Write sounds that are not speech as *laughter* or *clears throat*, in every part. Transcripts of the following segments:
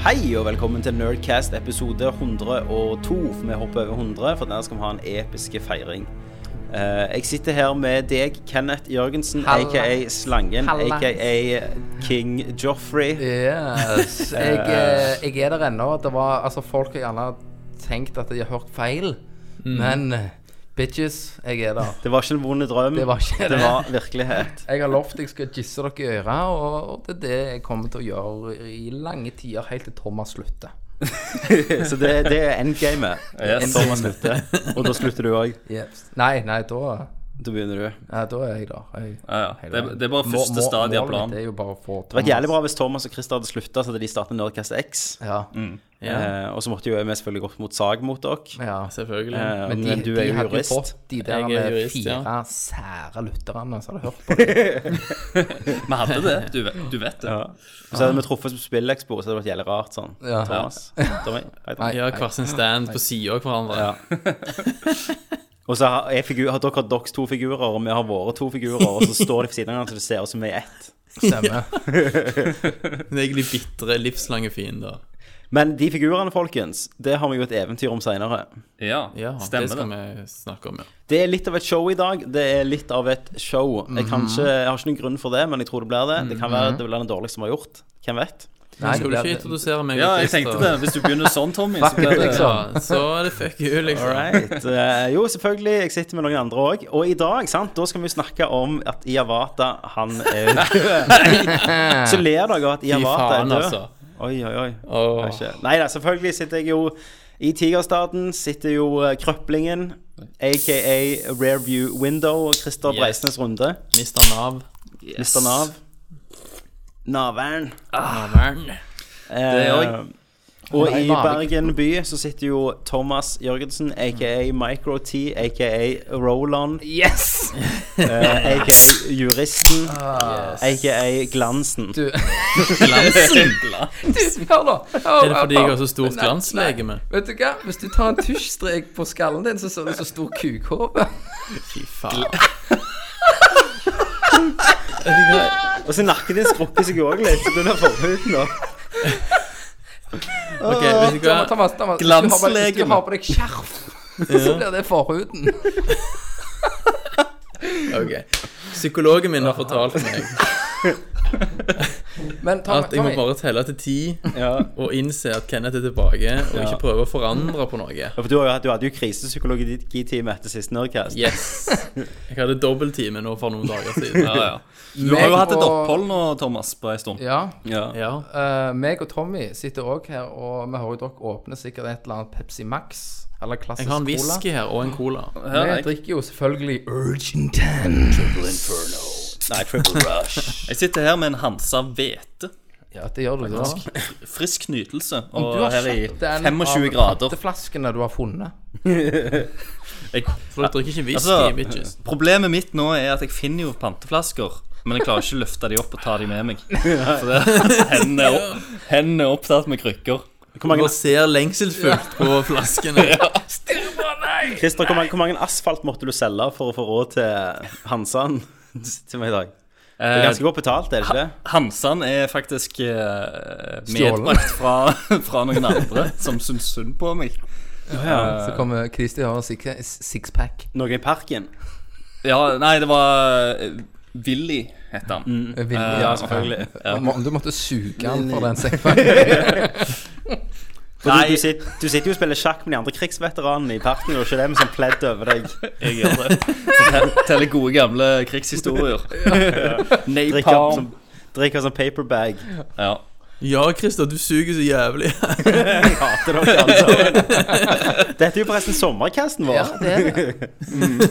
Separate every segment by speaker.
Speaker 1: Hei og velkommen til Nerdcast episode 102. For vi hopper over 100, for der skal vi ha en episke feiring. Eh, jeg sitter her med deg, Kenneth Jørgensen,
Speaker 2: Halla.
Speaker 1: aka Slangen,
Speaker 2: Halla. Eh,
Speaker 1: aka King Joffrey.
Speaker 3: *laughs*
Speaker 2: Yes. Jeg, eh, jeg er der ennå. Det var, altså, folk har gjerne tenkt at de har hørt feil,
Speaker 3: Mm.
Speaker 2: men eh, bitches, jeg er der.
Speaker 1: Det var ikke en vond drøm.
Speaker 2: Det var ikke det.
Speaker 1: var virkelighet.
Speaker 2: Jeg har lovt jeg skal gisse dere i øret, og, og det er det jeg kommer til å gjøre i lange tider, helt til Thomas slutter.
Speaker 1: Så det, det er endgamet.
Speaker 3: Yes.
Speaker 1: Når man slutter. *laughs* Og da slutter du òg.
Speaker 2: Nei, nei, da,
Speaker 1: Da begynner du.
Speaker 2: ja, da er jeg der. Jeg,
Speaker 3: Ja, ja.
Speaker 2: jeg
Speaker 3: Det,
Speaker 2: der.
Speaker 3: det er bare
Speaker 2: Må-
Speaker 3: første
Speaker 2: må-
Speaker 3: stadie av
Speaker 2: målet mitt
Speaker 3: planen.
Speaker 2: er jo bare å få
Speaker 1: Det var jævlig bra hvis Thomas og Christer hadde slutta, så hadde de startet Nerdcast X.
Speaker 2: Ja,
Speaker 3: Mm.
Speaker 1: Eh, og så måtte jo vi selvfølgelig gått mot sag mot dere.
Speaker 2: ja.
Speaker 3: Selvfølgelig.
Speaker 1: Eh,
Speaker 2: Men
Speaker 1: men,
Speaker 2: de,
Speaker 1: du
Speaker 2: de
Speaker 1: er jo
Speaker 2: hadde jo
Speaker 1: jurist.
Speaker 2: fått de der
Speaker 3: Jeg er jurist,
Speaker 2: fire
Speaker 3: ja.
Speaker 2: sære lytterne som hadde hørt på det.
Speaker 3: Vi hadde det. Du, vet- du vet det.
Speaker 1: Ja. Så hadde vi truffet som spillekspor, så hadde det vært jævlig rart sånn.
Speaker 2: Ja.
Speaker 1: Thomas. *laughs* Tommy, hei, Tommy.
Speaker 2: Nei.
Speaker 4: Ja, hver sin stand på sida av hverandre.
Speaker 1: Ja. Og så har, jeg figur, har dere deres to figurer, og vi har våre to figurer, og så står de på siden av hverandre, så det ser ut som vi er ett.
Speaker 3: *laughs*
Speaker 2: Stemmer.
Speaker 4: Det er egentlig bitre, livslange fiender.
Speaker 1: Men de figurene, folkens, det har vi jo et eventyr om seinere.
Speaker 3: Ja,
Speaker 4: Ja, det
Speaker 3: stemmer det.
Speaker 4: skal vi snakke om, ja.
Speaker 1: Det er litt av et show i dag. Det er litt av et show. Jeg, kan ikke, jeg har ikke noen grunn for det, men jeg tror det blir det. Det kan være det blir den dårligste vi har gjort. Hvem vet?
Speaker 2: Nei,
Speaker 4: Skal du
Speaker 2: det-
Speaker 4: ikke introdusere meg?
Speaker 3: Ja,
Speaker 4: og
Speaker 3: jeg
Speaker 4: Christer?
Speaker 3: tenkte det. Hvis du begynner sånn, Tommy, så blir det
Speaker 2: Faktisk. liksom.
Speaker 4: Ja, så er det fuck you, liksom.
Speaker 1: Alright. Eh, jo, selvfølgelig. Jeg sitter med noen andre òg. Og i dag sant, da skal vi snakke om at Iavata, han er død. *laughs* Så ler dere av at
Speaker 4: Fy
Speaker 1: Iavata er
Speaker 4: faen,
Speaker 1: død.
Speaker 4: altså.
Speaker 1: Oi, oi, oi.
Speaker 4: Åh.
Speaker 1: Nei da, selvfølgelig sitter jeg jo i Tigerstaden. Sitter jo eh, Krøplingen, aka Rearview Window og Christer
Speaker 4: Yes.
Speaker 1: Breisnes runde.
Speaker 4: Mr. Nav.
Speaker 1: Mr. Nav. Navern.
Speaker 3: Ah.
Speaker 4: Navern.
Speaker 1: Eh,
Speaker 3: er jeg.
Speaker 1: og
Speaker 2: Nei,
Speaker 1: i
Speaker 2: vanlig.
Speaker 1: Bergen by så sitter jo Thomas Jørgensen, aka Micro-T, aka Roland,
Speaker 2: Yes!
Speaker 1: eh, aka Juristen, aka Glansen.
Speaker 2: Du,
Speaker 4: Glansen.
Speaker 2: *laughs* du hør nå.
Speaker 4: Er det fordi jeg har så stort glanslegeme?
Speaker 2: Vet du hva, hvis du tar en tusjstrek på skallen din, så ser du så stor kukhove.
Speaker 4: Fy faen.
Speaker 1: Og så nakken din skrukker seg òg litt, så den har forhuden nå.
Speaker 4: Ok, vet du hva?
Speaker 2: Thomas, Thomas, Thomas, hvis du har på- Hvis du
Speaker 4: Glanslegeme.
Speaker 2: har på deg skjerf, *laughs* så blir det forhuden.
Speaker 4: Ok. Psykologen min har fortalt meg
Speaker 2: Men Tommy,
Speaker 4: at jeg må
Speaker 2: Tommy,
Speaker 4: bare telle til ti
Speaker 1: Ja.
Speaker 4: og innse at Kenneth er tilbake, og ikke prøve å forandre på noe.
Speaker 1: Ja, For du, har jo hatt- du hadde jo krisepsykologitime etter siste Nerdcast.
Speaker 4: Yes. Jeg hadde dobbelttime nå for noen dager siden.
Speaker 3: Ja, ja. Du har
Speaker 2: meg
Speaker 3: jo hatt et
Speaker 2: og-
Speaker 3: opphold nå, Thomas, på en stund.
Speaker 2: Ja,
Speaker 1: Ja.
Speaker 4: Ja.
Speaker 2: eh, meg og Tommy sitter også her, og vi hører jo dere åpne sikkert et eller annet Pepsi Max, eller
Speaker 4: Jeg
Speaker 2: klassisk cola.
Speaker 4: har en whisky her og en cola.
Speaker 3: Her,
Speaker 2: Vi
Speaker 3: jeg,
Speaker 2: drikker jo selvfølgelig Urgent Ten.
Speaker 1: Nei, Triple Rush.
Speaker 3: jeg sitter her med en Hansa hvete.
Speaker 2: Ja, det gjør du da.
Speaker 3: Frisk nytelse.
Speaker 2: Du har
Speaker 3: Og her i
Speaker 2: kjøpt den
Speaker 3: 25
Speaker 2: av
Speaker 3: grader.
Speaker 2: katteflaskene du har funnet.
Speaker 3: Jeg,
Speaker 4: For jeg drikker ikke whisky, bitches.
Speaker 3: altså, problemet mitt nå er at jeg finner jo panteflasker. Men jeg klarer ikke å løfte de opp og ta de med meg. Så det, *laughs* hendene, er opp, hendene er opptatt med krykker.
Speaker 1: Hvor mange,
Speaker 4: Bare ser lengselsfullt på flaskene.
Speaker 1: Christer, hvor mange, hvor mange asfalt måtte du selge for å få råd til Hansan? *laughs* Til meg i dag. Det er
Speaker 3: Eh,
Speaker 1: ganske godt betalt, er det ikke det?
Speaker 3: Hansan er faktisk eh,
Speaker 2: Stjålen.
Speaker 3: medbrakt fra, *laughs* fra noen andre som syns synd på meg.
Speaker 2: Så kommer Kristi og har en six- sixpack.
Speaker 1: Noe i parken?
Speaker 3: Ja, nei, det var eh, Willy, het han.
Speaker 2: Six
Speaker 3: Eh,
Speaker 2: ja,
Speaker 3: selvfølgelig. Ja.
Speaker 2: Om du måtte suge han for den sixpacken.
Speaker 1: For Du,
Speaker 3: Nei.
Speaker 1: du, sitter, du sitter jo og spiller sjakk med de andre krigsveteranene i parken, og ikke det med sånn pledd over deg.
Speaker 3: *laughs* Jeg gjør det. Fortell- Teller gode, gamle krigshistorier.
Speaker 1: Drikker opp
Speaker 3: Napalm.
Speaker 1: som, drikker som
Speaker 3: *laughs*
Speaker 1: paperbag.
Speaker 3: Ja.
Speaker 4: *laughs* Ja, Christer, du suger så jævlig.
Speaker 1: Jeg hater dere alle sammen. Dette er jo forresten sommercasten vår.
Speaker 2: Ja, det er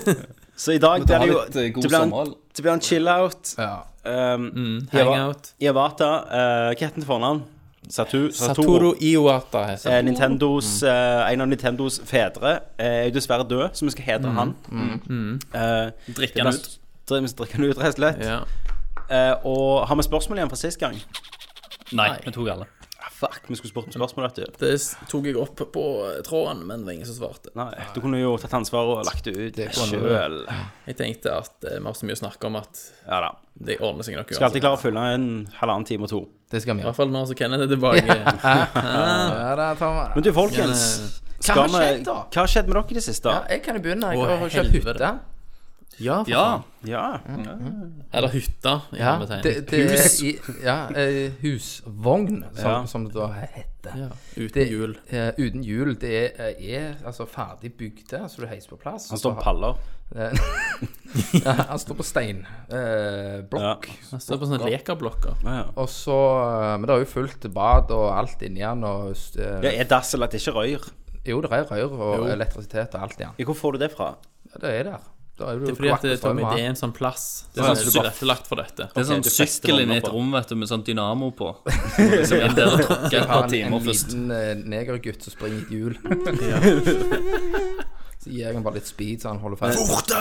Speaker 2: det.
Speaker 1: Så i dag
Speaker 3: Det
Speaker 1: blir
Speaker 3: er
Speaker 1: det
Speaker 3: jo
Speaker 1: jo
Speaker 3: litt eh, god
Speaker 1: det blir en-
Speaker 3: sommer.
Speaker 1: det blir en chill-out.
Speaker 2: *laughs* Ja.
Speaker 1: Um,
Speaker 4: Hangout.
Speaker 1: Iwata, uh, hva heter han til fornavn? Satu, Satoru.
Speaker 4: Satoru Iwata heter
Speaker 1: Eh,
Speaker 4: han.
Speaker 1: Nintendos, eh, en av Nintendos fedre eh, er jo dessverre død, så vi skal hedre han. Eh,
Speaker 3: Drikke han ut.
Speaker 1: det er- Vi skal drikke han ut, rett og slett.
Speaker 4: Ja.
Speaker 1: Eh, og har vi spørsmål igjen fra sist gang?
Speaker 3: Nei, vi tok alle.
Speaker 1: Fuck, vi skulle spurt om spørsmål, vet du.
Speaker 4: Det s- tok jeg opp på eh, tråden, men det var ingen som svarte.
Speaker 1: Nei, du kunne jo tatt ansvar og lagt det ut
Speaker 2: Det kunne du.
Speaker 1: sjøl.
Speaker 4: Jeg tenkte at eh, vi har så mye å snakke om at
Speaker 1: Ja da.
Speaker 4: det ordner seg nok
Speaker 1: Skal alltid klare å fylle en halvannen time og to.
Speaker 2: Det skal
Speaker 4: I
Speaker 2: vi
Speaker 4: hvert
Speaker 2: gjøre.
Speaker 4: fall nå som Kenneth er tilbake.
Speaker 2: *laughs* Ja, da, Thomas.
Speaker 1: Men du, folkens.
Speaker 2: Hva
Speaker 1: skal
Speaker 2: har
Speaker 1: vi-
Speaker 2: skjedd, da?
Speaker 1: Hva har skjedd med dere i det siste?
Speaker 2: Ja, jeg kan jo begynne.
Speaker 4: Å,
Speaker 2: Jeg har kjøpt
Speaker 4: helvete.
Speaker 2: hytte. Ja, for
Speaker 3: Ja.
Speaker 1: Ja.
Speaker 4: Eller hytta, i
Speaker 2: Ja,
Speaker 4: hermetegn.
Speaker 2: det, det er
Speaker 4: Hus
Speaker 2: i, ja, eh, husvogn, som,
Speaker 1: Ja.
Speaker 2: som det da heter.
Speaker 4: ja,
Speaker 2: Det,
Speaker 4: uten hjul.
Speaker 2: eh, uten hjul. Det er, er altså ferdig bygd, så du heiser på plass.
Speaker 1: Han står på paller.
Speaker 2: Eh, *laughs* ja, han står på stein. Eh,
Speaker 1: Ja.
Speaker 2: blokk.
Speaker 4: Han står på sånne lekerblokker.
Speaker 1: Ja, ja.
Speaker 2: Og så eh, Men det er jo fullt bad og alt inni den. Og, eh,
Speaker 1: Ja, er dass eller at det ikke røyr?
Speaker 2: Jo, det er rør og elektrisitet og alt i den.
Speaker 1: Ja, Hvor får du det fra?
Speaker 2: Ja, det er der. Da er
Speaker 4: Det er fordi at eh, Tommy, det er en sånn plass som
Speaker 3: sånn
Speaker 4: er
Speaker 3: sykt.
Speaker 4: tilrettelagt for dette.
Speaker 3: Det er sånn
Speaker 1: du fester
Speaker 3: sykkel inni
Speaker 1: hånda
Speaker 3: et
Speaker 1: på.
Speaker 3: rom vet du, med sånn dynamo på. Så må du Liksom inn der og tråkke
Speaker 2: har
Speaker 3: et par
Speaker 2: en, en
Speaker 3: timer først.
Speaker 2: liten eh, negergutt som springer i et
Speaker 4: *laughs*
Speaker 2: hjul. *laughs* så gir jeg ham bare litt speed, så han holder fast.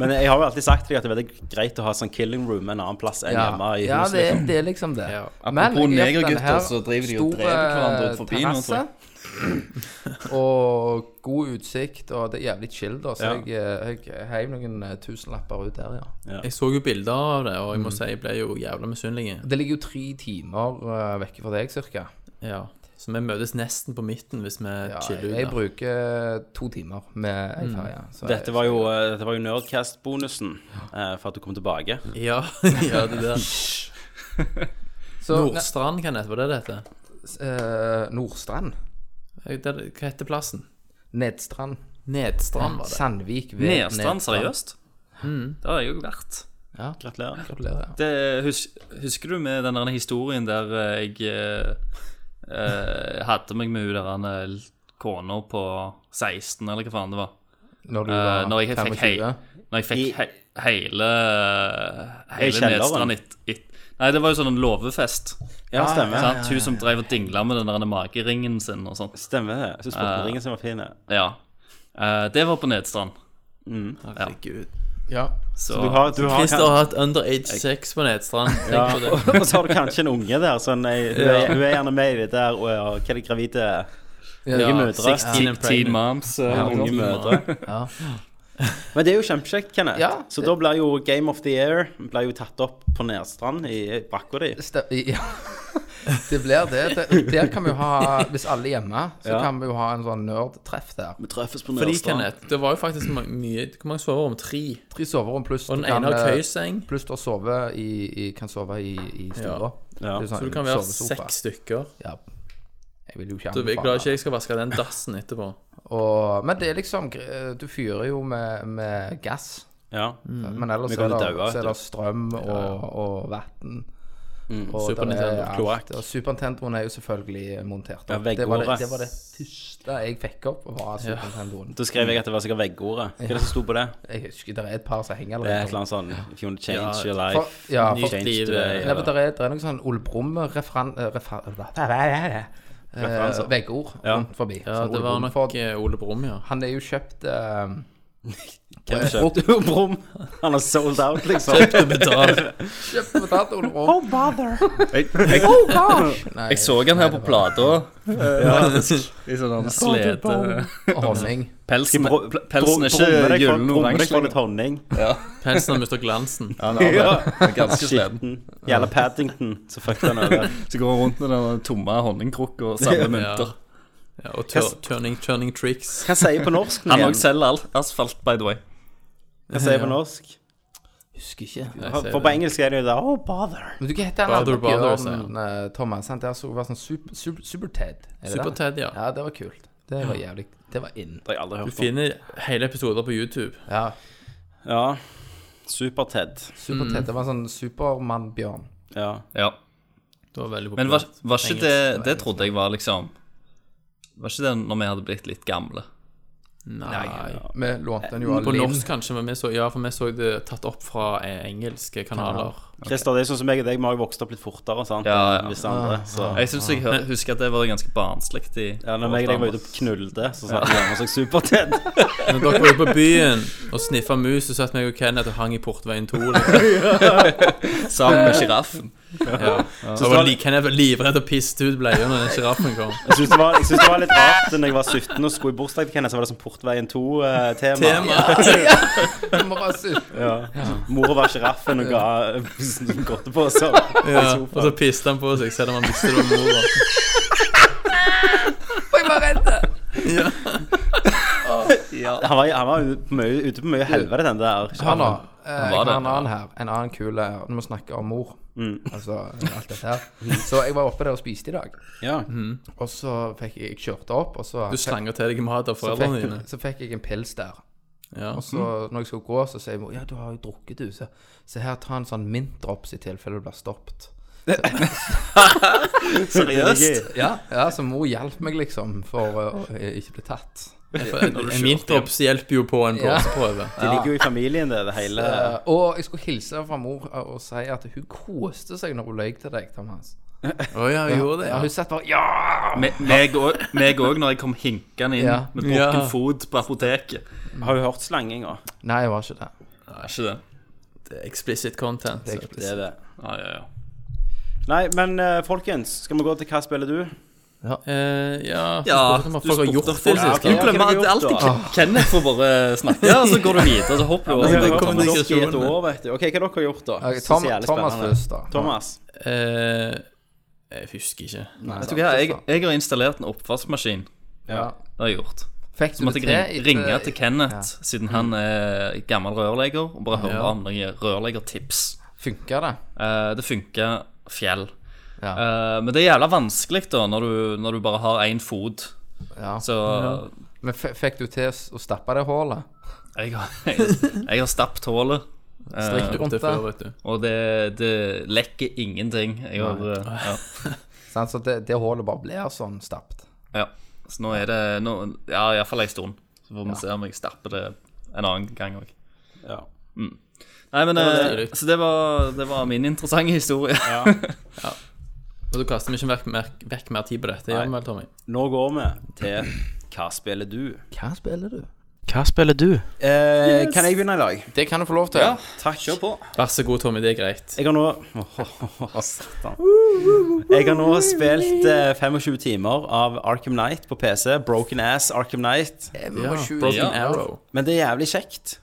Speaker 1: Men jeg har jo alltid sagt til deg at det er veldig greit å ha sånn killing room en annen plass enn hjemme i
Speaker 2: ja
Speaker 1: huset.
Speaker 2: det, er- det er liksom det.
Speaker 3: Apropos
Speaker 2: jeg har gjort
Speaker 3: negergutter,
Speaker 2: denne her
Speaker 3: så driver de og
Speaker 2: store
Speaker 3: dreper hverandre ut forbi nå, tror jeg.
Speaker 2: terrasse, *laughs* og god utsikt, og det er jævlig chill, da. Så
Speaker 1: Ja.
Speaker 2: jeg, eh, jeg heiv noen eh, tusenlapper ut der, ja.
Speaker 4: Jeg så jo bilder av det, og jeg må si jeg ble jo jævla misunnelig.
Speaker 2: Det ligger jo tre timer eh, vekke fra deg, cirka.
Speaker 4: Ja. Så vi møtes nesten på midten hvis vi
Speaker 2: Ja,
Speaker 4: chiller
Speaker 2: jeg
Speaker 4: ut. da.
Speaker 2: bruker to timer med ei
Speaker 3: Mm.
Speaker 2: ferje. så jeg-
Speaker 1: Dette var jo, eh, dette var jo Nerdcast-bonusen eh, for at du kom tilbake.
Speaker 4: Ja, *laughs* ja, det der.
Speaker 2: så,
Speaker 4: Nordstrand, Kenneth, var det det heter?
Speaker 2: eh, Nordstrand.
Speaker 4: Jeg- det- Hva heter plassen?
Speaker 2: Nedstrand.
Speaker 4: Nedstrand, var det.
Speaker 2: Sandvik ved
Speaker 3: Nedstrand, seriøst? Det har jeg jo vært.
Speaker 1: Gratulerer.
Speaker 2: Gratulerer.
Speaker 3: Det, hus, husker du med den der historien der eh, jeg eh, eh, hadde meg med hun der han, eh, kona på 16, eller hva faen det var?
Speaker 2: Når du
Speaker 3: Eh,
Speaker 2: var
Speaker 3: når jeg fikk, hei,
Speaker 2: 25.
Speaker 3: når jeg fikk he, hele,
Speaker 1: I
Speaker 3: hele
Speaker 1: kjelleren.
Speaker 3: Nedstrand et, et, Nei, det var jo sånn en låvefest.
Speaker 1: Ja, stemmer.
Speaker 3: sant? Hun som drev og dingla med den der mageringen sin og sånt.
Speaker 1: Stemmer det. Jeg syns sportringen sin var fin. ja.
Speaker 3: Ja. Eh, det var på Nedstrand.
Speaker 4: Herregud.
Speaker 2: Ja.
Speaker 3: Så,
Speaker 1: Mm. Du har, du har
Speaker 4: Christer har hatt underage sex på *laughs* Nedstrand. Tenk
Speaker 1: ja,
Speaker 4: på det.
Speaker 1: og, *laughs* og så har du kanskje en unge der. Sånn, jeg, hun, er, hun er gjerne med i det der og ja, hva er det gravide
Speaker 2: Ja,
Speaker 1: unge mødre.
Speaker 4: 16 and
Speaker 3: Teen
Speaker 4: pregnant.
Speaker 3: Moms. eh,
Speaker 1: Unge mødre.
Speaker 2: Ja.
Speaker 1: Men det er jo kjempekjekt, Kenneth.
Speaker 2: Ja,
Speaker 1: så da blir jo Game of the Year blir jo tatt opp på Nedstrand i brakka di.
Speaker 2: Ste- ja. *laughs* Det blir det. det. Der kan vi jo ha Hvis alle er hjemme, så
Speaker 1: Ja.
Speaker 2: kan vi jo ha en sånn nerdtreff der.
Speaker 1: Vi treffes på
Speaker 4: Fordi, Kenneth, det var jo faktisk ma- mye Hvor mange soverom? Tre?
Speaker 2: Tre soverom pluss
Speaker 4: Og den
Speaker 2: du kan,
Speaker 4: ene har
Speaker 2: eh,
Speaker 4: køyseng,
Speaker 2: Pluss du har sove i, i, kan sove i, i stua.
Speaker 1: Ja.
Speaker 2: Det er sånn
Speaker 4: så du kan være
Speaker 2: sovesofa.
Speaker 4: seks stykker.
Speaker 2: Ja. Jeg vil jo ikke
Speaker 4: Du er glad ikke
Speaker 2: anbefale.
Speaker 4: jeg skal vaske den dassen etterpå.
Speaker 2: Og, men det er liksom gr- Du fyrer jo med, med gass.
Speaker 1: Ja.
Speaker 2: Men ellers
Speaker 1: Vi
Speaker 2: er
Speaker 1: kan
Speaker 2: det,
Speaker 1: daue,
Speaker 2: så er
Speaker 1: vet Mm.
Speaker 2: det strøm og, og vann. Og
Speaker 4: Super
Speaker 2: der er
Speaker 4: Nintendo,
Speaker 2: alt.
Speaker 1: kloakk.
Speaker 2: Og Super Nintendoen er jo selvfølgelig montert
Speaker 1: Ja,
Speaker 2: opp. det, var
Speaker 1: veggordet.
Speaker 2: det, det var det første jeg fikk opp, var Super Nintendoen.
Speaker 1: Da skrev jeg at det var sikkert veggordet. Hva er det som sto på det?
Speaker 2: Jeg husker det er et par som henger
Speaker 1: Det er et
Speaker 2: allerede.
Speaker 1: eller annet sånn If you want to change
Speaker 4: Ja,
Speaker 1: your
Speaker 2: For,
Speaker 1: life
Speaker 2: ja,
Speaker 4: Nytt
Speaker 2: for,
Speaker 1: Change
Speaker 4: liv,
Speaker 1: today,
Speaker 4: eh,
Speaker 2: ja,
Speaker 1: eller-
Speaker 2: men der er, der er noen sånn eh, Olbrum-referanser
Speaker 1: Referanser.
Speaker 2: Veggord Eh, rundt forbi.
Speaker 4: Ja,
Speaker 2: Sånn
Speaker 4: det var
Speaker 2: Ole Brumm.
Speaker 4: nok eh, Ole Brumm, ja.
Speaker 2: Han er jo kjøpt eh,
Speaker 1: Hvem kjøpte jo *laughs* Brum? Han har sold out, liksom.
Speaker 2: *laughs* Kjøpt og betalt Ole Brumm.
Speaker 3: Jeg, jeg,
Speaker 2: Nei,
Speaker 3: jeg så han her på plata. I sånn han slete
Speaker 2: og honning.
Speaker 3: Pelsen,
Speaker 1: Bro- bro-
Speaker 3: pelsen er ikke gyllen
Speaker 1: Brumme deg
Speaker 3: og oransje
Speaker 1: for litt
Speaker 3: lenger.
Speaker 1: honning.
Speaker 4: Pelsen har mistet glansen.
Speaker 3: Han er bare ganske sliten.
Speaker 1: Gjelder Paddington, så fucket han over.
Speaker 3: Så går han rundt med den tomme honningkrukka
Speaker 1: *laughs*
Speaker 3: og samler mynter.
Speaker 4: Ja, og tur- turning, turning tricks.
Speaker 1: Hva sier på norsk? nå
Speaker 3: Han
Speaker 1: igjen?
Speaker 3: òg selger alt asfalt, by the way.
Speaker 1: Hva sier på norsk?
Speaker 2: Husker ikke.
Speaker 4: ser
Speaker 1: For på engelsk er det jo da Oh, bother.
Speaker 2: Men du, hva heter han
Speaker 4: Bother,
Speaker 2: andre på
Speaker 4: bother, sier
Speaker 2: hjørnet, eh, Thomas? Sant? Det er så- var sånn super, super, super Ted. Er det
Speaker 4: Super
Speaker 2: det?
Speaker 4: Ted, ja.
Speaker 2: Ja, det var kult. Det var jævlig Det var in.
Speaker 1: Det har jeg aldri
Speaker 4: Du
Speaker 1: hørt om.
Speaker 4: finner hele episoder på YouTube.
Speaker 2: Ja,
Speaker 1: Ja. Super-Ted.
Speaker 2: Super Ted. Det var sånn Supermann-bjørn.
Speaker 1: Ja.
Speaker 3: Ja.
Speaker 4: Det var veldig
Speaker 3: Men
Speaker 4: populært.
Speaker 3: var, var ikke det Det trodde jeg var liksom Var ikke det når vi hadde blitt litt gamle?
Speaker 4: Nei.
Speaker 2: Vi lånte den jo av
Speaker 4: Eh, På
Speaker 2: Linn. *laughs*
Speaker 4: norsk kanskje, men vi så, ja, for vi så det tatt opp fra eh, engelske kanaler.
Speaker 1: Christer, det er sånn som jeg og deg, vi har jo vokst opp litt fortere sant,
Speaker 3: Ja, ja.
Speaker 1: enn visse andre. Så.
Speaker 3: Jeg syns jeg hø- husker at det var ganske barnslig. i-
Speaker 1: Ja, når jeg og deg var ute og knullte, så satt vi hjemme og så Super-Ted.
Speaker 4: Når dere var ute på byen og sniffa mus, så satt meg og Kenneth og hang i Portveien *laughs* 2. Liksom.
Speaker 3: sammen med sjiraffen.
Speaker 4: Så var li- Kenneth var livredd og pisset ut bleia når den sjiraffen *laughs* kom.
Speaker 1: Jeg syns det, var- jeg synes det var litt rart når jeg var 17 og skulle i bursdag til Kenneth, så var det sånn Portveien 2-tema. *laughs*
Speaker 4: Tema.
Speaker 2: Må bare sy-
Speaker 1: Ja. Mora var sjiraffen og ga eh, godteposer. *laughs*
Speaker 4: Ja, Altså- og så pisset han på seg selv om han visste det var mora.
Speaker 2: Jeg var redd!
Speaker 1: Han var, han var ute på mye, ute på mye helvete, den der.
Speaker 2: Hør nå. eh, Jeg
Speaker 3: var
Speaker 2: har
Speaker 3: det.
Speaker 2: en annen her. En annen kul eh, Nå må vi snakke om mor. Altså alt dette her. Så jeg var oppe der og spiste i dag. Mm.
Speaker 1: Ja.
Speaker 2: Og så fikk jeg, jeg kjørte opp, og så
Speaker 4: Du slanger til deg mat av
Speaker 2: så
Speaker 4: foreldrene
Speaker 2: fikk,
Speaker 4: dine.
Speaker 2: så fikk jeg en pils der.
Speaker 4: Ja.
Speaker 2: Og så når jeg skulle gå, så sier mor Ja, du har jo drukket, du. Så, så her, ta en sånn mintdrops i tilfelle du blir stoppet.
Speaker 1: Seriøst?
Speaker 2: Ja, ja, så mor hjalp meg liksom for å eh, ikke bli tatt.
Speaker 4: En mintdrops hjelper jo på en *laughs* blåseprøve.
Speaker 1: De ligger jo i familien, det, det hele.
Speaker 2: Eh, og jeg skulle hilse fra mor eh, og si at hun koste seg når hun løy til deg, Thomas.
Speaker 4: Å ja, hun gjorde det.
Speaker 2: Ja,
Speaker 4: Ja.
Speaker 2: hun satt bare Ja!
Speaker 3: Me- Meg òg- meg òg, når jeg kom hinkende inn
Speaker 2: Ja.
Speaker 3: med brukken
Speaker 4: Ja.
Speaker 3: fot på apoteket.
Speaker 1: Har du hørt slanginga?
Speaker 2: Nei, jeg var ikke det.
Speaker 3: Nei, ikke det.
Speaker 4: Det er Explicit content.
Speaker 2: Det er
Speaker 1: Det er det.
Speaker 3: Ja, ja, ja.
Speaker 1: Nei, men eh, folkens, skal vi gå til hva spiller du?
Speaker 4: Eh, ja, så
Speaker 3: Ja,
Speaker 4: spurte vi om
Speaker 3: du
Speaker 4: folk har
Speaker 3: spurte
Speaker 4: gjort
Speaker 3: om
Speaker 4: det
Speaker 3: folk-
Speaker 4: sist.
Speaker 1: Ja,
Speaker 3: Du
Speaker 1: ok.
Speaker 3: glemmer
Speaker 1: hva har
Speaker 3: at
Speaker 1: du
Speaker 3: alltid
Speaker 1: gjort da?
Speaker 3: Ken- Kenneth får bare snakke, og så går du videre. Så hopper du
Speaker 1: Vi
Speaker 3: over.
Speaker 4: det
Speaker 1: har
Speaker 4: kommer
Speaker 1: kommet oss i
Speaker 4: kommunikasjonen.
Speaker 1: et år, vet du. OK, hva dere har dere gjort, da?
Speaker 2: Ok,
Speaker 1: Som
Speaker 2: Tom,
Speaker 1: så jævlig
Speaker 2: Thomas
Speaker 1: spennende.
Speaker 2: først, da.
Speaker 1: Thomas.
Speaker 4: Eh, jeg husker ikke.
Speaker 3: Vet du hva, jeg, jeg har installert en oppvaskmaskin.
Speaker 1: Ja.
Speaker 3: Det har jeg gjort.
Speaker 2: Fikk
Speaker 3: Så
Speaker 2: du
Speaker 3: måtte
Speaker 2: det
Speaker 3: jeg
Speaker 2: til?
Speaker 3: ringe,
Speaker 2: etter-
Speaker 3: ringe til Kenneth, siden han er gammel rørlegger, og bare høre
Speaker 4: Ja.
Speaker 3: om noen rørleggertips.
Speaker 2: Funka det?
Speaker 3: Eh, det funker fjell.
Speaker 2: Ja.
Speaker 3: Eh, men det er jævla vanskelig da, når du, når du bare har én fot.
Speaker 2: ja.
Speaker 3: Så
Speaker 2: Men f- fikk du til s- å stappe det hullet?
Speaker 3: jeg, har, *laughs* jeg, jeg har stappet hullet,
Speaker 2: Strikk
Speaker 4: Jeg døpte
Speaker 2: rundt det?
Speaker 4: før, vet du.
Speaker 3: og det, det lekker ingenting. Jeg har, eh, ja.
Speaker 2: Sant, så det, det hullet bare blir sånn stappet.
Speaker 3: Ja, så nå er det nå, Ja, iallfall ei stund. Så får vi se om jeg stapper det en annen gang òg.
Speaker 1: Ja.
Speaker 3: Nei, men
Speaker 4: var
Speaker 3: eh,
Speaker 4: det.
Speaker 3: Så det var, det var min interessante historie.
Speaker 4: Og da kaster vi ikke vekk, mer- vekk mer tid på dette. Gjør vi vel, Tommy?
Speaker 1: Nå går vi til Hva spiller du?
Speaker 2: Hva spiller du?
Speaker 1: Hva spiller du? Eh, Kan jeg begynne i dag?
Speaker 2: Det kan du få lov til.
Speaker 1: Takk. Kjør på.
Speaker 4: Vær så god, Tommy. Det er greit.
Speaker 1: Jeg har nå Åh, satan. Jeg har nå spilt eh, 25 timer av Arkham Knight på PC. Broken ass Arkham Knight.
Speaker 4: Ja.
Speaker 2: Broken
Speaker 4: Broken Arrow.
Speaker 1: Men det er jævlig kjekt.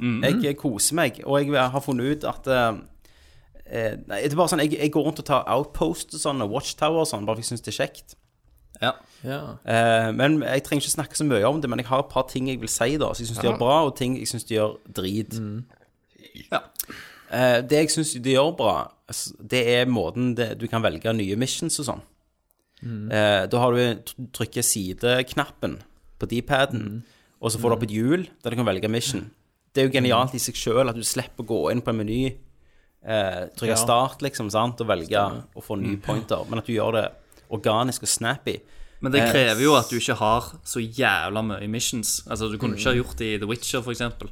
Speaker 3: Mm.
Speaker 1: Jeg koser meg, og jeg har funnet ut at eh, eh, Nei, det er bare sånn, jeg, jeg går rundt og tar outpost og sånn, og watchtower og sånn, bare for jeg syns det er kjekt.
Speaker 3: Ja.
Speaker 4: Ja.
Speaker 1: Eh, men jeg trenger ikke snakke så mye om det, men jeg har et par ting jeg vil si, da, som jeg syns de gjør bra, og ting jeg syns de gjør drit.
Speaker 3: Ja.
Speaker 1: Eh, det jeg syns de gjør bra, s- det er måten det, du kan velge nye missions og sånn. Eh, da har du tr- trykker sideknappen på D-paden, og så får du opp et hjul der du kan velge mission. Det er jo genialt i seg sjøl at du slipper å gå inn på en meny, eh, trykke start, liksom, sant, og velge å få nye pointer, men at du gjør det organisk og snappy.
Speaker 3: *laughs* Men det krever jo at du ikke har så jævla mye missions. Altså, Du kunne ikke ha gjort det i The Witcher, for eksempel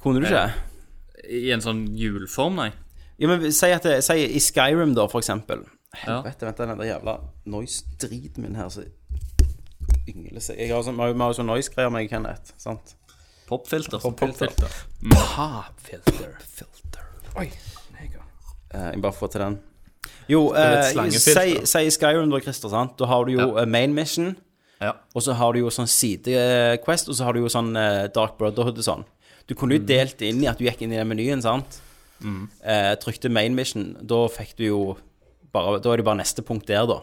Speaker 1: Kunne du ikke?
Speaker 3: I en sånn hjulform, nei.
Speaker 1: Eh, Ja, men si at det, si i Skyrim da, for eksempel
Speaker 3: Ja.
Speaker 1: Helvete, vent, den der jævla noise-driten min her Så yngler seg Jeg har sånn, vi har jo- vi har jo sånn noise-greier med Kenneth, sant?
Speaker 3: Popfilter.
Speaker 4: Popfilter.
Speaker 1: Popfilter Mm. Filter
Speaker 2: Oi.
Speaker 1: Eh, Jeg bare får til den Jo,
Speaker 4: er et
Speaker 1: eh, si,
Speaker 4: slangefilter.
Speaker 1: si i Skyrim da, Christer, sant? Da har du jo eh, main mission
Speaker 3: Ja.
Speaker 1: Og så har du jo sånn side-quest Og så har du jo sånn eh, Dark Brotherhood og sånn Du kunne
Speaker 4: Mm.
Speaker 1: jo delt inn i at du gikk inn i den menyen, sant? Eh, trykte main mission Da fikk du jo bare, Da er det bare neste punkt der da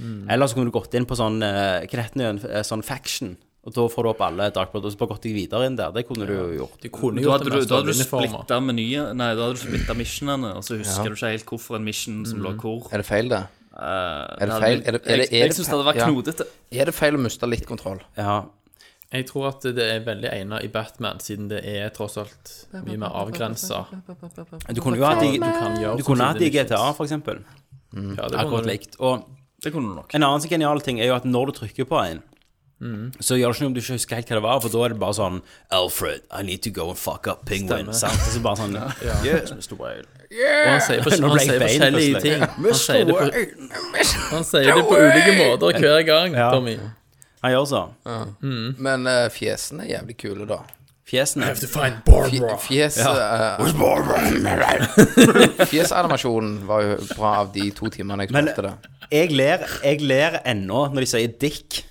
Speaker 4: Mm.
Speaker 1: Eller så kunne du gått inn på sånn eh, Hva heter det igjen? Eh, Sånn faction Og da får du opp alle Dark Brotherhood Og så bare gått deg videre inn der Det kunne du jo gjort
Speaker 4: Du kunne
Speaker 3: Da
Speaker 4: gjort
Speaker 3: hadde
Speaker 4: det
Speaker 3: du,
Speaker 4: med
Speaker 3: da hadde du
Speaker 4: ståluniformer.
Speaker 3: splitta menyen Nei, da hadde du splittet missionene, og så husker du ikke helt hvorfor en mission som
Speaker 4: Mhm.
Speaker 3: lå hvor.
Speaker 2: Er det feil, det?
Speaker 3: Eh, det hadde-
Speaker 2: feil? Er det- er det- er
Speaker 3: jeg jeg
Speaker 2: det
Speaker 3: syns det
Speaker 2: feil?
Speaker 3: hadde vært
Speaker 2: Ja.
Speaker 3: knodete.
Speaker 2: Er det feil å miste litt kontroll?
Speaker 1: Ja
Speaker 4: Jeg tror at det er veldig egnet i Batman, siden det er tross alt mye mer avgrensa.
Speaker 1: Du kunne jo hatt i, du, du kunne hatt i GTA for eksempel
Speaker 4: Ja, det
Speaker 1: Akkurat
Speaker 4: kunne du.
Speaker 1: likt Og
Speaker 3: Det kunne du nok.
Speaker 1: en annen så genial ting Er jo at når du trykker på en
Speaker 4: Mm.
Speaker 1: Så gjør det ikke noe om du ikke husker helt hva det var, for da er det bare sånn Alfred, I need to go and fuck up penguin. Sant? Og så bare sånn *laughs* Yes, Mr.
Speaker 4: *laughs*
Speaker 1: Whale.
Speaker 4: Og han sier, for,
Speaker 1: Nå ble
Speaker 4: han
Speaker 1: jeg
Speaker 4: sier
Speaker 1: bein
Speaker 4: forskjellige
Speaker 1: plutselig.
Speaker 4: ting. Han sier, det på, han sier det på ulike måter hver gang,
Speaker 1: Ja.
Speaker 4: Tommy.
Speaker 1: Han gjør så.
Speaker 2: Men eh, fjesene er jævlig kule, da.
Speaker 1: Fjesene.
Speaker 2: Fje- Fjes eh, *laughs* Fjesanimasjonen var jo bra av de to timene jeg
Speaker 1: Men-
Speaker 2: spilte det.
Speaker 1: Jeg ler, jeg ler ennå når de sier Dick.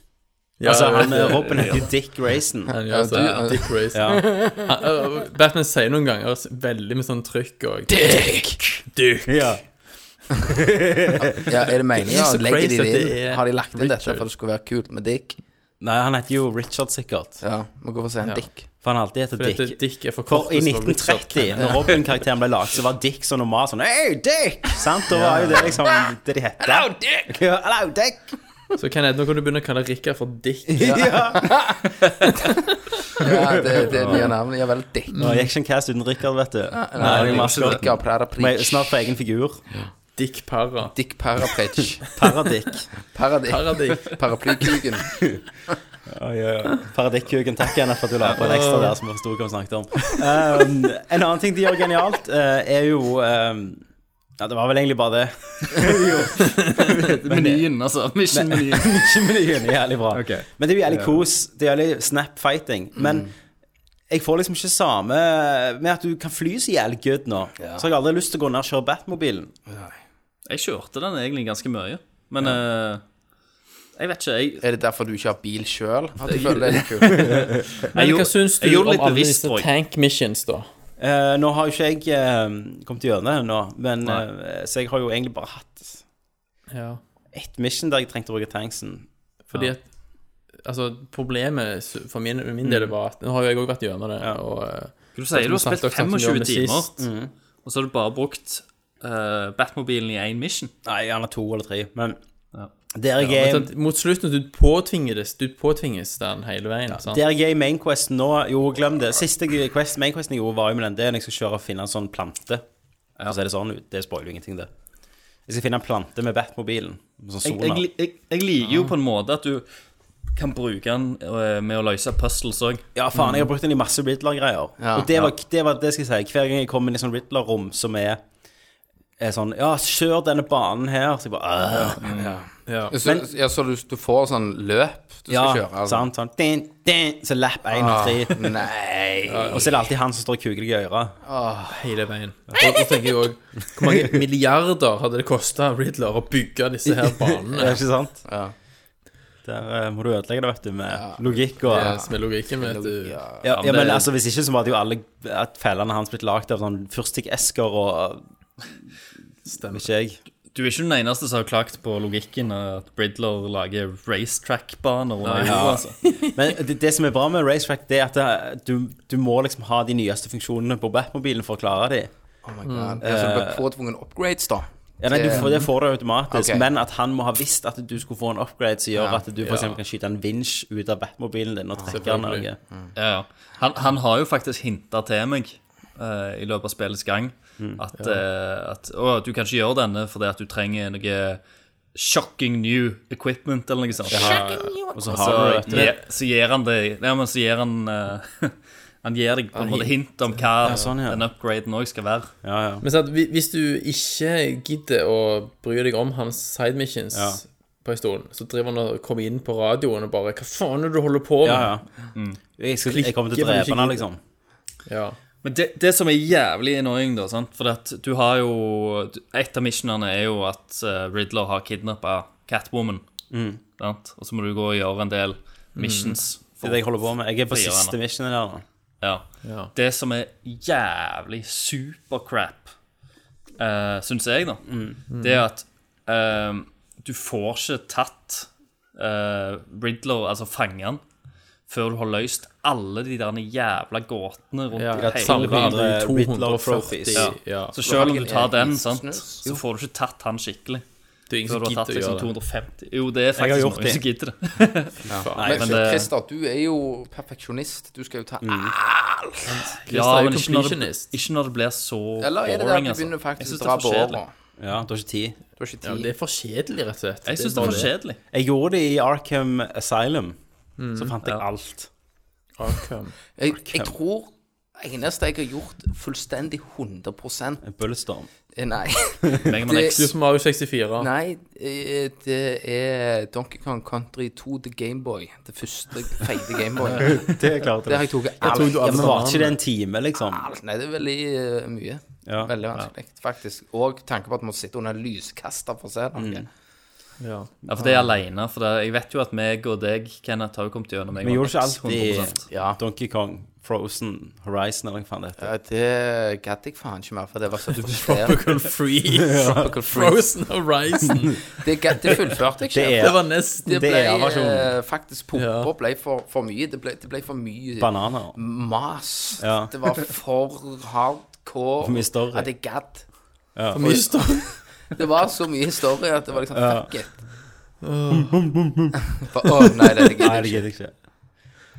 Speaker 1: altså, han eh, Robin heter jo Dick Grayson.
Speaker 4: Han gjør så,
Speaker 2: Ja, du-
Speaker 4: altså, Dick Grayson. *laughs* Han- og Batman sier noen ganger s- veldig med sånn trykk og
Speaker 1: Ja.
Speaker 2: Ja, er det meningen?
Speaker 4: så
Speaker 2: Legger de
Speaker 4: crazy
Speaker 2: det
Speaker 4: at
Speaker 2: inn?
Speaker 4: det er
Speaker 2: Har de lagt inn dette
Speaker 4: Richard.
Speaker 2: for det skulle være kult med Dick?
Speaker 1: Nei, han heter jo Richard, sikkert.
Speaker 2: Ja, må gå for å se en Dick.
Speaker 1: For han har alltid heter
Speaker 4: Dick.
Speaker 1: Dick.
Speaker 4: Dick er for kort.
Speaker 1: For i *laughs* 1930, når Robin-karakteren ble laget, så var Dick så normal sånn Hey, Dick! Sant? Da var jo det liksom det de het. Hello, Dick! *laughs* Ja, hello, Dick!
Speaker 4: Så kan jeg, nå kan du begynne å kalle Rikard for Dick.
Speaker 3: *laughs*
Speaker 1: *laughs* Ja.
Speaker 2: Ja, det, det nye navnet. Ja vel, Dick.
Speaker 1: Nå gikk ikke en cast uten Richard, vet du. Nei, det er maskot.
Speaker 2: Dick av
Speaker 1: Må
Speaker 2: Parapritch.
Speaker 1: jeg Snart for egen figur.
Speaker 4: Dick Parra.
Speaker 2: Dick Parapritch.
Speaker 1: *laughs* Paradick.
Speaker 2: Paradick.
Speaker 4: Paradick.
Speaker 2: Paraplykuken.
Speaker 1: *laughs* Paradikkhugen, takk igjen for at du la på en ekstra der som vi forsto hva vi snakket om. Um, en annen ting de gjør genialt, eh, er jo um, Ja, det var vel egentlig bare det.
Speaker 3: Menyen, altså.
Speaker 4: *laughs*
Speaker 1: *laughs*
Speaker 3: Mission-menyen.
Speaker 1: Ikke menyen, jævlig bra.
Speaker 3: Ok.
Speaker 1: Men det er jo jævlig kos. Det er jævlig snap-fighting. Men
Speaker 4: Mm.
Speaker 1: jeg får liksom ikke samme med at du kan fly så jævlig good nå. Så har jeg aldri lyst til å gå ned og kjøre Batmobilen.
Speaker 3: Jeg kjørte den egentlig ganske mye, men eh, jeg vet ikke. Jeg,
Speaker 2: Er det derfor du ikke har bil sjøl? At du føler det er litt kult?
Speaker 4: Men hva syns
Speaker 3: jeg
Speaker 4: du
Speaker 3: gjorde
Speaker 4: om
Speaker 3: litt
Speaker 4: alle
Speaker 3: bevisst,
Speaker 4: disse
Speaker 3: tror jeg.
Speaker 4: tank missions, da?
Speaker 1: Eh, nå har jo ikke jeg eh, kommet gjennom det ennå, men, eh, så jeg har jo egentlig bare hatt
Speaker 4: Ja.
Speaker 1: ett mission der jeg trengte å bruke tanksen.
Speaker 4: Fordi at Altså, problemet s- for min, min del var at Nå har jo jeg òg vært gjennom det, og eh,
Speaker 3: du Mm. sier du har spilt
Speaker 4: snakket om
Speaker 3: 25
Speaker 4: det
Speaker 3: timer,
Speaker 4: sist. Mm.
Speaker 3: og så har du bare brukt eh, Batmobilen i én mission.
Speaker 1: Nei, gjerne to eller tre, men der jeg
Speaker 4: men
Speaker 1: er
Speaker 4: sånn, Mot slutten du påtvinges, du påtvinges den hele veien. sant?
Speaker 1: der jeg er i mainquesten nå Jo, glem det. Siste quest, mainquesten jeg gjorde, var jo med den der jeg skal kjøre og finne en sånn plante. Og så er det sånn ut. Det spoiler jo ingenting, det. Jeg skal finne en plante med Batmobilen. med Sånn
Speaker 3: Jeg,
Speaker 1: sola.
Speaker 3: jeg, jeg, jeg liker jo på en måte at du kan bruke den eh, med å løse puzzles òg.
Speaker 1: Ja, faen, jeg har brukt den i masse Riddler-greier.
Speaker 2: Ja.
Speaker 1: og det var, det var det skal jeg si. Hver gang jeg kommer inn i sånn Riddler-rom som er, er sånn Ja, kjør denne banen her. Så jeg bare «Åh».
Speaker 4: Ja.
Speaker 2: Så, ja, så du, du får sånn løp du skal
Speaker 1: Ja,
Speaker 2: kjøre? altså. Ah.
Speaker 1: sant, sånn din, din, Så lapp én av *laughs* tre.
Speaker 2: Nei.
Speaker 1: Og så er det alltid han som står og kuker deg i øret.
Speaker 4: Hele veien. Og så tenker jeg òg Hvor mange milliarder hadde det kosta Riddler å bygge disse her
Speaker 1: Det *laughs*
Speaker 4: banene?
Speaker 1: er ikke sant?
Speaker 2: Ja.
Speaker 1: Der eh, må du ødelegge det, vet du, med logikk og
Speaker 4: Ja, Som er logikken, vet du.
Speaker 2: Ja.
Speaker 1: Ja,
Speaker 3: men
Speaker 1: ja, men
Speaker 3: det-
Speaker 1: altså, hvis ikke så hadde jo alle at fellene hans blitt lagd av sånn fyrstikkesker og uh,
Speaker 4: Stemmer.
Speaker 1: Ikke jeg.
Speaker 3: Du er ikke den eneste som har klagt på logikken eh, at Bridler lager racetrack-baner. under
Speaker 4: ja.
Speaker 3: jorda, altså.
Speaker 1: Men det, det som er bra med racetrack, det er at det, du, du må liksom ha de nyeste funksjonene på Batmobilen for å klare de.
Speaker 2: Oh my god. Ja, så du blir påtvungen upgrades, da?
Speaker 1: Ja, nei, du,
Speaker 2: Det-
Speaker 1: får- det får du automatisk,
Speaker 2: Ok.
Speaker 1: men at han må ha visst at du skulle få en upgrade som gjør
Speaker 2: Ja,
Speaker 1: at du f.eks. eksempel kan skyte en vinsj ut av Batmobilen din og trekke den
Speaker 4: selvfølgelig.
Speaker 1: noe.
Speaker 3: Ja, ja. Han, han har jo faktisk hinta til meg eh, i løpet av spillets gang
Speaker 1: Mm,
Speaker 3: at, eh, at Å, du kan ikke gjøre denne fordi at du trenger noe shocking new equipment eller noe sånt.
Speaker 1: Og så
Speaker 3: Så,
Speaker 1: har du vet du.
Speaker 3: gir- så gir han det Ja, men så gir han eh, *laughs* Han gir deg på en måte hint om hva
Speaker 1: sånn, ja.
Speaker 3: den upgraden òg skal være.
Speaker 1: Ja, ja.
Speaker 4: Men sant, hvi- hvis du ikke gidder å bry deg om hans side missions
Speaker 1: Ja.
Speaker 4: på en stund, så driver han og kommer inn på radioen og bare Hva faen er det du holder på med?
Speaker 1: ja, ja. Jeg, skal, jeg kommer til å
Speaker 4: Klikker, men ikke
Speaker 1: drepe han,
Speaker 4: gidder.
Speaker 1: liksom.
Speaker 4: Ja.
Speaker 3: Men det, det som er jævlig annoying, da, sant? for at du har jo Et av missionene er jo at eh, Riddler har kidnappa Catwoman. Sant? Og så må du gå og gjøre en del
Speaker 4: Mm.
Speaker 3: missions.
Speaker 1: Mm. Det er det jeg holder på med. Jeg er på
Speaker 3: Frigjør
Speaker 1: siste
Speaker 3: henne.
Speaker 1: missionet der nå.
Speaker 3: Ja.
Speaker 4: Ja.
Speaker 3: Det som er jævlig supercrap, uh, syns jeg, da,
Speaker 1: Mm.
Speaker 4: Mm.
Speaker 3: det er at eh, du får ikke tatt eh, Riddler, altså fangen, før du har løst alle de der jævla gåtene rundt
Speaker 4: Ja,
Speaker 3: i
Speaker 4: samle
Speaker 3: verden.
Speaker 4: alle
Speaker 1: andre Riddler trophies.
Speaker 4: 240
Speaker 1: Ja.
Speaker 4: ja.
Speaker 3: Så selv om
Speaker 2: har
Speaker 3: du
Speaker 2: de
Speaker 3: tar
Speaker 2: en
Speaker 3: den,
Speaker 2: egen
Speaker 3: sant,
Speaker 2: snus.
Speaker 3: så får du ikke tatt han skikkelig.
Speaker 4: Det er ingen som
Speaker 3: Før du har tatt
Speaker 4: gidder å
Speaker 3: liksom
Speaker 4: gjøre det.
Speaker 3: 250 Jo, det er
Speaker 1: har
Speaker 3: faktisk
Speaker 1: gjort
Speaker 3: noen
Speaker 1: det.
Speaker 3: som gidder det.
Speaker 1: Nei,
Speaker 2: Men,
Speaker 3: men det-
Speaker 2: Christer, du er jo perfeksjonist. Du skal jo ta Ah,
Speaker 3: Ja,
Speaker 4: Christer er jo
Speaker 3: men ikke når det,
Speaker 4: completionist.
Speaker 3: ikke når det blir så
Speaker 2: Eller er det der at
Speaker 3: boring,
Speaker 2: du
Speaker 3: altså.
Speaker 2: begynner
Speaker 3: Jeg
Speaker 2: faktisk
Speaker 3: synes
Speaker 2: å
Speaker 3: det
Speaker 2: dra på
Speaker 3: er for kjedelig.
Speaker 2: åra?
Speaker 1: Ja, du har ikke tid.
Speaker 2: Du har ikke
Speaker 4: Ja,
Speaker 2: tid.
Speaker 4: det er for kjedelig, rett og slett.
Speaker 3: Jeg syns det
Speaker 4: bare
Speaker 3: er for kjedelig.
Speaker 1: Jeg gjorde det i Arkham Asylum. Så fant jeg alt.
Speaker 4: Arkham.
Speaker 2: Jeg, jeg tror eneste jeg har gjort fullstendig 100
Speaker 1: En Bulletstorm.
Speaker 2: eh, Nei.
Speaker 3: Mega Man
Speaker 2: Det-
Speaker 3: X.
Speaker 4: Du som Mario 64.
Speaker 2: nei eh, det er Donkey Kong Country 2 The Gameboy. Det første feite Gameboy.
Speaker 1: Det
Speaker 2: *laughs*
Speaker 1: klarte
Speaker 2: Der har jeg tatt alt.
Speaker 4: tok du
Speaker 1: Ja,
Speaker 4: alle
Speaker 1: men var
Speaker 4: sammen.
Speaker 1: ikke det en time, liksom?
Speaker 2: alt. Nei, det er veldig eh, mye.
Speaker 1: Ja.
Speaker 2: Ah, Veldig vanskelig, faktisk. Og tanken på at man sitter under en lyskaster for å se det.
Speaker 1: Mm.
Speaker 4: Ja.
Speaker 3: Ja, for det er alene. For det, jeg vet jo at meg og deg, Kenneth, har jo kommet gjennom Mega
Speaker 1: Vi
Speaker 3: Man
Speaker 1: gjorde ikke
Speaker 3: X. 100%.
Speaker 1: alltid Donkey Kong, Frozen, Horizon eller hva faen det heter.
Speaker 2: Ja, det gadd jeg faen ikke mer, for det var
Speaker 1: *laughs*
Speaker 2: så
Speaker 4: *laughs*
Speaker 2: frustrerende.
Speaker 4: Tropical Freeze.
Speaker 2: Tropical Freeze.
Speaker 4: Frozen Horizon.
Speaker 2: Det, gadd- det fullførte jeg
Speaker 1: *laughs*
Speaker 2: ikke.
Speaker 1: Det er-
Speaker 4: Det var nesten
Speaker 2: Det ble
Speaker 1: DR-versjonen.
Speaker 2: eh, faktisk
Speaker 4: Ja.
Speaker 2: Popper ble for, for mye. Det ble, det ble for mye
Speaker 1: Bananer.
Speaker 2: mas.
Speaker 1: Ja.
Speaker 2: Det var for hardcore.
Speaker 1: For mye story.
Speaker 2: At jeg gadd.
Speaker 4: for mye story.
Speaker 2: Det var så mye story at det var liksom fuck it. For, *laughs* å,
Speaker 1: Nei,
Speaker 2: nei, det gidder
Speaker 1: det
Speaker 2: jeg ikke.
Speaker 1: gidder jeg ikke.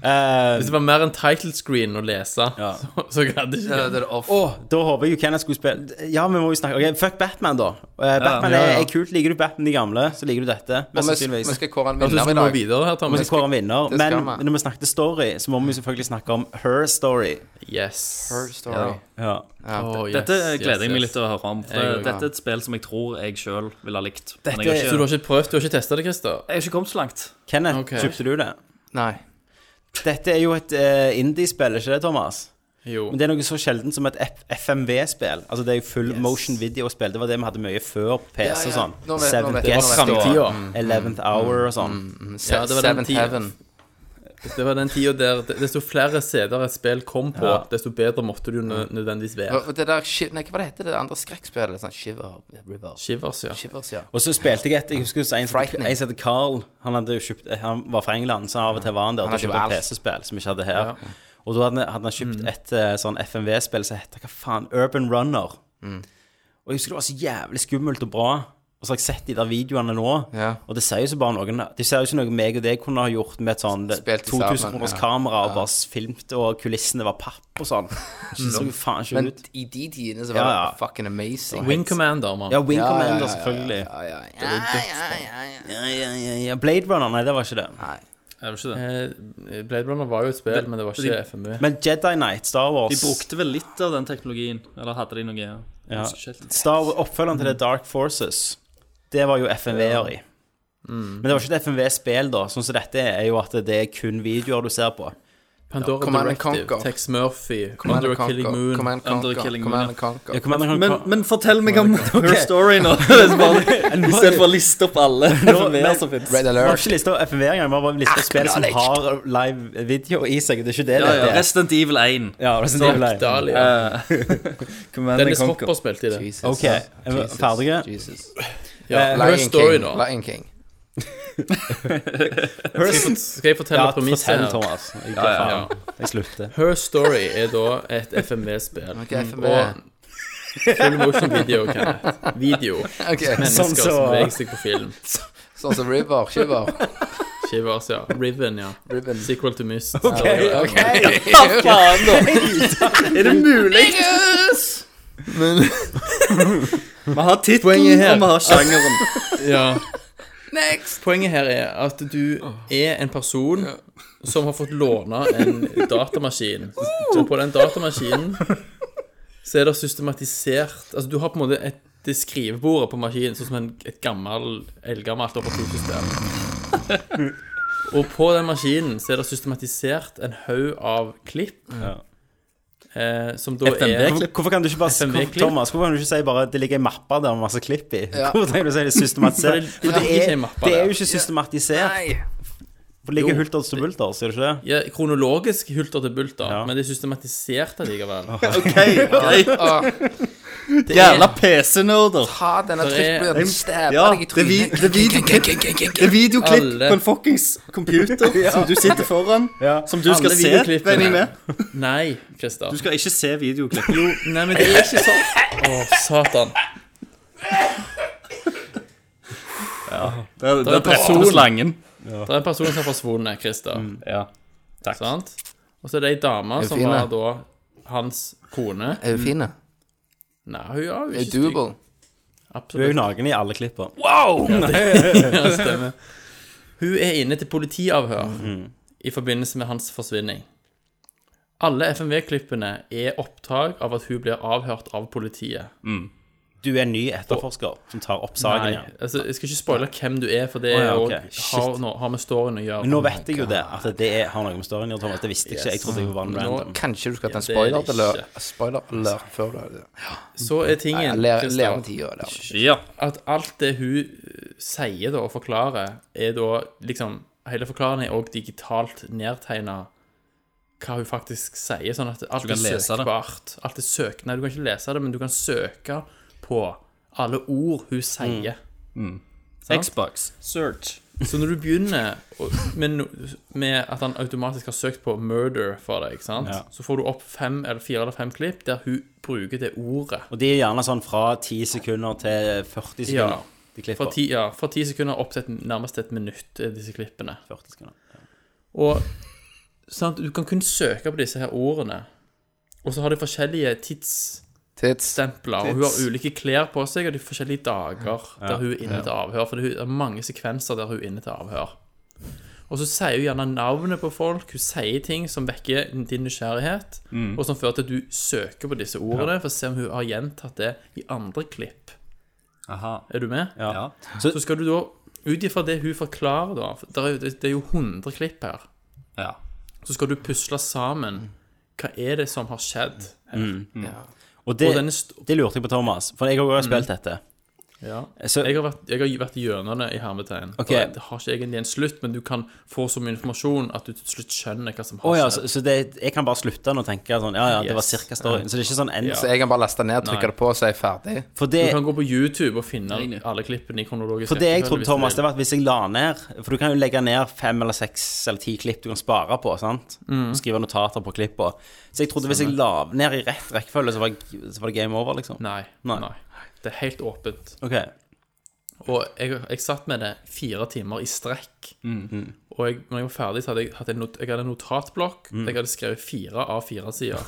Speaker 1: Eh,
Speaker 4: Hvis det var mer en title screen å lese,
Speaker 1: Ja.
Speaker 4: *laughs* så, så gadd jeg
Speaker 2: Ja,
Speaker 4: ikke.
Speaker 2: det er off.
Speaker 1: Åh, da håper jeg jo Kenneth skulle spille Ja, vi må jo snakke Ok, fuck Batman, da. Eh, Batman
Speaker 4: Ja, ja.
Speaker 1: Er, er kult. Liker du Batman de gamle, så liker du dette.
Speaker 2: Og
Speaker 1: Mest
Speaker 2: vi,
Speaker 1: sannsynligvis.
Speaker 2: vi skal kåre en
Speaker 4: Jeg synes vi må
Speaker 2: vinner i dag.
Speaker 4: videre her,
Speaker 1: Vi
Speaker 4: Tommy.
Speaker 1: skal kåre en vinner.
Speaker 2: det skal
Speaker 1: Men
Speaker 2: vi.
Speaker 1: når vi snakket story, så må vi jo selvfølgelig snakke om her story.
Speaker 4: Yes.
Speaker 2: Her story.
Speaker 3: Ja.
Speaker 1: Ja.
Speaker 4: Åh, yes,
Speaker 3: Dette gleder
Speaker 4: yes,
Speaker 3: jeg meg
Speaker 4: yes.
Speaker 3: litt til å høre om. For
Speaker 4: Jeg
Speaker 3: det,
Speaker 4: også.
Speaker 3: dette er et spill som jeg tror jeg sjøl ville ha likt. Men
Speaker 1: Dette-
Speaker 3: jeg
Speaker 4: Så du
Speaker 3: har ikke,
Speaker 4: har ikke prøvd, du har ikke testa det, Christer?
Speaker 3: jeg har ikke kommet så langt.
Speaker 1: Kenneth,
Speaker 4: Ok.
Speaker 1: kjøpte du det?
Speaker 2: Nei.
Speaker 1: Dette er jo et eh, indie-spill, ikke det, Thomas?
Speaker 4: Jo.
Speaker 1: Men det er noe så sjeldent som et F- FMV-spill. Altså det er jo full motion video-spill. Det var det vi hadde mye før på PC
Speaker 2: Ja, ja.
Speaker 1: og sånn.
Speaker 2: Nå vet- nå
Speaker 1: Seventh
Speaker 2: vet jeg, nå
Speaker 1: Guest
Speaker 2: vet jeg.
Speaker 1: og
Speaker 4: Framtida.
Speaker 2: Mm.
Speaker 1: Eleventh Hour og sånn.
Speaker 2: Se,
Speaker 4: Ja, det var den
Speaker 2: Seventh
Speaker 4: tiden.
Speaker 2: Heaven.
Speaker 4: Det var den tida der det- desto flere CD-er et spill kom på,
Speaker 1: Ja.
Speaker 4: desto bedre måtte det jo nø- nødvendigvis være.
Speaker 2: Og- og Det der, shi- nei, hva var det hette det andre skrekkspillet? Sånn Shiver River.
Speaker 4: Shivers, ja.
Speaker 2: Shivers, ja.
Speaker 1: Og så spilte jeg et Jeg husker en som
Speaker 2: Frightening.
Speaker 1: en som heter Carl. Han, hadde jo kjøpt, eh, han var fra England, så av og til var han der.
Speaker 2: Han
Speaker 1: Og
Speaker 2: hadde jo
Speaker 1: kjøpte
Speaker 2: alt.
Speaker 1: et PC-spill som vi ikke hadde her. Og da hadde, han- hadde han
Speaker 2: Mm.
Speaker 1: kjøpt et eh, sånn FMV-spill som heter hva faen Urban Runner.
Speaker 2: Mm.
Speaker 1: Og jeg husker det var så jævlig skummelt og bra. Og så har jeg sett de der videoene nå,
Speaker 2: Ja.
Speaker 1: og det sier jo så bare noen De sier jo ikke noe meg og deg kunne ha gjort med et sånn
Speaker 2: Spilt i
Speaker 1: 2000
Speaker 2: sammen,
Speaker 1: kroners
Speaker 2: ja.
Speaker 1: kamera og bare filmt, og kulissene var papp og
Speaker 2: *laughs*
Speaker 1: sånn. Det så jo faen ikke
Speaker 2: Men
Speaker 1: ut.
Speaker 2: i de tidene så var
Speaker 1: Ja, ja.
Speaker 2: det fucking amazing.
Speaker 4: Wing Commander, mann.
Speaker 1: Ja, Wing
Speaker 2: Ja, ja,
Speaker 1: Commander,
Speaker 2: ja, ja,
Speaker 1: selvfølgelig.
Speaker 2: Ja, ja, ja.
Speaker 1: Ja, ja, ja, ja. Blade Runner, nei, det var ikke det.
Speaker 3: Er det ikke det?
Speaker 4: Eh, Blade Runner var jo et spill, men det var ikke FMV.
Speaker 1: Men Jedi Knight, Star Wars
Speaker 3: De brukte vel litt av den teknologien. Eller hadde de noe ja.
Speaker 1: ja.
Speaker 3: husker ikke helt.
Speaker 1: Star Wars, Oppfølgeren til The Dark Forces, det var jo FMV-er i.
Speaker 3: Mm.
Speaker 1: Men det var ikke et FMV-spill, da. Sånn som dette er jo at det er kun videoer du ser på.
Speaker 4: Pandora
Speaker 2: Command and
Speaker 4: Directive,
Speaker 2: Conquer.
Speaker 4: Tex Murphy,
Speaker 2: Command
Speaker 4: Under a Killing Moon
Speaker 2: Command
Speaker 3: Under
Speaker 2: Conquer,
Speaker 3: Killing
Speaker 2: Command
Speaker 3: Moon,
Speaker 2: and Conquer.
Speaker 1: Jeg kommer,
Speaker 3: Men, men fortell meg om
Speaker 1: Ok.
Speaker 3: Her Story *laughs* nå. Istedenfor å liste opp alle *laughs* FMV-er som finnes.
Speaker 2: Red
Speaker 1: vi har
Speaker 2: Alert.
Speaker 1: ikke lista opp FMV-er engang, vi har bare lista opp spill som har live video i seg. Det er ikke det
Speaker 3: Ja,
Speaker 1: det
Speaker 3: ja.
Speaker 1: er.
Speaker 3: Resident Evil *laughs* 1.
Speaker 1: Ja, Resident Evil er-
Speaker 4: Dahlia.
Speaker 3: Uh, Command
Speaker 4: Dennis
Speaker 3: and
Speaker 4: Hopper
Speaker 3: Conquer.
Speaker 4: spilte i det.
Speaker 2: Jesus.
Speaker 1: Ok, er vi
Speaker 2: Jesus,
Speaker 1: ferdige?
Speaker 2: Jesus.
Speaker 4: Ja,
Speaker 1: Eh,
Speaker 4: Her
Speaker 2: Lion
Speaker 4: Story,
Speaker 2: King.
Speaker 4: da.
Speaker 2: Lion King.
Speaker 4: Skal jeg fortelle
Speaker 1: Ja,
Speaker 4: premisset
Speaker 1: fortell,
Speaker 4: her?
Speaker 1: Thomas. Jeg,
Speaker 3: Ja, ja,
Speaker 4: ja.
Speaker 1: faen. jeg slutter.
Speaker 4: Her Story er da et FMV-spill.
Speaker 2: Ok, E. FMV.
Speaker 4: Og full motion video, Kenneth. Video.
Speaker 2: Ok,
Speaker 4: Mennesker
Speaker 1: Sånn så-
Speaker 4: som beveger seg på film.
Speaker 2: Sånn som River, Shiver.
Speaker 4: Shivers, ja. Riven, ja.
Speaker 2: Ribbon.
Speaker 4: Sequel to Myst.
Speaker 1: Ok, ok.
Speaker 3: Faen, da! Er det mulig? Vi har tittelen,
Speaker 4: Poenget her-
Speaker 3: og vi har sjangeren.
Speaker 4: Ja.
Speaker 2: Next!
Speaker 4: Poenget her er at du er en person som har fått låne en datamaskin. Og på den datamaskinen så er det systematisert Altså, du har på en måte et det skrivebordet på maskinen, sånn som en, et gammel, eldgammelt operativsystem. Og på den maskinen så er det systematisert en haug av klipp eh, som da er
Speaker 1: Hvorfor- Hvorfor kan du ikke bare
Speaker 4: FMV-klipp?
Speaker 1: Thomas, hvorfor kan du ikke si bare at det ligger en mappe der med masse klipp i?
Speaker 2: Ja.
Speaker 1: Hvorfor trenger du å si det
Speaker 4: *laughs*
Speaker 1: systematisert?
Speaker 4: For
Speaker 1: For
Speaker 4: det-
Speaker 1: det
Speaker 4: ikke
Speaker 1: er,
Speaker 4: en mappe
Speaker 1: det er
Speaker 4: der.
Speaker 1: jo ikke systematisert.
Speaker 2: Nei!
Speaker 1: For det ligger
Speaker 4: Jo.
Speaker 1: hulter til bulter, sier du ikke det?
Speaker 4: ja, kronologisk hulter til bulter,
Speaker 1: Ja.
Speaker 4: men det er systematisert allikevel.
Speaker 3: *laughs* OK, *laughs* greit. Jævla PC-nerder.
Speaker 2: Ta denne
Speaker 4: Det er-
Speaker 2: trykkblyanten, stabbe
Speaker 3: Ja,
Speaker 2: deg i
Speaker 3: det er vi-
Speaker 2: trynet.
Speaker 3: det er videoklipp. Det er
Speaker 4: *laughs*
Speaker 3: videoklipp
Speaker 4: Alle.
Speaker 3: på en fuckings *laughs* computer som du sitter foran, som du skal
Speaker 4: Alle
Speaker 3: se.
Speaker 4: videoklippene.
Speaker 3: regner jeg med.
Speaker 4: Nei, Christer.
Speaker 3: Du skal ikke se videoklipp.
Speaker 4: Jo, nei, men det er ikke
Speaker 3: *laughs*
Speaker 4: sånn. Å, satan.
Speaker 3: Der, der,
Speaker 4: er en
Speaker 3: drepte
Speaker 4: person.
Speaker 3: du slangen.
Speaker 4: Det er en person som har forsvunnet, Christer.
Speaker 3: Ja. Takk.
Speaker 4: Sant? Og så er det ei dame
Speaker 2: Er
Speaker 4: som
Speaker 2: fin,
Speaker 4: var
Speaker 2: da?
Speaker 4: da hans kone.
Speaker 2: Er hun fin? da?
Speaker 4: Nei, hun er jo
Speaker 2: Er hun
Speaker 4: ikke stygg.
Speaker 2: doable?
Speaker 1: Du er jo
Speaker 4: Absolutt.
Speaker 1: naken i alle klipper. Mhm.
Speaker 4: Ja, det stemmer. Hun er inne til politiavhør i forbindelse med hans forsvinning. Alle FMV-klippene er opptak av at hun blir avhørt av politiet.
Speaker 1: Du er en ny etterforsker som tar opp saken
Speaker 4: Nei,
Speaker 1: igjen.
Speaker 4: altså, jeg skal ikke spoile hvem du er, for det
Speaker 1: Å,
Speaker 4: er
Speaker 1: ja,
Speaker 4: jo-
Speaker 1: ok.
Speaker 4: har, nå, har med storyen å gjøre.
Speaker 1: Men nå vet jeg jo det, at det er, har noe med storyen å gjøre, Thomas. Det visste jeg ikke. Jeg trodde jeg var en random.
Speaker 2: Kanskje du skal ta en
Speaker 4: det er det
Speaker 2: spoiler alert spoiler alert før du
Speaker 4: Så er tingen
Speaker 2: Lære
Speaker 4: Christer,
Speaker 2: lære om tida, eller?
Speaker 3: Ja.
Speaker 4: at alt det hun eh, sier da, og forklarer, er da liksom Hele forklaringen er òg digitalt nedtegna hva hun faktisk sier, sånn at alt
Speaker 3: kan
Speaker 4: er
Speaker 3: lese det.
Speaker 4: søkbart. Alt er søk... Nei, du kan ikke lese det, men du kan søke på alle ord hun sier.
Speaker 3: Mm. Xbox. Search.
Speaker 4: Så når du begynner å- med, no- med at han automatisk har søkt på 'murder' for deg, ikke sant?
Speaker 1: Ja.
Speaker 4: så får du opp fem eller fire eller fem klipp der hun bruker det ordet.
Speaker 1: Og de er gjerne sånn fra 10 sekunder til 40 sekunder.
Speaker 4: Ja.
Speaker 1: De klipper.
Speaker 4: Fra ti, ja, fra ti sekunder opp til et, nærmest et minutt, er disse klippene.
Speaker 1: 40 sekunder. Ja.
Speaker 4: Og sant, du kan kun søke på disse her ordene. Og så har de forskjellige tidsstempler,
Speaker 2: Tits.
Speaker 4: og hun har ulike klær på seg, og de forskjellige dager der hun er inne til avhør. For det er mange sekvenser der hun er inne til avhør. Og så sier hun gjerne navnet på folk, hun sier ting som vekker din nysgjerrighet, og som fører til at du søker på disse ordene for å se om hun har gjentatt det i andre klipp.
Speaker 3: Aha.
Speaker 4: Er du med?
Speaker 1: Ja.
Speaker 3: Ja.
Speaker 1: Så,
Speaker 4: Så skal du da, ut ifra det hun forklarer, da for der er jo- Det er jo 100 klipp her.
Speaker 3: Ja.
Speaker 4: Så skal du pusle sammen hva er det som har skjedd.
Speaker 1: og det,
Speaker 4: Og denne Mm. st
Speaker 1: det lurte jeg på, Thomas, for jeg har også spilt dette.
Speaker 4: ja.
Speaker 1: Så,
Speaker 4: Jeg har vært, jeg har vært gjennom det i hermetegn.
Speaker 1: Ok.
Speaker 4: Og Det har ikke egentlig en slutt, men du kan få så mye informasjon at du til slutt skjønner hva som har
Speaker 1: Å ja, så,
Speaker 4: skjedd.
Speaker 1: så det, jeg kan bare slutte nå og tenke sånn Ja, ja, det var
Speaker 4: Altså. Yes.
Speaker 1: cirka storyen. Så det er ikke sånn en,
Speaker 2: Så jeg kan bare laste ned, trykke det på, og så er jeg *laughs* ferdig.
Speaker 1: For det,
Speaker 4: Du kan gå på YouTube og finne
Speaker 3: Nei, nei.
Speaker 4: alle klippene i kronologisk
Speaker 1: for det jeg
Speaker 4: rekkefølge
Speaker 1: trodde,
Speaker 4: hvis du
Speaker 1: Thomas,
Speaker 4: vil.
Speaker 1: det var at hvis jeg la ned For du kan jo legge ned fem eller seks eller ti klipp du kan spare på, sant?
Speaker 4: Mm.
Speaker 1: Og skrive notater på klippene. Så jeg trodde hvis jeg la ned i rett rekkefølge, så var, så var det game over, liksom.
Speaker 4: Nei,
Speaker 1: Nei.
Speaker 4: nei. Det er helt åpent.
Speaker 1: Ok.
Speaker 4: Og jeg, jeg satt med det fire timer i strekk.
Speaker 2: Mm.
Speaker 4: Og jeg, når jeg var ferdig, så hadde jeg, hatt en not, jeg hadde en notatblokk.
Speaker 2: Mm.
Speaker 4: Jeg hadde skrevet fire av fire sider.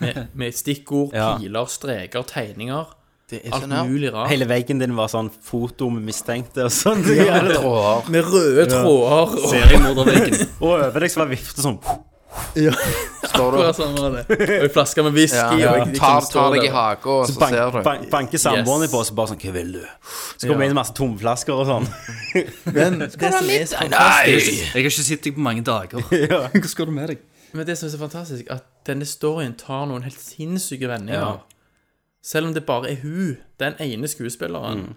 Speaker 4: Med, med
Speaker 2: *laughs*
Speaker 4: stikkord,
Speaker 1: Ja.
Speaker 4: piler, streker, tegninger.
Speaker 2: Det er
Speaker 4: Alt mulig rart.
Speaker 1: Hele veggen din var sånn foto med mistenkte og sånn.
Speaker 2: tråder.
Speaker 4: Med røde tråder. Og,
Speaker 3: Seriemorderveggen.
Speaker 1: Og over deg så var vifte sånn
Speaker 2: Står du
Speaker 4: Akkurat *laughs* sånn var det. og en flaske med whisky.
Speaker 2: ja,
Speaker 4: Og jeg, liksom,
Speaker 2: tar,
Speaker 4: står
Speaker 2: tar deg
Speaker 4: der.
Speaker 2: i haka, og så
Speaker 1: bank,
Speaker 2: ser du.
Speaker 1: bank, Banker samboeren
Speaker 4: Yes.
Speaker 1: din på oss og bare sånn Hva vil du? Så kommer det inn masse tomflasker og sånn.
Speaker 4: Men det, som er så
Speaker 3: Jeg
Speaker 4: fantastisk,
Speaker 3: har ikke sett deg på mange *laughs* dager. Hva skal du med deg?
Speaker 4: men det som er så fantastisk, at denne storyen tar noen helt sinnssyke vendinger. Selv om det bare er hun, den ene skuespilleren.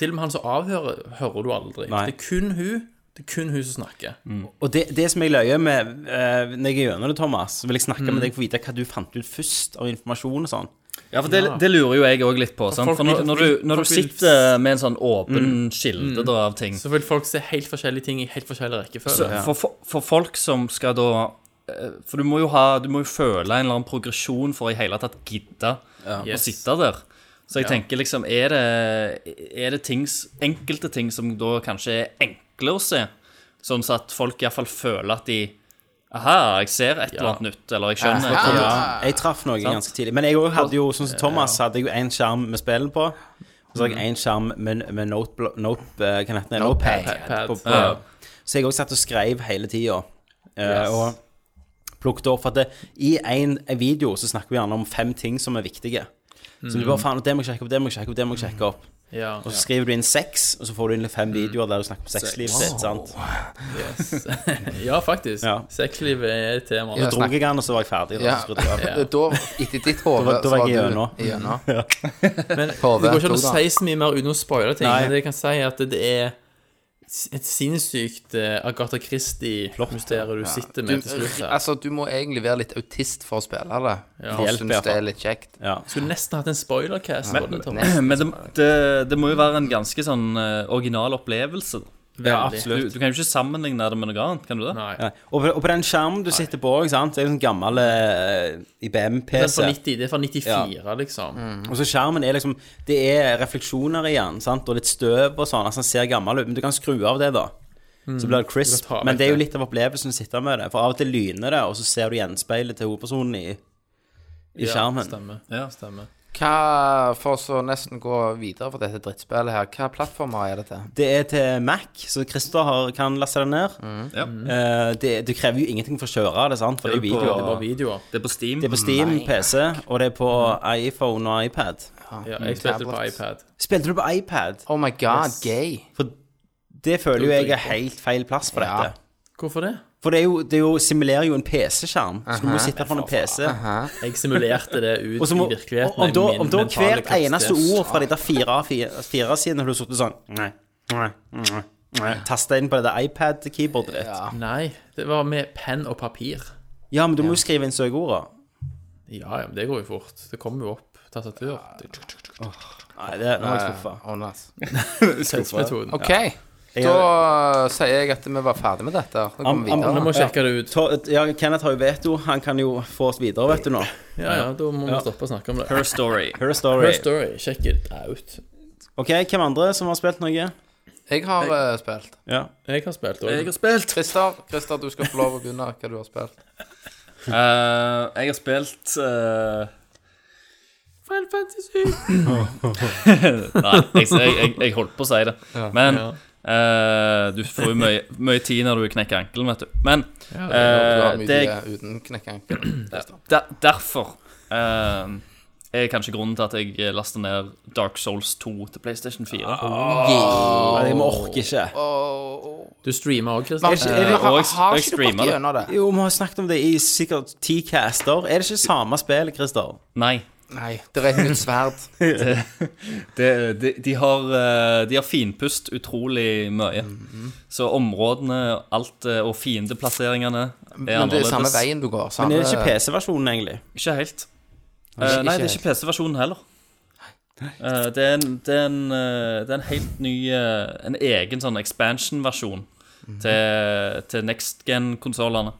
Speaker 4: Til og med han som avhører, hører du aldri.
Speaker 1: Mm. Nei. Mm.
Speaker 4: Det er kun hun. Det er kun hun som snakker.
Speaker 1: Og det, det som jeg løyer med eh, når jeg er gjennom det, Thomas, så vil jeg
Speaker 4: Mm.
Speaker 1: snakke med deg for å vite hva du fant ut først av informasjon og sånn.
Speaker 3: Ja, for det, det lurer jo jeg òg litt på. Sant?
Speaker 4: folk
Speaker 3: For når,
Speaker 4: vil-
Speaker 3: når, du, når du
Speaker 4: folk vil-
Speaker 3: sitter med en sånn åpen kilde da, av ting
Speaker 4: Så vil folk se helt forskjellige ting i helt forskjellig rekkefølge.
Speaker 3: så, for, for, for folk som skal da eh, For du må jo ha Du må jo føle en eller annen progresjon for i hele tatt gidde å
Speaker 4: Yes.
Speaker 3: sitte der. Så jeg tenker liksom Er det, er det ting, s- enkelte ting som da kanskje er enkle å se? Sånn så at folk iallfall føler at de Aha, jeg ser et eller annet nytt, eller jeg
Speaker 1: Ja.
Speaker 3: skjønner. et eller annet.
Speaker 1: Jeg traff noe ganske tidlig. Men jeg også hadde jo, sånn som Thomas, hadde jeg jo én skjerm med spillet på. Og så hadde jeg én skjerm med, med note, note, eh, hva heter det? notepad.
Speaker 4: Notepad.
Speaker 1: På, på.
Speaker 4: Ja.
Speaker 1: Så jeg òg satt og skrev hele tida. Og plukket opp. For at det, i en en video så snakker vi gjerne om fem ting som er viktige. Så du bare faen, det må jeg sjekke opp, det må jeg sjekke opp, det må jeg sjekke opp.
Speaker 4: Mm. Ja. Mm.
Speaker 1: Og så skriver du inn seks, og så får du inn fem videoer der du snakker om sexlivet sitt. sant?
Speaker 4: Yes. *laughs* ja, faktisk.
Speaker 1: Ja.
Speaker 4: Sexliv er et tema. Ja.
Speaker 2: Ja.
Speaker 1: Så drog jeg den, og så var jeg ferdig. Og
Speaker 2: Ja.
Speaker 1: så skrudde jeg av.
Speaker 2: *laughs* Da, etter ditt hode,
Speaker 1: Da var- da var jeg gjennom.
Speaker 2: gjennom. *laughs*
Speaker 4: Men det
Speaker 2: Hove,
Speaker 4: går ikke an å
Speaker 2: Tora.
Speaker 4: si så mye mer uten å spoile ting.
Speaker 1: Nei.
Speaker 4: Men det jeg kan si, er at det er et sinnssykt eh, Agatha Christie-mysterium du sitter med til slutt
Speaker 2: Du,
Speaker 4: her.
Speaker 2: altså, du må egentlig være litt autist for å spille det. For å
Speaker 1: Hjelp, i
Speaker 2: synes
Speaker 1: hvert
Speaker 2: det
Speaker 1: fall.
Speaker 2: er litt kjekt.
Speaker 1: Ja.
Speaker 4: Skulle nesten hatt en spoilercast på det, Thomas.
Speaker 2: Nesten.
Speaker 3: *clears throat* Men det, det, det må jo være en ganske sånn eh, original opplevelse. da.
Speaker 1: ja,
Speaker 3: Du,
Speaker 1: absolutt.
Speaker 3: du kan jo ikke sammenligne det med noe annet, kan du det?
Speaker 4: Nei.
Speaker 1: Ja. Og, på, og på den skjermen du sitter på, ikke sant? det er en sånn gammel eh,
Speaker 4: Det er fra
Speaker 1: IBM-PC.
Speaker 4: 90, det er fra 94, liksom.
Speaker 1: Og så skjermen er liksom Det er refleksjoner i den, sant? og litt støv og sånn. Altså, den ser gammel ut, men du kan skru av det, da. Så blir det
Speaker 4: Mm. Du
Speaker 1: crisp.
Speaker 4: kan ta vekk
Speaker 1: Men det er jo
Speaker 4: det.
Speaker 1: litt av opplevelsen å sitte med det. For av og til lyner det, og så ser du gjenspeilet til hovedpersonen i, i
Speaker 4: Ja,
Speaker 1: skjermen.
Speaker 4: Stemmer.
Speaker 3: Ja.
Speaker 4: stemmer.
Speaker 2: Hva, for så nesten gå videre for dette drittspillet her, hva plattformer er det til?
Speaker 1: Det er til Mac, så Christer har, kan laste det ned.
Speaker 3: Ja.
Speaker 1: Eh, det, det krever jo ingenting for å kjøre det, sant? For det er
Speaker 3: jo på-
Speaker 1: videoer.
Speaker 4: Det var videoer.
Speaker 3: Det er på Steam.
Speaker 1: Det er på Steam, PC, og det er på iPhone og iPad.
Speaker 4: Ja, jeg spilte det på iPad.
Speaker 1: Spilte du på iPad?
Speaker 2: Oh my god, gay.
Speaker 1: For det føler jo jeg er helt feil plass for
Speaker 2: Ja.
Speaker 1: dette.
Speaker 4: Hvorfor det?
Speaker 1: For det, er jo, det er jo, simulerer jo en PC-skjerm, så du må sitte foran en PC.
Speaker 4: Jeg simulerte det ut *laughs*
Speaker 1: Og så må,
Speaker 4: i virkeligheten.
Speaker 1: og, om da,
Speaker 4: med min
Speaker 1: om da
Speaker 4: mentale
Speaker 1: hvert
Speaker 4: kapasitet.
Speaker 1: eneste ord fra de der fire, fire, fire sidene har du sittet sånn Nei, nei, nei, nei. Tasta inn på det der iPad-keyboardet ditt. Ja.
Speaker 4: Nei, det var med penn og papir.
Speaker 1: men du må jo skrive inn søkeordene.
Speaker 4: Ja, ja, men det går jo fort. Det kommer jo opp tastatur.
Speaker 1: Nei, det, nå er jeg skuffa.
Speaker 2: Eh, Ånes.
Speaker 4: Tidsmetoden.
Speaker 2: OK. Da sier jeg at vi var ferdig med dette. Da går vi
Speaker 1: Am- am-
Speaker 4: Nå
Speaker 2: videre.
Speaker 4: må vi sjekke det ut.
Speaker 1: Ta- Ja, Kenneth har jo veto. Han kan jo få oss videre, vet du nå.
Speaker 4: Ja, ja, da må vi stoppe å snakke om det.
Speaker 3: Her Story.
Speaker 1: Her story.
Speaker 4: Her story, sjekk it out.
Speaker 1: OK, hvem andre som har spilt noe?
Speaker 2: Jeg har eh, spilt.
Speaker 1: Ja.
Speaker 4: Jeg har spilt
Speaker 3: Jeg
Speaker 4: òg.
Speaker 3: har spilt.
Speaker 2: Christer, Christer, du skal få lov å begynne hva du har spilt.
Speaker 3: Eh, jeg har spilt eh,
Speaker 4: Final Fantasy.
Speaker 3: Nei, jeg, jeg, jeg, jeg holdt på å si det. Men eh, du får jo mye, mye tid når du knekker ankelen, vet du. Men
Speaker 2: Du har
Speaker 3: eh,
Speaker 2: mye
Speaker 3: det,
Speaker 2: tid uten knekkeankelen.
Speaker 3: der, derfor eh, er kanskje grunnen til at jeg laster ned Dark Souls 2 til PlayStation 4.
Speaker 1: Nei, Jeg orker ikke.
Speaker 4: Du streamer òg,
Speaker 2: Eh, Har
Speaker 4: Christian.
Speaker 2: ikke du
Speaker 3: og jeg- og jeg
Speaker 2: gått
Speaker 3: streamer det.
Speaker 2: gjennom det?
Speaker 1: Jo, vi har snakket om det i sikkert ti caster. Er det ikke samme spill, Christer?
Speaker 3: Nei.
Speaker 2: Nei, det er et nytt sverd.
Speaker 3: Det, de, de, har, eh, de har finpust utrolig mye.
Speaker 2: Mhm.
Speaker 3: Så områdene alt, eh, og fiendeplasseringene er
Speaker 2: Men det er
Speaker 3: annerledes.
Speaker 2: samme veien du går. eh,
Speaker 1: Men
Speaker 2: Samme,
Speaker 1: er det ikke PC-versjonen, egentlig?
Speaker 3: Ikke helt. Eh, nei, det er ikke PC-versjonen heller. Eh, det, er en, det, er en, eh, det er en helt ny eh, En egen sånn expansion-versjon
Speaker 2: Mhm.
Speaker 3: til, til next gen-konsollene.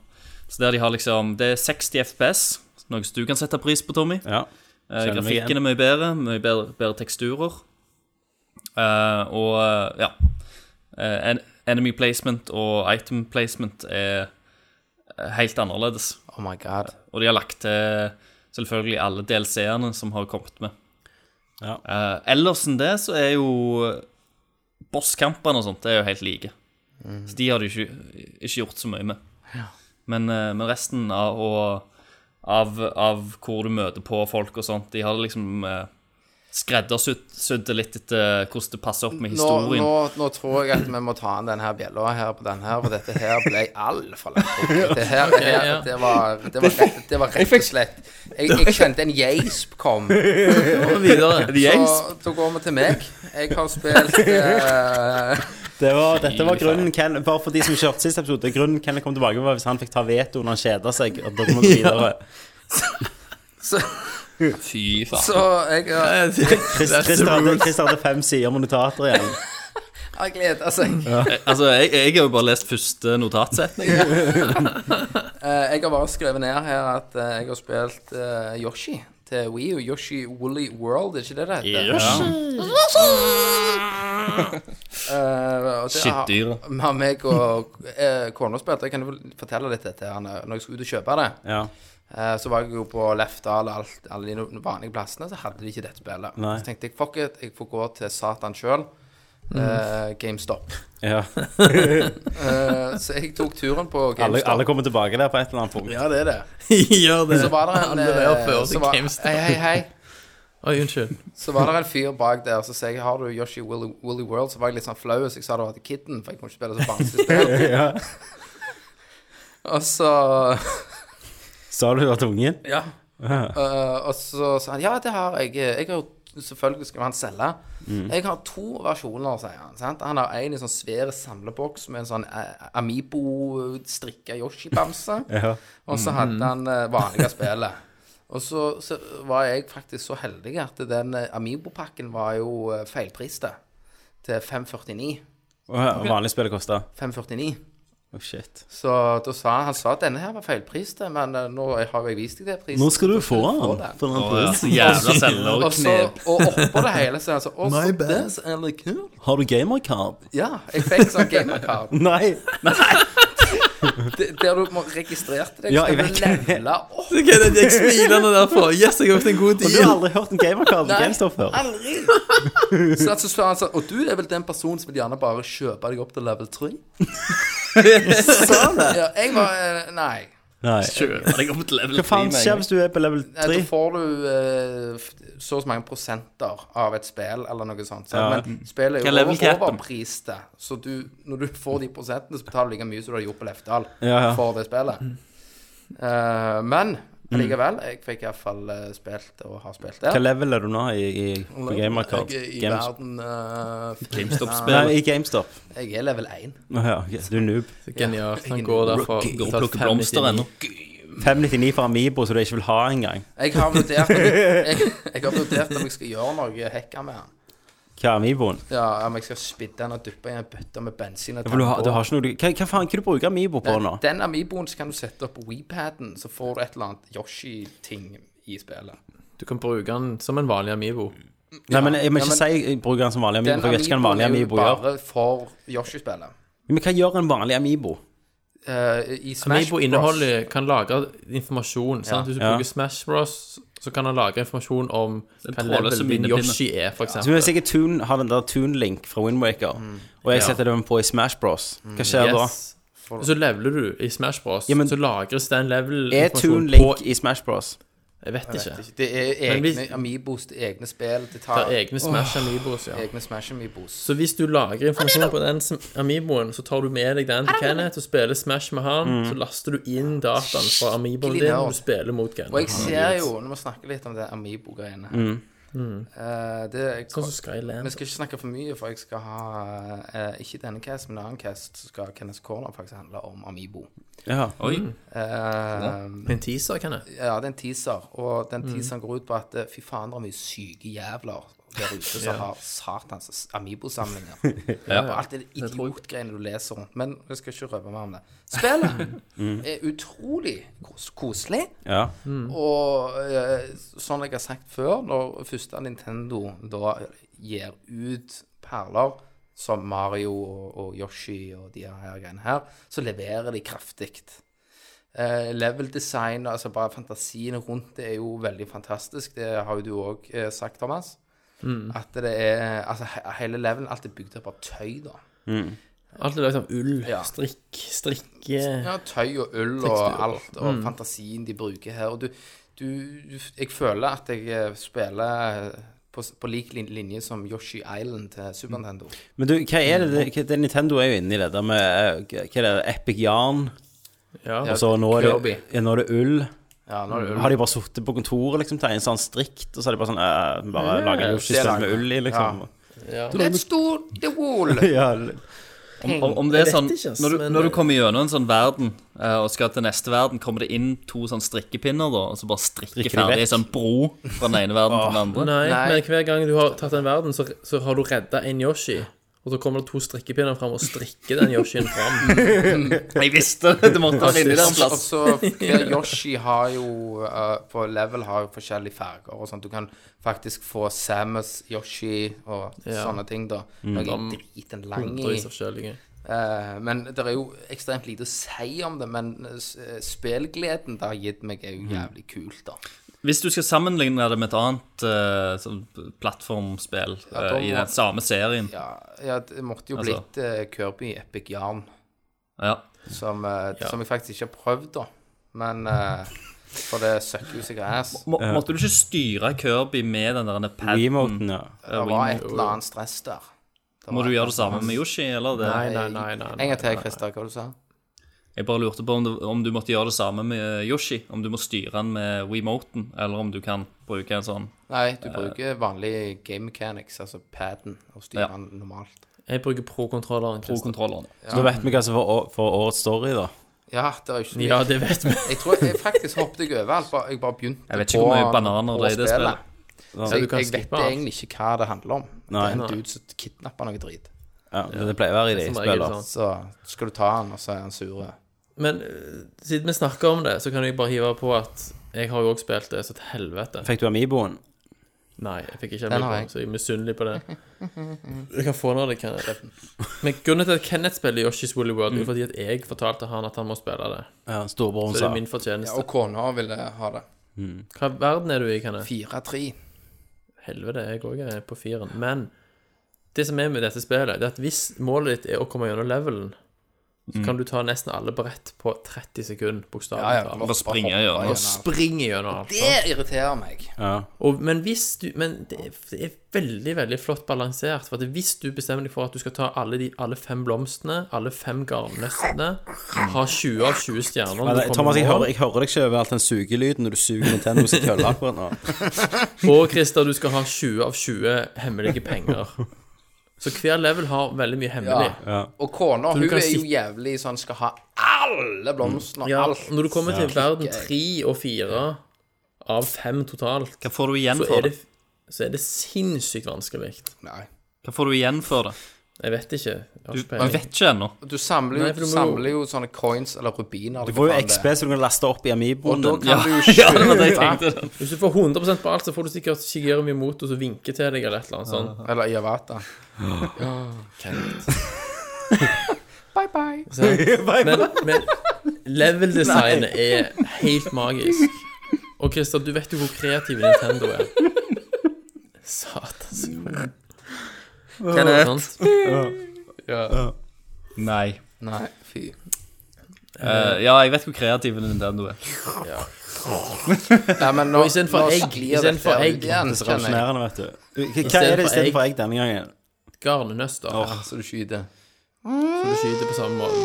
Speaker 3: Så der de har liksom Det er 60 FPS, noe som du kan sette pris på, Tommy.
Speaker 1: Ja.
Speaker 3: Eh,
Speaker 1: Kjenner meg
Speaker 3: grafikken er mye bedre, mye bedre, bedre teksturer. Eh, og eh, ja Eh, en, Enemy placement og item placement er eh, helt annerledes.
Speaker 2: Oh my god.
Speaker 3: Og de har lagt til selvfølgelig alle DLC-ene som har kommet med.
Speaker 1: Ja.
Speaker 3: Eh, ellers enn det så er jo bosskampene og sånt det er jo helt like. Så de har de ikke, ikke gjort så mye med. Men, eh, men resten av, og, av, av hvor du møter på folk og sånt, de har liksom eh, skreddersydd sydd det litt etter hvordan det passer opp med
Speaker 2: Nå,
Speaker 3: historien.
Speaker 2: nå, nå tror jeg at vi må ta an denne her bjella her på den her, for dette her ble altfor langt. bort. Det her, det, her det, var, det, var rett, det var rett og slett Jeg, jeg kjente en geisp kom.
Speaker 4: *laughs* Videre.
Speaker 3: The Ace
Speaker 2: Så da går vi til meg. Jeg har spilt eh, *laughs*
Speaker 1: Det var, dette var grunnen Ken, Bare for de som ikke hørte siste episode, grunnen Ken kom tilbake var hvis han fikk ta veto når han kjeda seg. Og da *laughs* kom han videre.
Speaker 3: Fy faen.
Speaker 2: Så jeg har
Speaker 1: Chris- Christer hadde, Christer hadde fem sider med notater igjen.
Speaker 2: jeg gleder seg.
Speaker 3: Eh, Altså, jeg, jeg har jo bare lest første notatsetning.
Speaker 2: Eh, jeg har bare skrevet ned her at eh, jeg har spilt eh, Yoshi til Wii U. Yoshi Woolly World, er ikke det det heter? Eh, og det har-
Speaker 3: Skittdyr.
Speaker 2: Vi har meg og eh, kona spilt, og jeg kan jo fortelle litt dette her når jeg skulle ut og kjøpe det.
Speaker 1: Ja.
Speaker 2: Eh, så var jeg jo på Lefdal og alt, alle de no- vanlige plassene, så hadde de ikke dette spillet.
Speaker 1: Nei. Mm.
Speaker 2: Så tenkte jeg fuck it, jeg får gå til Satan sjøl. GameStop.
Speaker 1: Ja.
Speaker 2: Eh, så jeg tok turen på GameStop.
Speaker 1: Alle, alle kommer tilbake der på et eller annet *laughs* punkt.
Speaker 2: Ja, det er det.
Speaker 4: *laughs* Gjør det.
Speaker 2: Så var det en
Speaker 4: Alle der
Speaker 2: eh,
Speaker 4: før
Speaker 2: så
Speaker 4: til
Speaker 2: var,
Speaker 4: GameStop.
Speaker 2: Hei, hei, hei.
Speaker 4: Oi, unnskyld.
Speaker 2: Så var det en fyr bak der, så sa jeg har du Yoshi Willy, Willy World, så var jeg litt sånn flau, så jeg sa det var til Kidden, for jeg kunne ikke spille så
Speaker 1: *laughs*
Speaker 2: barnslig spill. Og så
Speaker 1: Sa du det var tungen? *laughs*
Speaker 2: Ja. Eh, og så sa han ja, det har jeg. jeg har, jo- selvfølgelig skal han selge.
Speaker 1: Mm.
Speaker 2: Jeg har to versjoner, sier han. Sant? Han har en i sånn svær samleboks med en sånn eh, Amibo-strikka Yoshi-bamse.
Speaker 1: *laughs* Ja.
Speaker 2: Og så hadde han eh, vanlige spillet. Og så, så var jeg faktisk så heldig at den eh, Amibo-pakken var jo eh, feilpriste til 549.
Speaker 1: Og vanlig spill koster
Speaker 2: 549.
Speaker 1: oh, Shit.
Speaker 2: Så da sa han, han sa at denne her var feilpriste, men eh, nå har jeg vist deg det prisen.
Speaker 1: Nå skal du få den.
Speaker 2: den.
Speaker 1: For den
Speaker 3: Å, ja,
Speaker 1: prisen.
Speaker 3: eh, så jævla selger
Speaker 2: Og
Speaker 3: og
Speaker 2: så,
Speaker 3: knep.
Speaker 2: og oppå det hele, så er han så Og så
Speaker 1: bad.
Speaker 2: det som er litt kult.
Speaker 1: *laughs* Har du gamercard?
Speaker 2: Ja, jeg fikk sånn gamercard.
Speaker 1: Nei.
Speaker 2: Det- Der du må registrerte deg,
Speaker 1: Ja,
Speaker 2: så
Speaker 1: jeg
Speaker 2: kan du
Speaker 1: vet.
Speaker 2: levele opp.
Speaker 4: Hva er det jeg smiler nå derfor? Yes, jeg har fått en god
Speaker 1: Du har
Speaker 4: deal.
Speaker 1: aldri hørt en gamerkart på GameStop før?
Speaker 2: Aldri. Så altså, så han sa Og du er vel den personen som vil gjerne bare kjøpe deg opp til level 3? sa han det? Ja, jeg var eh, Nei.
Speaker 1: Nei.
Speaker 3: Kjøper deg opp til level
Speaker 1: Hva faen
Speaker 3: 3 med en
Speaker 1: skjer
Speaker 3: gang.
Speaker 1: hvis du er på level
Speaker 2: Nei,
Speaker 1: 3?
Speaker 2: Da får du eh, f- så og så mange prosenter av et spill, eller noe sånt. sant? Men spillet
Speaker 1: Hva er
Speaker 2: er jo
Speaker 1: level
Speaker 2: over-
Speaker 1: capen?
Speaker 2: overpriste, så du, når du får de prosentene, så betaler du like mye som du har gjort på Lefdal
Speaker 1: Ja, ja. Mm.
Speaker 2: for det spillet. Eh, men likevel, jeg fikk iallfall uh, spilt og har spilt
Speaker 1: Hva
Speaker 2: det.
Speaker 1: level er du nå i, i, på gamerkart?
Speaker 2: Jeg er i
Speaker 1: Games-
Speaker 2: verden eh,
Speaker 3: GameStop-spill.
Speaker 1: Nei, i GameStop.
Speaker 2: Jeg er level 1.
Speaker 1: Nå her, ok, du er noob.
Speaker 4: Genialt. Han går derfra
Speaker 3: Gå og plukke blomster ennå.
Speaker 1: 599 for Amiibo, som du ikke vil ha engang.
Speaker 2: Jeg har vurdert om jeg, jeg, jeg har vurdert om jeg skal gjøre noe hekka med han.
Speaker 1: Hva er Amiiboen?
Speaker 2: Ja, Om jeg skal spidde han og dyppe i en bøtte med bensin og
Speaker 1: For du har,
Speaker 2: tenne
Speaker 1: du
Speaker 2: på.
Speaker 1: har ikke noe du Hva, hva faen, hva du bruker Amiibo på nå?
Speaker 2: Den Amiiboen så kan du sette opp på WePaden, så får du et eller annet Yoshi-ting i spillet.
Speaker 4: Du kan bruke den som en vanlig Amibo.
Speaker 1: Nei, men jeg må
Speaker 2: Ja,
Speaker 1: ikke si jeg bruker den som vanlig Amiibo,
Speaker 2: Den
Speaker 1: for jeg vet ikke hva en vanlig
Speaker 2: er jo
Speaker 1: Amiibo gjør.
Speaker 2: bare for Yoshi-spillet.
Speaker 1: Men hva gjør en vanlig Amiibo?
Speaker 2: Eh, I Smash
Speaker 4: Amibo
Speaker 2: Bros.
Speaker 4: inneholder kan lagre informasjon. Sant? Hvis du
Speaker 1: Ja.
Speaker 4: bruker Smash Bros, så kan han lagre informasjon om hva
Speaker 3: trådløse
Speaker 4: level din
Speaker 3: minnepinne.
Speaker 4: Yoshi er, for
Speaker 1: Så
Speaker 4: eksempel.
Speaker 1: Hvis jeg Toon har den der Toon-link fra Windwaker, og jeg
Speaker 4: Ja.
Speaker 1: setter den på i Smash Bros, hva skjer da?
Speaker 4: Yes. Og så leveler du i Smash Bros,
Speaker 1: Ja, men-
Speaker 4: så lagres den
Speaker 1: Er
Speaker 4: level-informasjonen på
Speaker 1: Toon-link i Smash Bros?
Speaker 4: Jeg vet ikke.
Speaker 2: Det- Det er
Speaker 4: Men hvis-
Speaker 2: egne Amiibos, det er egne spill, det
Speaker 4: Det
Speaker 2: tar
Speaker 4: er egne Smash Amibos, ja.
Speaker 2: egne Smash Amiibos.
Speaker 4: Så hvis du lagrer informasjon på den som- Amiiboen, så tar du med deg den til Kenneth og spiller Smash med han, så laster du inn dataen fra Amiiboen din
Speaker 2: nerd.
Speaker 4: når du spiller mot Kenneth.
Speaker 2: Og jeg ser jo, når vi snakker litt om det Amiibo-greiene her eh, det, jeg,
Speaker 4: Sånn som
Speaker 2: Vi
Speaker 4: Skyland.
Speaker 2: skal ikke snakke for mye, for jeg skal ha eh, Ikke denne cast, men en annen cast så skal Kenneth Corner faktisk handle om Amibo.
Speaker 1: Ja.
Speaker 3: Oi.
Speaker 2: Eh,
Speaker 4: En teaser, Kenneth.
Speaker 2: ja, det er en teaser, og den teaseren går ut på at eh, fy faen, det er mye syke jævler der ute som har satans Amibo-samlinger. Og alt det idiotgreiene du leser rundt. Men jeg skal ikke røpe mer om det. Spillet er utrolig kos koselig.
Speaker 1: ja.
Speaker 2: Og eh, sånn jeg har sagt før, når første Nintendo da gir ut perler som Mario og, og Yoshi og de her greiene her, så leverer de kraftig. Eh, level design, altså bare fantasien rundt det er jo veldig fantastisk. Det har jo du òg eh, sagt, Thomas. At det er Altså he hele levelen, alt er bygd opp av tøy, da.
Speaker 4: Alt er laget av ull,
Speaker 2: Ja.
Speaker 4: strikk, strikke
Speaker 2: Ja, tøy og ull og alt, og fantasien de bruker her. Og du, du Jeg føler at jeg eh, spiller på, på lik lin- linje som Yoshi Island til Super Nintendo.
Speaker 1: Men du, hva er det, det, hva- det Nintendo er jo inne i det der med eh, Hva er det, Epic Yarn?
Speaker 4: Ja.
Speaker 1: Og så nå er det,
Speaker 2: Kirby.
Speaker 1: ja, nå er det ull.
Speaker 2: Ja, nå er det ull.
Speaker 1: Har de bare sittet på kontoret liksom, tegnet sånn strikt, og så har de bare sånn eh, Bare laga Yoshi-spill med ull i, liksom.
Speaker 2: Let's do the wall!
Speaker 1: *laughs* Ja.
Speaker 3: Om, om det er
Speaker 4: Jeg vet
Speaker 3: sånn
Speaker 4: ikke, ass,
Speaker 3: Når du,
Speaker 4: men- eh,
Speaker 3: når du kommer gjennom en sånn verden eh, og skal til neste verden, kommer det inn to sånn strikkepinner, da, og så bare strikker
Speaker 1: Strikker de
Speaker 3: ferdig
Speaker 1: vekk?
Speaker 3: en sånn bro fra den ene verden til den andre?
Speaker 4: Nei,
Speaker 2: Nei.
Speaker 4: men hver gang du har tatt en verden, så, så har du redda en Yoshi. Og så kommer det to strikkepinner fram og strikker den Yoshien *laughs* fram.
Speaker 3: Jeg visste det! Det måtte være inni der en
Speaker 2: Og
Speaker 3: plass.
Speaker 2: så hver Yoshi har jo eh, på level har jo forskjellige farger og sånt. Du kan faktisk få Samus, Yoshi og
Speaker 4: Ja.
Speaker 2: sånne ting, da. Noe
Speaker 4: Mm.
Speaker 2: driten lang i.
Speaker 4: Drøys av kjølinge.
Speaker 2: Eh, men det er jo ekstremt lite å si om det, men eh, s- eh, spillgleden det har gitt meg, er jo jævlig kult, da.
Speaker 3: Hvis du skal sammenligne det med et annet eh, sånn plattformspill
Speaker 2: Ja, da
Speaker 3: eh, i
Speaker 2: må-
Speaker 3: den samme serien
Speaker 2: Ja, ja det måtte jo
Speaker 3: Altså.
Speaker 2: blitt eh, Kirby Epic Yarn,
Speaker 3: Ja.
Speaker 2: som, eh, som jeg faktisk ikke har prøvd, da. Men eh, For det søkker jo seg ass.
Speaker 3: Må, måtte du ikke styre Kirby med den der paden?
Speaker 1: Remoten, ja.
Speaker 2: Det var et eller annet stress der. Det
Speaker 3: Må
Speaker 2: var
Speaker 3: du
Speaker 2: et
Speaker 3: gjøre det
Speaker 2: eller
Speaker 3: samme
Speaker 2: annet
Speaker 3: med Yoshi, eller? Det?
Speaker 4: Nei, nei, nei. nei,
Speaker 2: stress. En
Speaker 4: nei.
Speaker 2: gang til, Christer, hva du sa
Speaker 3: Jeg bare lurte på om du, om du måtte gjøre det samme med Yoshi. Om du må styre han med WeMoten, eller om du kan bruke en sånn
Speaker 2: Nei, du bruker vanlig game mechanics, altså paden, og styrer
Speaker 3: Ja.
Speaker 2: den normalt.
Speaker 4: Jeg bruker pro-kontrolleren. Christer.
Speaker 3: pro-kontrolleren.
Speaker 1: Så da vet vi hva som får å- får årets story, da.
Speaker 2: Ja, det er jo ikke så mye
Speaker 4: Ja, det vet vi.
Speaker 2: Jeg tror jeg faktisk hoppet jeg over alt. bare- Jeg bare begynte
Speaker 3: Jeg vet ikke hvor mye bananer det er i det spillet.
Speaker 2: Så jeg,
Speaker 4: du kan
Speaker 2: jeg vet
Speaker 4: skippe alt.
Speaker 2: egentlig ikke hva det handler om.
Speaker 1: Nei.
Speaker 2: det er en dude som kidnapper noe drit.
Speaker 1: Ja, det pleier å være i de
Speaker 4: Som regel
Speaker 1: spillene.
Speaker 4: sånn.
Speaker 2: Så skal du ta han, og så er han sur.
Speaker 4: Men eh, siden vi snakker om det, så kan jeg bare hive på at jeg har jo også spilt det så til helvete.
Speaker 1: Fikk du Amiiboen?
Speaker 4: Nei, jeg fikk ikke
Speaker 2: Den har
Speaker 4: Amiibo,
Speaker 2: jeg.
Speaker 4: så jeg er misunnelig
Speaker 2: *laughs*
Speaker 4: på det. Du kan få når det kan Men grunnen til at Kenneth spiller Yoshi's Woolly World,
Speaker 2: Mm.
Speaker 4: er fordi at jeg fortalte han at han må spille det.
Speaker 1: Ja, Storebroren
Speaker 4: Så det
Speaker 1: sa
Speaker 4: er min
Speaker 2: Ja,
Speaker 4: fortjeneste.
Speaker 2: og kona ville ha det.
Speaker 4: Hva verden er du i, Kenneth?
Speaker 2: 4-3.
Speaker 4: Helvete, jeg òg er på firen. Men det som er med dette spillet, det er at hvis målet ditt er å komme gjennom levelen, så kan du ta nesten alle brett på 30 sekunder,
Speaker 2: Mm. Ja, ja.
Speaker 4: bokstavelig talt.
Speaker 3: Bare springe gjennom.
Speaker 4: Og springe gjennom alt.
Speaker 2: Det irriterer meg.
Speaker 1: ja.
Speaker 4: Og, men hvis du Men det er, det er veldig, veldig flott balansert. For at hvis du bestemmer deg for at du skal ta alle, de, alle fem blomstene, alle fem garnnøstene, ha 20 av 20 stjerner når
Speaker 1: Nei,
Speaker 4: du kommer
Speaker 1: Thomas, jeg
Speaker 4: i mål,
Speaker 1: hører, jeg hører deg ikke over alt den sugelyden når du suger Nintendo sin kølle akkurat nå.
Speaker 4: Og Christer, du skal ha 20 av 20 hemmelige penger. Så hver level har veldig mye hemmelig.
Speaker 2: Ja. Og kona, hun
Speaker 4: kan
Speaker 2: er jo
Speaker 4: sitte-
Speaker 2: jævlig sånn skal ha alle blomstene og
Speaker 4: Ja,
Speaker 2: alt.
Speaker 4: når du kommer til verden tre og fire av fem totalt,
Speaker 3: Hva får du igjen
Speaker 4: så
Speaker 3: for
Speaker 4: er
Speaker 3: det?
Speaker 4: det, så er det sinnssykt vanskelig.
Speaker 2: Nei.
Speaker 3: Hva får du igjen for det?
Speaker 4: Jeg vet ikke. Jeg har
Speaker 3: Du,
Speaker 4: ikke
Speaker 3: du
Speaker 4: peiling.
Speaker 3: vet ikke ennå.
Speaker 2: Du samler jo,
Speaker 4: Nei, for du må jo-
Speaker 2: samler jo sånne coins eller rubiner.
Speaker 1: Du får jo XB som du kan laste opp i Amiiboen
Speaker 2: Og da
Speaker 1: din.
Speaker 2: kan du
Speaker 3: Ja, det var det jeg
Speaker 2: kjøpe
Speaker 3: tenkte.
Speaker 4: Hvis du får 100 på alt, så får du sikkert Shigeru Miyamoto som vinker til deg, eller et eller annet sånt.
Speaker 2: Eller Iavata. Bye, bye.
Speaker 4: Men, men level-designet er helt magisk. Og Christer, du vet jo hvor kreativ Nintendo er. Satans.
Speaker 2: Kenneth.
Speaker 4: Sant?
Speaker 3: Nei.
Speaker 2: Nei, fy.
Speaker 3: Eh, ja, jeg vet hvor kreativ Nintendo er.
Speaker 2: Nei, men nå,
Speaker 4: Og i stedet for
Speaker 2: nå
Speaker 4: egg, i
Speaker 2: sklir
Speaker 4: stedet
Speaker 2: dette
Speaker 4: for
Speaker 2: ut
Speaker 4: egg,
Speaker 2: igjen,
Speaker 1: Så
Speaker 2: kjenner jeg.
Speaker 1: Revolusjonerende, vet du. Hva- Hva er det
Speaker 4: stedet for egg.
Speaker 1: istedenfor egg denne gangen?
Speaker 4: Garnnøster.
Speaker 2: Ja, Så du skyter.
Speaker 4: som du skyter på samme måte.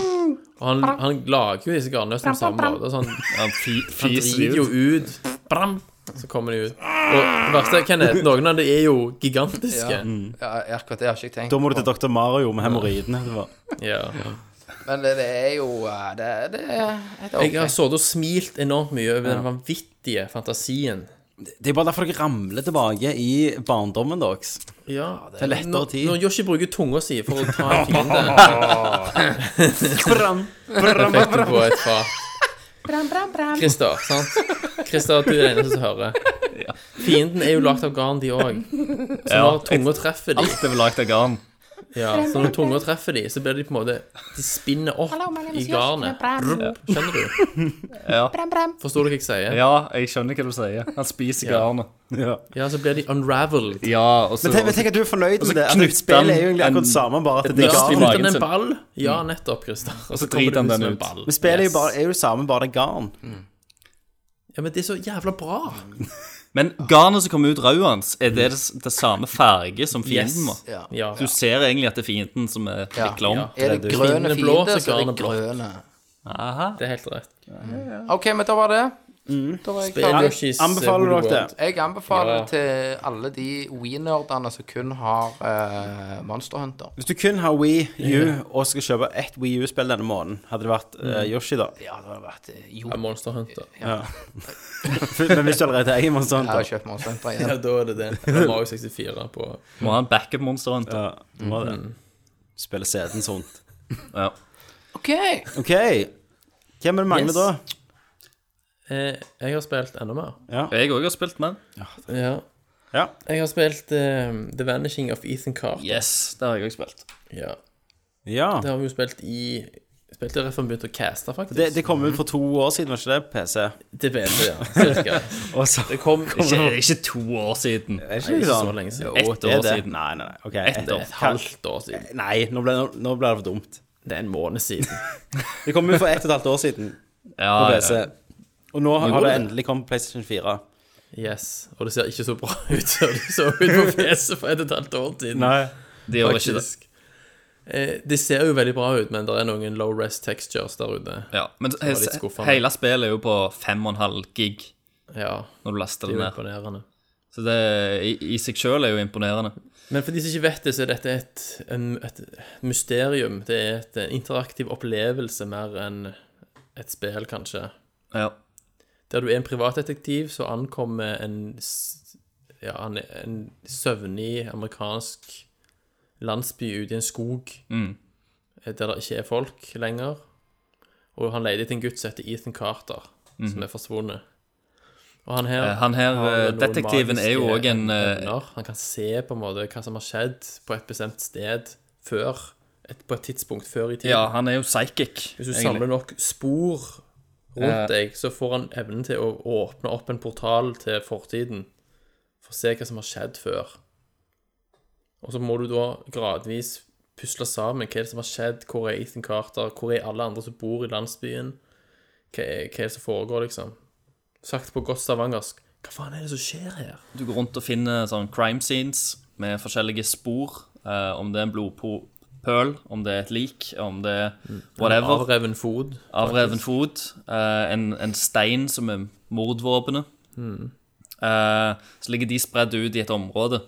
Speaker 4: Og han, han lager jo disse garnnøstene på samme måte. Så han,
Speaker 3: Han fi-
Speaker 4: han
Speaker 3: fiser
Speaker 4: driter
Speaker 3: de
Speaker 4: jo
Speaker 3: ut.
Speaker 4: ut. Bram! Så kommer de ut. Og det verste, Kenneth, noen av dem er jo gigantiske.
Speaker 2: Ja. Ja, akkurat det har ikke jeg tenkt
Speaker 1: Da må du til Dr. Mario med hemoroidene. det var-
Speaker 4: Ja.
Speaker 2: Men det, det er jo eh, Det, det er et
Speaker 4: Jeg har
Speaker 2: ok.
Speaker 4: sittet og smilt enormt mye over den vanvittige fantasien.
Speaker 1: Det er bare derfor dere ramler tilbake i barndommen deres.
Speaker 4: Ja, det
Speaker 1: er lettere
Speaker 4: når-
Speaker 1: tid.
Speaker 4: Når Yoshi bruker tunga si for å *laughs* ta en
Speaker 3: *laughs*
Speaker 4: fiende, det fikk du på et fat. Christer, sant? Christer, du er den eneste som hører. Fienden er jo lagd av garn, de òg. Så
Speaker 3: Ja.
Speaker 4: når tunga treffer de
Speaker 3: Alt er vel lagd av garn.
Speaker 4: Ja, så når tunga treffer de, så blir de på en måte De spinner opp i garnet. Skjønner du?
Speaker 3: Ja.
Speaker 4: Forstår du hva jeg sier?
Speaker 3: ja, jeg skjønner hva du sier. Han spiser
Speaker 4: Ja.
Speaker 3: garnet.
Speaker 1: Ja.
Speaker 4: Ja, så blir de unraveled.
Speaker 3: Ja, og så
Speaker 1: Men tenk, men tenk at du er fornøyd med det.
Speaker 3: knytter
Speaker 1: At
Speaker 3: han
Speaker 1: spillet er jo egentlig akkurat
Speaker 3: en-
Speaker 1: samme, bare at det er
Speaker 4: Ja,
Speaker 3: nøst i
Speaker 1: garn.
Speaker 3: magen
Speaker 4: uten en
Speaker 3: sin.
Speaker 4: ball. Ja, nettopp, Christer. Og
Speaker 3: så
Speaker 4: kommer
Speaker 3: driter han
Speaker 4: det ut
Speaker 3: den
Speaker 4: som en
Speaker 3: ut.
Speaker 4: ball.
Speaker 1: Men spillet er jo
Speaker 4: Yes.
Speaker 1: bare, er jo det samme, bare det er garn.
Speaker 4: Ja, men det er så jævla bra.
Speaker 3: Men garnet som kommer ut rød hans, er det det, det samme farge som
Speaker 4: Yes.
Speaker 3: fienden? må?
Speaker 2: Ja.
Speaker 4: Ja.
Speaker 3: Du ser egentlig at det er fienden som er
Speaker 2: Ja.
Speaker 3: vikla om.
Speaker 4: Du
Speaker 2: Er det grønne
Speaker 4: finner blå,
Speaker 2: fiender,
Speaker 4: så
Speaker 2: så er
Speaker 4: garnet
Speaker 2: det
Speaker 4: blått.
Speaker 2: grønne.
Speaker 3: Aha.
Speaker 4: Det er helt rett.
Speaker 2: OK, men da var det.
Speaker 4: Mm.
Speaker 2: Da var jeg
Speaker 4: Spiller
Speaker 2: ferdig.
Speaker 4: Yoshi's
Speaker 1: Anbefaler
Speaker 4: Woolly
Speaker 1: dere det?
Speaker 4: World.
Speaker 2: Jeg anbefaler
Speaker 4: Ja.
Speaker 2: det til alle de Wii-nerdene som kun har eh, Monster Hunter.
Speaker 1: Hvis du kun har Wii U og skal kjøpe ett Wii U-spill denne måneden, hadde det vært eh, Yoshi, da. *laughs*
Speaker 2: Ja, det har vært eh, Jo,
Speaker 4: Ja, Monster Hunter.
Speaker 1: Men hvis du allerede eier noe sånt,
Speaker 2: jeg
Speaker 1: da.
Speaker 2: har kjøpt Monster Hunter
Speaker 4: *laughs* Ja,
Speaker 2: igjen.
Speaker 4: da er det det. Det er Mario 64 på
Speaker 3: Må ha en backup-monster. rundt.
Speaker 1: Ja, det var det. Spille seten sånt.
Speaker 3: Ja.
Speaker 2: OK.
Speaker 1: OK. Hvem er det mangler
Speaker 4: Yes.
Speaker 1: da?
Speaker 4: eh, Jeg har spilt enda mer.
Speaker 3: Jeg òg har spilt med.
Speaker 4: Ja.
Speaker 1: Ja.
Speaker 4: Jeg har spilt eh, The Vanishing of Ethan Carter.
Speaker 3: Yes, det har jeg òg spilt.
Speaker 4: Ja.
Speaker 1: ja.
Speaker 4: Det har vi jo spilt i Spilte rett før vi begynte å caste, faktisk.
Speaker 1: Det, det kom ut for to år siden, var ikke det? PC.
Speaker 4: Det vet jeg, *laughs* ja. Cirka.
Speaker 1: Og så
Speaker 4: Det kom
Speaker 3: Ikke,
Speaker 4: ikke
Speaker 3: ikke to år siden.
Speaker 1: Er
Speaker 4: Nei,
Speaker 1: ikke
Speaker 4: ikke
Speaker 1: det
Speaker 4: så lenge siden.
Speaker 1: Jo,
Speaker 3: Ett
Speaker 1: det er
Speaker 3: år
Speaker 1: det.
Speaker 3: siden.
Speaker 1: Nei, nei, nei. OK.
Speaker 4: et, år, et halvt år siden.
Speaker 1: Nei, nå ble, nå, nå ble det for dumt.
Speaker 4: Det er en måned siden.
Speaker 1: Det kom ut for ett og et halvt år siden på
Speaker 3: Ja,
Speaker 1: PC.
Speaker 3: ja.
Speaker 1: Og nå har det
Speaker 4: det.
Speaker 1: endelig kommet PlayStation 4.
Speaker 4: Yes. Og det ser ikke så bra ut som det så ut på PC for et og et halvt år siden.
Speaker 1: Nei.
Speaker 3: De gjør ikke det.
Speaker 4: faktisk. Eh, det ser jo veldig bra ut, men det er noen low rest textures der ute.
Speaker 3: Ja. Men
Speaker 4: var litt skuffende.
Speaker 3: hele spillet er jo på 5,5 gig
Speaker 4: Ja,
Speaker 3: når du laster
Speaker 4: det er
Speaker 3: det
Speaker 4: jo
Speaker 3: ned.
Speaker 4: imponerende.
Speaker 3: Så det i, i seg sjøl er jo imponerende.
Speaker 4: Men for de som ikke vet det, så er dette et, en, et mysterium. Det er et eh, interaktiv opplevelse mer enn et spill, kanskje.
Speaker 3: Ja.
Speaker 4: Der du er en privatdetektiv, så ankommer en, s- ja, en, en søvnig amerikansk landsby ute i en skog
Speaker 3: mm.
Speaker 4: eh, der det ikke er folk lenger. Og han leter etter en gutt som heter Ethan Carter, som er forsvunnet. Og han her,
Speaker 3: Mhm. Eh, Han her,
Speaker 4: har
Speaker 3: eh,
Speaker 4: noen
Speaker 3: detektiven er jo
Speaker 4: magiske
Speaker 3: òg en eh,
Speaker 4: evner. Han kan se på en måte hva som har skjedd på et bestemt sted før. Et, på et tidspunkt før i tiden.
Speaker 3: Ja, han er jo psychic.
Speaker 4: Hvis du
Speaker 3: egentlig.
Speaker 4: samler nok spor rundt
Speaker 3: Ja.
Speaker 4: deg, så får han evnen til å å åpne opp en portal til fortiden. For å se hva som har skjedd før. Og så må du da gradvis pusle sammen hva er det som har skjedd, hvor er Ethan Carter, hvor er alle andre som bor i landsbyen, hva er, hva er det som foregår, liksom. Sagt på godt stavangersk, hva faen er det som skjer her?
Speaker 3: Du går rundt og finner sånn crime scenes med forskjellige spor. eh, om det er en blodpøl, om det er et lik, om det er whatever.
Speaker 4: Avreven fod.
Speaker 3: Avreven fot. eh, en, en stein som er mordvåpenet. Eh, så ligger de spredd ut i et område.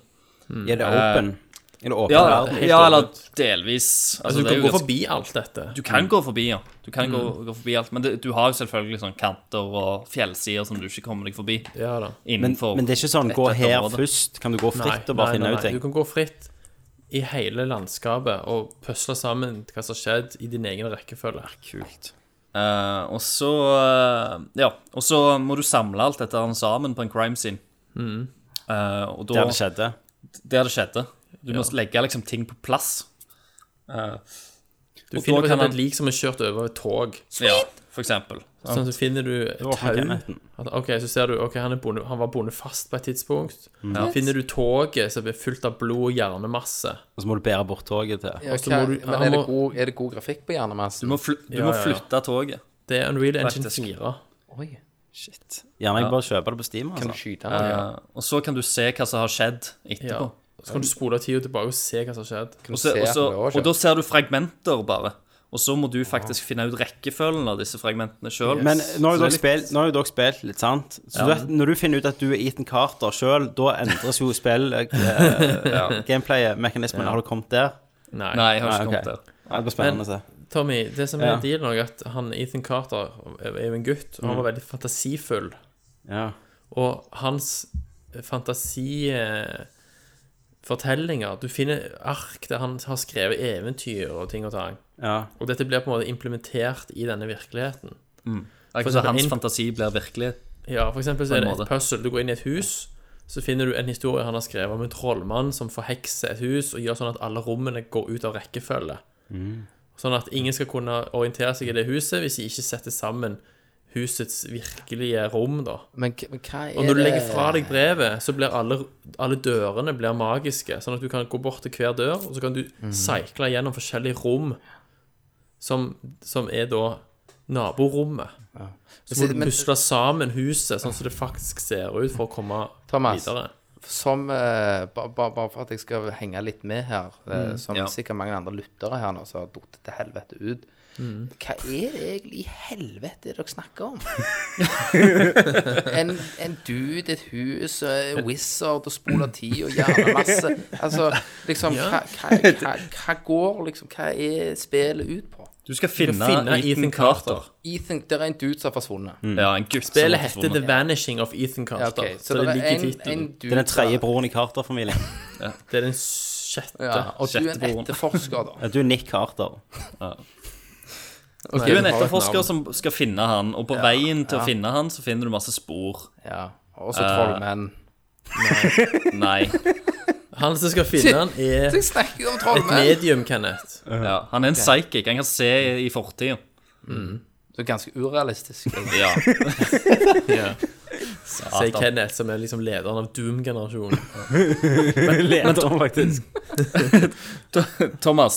Speaker 1: Er det open? Mm. Eh, Er det åpen
Speaker 3: Ja,
Speaker 1: verden?
Speaker 3: ja eller delvis. Altså,
Speaker 4: Altså, du
Speaker 3: det er
Speaker 4: kan
Speaker 3: jo
Speaker 4: gå
Speaker 3: ganske-
Speaker 4: forbi alt dette.
Speaker 3: Du kan gå forbi, ja. Du kan gå, gå forbi alt. Men det, du har jo selvfølgelig sånn kanter og fjellsider som du ikke kommer deg forbi.
Speaker 4: Ja da.
Speaker 1: Men,
Speaker 3: Innenfor
Speaker 1: men det er ikke sånn
Speaker 3: et
Speaker 1: gå
Speaker 3: eller annet
Speaker 1: her
Speaker 3: område.
Speaker 1: først. Kan du gå fritt og bare finne ut ting?
Speaker 4: Du kan gå fritt i hele landskapet og pøsle sammen hva som har skjedd, i din egen rekkefølge.
Speaker 1: Kult.
Speaker 3: Eh, og så eh, Ja, og så må du samle alt dette her sammen på en crime scene. Eh, og da,
Speaker 1: Der det skjedde.
Speaker 3: der det skjedde. Du må legge liksom ting på plass. Eh,
Speaker 4: Du
Speaker 3: Og
Speaker 4: finner for
Speaker 3: da kan
Speaker 4: eksempel
Speaker 3: han-
Speaker 4: et lik som er kjørt over et tog.
Speaker 3: ja, for eksempel.
Speaker 4: Sånn, så finner du et
Speaker 1: var
Speaker 4: tau.
Speaker 1: Kennethen.
Speaker 4: At, Ok, så ser du, ok, han, er bonde, han var bonde fast på et tidspunkt.
Speaker 3: Mm.
Speaker 4: Finner du toget som er fullt av blod og hjernemasse.
Speaker 1: Og så må du bære bort toget til
Speaker 2: Ja,
Speaker 4: Og så
Speaker 2: hva,
Speaker 4: må du-
Speaker 2: men
Speaker 4: han
Speaker 2: er det,
Speaker 4: må-
Speaker 2: god, er det god grafikk på hjernemassen?
Speaker 3: Du må, fly, du
Speaker 4: Ja,
Speaker 3: må
Speaker 4: ja, ja.
Speaker 3: flytte toget.
Speaker 4: Det er Unreal Engine
Speaker 3: Faktisk.
Speaker 4: 4.
Speaker 2: Oi,
Speaker 1: Gjerne jeg bare kjøper det på Steam.
Speaker 2: kan du
Speaker 1: Altså.
Speaker 2: skyte den?
Speaker 3: Eh, og så kan du se hva som har skjedd
Speaker 4: Ja.
Speaker 3: etterpå.
Speaker 4: Så kan du spole tida tilbake og se hva som har skjedd.
Speaker 3: Og, så,
Speaker 2: se
Speaker 3: og, så,
Speaker 2: at det var
Speaker 3: og da ser du fragmenter, bare. Og så må du faktisk finne ut rekkefølgen av disse fragmentene sjøl.
Speaker 1: Men nå har jo
Speaker 3: Så
Speaker 1: dere
Speaker 3: det er
Speaker 1: spilt, nå har jo dere spilt litt, sant? Så du vet, når du finner ut at du er Ethan Carter sjøl, da endres jo spill *laughs* eh, Gameplay-mekanismen. Har du kommet der?
Speaker 4: Nei.
Speaker 3: Nei, jeg har ikke
Speaker 1: Nei, ok.
Speaker 3: kommet der.
Speaker 1: Ja, det blir spennende å
Speaker 4: Men-
Speaker 1: se.
Speaker 4: Tommy, det som er
Speaker 1: Ja.
Speaker 4: dealen er at han, Ethan Carter er jo en gutt, og
Speaker 3: Mm.
Speaker 4: han var veldig fantasifull.
Speaker 1: Ja.
Speaker 4: Og hans fantasifortellinger Du finner ark der han har skrevet eventyr og ting og tang.
Speaker 1: ja.
Speaker 4: Og dette blir på en måte implementert i denne virkeligheten. eksempel
Speaker 3: Akkurat som hans
Speaker 4: inn-
Speaker 3: fantasi blir virkelig.
Speaker 4: Ja, for eksempel så
Speaker 3: På
Speaker 4: er
Speaker 3: en
Speaker 4: det et
Speaker 3: måte.
Speaker 4: puzzle. Du går inn i et hus, så finner du en historie han har skrevet om en trollmann som forhekser et hus og gjør sånn at alle rommene går ut av rekkefølge.
Speaker 3: Mm.
Speaker 4: Sånn at ingen skal kunne orientere seg i det huset hvis de ikke setter sammen husets virkelige rom, da.
Speaker 2: Men, k- men hva er
Speaker 4: Og når du
Speaker 2: det-
Speaker 4: legger fra deg brevet, så blir alle, alle dørene blir magiske. Sånn at du kan gå bort til hver dør, og så kan du
Speaker 2: Mhm.
Speaker 4: seile gjennom forskjellige rom, som, som er da naborommet. Så må du
Speaker 2: Men-
Speaker 4: pusle sammen huset sånn som det faktisk ser ut, for å komme
Speaker 2: Thomas.
Speaker 4: videre.
Speaker 2: Som eh, ba- ba- Bare for at jeg skal henge litt med her,
Speaker 4: Mm.
Speaker 2: eh, som
Speaker 3: ja.
Speaker 2: sikkert mange andre lyttere her nå som har falt til helvete ut.
Speaker 4: Mm.
Speaker 2: Hva er det egentlig i helvete dere snakker
Speaker 4: *laughs*
Speaker 2: om? en, en dude, et hus, eh, wizard og spole tid og hjernemasse. Altså, liksom, hva, hva, hva, hva går liksom Hva er spillet ut på?
Speaker 3: Du skal finne,
Speaker 4: finne
Speaker 3: Ethan,
Speaker 4: Ethan
Speaker 3: Carter.
Speaker 2: Ethan, det er en dude som har forsvunnet.
Speaker 3: Ja, en gutt som
Speaker 4: Spillet
Speaker 3: har
Speaker 4: heter The
Speaker 3: forsvunnet.
Speaker 4: Vanishing of Ethan
Speaker 2: Ja,
Speaker 4: Carter.
Speaker 2: ok,
Speaker 4: Mm. Så det
Speaker 2: er
Speaker 4: ligger i
Speaker 2: en- en
Speaker 4: tittelen.
Speaker 1: Det er
Speaker 2: dude
Speaker 1: den tredje
Speaker 2: som-
Speaker 1: broren i *laughs* Carter-familien.
Speaker 4: Det er den sjette.
Speaker 2: Ja, og du er en
Speaker 3: Sjettebroren.
Speaker 2: etterforsker, da.
Speaker 1: Ja, Du er Nick Carter.
Speaker 4: Ok,
Speaker 3: Du er en
Speaker 4: den har et
Speaker 3: etterforsker
Speaker 4: navn.
Speaker 3: som skal finne han, og på veien til å finne han, så finner du masse spor.
Speaker 4: *laughs*
Speaker 2: Ja, Eh, og så trollmenn.
Speaker 3: Nei.
Speaker 4: Han som skal finne han,
Speaker 2: *laughs*
Speaker 4: er
Speaker 2: Jeg snakker om
Speaker 4: et
Speaker 2: trollmenn!
Speaker 4: medium, Kenneth.
Speaker 3: Ja, han er en psychic. Han kan se i fortida.
Speaker 2: Så ganske urealistisk.
Speaker 3: *laughs* Ja.
Speaker 4: Sier Kenneth, som er liksom lederen av Doom-generasjonen.
Speaker 1: Leder, faktisk.
Speaker 3: Thomas,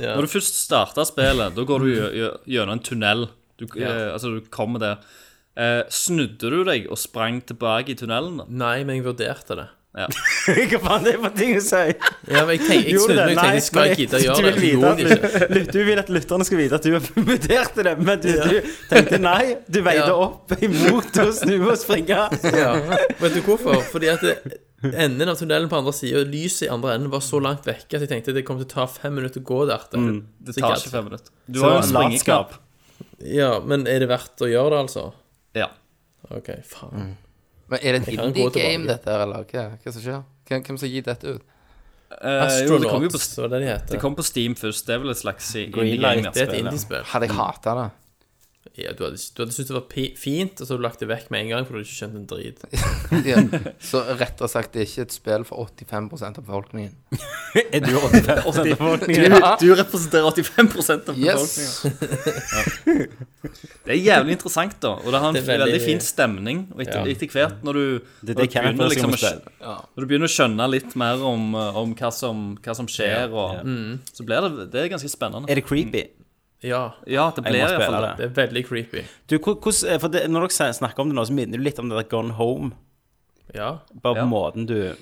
Speaker 4: Ja.
Speaker 3: når du først starter spillet, da går du gjø- gjø- gjennom en tunnel. Du, eh, altså, du kommer der. Eh, snudde du deg og sprang tilbake i tunnelen? da?
Speaker 4: Nei, men jeg vurderte det.
Speaker 1: *laughs* Hva faen det er for ting å si?
Speaker 4: Ja, men jeg, tenk, jeg
Speaker 1: Gjorde
Speaker 4: snudde
Speaker 1: det?
Speaker 4: meg og tenkte skal jeg
Speaker 1: nei,
Speaker 4: gidde å
Speaker 1: du
Speaker 4: gjøre
Speaker 1: vil
Speaker 4: det? Jeg
Speaker 1: vite
Speaker 4: gjorde
Speaker 1: at-
Speaker 4: det ikke.
Speaker 1: lyt- *laughs* Du vil at lytterne skal vite at du vurderte det, men du, du tenkte nei. Du veide
Speaker 4: Ja.
Speaker 1: opp imot å snu og springe.
Speaker 4: Vet du hvorfor? Fordi at det, enden av tunnelen på andre siden og lyset i andre enden var så langt vekke at jeg tenkte det kom til å ta fem minutter å gå der. til.
Speaker 3: Mm, Det
Speaker 4: Så
Speaker 3: tar
Speaker 4: jeg
Speaker 3: ikke fem minutter. Du
Speaker 1: Så
Speaker 3: har jo en
Speaker 1: latskap.
Speaker 3: springeknapp.
Speaker 4: Ja, men er det verdt å gjøre det, altså?
Speaker 3: Ja.
Speaker 4: OK,
Speaker 1: Mm.
Speaker 4: faen.
Speaker 2: *laughs* Men er det et
Speaker 4: kan gå
Speaker 2: indie game,
Speaker 4: tilbake.
Speaker 2: dette, her, eller hva, hva som skjer? Hvem, hvem som gir dette ut?
Speaker 3: Eh, jo, det kom jo på,
Speaker 4: Astronauts, var det de
Speaker 3: det
Speaker 4: heter.
Speaker 3: kom på Steam først. Det er vel et slags eh,
Speaker 1: Greenlight,
Speaker 3: indie-game.
Speaker 4: Det er et
Speaker 1: Spillet.
Speaker 4: indiespill.
Speaker 2: Hadde jeg hata det?
Speaker 4: ja, du, hadde, ikke- du hadde syntes det var pi- fint, og så hadde du lagt det vekk med en gang, for du hadde ikke skjønt en drit.
Speaker 2: Ja. *laughs* Så rett og slett, det er ikke et spill for 85 av befolkningen.
Speaker 1: *laughs* Er du *laughs* 85 av befolkningen?
Speaker 2: Ja.
Speaker 3: *laughs* Du representerer 85 av befolkningen.
Speaker 4: *laughs*
Speaker 2: Yes!
Speaker 3: Det er jævlig interessant, da. Og det har en
Speaker 4: Det er
Speaker 3: veldig,
Speaker 4: veldig
Speaker 3: fin stemning. Og etter,
Speaker 4: Ja.
Speaker 3: etter hvert, når du,
Speaker 1: Det er det
Speaker 3: når, du
Speaker 1: Kenneth
Speaker 3: begynner,
Speaker 1: også
Speaker 3: liksom, å,
Speaker 1: må
Speaker 3: skj-
Speaker 1: spille.
Speaker 3: når du begynner å skjønne litt mer om, eh, om hva, som, hva som skjer, og, så blir det, det er ganske spennende.
Speaker 1: Er det creepy?
Speaker 4: Ja,
Speaker 3: Ja, det
Speaker 1: Jeg
Speaker 3: blir
Speaker 1: må
Speaker 3: iallfall
Speaker 1: spille
Speaker 3: det.
Speaker 1: det.
Speaker 4: det er veldig creepy.
Speaker 1: Du, hvor- hvordan, eh, for det, når dere snakker om det nå, så minner du litt om det der Gone Home.
Speaker 4: Ja. Mm.
Speaker 1: Bare på
Speaker 3: Ja.
Speaker 1: måten du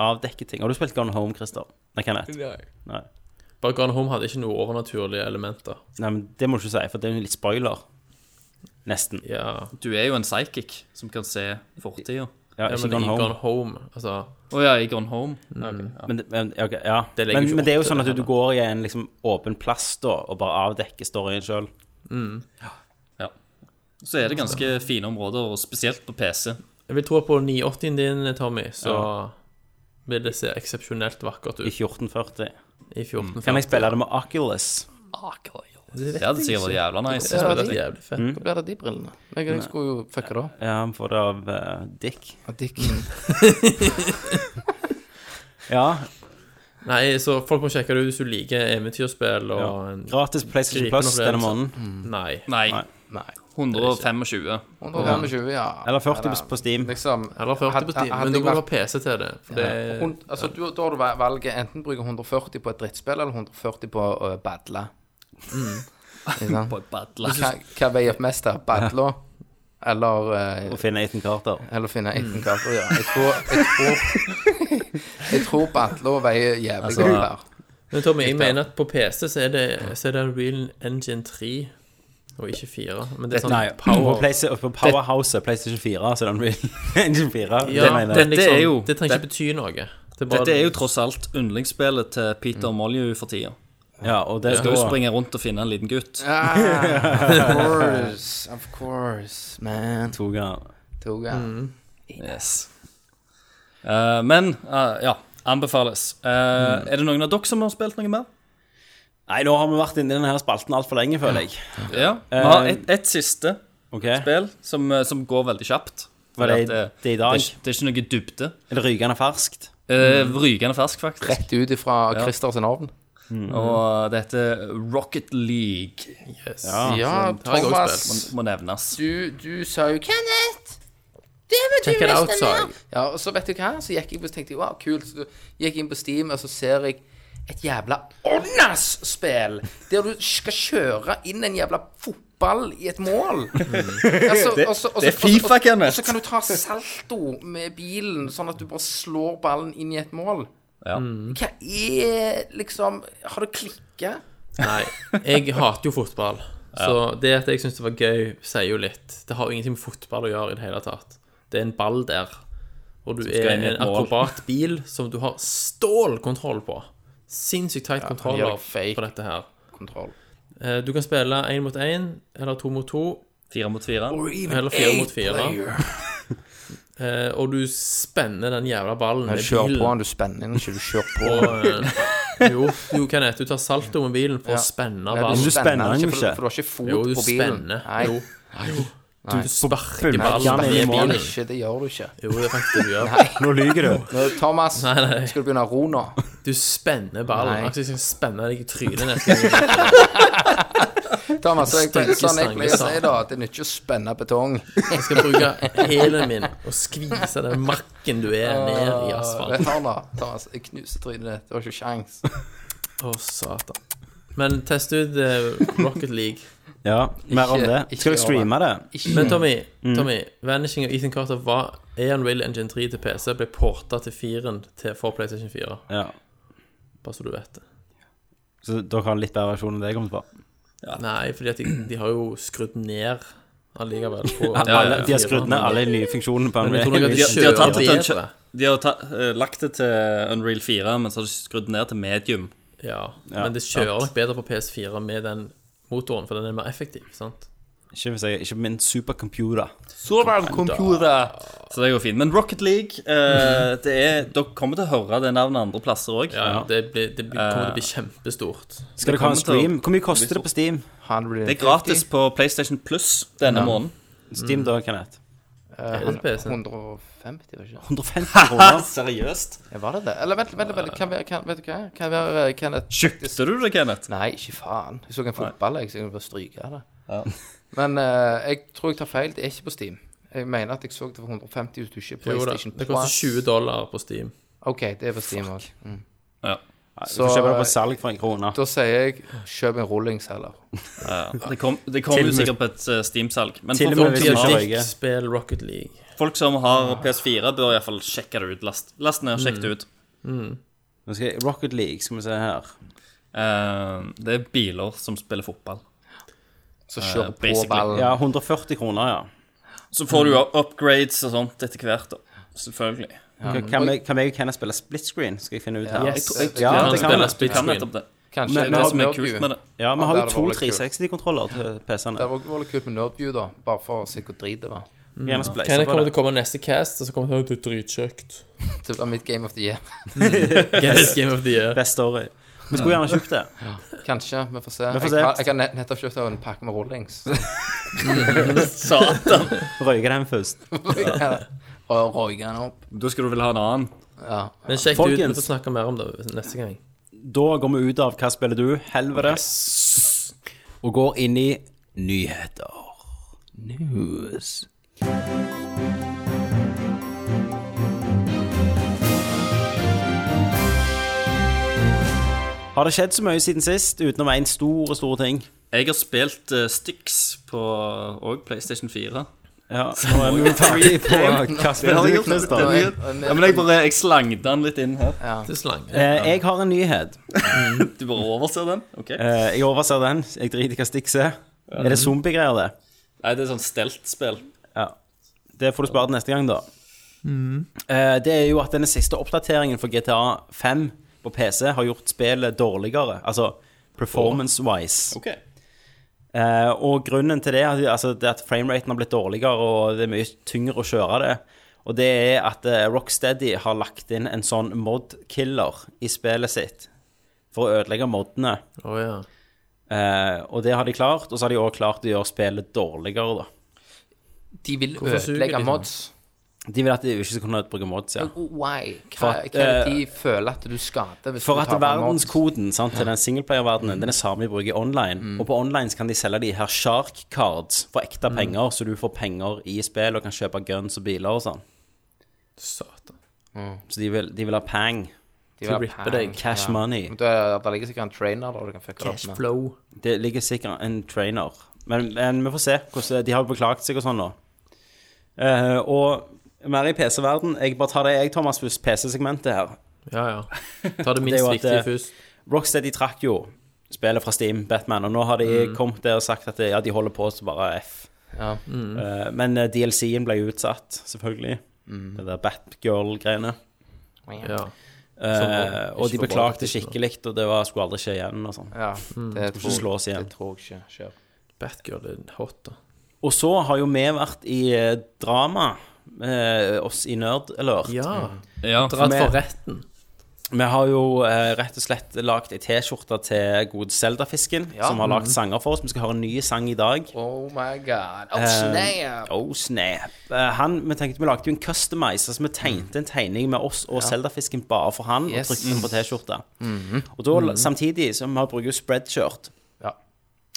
Speaker 1: avdekker ting. Har du spilt Gone Home, Christer? Nei, Kenneth. Nei.
Speaker 4: Bare Gone Home hadde ikke noe overnaturlige elementer.
Speaker 1: Nei, men det må du ikke si, for det er jo litt spoiler. Nesten.
Speaker 4: Ja,
Speaker 3: Du er jo en psychic som kan se fortida.
Speaker 1: Ja,
Speaker 4: ja
Speaker 1: ikke
Speaker 4: men i
Speaker 1: Gone Home.
Speaker 4: Gone Home, altså
Speaker 3: Å ja, i Gone Home.
Speaker 1: Men, men, ja, ok, ja.
Speaker 4: Det legger
Speaker 1: men,
Speaker 4: ikke
Speaker 1: men det er jo
Speaker 4: opp til
Speaker 1: sånn at
Speaker 4: det
Speaker 1: du går i en liksom, åpen plass da, og bare avdekker storyen sjøl.
Speaker 3: Så er det ganske fine områder, og spesielt på PC.
Speaker 4: Jeg vil tro på 980-en din, Tommy, så vil det se eksepsjonelt vakkert
Speaker 1: I
Speaker 4: ut
Speaker 1: 1440.
Speaker 4: i 14
Speaker 1: Kan jeg spille det med Oculus?
Speaker 3: Det hadde sikkert vært jævla nice.
Speaker 2: Ja,
Speaker 4: Det
Speaker 2: det
Speaker 4: er jævlig fett.
Speaker 2: Da blir det de brillene. Jeg, jeg skulle jo fucke det opp.
Speaker 1: Ja, vi får det av eh, Dick.
Speaker 2: Ja, Dick.
Speaker 4: *laughs*
Speaker 1: Ja.
Speaker 4: Nei, så folk må sjekke det ut hvis du liker eventyrspill og en...
Speaker 1: Gratis på PlayStation
Speaker 4: Gripen
Speaker 1: Plus
Speaker 4: opplevelse.
Speaker 1: denne
Speaker 4: Mm.
Speaker 1: måneden.
Speaker 4: Nei.
Speaker 3: Nei.
Speaker 1: Nei.
Speaker 2: Nei.
Speaker 3: 125.
Speaker 2: 125, ja.
Speaker 1: Eller 40 på Steam.
Speaker 2: Liksom
Speaker 4: Eller 40 på Steam, men da må du ha PC til det. For det
Speaker 2: Hun, altså, du, da har du valget enten bruke 140 på et drittspill eller 140 på å badle. Ikke sant?
Speaker 3: På et battle.
Speaker 2: Hva, hva veier opp mest her? Badle eller, eh,
Speaker 1: Og finne Ethan Carter.
Speaker 2: eller finne Ethan Carter? Ja. Jeg tror, jeg tror, jeg tror badle veier jævlig godt her.
Speaker 4: Men Tommy, jeg mener at på PC så er det, så er det Real Engine 3 og ikke 4. Men det er sånn
Speaker 1: Nei, på,
Speaker 4: power...
Speaker 1: Playsta- på Powerhouse PlayStation 4, så den blir *laughs* Engine 4.
Speaker 4: Ja,
Speaker 1: det mener
Speaker 4: det,
Speaker 1: jeg.
Speaker 4: liksom,
Speaker 3: Dette er jo-
Speaker 4: det trenger ikke bety noe. Det er bare-
Speaker 3: Dette er jo tross alt yndlingsspillet til Peter Molyu for tida.
Speaker 1: Ja, og det
Speaker 3: Skal jo
Speaker 1: da-
Speaker 3: springe rundt og finne en liten gutt.
Speaker 2: Ah, of course, of course, man.
Speaker 1: to ganger.
Speaker 2: Toga.
Speaker 3: Yes. Eh, men eh, ja, anbefales. Eh, Er det noen av dere som har spilt noe mer?
Speaker 1: Nei, nå har vi vært inni denne her spalten altfor lenge, føler jeg.
Speaker 3: Ja. Eh, Vi har ett et siste
Speaker 1: Ok,
Speaker 3: spill som, eh, som går veldig kjapt.
Speaker 1: Var
Speaker 3: Fordi
Speaker 1: det,
Speaker 3: at det,
Speaker 1: det er i
Speaker 3: det, er,
Speaker 1: dag?
Speaker 3: ikke- det er ikke noe dybde.
Speaker 1: Er det rykende ferskt?
Speaker 3: Eh, Rykende fersk, faktisk.
Speaker 2: Rett ut ifra Christer sin ovn.
Speaker 3: Og eh, det heter Rocket League.
Speaker 4: Yes.
Speaker 2: Ja,
Speaker 4: det har jeg også
Speaker 2: Thomas.
Speaker 3: Må, må nevnes.
Speaker 2: du, du sa jo Kenneth! Det må du
Speaker 4: Check it out,
Speaker 2: nesten
Speaker 4: sa
Speaker 2: gjøre!»
Speaker 4: jeg.
Speaker 2: Ja, og så vet du hva? Så gikk jeg på, så tenkte jeg, wow, kult. Så gikk jeg inn på Steam, og så ser jeg et jævla Onnas-spill! Der du skal kjøre inn en jævla fotball i et mål.
Speaker 3: *laughs*
Speaker 2: Altså, og så- og så-
Speaker 3: det er
Speaker 2: og så- og-
Speaker 3: FIFA, Kenneth.
Speaker 2: Og så kan du ta salto med bilen, sånn at du bare slår ballen inn i et mål. Mm.
Speaker 3: Ja.
Speaker 2: Hva er liksom Har det klikka?
Speaker 4: Nei, jeg hater jo fotball. Så det at jeg syns det var gøy, sier jo litt. Det har jo ingenting med fotball å gjøre i det hele tatt. Det er en ball der, og du er
Speaker 3: inn i et
Speaker 4: en
Speaker 3: mål.
Speaker 4: akrobatbil som du har stålkontroll på. Sinnssykt tight
Speaker 2: gjør
Speaker 4: kontroller
Speaker 2: deg fake.
Speaker 4: på dette her.
Speaker 2: Kontroll.
Speaker 4: Eh, Du kan spille én mot én, eller to mot to,
Speaker 3: Fire mot fire.
Speaker 4: eller fire mot fire. Eh, Og du spenner den jævla ballen
Speaker 2: Du
Speaker 4: med
Speaker 2: kjører på
Speaker 4: bilen.
Speaker 2: den, du spenner den ikke, du kjører på.
Speaker 4: Og, *laughs* eh, jo, du kan det. Du tar salto med bilen for
Speaker 2: Ja.
Speaker 4: å spenne
Speaker 2: Nei,
Speaker 4: ballen.
Speaker 1: du spenner den jo
Speaker 2: for,
Speaker 1: ikke.
Speaker 2: for du har ikke fot
Speaker 4: Jo, du
Speaker 2: på bilen.
Speaker 4: spenner.
Speaker 2: Nei,
Speaker 4: Jo. Jo. Du, du sparker
Speaker 1: Nei,
Speaker 4: ballen
Speaker 1: Jan er
Speaker 4: ned i
Speaker 1: i mål.
Speaker 2: det,
Speaker 4: bilen.
Speaker 2: ikke, det gjør du ikke.
Speaker 4: Jo, det er faktisk det du gjør.
Speaker 1: Nå lyver du.
Speaker 2: Nå, Thomas,
Speaker 4: Nei, nei.
Speaker 2: skal du begynne å ro nå?
Speaker 4: Du spenner ballen.
Speaker 2: Nei.
Speaker 4: Altså, jeg skal spenne deg i trynet neste gang.
Speaker 2: Thomas, jeg,
Speaker 4: Stinker
Speaker 2: sånn jeg
Speaker 4: stange,
Speaker 2: pleier å
Speaker 4: sa
Speaker 2: si
Speaker 4: han.
Speaker 2: da, at det nytter ikke å spenne betong.
Speaker 4: Jeg skal bruke hælen min og skvise den makken du er, ned i
Speaker 2: Det
Speaker 4: asfalten.
Speaker 2: tar da, Thomas. Jeg knuser trynet ditt. Det var ikke sjans.
Speaker 4: Å, satan. Men test ut eh, Rocket League.
Speaker 1: *laughs* Ja, mer om
Speaker 2: Ikke-
Speaker 1: det.
Speaker 2: ikke
Speaker 1: Skal jeg streame det?
Speaker 4: Men Tommy, Tommy Vanishing av Ethan Carter var er en Real Engine 3 til PC, ble porta til 4-en til for PlayStation 4.
Speaker 1: Ja.
Speaker 4: Bare så du vet det.
Speaker 1: Så dere har en litt bedre versjon enn det jeg kommer på?
Speaker 4: Nei, fordi at de, de har jo skrudd ned allikevel. på-
Speaker 1: Alle, de har skrudd ned alle de nye funksjonene på
Speaker 4: Men jeg tror nok at
Speaker 1: en
Speaker 4: de
Speaker 3: De, de har, tatt det til, en
Speaker 4: bedre.
Speaker 3: kjø- de har ta, eh, lagt det til Unreal 4, men så har de skrudd ned til medium.
Speaker 4: Ja, men det kjører nok bedre på PS4 med den motoren, for den er mer effektiv, sant?
Speaker 1: Ikke hvis jeg Ikke min supercomputer.
Speaker 3: Så det går fint. Men Rocket League eh, det er, Dere kommer til å høre det navnet andre plasser
Speaker 4: Eh,
Speaker 3: òg.
Speaker 4: Ja, Det, blir, det blir, kommer til å bli kjempestort.
Speaker 1: Skal dere ha en
Speaker 3: kommer til å- Mm.
Speaker 1: stream? Hvor mye koster det på Steam?
Speaker 2: 150.
Speaker 3: Det er gratis på PlayStation Plus denne måneden.
Speaker 1: Steam da,
Speaker 3: *laughs*
Speaker 1: Kenneth.
Speaker 2: Eh,
Speaker 4: det på PC?
Speaker 2: 150, var det ikke?
Speaker 1: 150 kroner.
Speaker 3: seriøst?
Speaker 2: Ja, Var det det? Eller vent, vent, vent, kan, være- kan, vet du hva? Kan være eh, Kenneth
Speaker 3: Kjøpte du det, Kenneth?
Speaker 2: Nei, ikke faen. Jeg så en fotball, jeg, så jeg bare stryke det.
Speaker 3: Ja.
Speaker 2: Men eh, jeg tror jeg tar feil. Det er ikke på Steam. Jeg mener at jeg så det for 150 hvis du ikke er
Speaker 4: Jo da,
Speaker 2: PlayStation
Speaker 4: det koster 20 dollar på Steam.
Speaker 2: OK, det er på Steam òg. Mm.
Speaker 3: Ja.
Speaker 1: Du får kjøpe det på salg for en krone.
Speaker 2: Da sier jeg kjøp en rullings heller.
Speaker 3: Det kom, det kom
Speaker 1: Til og
Speaker 3: jo
Speaker 1: med-
Speaker 3: sikkert på et eh, Steam-salg. Men
Speaker 1: Til og
Speaker 3: for
Speaker 1: med
Speaker 3: folk
Speaker 1: hvis
Speaker 3: som,
Speaker 1: du
Speaker 3: har,
Speaker 1: ikke
Speaker 4: Dick spiller Rocket League.
Speaker 3: folk som har PS4, bør iallfall sjekke det ut. Last, last ned og sjekk det ut.
Speaker 1: Nå skal jeg, Rocket League, skal vi se her.
Speaker 3: Eh, det er biler som spiller fotball.
Speaker 2: Så kjør på
Speaker 3: basically.
Speaker 2: ballen.
Speaker 1: Ja, 140 kroner, ja.
Speaker 3: Så får du jo upgrades og sånt etter hvert, da. Selvfølgelig.
Speaker 1: Kan- Kan vi- kan jeg og Kenneth spille split screen? Skal jeg finne ut her.
Speaker 2: Ja,
Speaker 1: Jeg tror-
Speaker 2: jeg-
Speaker 1: ja,
Speaker 4: Han
Speaker 1: det kan
Speaker 4: spiller
Speaker 1: vi.
Speaker 3: Du kan
Speaker 4: split screen.
Speaker 3: nettopp det.
Speaker 2: Kanskje
Speaker 3: Det
Speaker 1: Men-
Speaker 3: er
Speaker 1: men
Speaker 3: det
Speaker 1: har
Speaker 3: som er kult med det.
Speaker 1: Ja, vi har
Speaker 2: Ja,
Speaker 1: jo
Speaker 2: det
Speaker 1: to
Speaker 2: var litt kult.
Speaker 1: 360-kontroller til PC-ene.
Speaker 2: Det var det var litt kult med Nerdview, da. Bare for å se hvor drit det var.
Speaker 1: Gjerne spleise
Speaker 4: Kenneth
Speaker 1: på
Speaker 4: kommer til
Speaker 1: det.
Speaker 4: å komme neste cast, og så kommer han til å være *laughs* dritkjøkt.
Speaker 2: Det var mitt game of the year. *laughs*
Speaker 4: Yes, Game of the
Speaker 1: *laughs*
Speaker 4: Year.
Speaker 1: Best story. Vi skulle gjerne kjøpt det.
Speaker 2: Kanskje. Vi får se.
Speaker 1: Vi får se.
Speaker 2: Jeg, har- jeg har nett- nettopp kjøpt en pakke med rullings. *laughs*
Speaker 3: Satan.
Speaker 1: Røyke den først.
Speaker 2: Og røyke den opp.
Speaker 3: Da skal du vel ha en annen.
Speaker 2: Ja.
Speaker 4: Men sjekk det ut,
Speaker 1: Folkens.
Speaker 4: vi får snakke mer om det neste gang.
Speaker 1: Da går vi ut av 'Hva spiller du?' helvetes, og går inn i nyheter. News. Har det skjedd så mye siden sist, utenom én stor, stor ting?
Speaker 3: Jeg har spilt eh, Styx på og PlayStation 4.
Speaker 1: Ja, nå er vi *laughs* jo ferdig på hva spiller du, Christer?
Speaker 2: er-
Speaker 3: Ja, men jeg bare jeg slangte den litt inn her.
Speaker 4: Til slange.
Speaker 1: Eh, Jeg har en nyhet.
Speaker 3: Du bare overser den? Ok
Speaker 1: Eh, Jeg overser den. Jeg driter i hva Stix er. Er det zombiegreier, det?
Speaker 3: Nei, det er sånn stelt-spill.
Speaker 1: Ja. Det får du spare til neste gang, da. Eh, Det er jo at denne siste oppdateringen for GTA 5 på PC har gjort spillet dårligere. Altså performance-wise.
Speaker 3: Ok
Speaker 1: Eh, Og grunnen til det er at- altså, det er at frameraten har blitt dårligere, og det er mye tyngre å kjøre det. Og det er at eh, Rocksteady har lagt inn en sånn mod-killer i spillet sitt for å ødelegge modene.
Speaker 4: Å ja.
Speaker 1: Eh, og det har de klart, og så har de også klart å gjøre spillet dårligere, da.
Speaker 2: De vil
Speaker 4: Hvorfor suger de
Speaker 2: ødelegge
Speaker 4: sånn?
Speaker 2: mods.
Speaker 1: De vil at de ikke skal kunne bruke mods, ja.
Speaker 2: Why?
Speaker 1: For
Speaker 2: Hva,
Speaker 1: at, eh,
Speaker 2: hva er det de føler at du skader hvis
Speaker 1: For
Speaker 2: du
Speaker 1: at
Speaker 2: tar på mods?
Speaker 1: verdenskoden sant, til den singleplayer-verdenen, den er samme vi bruker online. Og på online så kan de selge de her shark cards for ekte penger, så du får penger i spill og kan kjøpe guns og biler og sånn.
Speaker 4: Satan.
Speaker 1: Så de vil, de vil ha pang.
Speaker 2: De vil ha
Speaker 4: ripper
Speaker 2: pang.
Speaker 4: deg.
Speaker 1: Cash
Speaker 2: Ja.
Speaker 1: money.
Speaker 2: Men Det, det ligger sikkert en trainer der du kan fucke det opp med.
Speaker 4: Cashflow.
Speaker 1: Det ligger sikkert en trainer. Men, men vi får se. Hvordan, de har jo beklaget seg og sånn nå. Eh, og mer i PC-verden. Jeg bare tar det jeg, Thomas, først. PC-segmentet her.
Speaker 4: Ja,
Speaker 1: *laughs*
Speaker 4: ja. Ta det minst
Speaker 1: Det er jo at,
Speaker 4: viktige
Speaker 1: eh,
Speaker 4: først.
Speaker 1: Rocksteady trakk jo spillet fra Steam, Batman, og nå har de kommet der og sagt at ja, de holder på så bare F.
Speaker 2: Ja.
Speaker 1: Eh, Men eh, DLC-en ble jo utsatt, selvfølgelig.
Speaker 4: Mm.
Speaker 1: Det der Batgirl-greiene.
Speaker 4: Ja.
Speaker 1: Eh, og de
Speaker 4: ikke
Speaker 1: beklagte
Speaker 4: forberedt,
Speaker 1: skikkelig, og det var, skulle aldri skje igjen. Og sånn.
Speaker 2: ja. Det
Speaker 1: Skulle ikke
Speaker 2: tror,
Speaker 1: slås igjen.
Speaker 2: det tror jeg ikke skjer.
Speaker 4: Batgirl er hot, da.
Speaker 1: Og så har jo vi vært i eh, drama, eh, oss i Nerd Alert.
Speaker 4: Ja.
Speaker 3: Ja,
Speaker 4: Dratt
Speaker 1: Med-
Speaker 4: for retten.
Speaker 1: Vi har jo eh, rett og slett lagd ei T-skjorte til god Zelda-fisken,
Speaker 2: Ja.
Speaker 1: som har
Speaker 4: Mm.
Speaker 1: lagd sanger for oss. Vi skal høre en ny sang i dag.
Speaker 2: Oh my god. Oh,
Speaker 1: Eh,
Speaker 2: snap.
Speaker 1: Oh snap. Eh, han, vi tenkte vi lagde jo en customizer, så vi tegnte en tegning med oss og Zelda-fisken bare for han,
Speaker 2: Yes.
Speaker 1: og trykte den på T-skjorta.
Speaker 4: Mhm.
Speaker 1: Og da, samtidig som vi har bruker jo spreadshirt,
Speaker 2: Ja.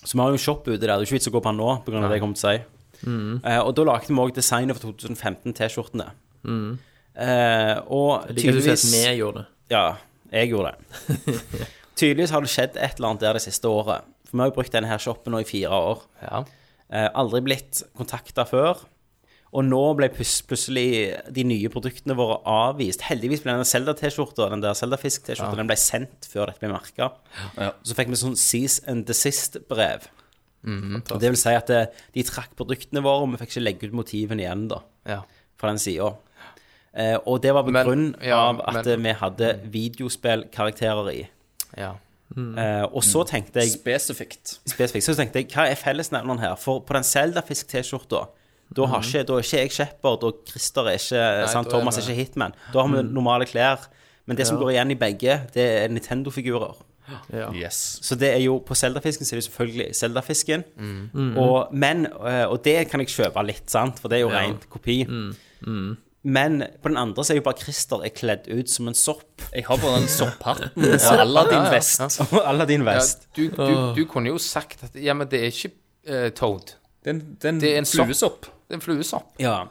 Speaker 1: så vi har jo en shop ute der, det er jo ikke vits å gå på han nå, på grunn av det jeg kommer til å si.
Speaker 4: Mhm.
Speaker 1: Eh, og da lagde vi også designet for 2015-T-skjortene. Eh, og
Speaker 4: Mhm. Liker du at
Speaker 1: tydeligvis
Speaker 4: vi gjorde det?
Speaker 1: Ja, jeg gjorde det.
Speaker 4: *laughs*
Speaker 1: tydeligvis har det skjedd et eller annet der det siste året. For vi har jo brukt denne her shoppen nå i fire år.
Speaker 2: ja.
Speaker 1: Eh, aldri blitt kontakta før. Og nå ble pus- plutselig de nye produktene våre avvist. Heldigvis ble den Zelda-T-skjorta den der Zelda-fisk-T-skjorta, den ble sendt før dette ble merka.
Speaker 3: Ja.
Speaker 1: Så fikk vi sånn cease and desist-brev.
Speaker 2: Mhm,
Speaker 1: Og det vil si at eh, de trakk produktene våre, og vi fikk ikke legge ut motivene igjen da,
Speaker 2: ja.
Speaker 1: fra den sida. Eh, og det var på
Speaker 2: Men-
Speaker 1: grunn
Speaker 2: ja,
Speaker 1: av at
Speaker 2: men-
Speaker 1: eh, vi hadde videospillkarakterer i.
Speaker 2: ja. Mm.
Speaker 1: Eh, og så tenkte jeg
Speaker 3: spesifikt.
Speaker 1: spesifikt, så tenkte jeg, hva er fellesnevneren her? For på den Zelda-fisk-T-skjorta, da, har ikke, da er ikke jeg Shepherd, og Christer er ikke sant,
Speaker 2: da er
Speaker 1: Thomas
Speaker 2: vi-
Speaker 1: er ikke Hitman. Da har vi normale klær. Men det som går igjen i begge, det er Nintendo-figurer.
Speaker 4: Ja.
Speaker 3: Yes.
Speaker 1: Så det er jo på Zeldafisken så er det selvfølgelig Zeldafisken. Og, men, eh, og det kan jeg kjøpe litt, sant? for det er jo rent kopi. Men på den andre så er jo bare Christer er kledd ut som en sopp.
Speaker 3: Jeg har på den
Speaker 1: *laughs*
Speaker 3: sopphatten og Aladdin-vest.
Speaker 1: Og Aladdin
Speaker 2: Ja,
Speaker 1: Vest.
Speaker 2: du, du, du kunne jo sagt at Ja, men det er ikke eh, Toad.
Speaker 3: Det er en- det
Speaker 2: Det
Speaker 3: er
Speaker 2: er
Speaker 3: en
Speaker 2: en sopp.
Speaker 3: fluesopp.
Speaker 2: Det er en fluesopp.
Speaker 1: Ja.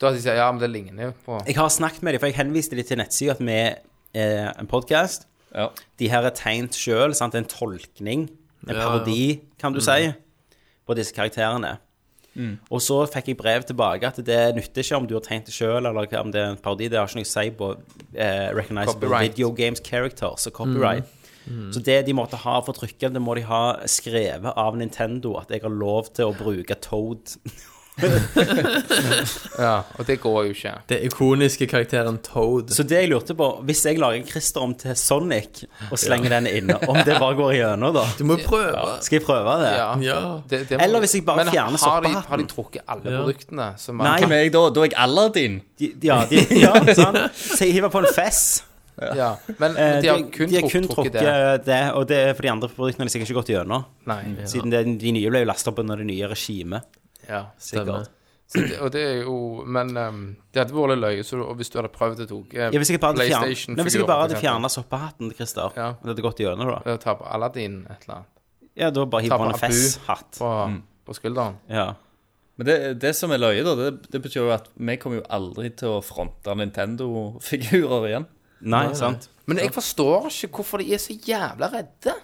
Speaker 2: Da hadde de sagt ja, men det ligner jo på
Speaker 1: Jeg har snakket med dem, for jeg henviste dem til nettsida at vi er en podkast.
Speaker 3: Ja.
Speaker 1: De her er tegnet sjøl, sant? en tolkning, en parodi, kan du si, på disse karakterene. Og så fikk jeg brev tilbake at det nytter ikke om du har tegnet det sjøl, eller om det er en parodi. Det har ikke noe å si på eh, recognizable
Speaker 2: Copyright.
Speaker 1: video games characters og copyright. Så det de måtte ha for trykket, det må de ha skrevet av Nintendo at jeg har lov til å bruke Toad.
Speaker 2: Ja, og det går jo ikke.
Speaker 4: Det ikoniske karakteren Toad.
Speaker 1: Så det jeg lurte på, hvis jeg lager Christer om til Sonic og slenger den inne, om det bare går gjennom, da?
Speaker 4: Du må prøve.
Speaker 1: Skal jeg prøve altså. det?
Speaker 2: Ja.
Speaker 4: Ja.
Speaker 2: Det, det
Speaker 1: Eller hvis jeg bare
Speaker 2: men
Speaker 1: fjerner
Speaker 2: har de,
Speaker 1: soppehatten.
Speaker 2: har de trukket alle produktene? Som man-
Speaker 1: Nei.
Speaker 3: Hvem er jeg da? Da er jeg Aladdin.
Speaker 1: De, ja, de, ja, sant? Så jeg hiver på en fess.
Speaker 2: Ja. Men
Speaker 1: Eh,
Speaker 2: de har kun,
Speaker 1: de har kun
Speaker 2: trukket
Speaker 1: trukket
Speaker 2: det.
Speaker 1: det. og det er for de andre produktene har de sikkert ikke gått gjennom.
Speaker 2: Nei.
Speaker 1: Siden det, de nye ble jo lasta opp under det nye regimet.
Speaker 2: Ja.
Speaker 4: Stemmer.
Speaker 1: sikkert.
Speaker 2: Så det, og det er jo Men ehm, det hadde vært løye så, og hvis du hadde prøvd eh, å ta
Speaker 1: Ja, hvis jeg bare hadde fjern- Nei, hvis jeg bare hadde
Speaker 2: fjerna
Speaker 1: fjerna soppehatten til Christer,
Speaker 2: Ja.
Speaker 1: og det hadde gått gjennom, da
Speaker 2: Ta på Aladdin et eller annet
Speaker 1: Ja, da bare hiver
Speaker 2: Ta
Speaker 1: på en
Speaker 2: på Abu.
Speaker 1: fess-hatt.
Speaker 2: på, på skulderen.
Speaker 1: Ja.
Speaker 3: Men det, det som er løye, da, det, det betyr jo at vi kommer jo aldri til å fronte Nintendo-figurer igjen.
Speaker 1: Nei, sant?
Speaker 2: Men jeg forstår ikke hvorfor de er så jævla redde.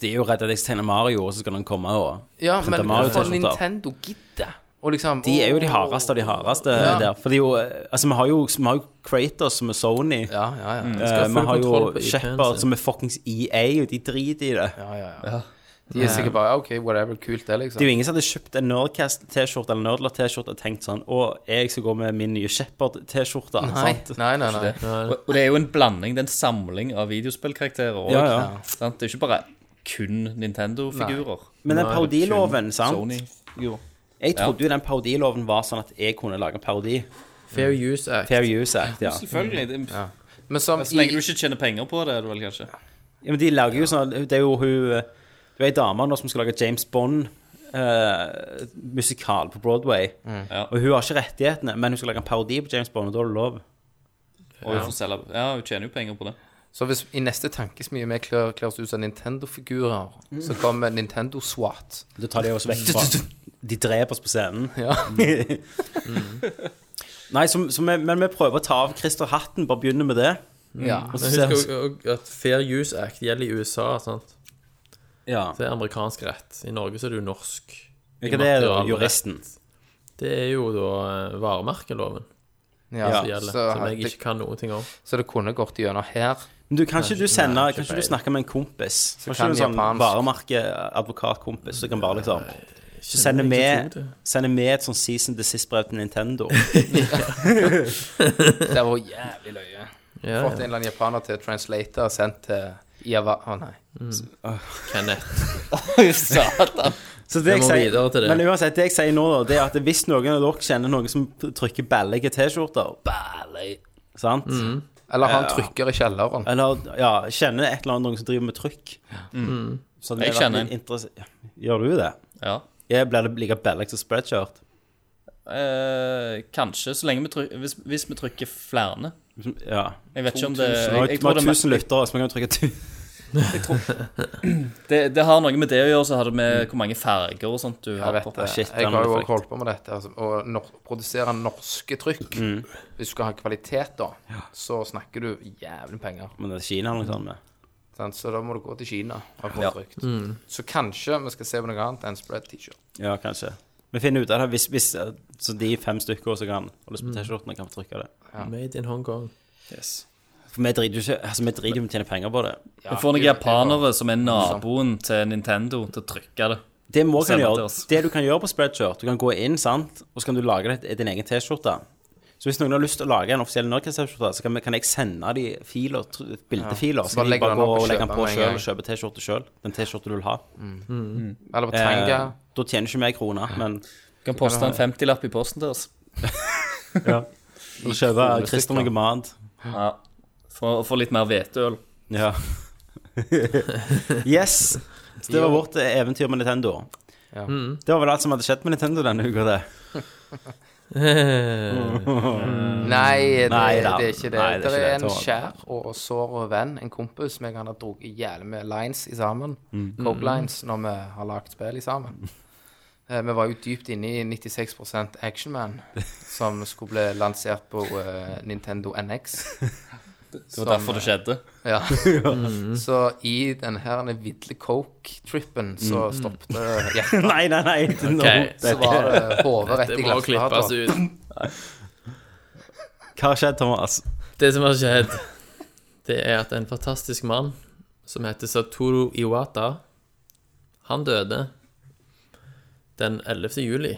Speaker 1: De er jo redd at jeg tegner Mario, og så skal han komme og
Speaker 2: Ja,
Speaker 1: Printe
Speaker 2: men
Speaker 1: Mario
Speaker 2: hvorfor
Speaker 1: T-skjorter.
Speaker 2: Nintendo gidder? Og liksom
Speaker 1: De er jo de
Speaker 2: åh.
Speaker 1: hardeste av de hardeste der. For de er jo Altså, vi har jo, vi har jo Kratos som er Sony.
Speaker 2: Ja, ja, ja.
Speaker 1: Eh,
Speaker 4: full
Speaker 1: Vi har
Speaker 4: kontroll på
Speaker 1: jo
Speaker 4: IP-en
Speaker 1: Shepard
Speaker 4: sin.
Speaker 1: som er fuckings EA, og de driter i det.
Speaker 2: ja, ja, ja. De er sikkert bare OK, whatever, kult det, liksom.
Speaker 1: Det er jo ingen som hadde kjøpt en Nerdcast-T-skjorte eller Nerdler-T-skjorte og tenkt sånn Å, jeg skal gå med min nye Shepherd-T-skjorte.
Speaker 2: Nei,
Speaker 1: sant?
Speaker 2: nei, nei. nei.
Speaker 3: Og, og det er jo en blanding, det er en samling av videospillkarakterer òg.
Speaker 1: Ja, ja.
Speaker 3: Det er ikke bare kun Nintendo-figurer.
Speaker 1: Men den parodiloven,
Speaker 3: Sony.
Speaker 1: sant? Jeg trodde jo den parodiloven var sånn at jeg kunne lage en parodi.
Speaker 4: Fair Use Act.
Speaker 1: Fair Use Act, ja.
Speaker 3: Selvfølgelig. Det,
Speaker 2: Men som
Speaker 1: Altså,
Speaker 3: Så lenge du
Speaker 2: i
Speaker 3: ikke tjener penger på det, er det vel kanskje.
Speaker 1: ja men de lager jo sånn Det er jo hun Det er ei dame nå som skal lage James Bond. eh, musikal på Broadway.
Speaker 3: Ja.
Speaker 1: Og hun har ikke rettighetene, men hun skal lage en parodi på James Bond, og da er det lov.
Speaker 3: Og hun får selge Ja, hun tjener jo penger på det.
Speaker 2: Så hvis i neste tankesmie vi kler, kler oss ut som Nintendo-figurer, så kommer Nintendo SWAT.
Speaker 1: Da tar de oss vekk fra De dreper oss på scenen.
Speaker 2: Ja.
Speaker 1: *laughs* Nei, som, som vi, men vi prøver å ta av Christer hatten, bare begynne med det.
Speaker 2: ja.
Speaker 1: Og så
Speaker 4: Men
Speaker 1: ser
Speaker 4: husk også at Fair Use Act gjelder i USA. sant?
Speaker 1: ja.
Speaker 4: Det er amerikansk rett. I Norge så er det jo norsk.
Speaker 1: Hva det er det,
Speaker 4: materialrett.
Speaker 1: juristen?
Speaker 4: Det er jo da eh, varemerkeloven
Speaker 2: Ja,
Speaker 4: som gjelder,
Speaker 2: så,
Speaker 4: som jeg
Speaker 2: det,
Speaker 4: ikke kan noen ting om.
Speaker 2: så det kunne gått gjennom her.
Speaker 1: Men du, kan ikke du sende
Speaker 4: nei, ikke
Speaker 1: Kan ikke
Speaker 4: feil.
Speaker 1: du snakke med en kompis? Kan ikke
Speaker 2: kan
Speaker 1: du en sånn
Speaker 2: japansk.
Speaker 1: varemerkeadvokatkompis som kan bare liksom Så sender vi
Speaker 4: Jeg tror det.
Speaker 1: sender vi et sånn season desist-brev til Nintendo.
Speaker 2: Det var jævlig løye.
Speaker 4: Ja,
Speaker 2: Fått en
Speaker 4: ja.
Speaker 2: eller annen japaner til translator og sendt til Iava... Å nei.
Speaker 4: Kenneth.
Speaker 3: Satan.
Speaker 1: *laughs* Så det
Speaker 4: Vi
Speaker 1: jeg
Speaker 4: må
Speaker 1: sier,
Speaker 4: videre til det.
Speaker 1: Men uansett, det jeg sier nå, da, det er at hvis noen av dere kjenner noen som trykker ballige T-skjorter Ballig. Sant?
Speaker 4: Mm.
Speaker 2: Eller han trykker i kjelleren.
Speaker 1: Eller ja, kjenner et eller annet noen som driver med trykk. Mm.
Speaker 4: Mm.
Speaker 1: Så det hadde
Speaker 3: Jeg
Speaker 1: vært
Speaker 3: kjenner en.
Speaker 1: litt interess- Gjør du det?
Speaker 3: Ja.
Speaker 1: Jeg blir det like bellig som spreadshirt.
Speaker 3: Eh, kanskje, så lenge vi trykker hvis, hvis vi trykker flere.
Speaker 1: Ja.
Speaker 3: Jeg vet ikke om
Speaker 1: Vi
Speaker 3: det jeg,
Speaker 1: har
Speaker 3: jeg tror det,
Speaker 1: 1000 lyttere, så vi kan trykke 1000.
Speaker 3: *clears throat* det, det har noe med det å gjøre, så har det med hvor mange farger og sånt du
Speaker 2: Jeg
Speaker 3: har
Speaker 2: vet
Speaker 3: på.
Speaker 2: det.
Speaker 1: shit,
Speaker 2: jeg
Speaker 1: den
Speaker 2: har
Speaker 1: er
Speaker 2: jo
Speaker 1: frekk.
Speaker 2: også holdt på med dette. Altså, å nor produsere norske trykk. Hvis du skal ha kvalitet, da, så snakker du jævlig penger.
Speaker 1: *laughs* Men det er Kina han er sammen med.
Speaker 2: Sant? Så da må du gå til Kina og få
Speaker 3: Ja.
Speaker 2: trykt. Så kanskje vi skal se på noe annet enn spread T-shirt.
Speaker 1: Ja, kanskje. Vi finner ut av det hvis, hvis eh, Så de fem stykker som kan holde
Speaker 4: Mm.
Speaker 1: på T-skjortene, kan få trykke det.
Speaker 4: Made in Hong Kong.
Speaker 1: For vi driter jo ikke Altså, vi driter jo om å tjene penger på det.
Speaker 3: Vi får noen japanere som er naboen til Nintendo, til å trykke det.
Speaker 1: Det må
Speaker 3: Send
Speaker 1: kan
Speaker 3: det til
Speaker 1: gjøre,
Speaker 3: oss.
Speaker 1: det du kan gjøre på Spreadshirt, du kan gå inn, sant, og så kan du lage ditt, din egen T-skjorte. Så hvis noen har lyst til å lage en offisiell Nerdcast-T-skjorte, så kan, vi, kan jeg sende de filer, tr- bildefiler, så
Speaker 2: bare
Speaker 1: kan de
Speaker 2: legger
Speaker 1: bare
Speaker 2: den
Speaker 1: gå
Speaker 2: opp og
Speaker 1: og legge
Speaker 2: kjøper
Speaker 1: den på
Speaker 2: den med en
Speaker 1: sjøl og kjøpe T-skjorte sjøl. Den T-skjorta du vil ha.
Speaker 2: Eller på
Speaker 1: Eh,
Speaker 2: Tanga.
Speaker 1: da tjener ikke vi ei krone, men
Speaker 3: Du kan poste en 50-lapp i posten til oss.
Speaker 1: ja. kjøpe
Speaker 2: kronestykker.
Speaker 1: Christer noe mat.
Speaker 2: *laughs*
Speaker 3: Ja. For å få litt mer hveteøl.
Speaker 1: Ja. Yes! Så det var vårt eventyr med Nintendo.
Speaker 2: Ja.
Speaker 3: Mm.
Speaker 1: Det var vel alt som hadde skjedd med Nintendo denne uka, det.
Speaker 2: Nei, det,
Speaker 1: Nei
Speaker 2: det
Speaker 1: da.
Speaker 2: er ikke det.
Speaker 1: Nei, det er ikke
Speaker 2: det er
Speaker 1: det.
Speaker 2: en
Speaker 1: Tårn.
Speaker 2: kjær og sår og venn, en kompis som jeg har drukket jævlig med lines i sammen. Coke lines når vi har lagd spill i sammen. Eh, Vi var jo dypt inne i 96 Action Man, som skulle bli lansert på eh, Nintendo NX.
Speaker 3: Det var derfor det skjedde.
Speaker 2: Sånn, Ja. Så i den her vidle coke-trippen så stoppet eh, hjertet.
Speaker 1: *laughs* Nei, nei, nei. Okay.
Speaker 2: Så var det hodet rett
Speaker 4: Det
Speaker 2: i
Speaker 4: må klippes
Speaker 2: glassflata.
Speaker 4: ut.
Speaker 1: Hva har skjedd, Thomas?
Speaker 4: Det som har skjedd, det er at en fantastisk mann som heter Satoru Iwata, han døde den 11. juli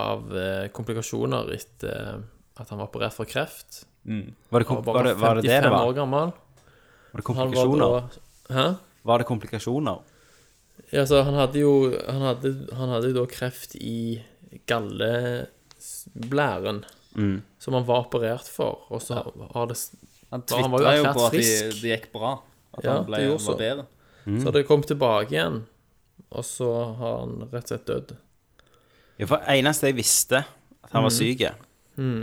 Speaker 4: av eh, komplikasjoner etter eh, at han var operert for kreft.
Speaker 1: Var det, kom-
Speaker 4: Han var
Speaker 1: var
Speaker 4: bare
Speaker 1: det, var det, det,
Speaker 4: 55
Speaker 1: det var?
Speaker 4: år gammel.
Speaker 1: var det
Speaker 4: Han var da
Speaker 1: komplikasjoner?
Speaker 4: Hæ?
Speaker 1: Var det komplikasjoner?
Speaker 4: Ja, så han hadde jo Han hadde, han hadde jo da kreft i galleblæren,
Speaker 1: Mm.
Speaker 4: som han var operert for, og så har det
Speaker 3: Han
Speaker 4: Ja, han var jo
Speaker 3: tvitra jo
Speaker 4: erklært
Speaker 3: på at det
Speaker 4: frisk.
Speaker 3: de gikk bra. At
Speaker 4: Ja,
Speaker 3: han ble,
Speaker 4: det gjorde så.
Speaker 3: var bedre.
Speaker 1: Mm.
Speaker 4: Så hadde det kommet tilbake igjen, og så har han rett og slett dødd.
Speaker 1: Ja, for eneste jeg visste at
Speaker 4: Mm.
Speaker 1: han var syk,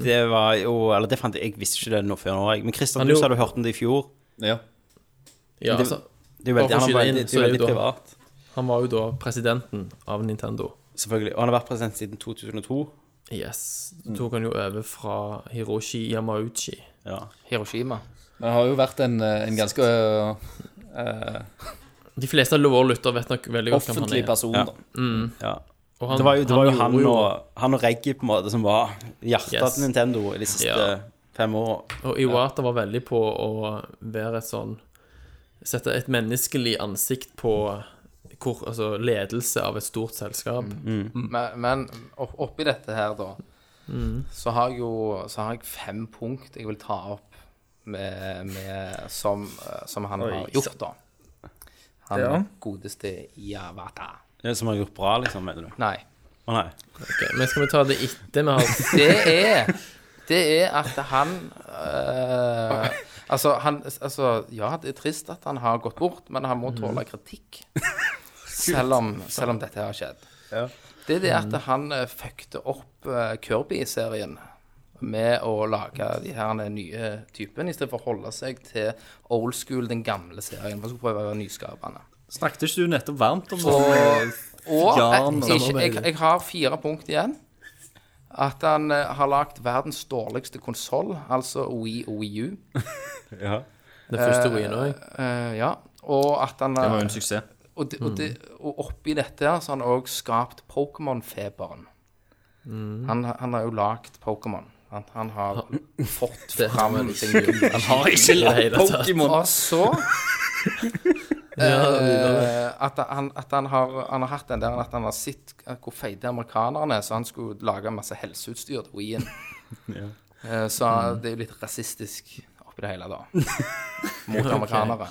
Speaker 1: det var jo Eller det fant jeg Jeg visste ikke det nå før nå. jeg. Men Christian,
Speaker 4: Han
Speaker 1: du
Speaker 4: jo-
Speaker 1: sa du hørte om det i fjor.
Speaker 3: Ja.
Speaker 4: Ja,
Speaker 1: det-
Speaker 4: altså,
Speaker 1: Det er jo veldig,
Speaker 4: Bare for å
Speaker 1: han var
Speaker 4: skyte inn,
Speaker 1: veldig, det
Speaker 4: så
Speaker 1: er
Speaker 4: er
Speaker 1: jo veldig
Speaker 4: jo da-
Speaker 1: privat,
Speaker 4: han var jo da presidenten av Nintendo.
Speaker 1: selvfølgelig. Og han har vært president siden 2002.
Speaker 4: Yes. Så
Speaker 1: Mm.
Speaker 4: tok han jo over fra Hiroshi Yamauchi.
Speaker 1: Ja.
Speaker 2: Hiroshima.
Speaker 3: Det har jo vært en, eh, en ganske eh, eh,
Speaker 4: De fleste av våre lyttere vet nok veldig godt hvem han
Speaker 3: offentlig
Speaker 4: er.
Speaker 3: person,
Speaker 1: Ja.
Speaker 3: da.
Speaker 1: ja.
Speaker 4: Og han-
Speaker 1: det var jo, det var jo
Speaker 4: gjorde
Speaker 1: han, og, han og Reggie på en måte som var hjertet
Speaker 4: Yes.
Speaker 1: til Nintendo i de siste
Speaker 4: Ja.
Speaker 1: fem årene.
Speaker 4: Og Iwata var veldig på å være et sånn Sette et menneskelig ansikt på hvor, altså, ledelse av et stort selskap.
Speaker 1: Mm,
Speaker 2: Men, men opp, oppi dette her, da, så har jeg jo så har jeg fem punkt jeg vil ta opp med, med, som, eh, som han har gjort, da. Han godeste Javata.
Speaker 1: Det som har gjort bra, liksom, mener du?
Speaker 2: Nei.
Speaker 1: Å nei.
Speaker 4: Ok, men skal vi ta det etter vi har
Speaker 2: *laughs* Det er Det er at han eh, Altså, han altså, Ja, det er trist at han har gått bort, men han må tåle kritikk. Selv om, selv om dette har skjedd. Det er det at han uh, fuckte opp eh, Kirby-serien med å lage de her nye typene, istedenfor å holde seg til old school, den gamle serien. Man skulle prøve å være nyskapende.
Speaker 3: Snakket ikke du nettopp varmt om det?
Speaker 2: Og, og
Speaker 3: Ja,
Speaker 2: jeg,
Speaker 3: men-
Speaker 2: ikke, jeg, jeg har fire punkt igjen. At han eh, har lagd verdens dårligste konsoll, altså Wii og Wii U.
Speaker 4: den første ruinen òg?
Speaker 2: Eh, ja. Og at han
Speaker 3: Det
Speaker 2: eh,
Speaker 3: var jo en Mm. suksess.
Speaker 2: og, det, og, det, og oppi dette her så har han òg skapt Pokémon-feberen.
Speaker 3: Mm.
Speaker 2: Han, han har jo lagd Pokémon. Han, han har
Speaker 3: *laughs*
Speaker 2: fått
Speaker 4: Det-
Speaker 2: fram ting
Speaker 1: Eh,
Speaker 2: nye.
Speaker 3: Han har ikke lagt Pokémon! *laughs*
Speaker 2: Og så eh, at, han, at han, har, han har hatt den der at han har sett eh, hvor feite amerikanerne er, så han skulle lage masse helseutstyr til Wien. Eh, Så det er jo litt rasistisk oppi det hele, da. Mot amerikanere.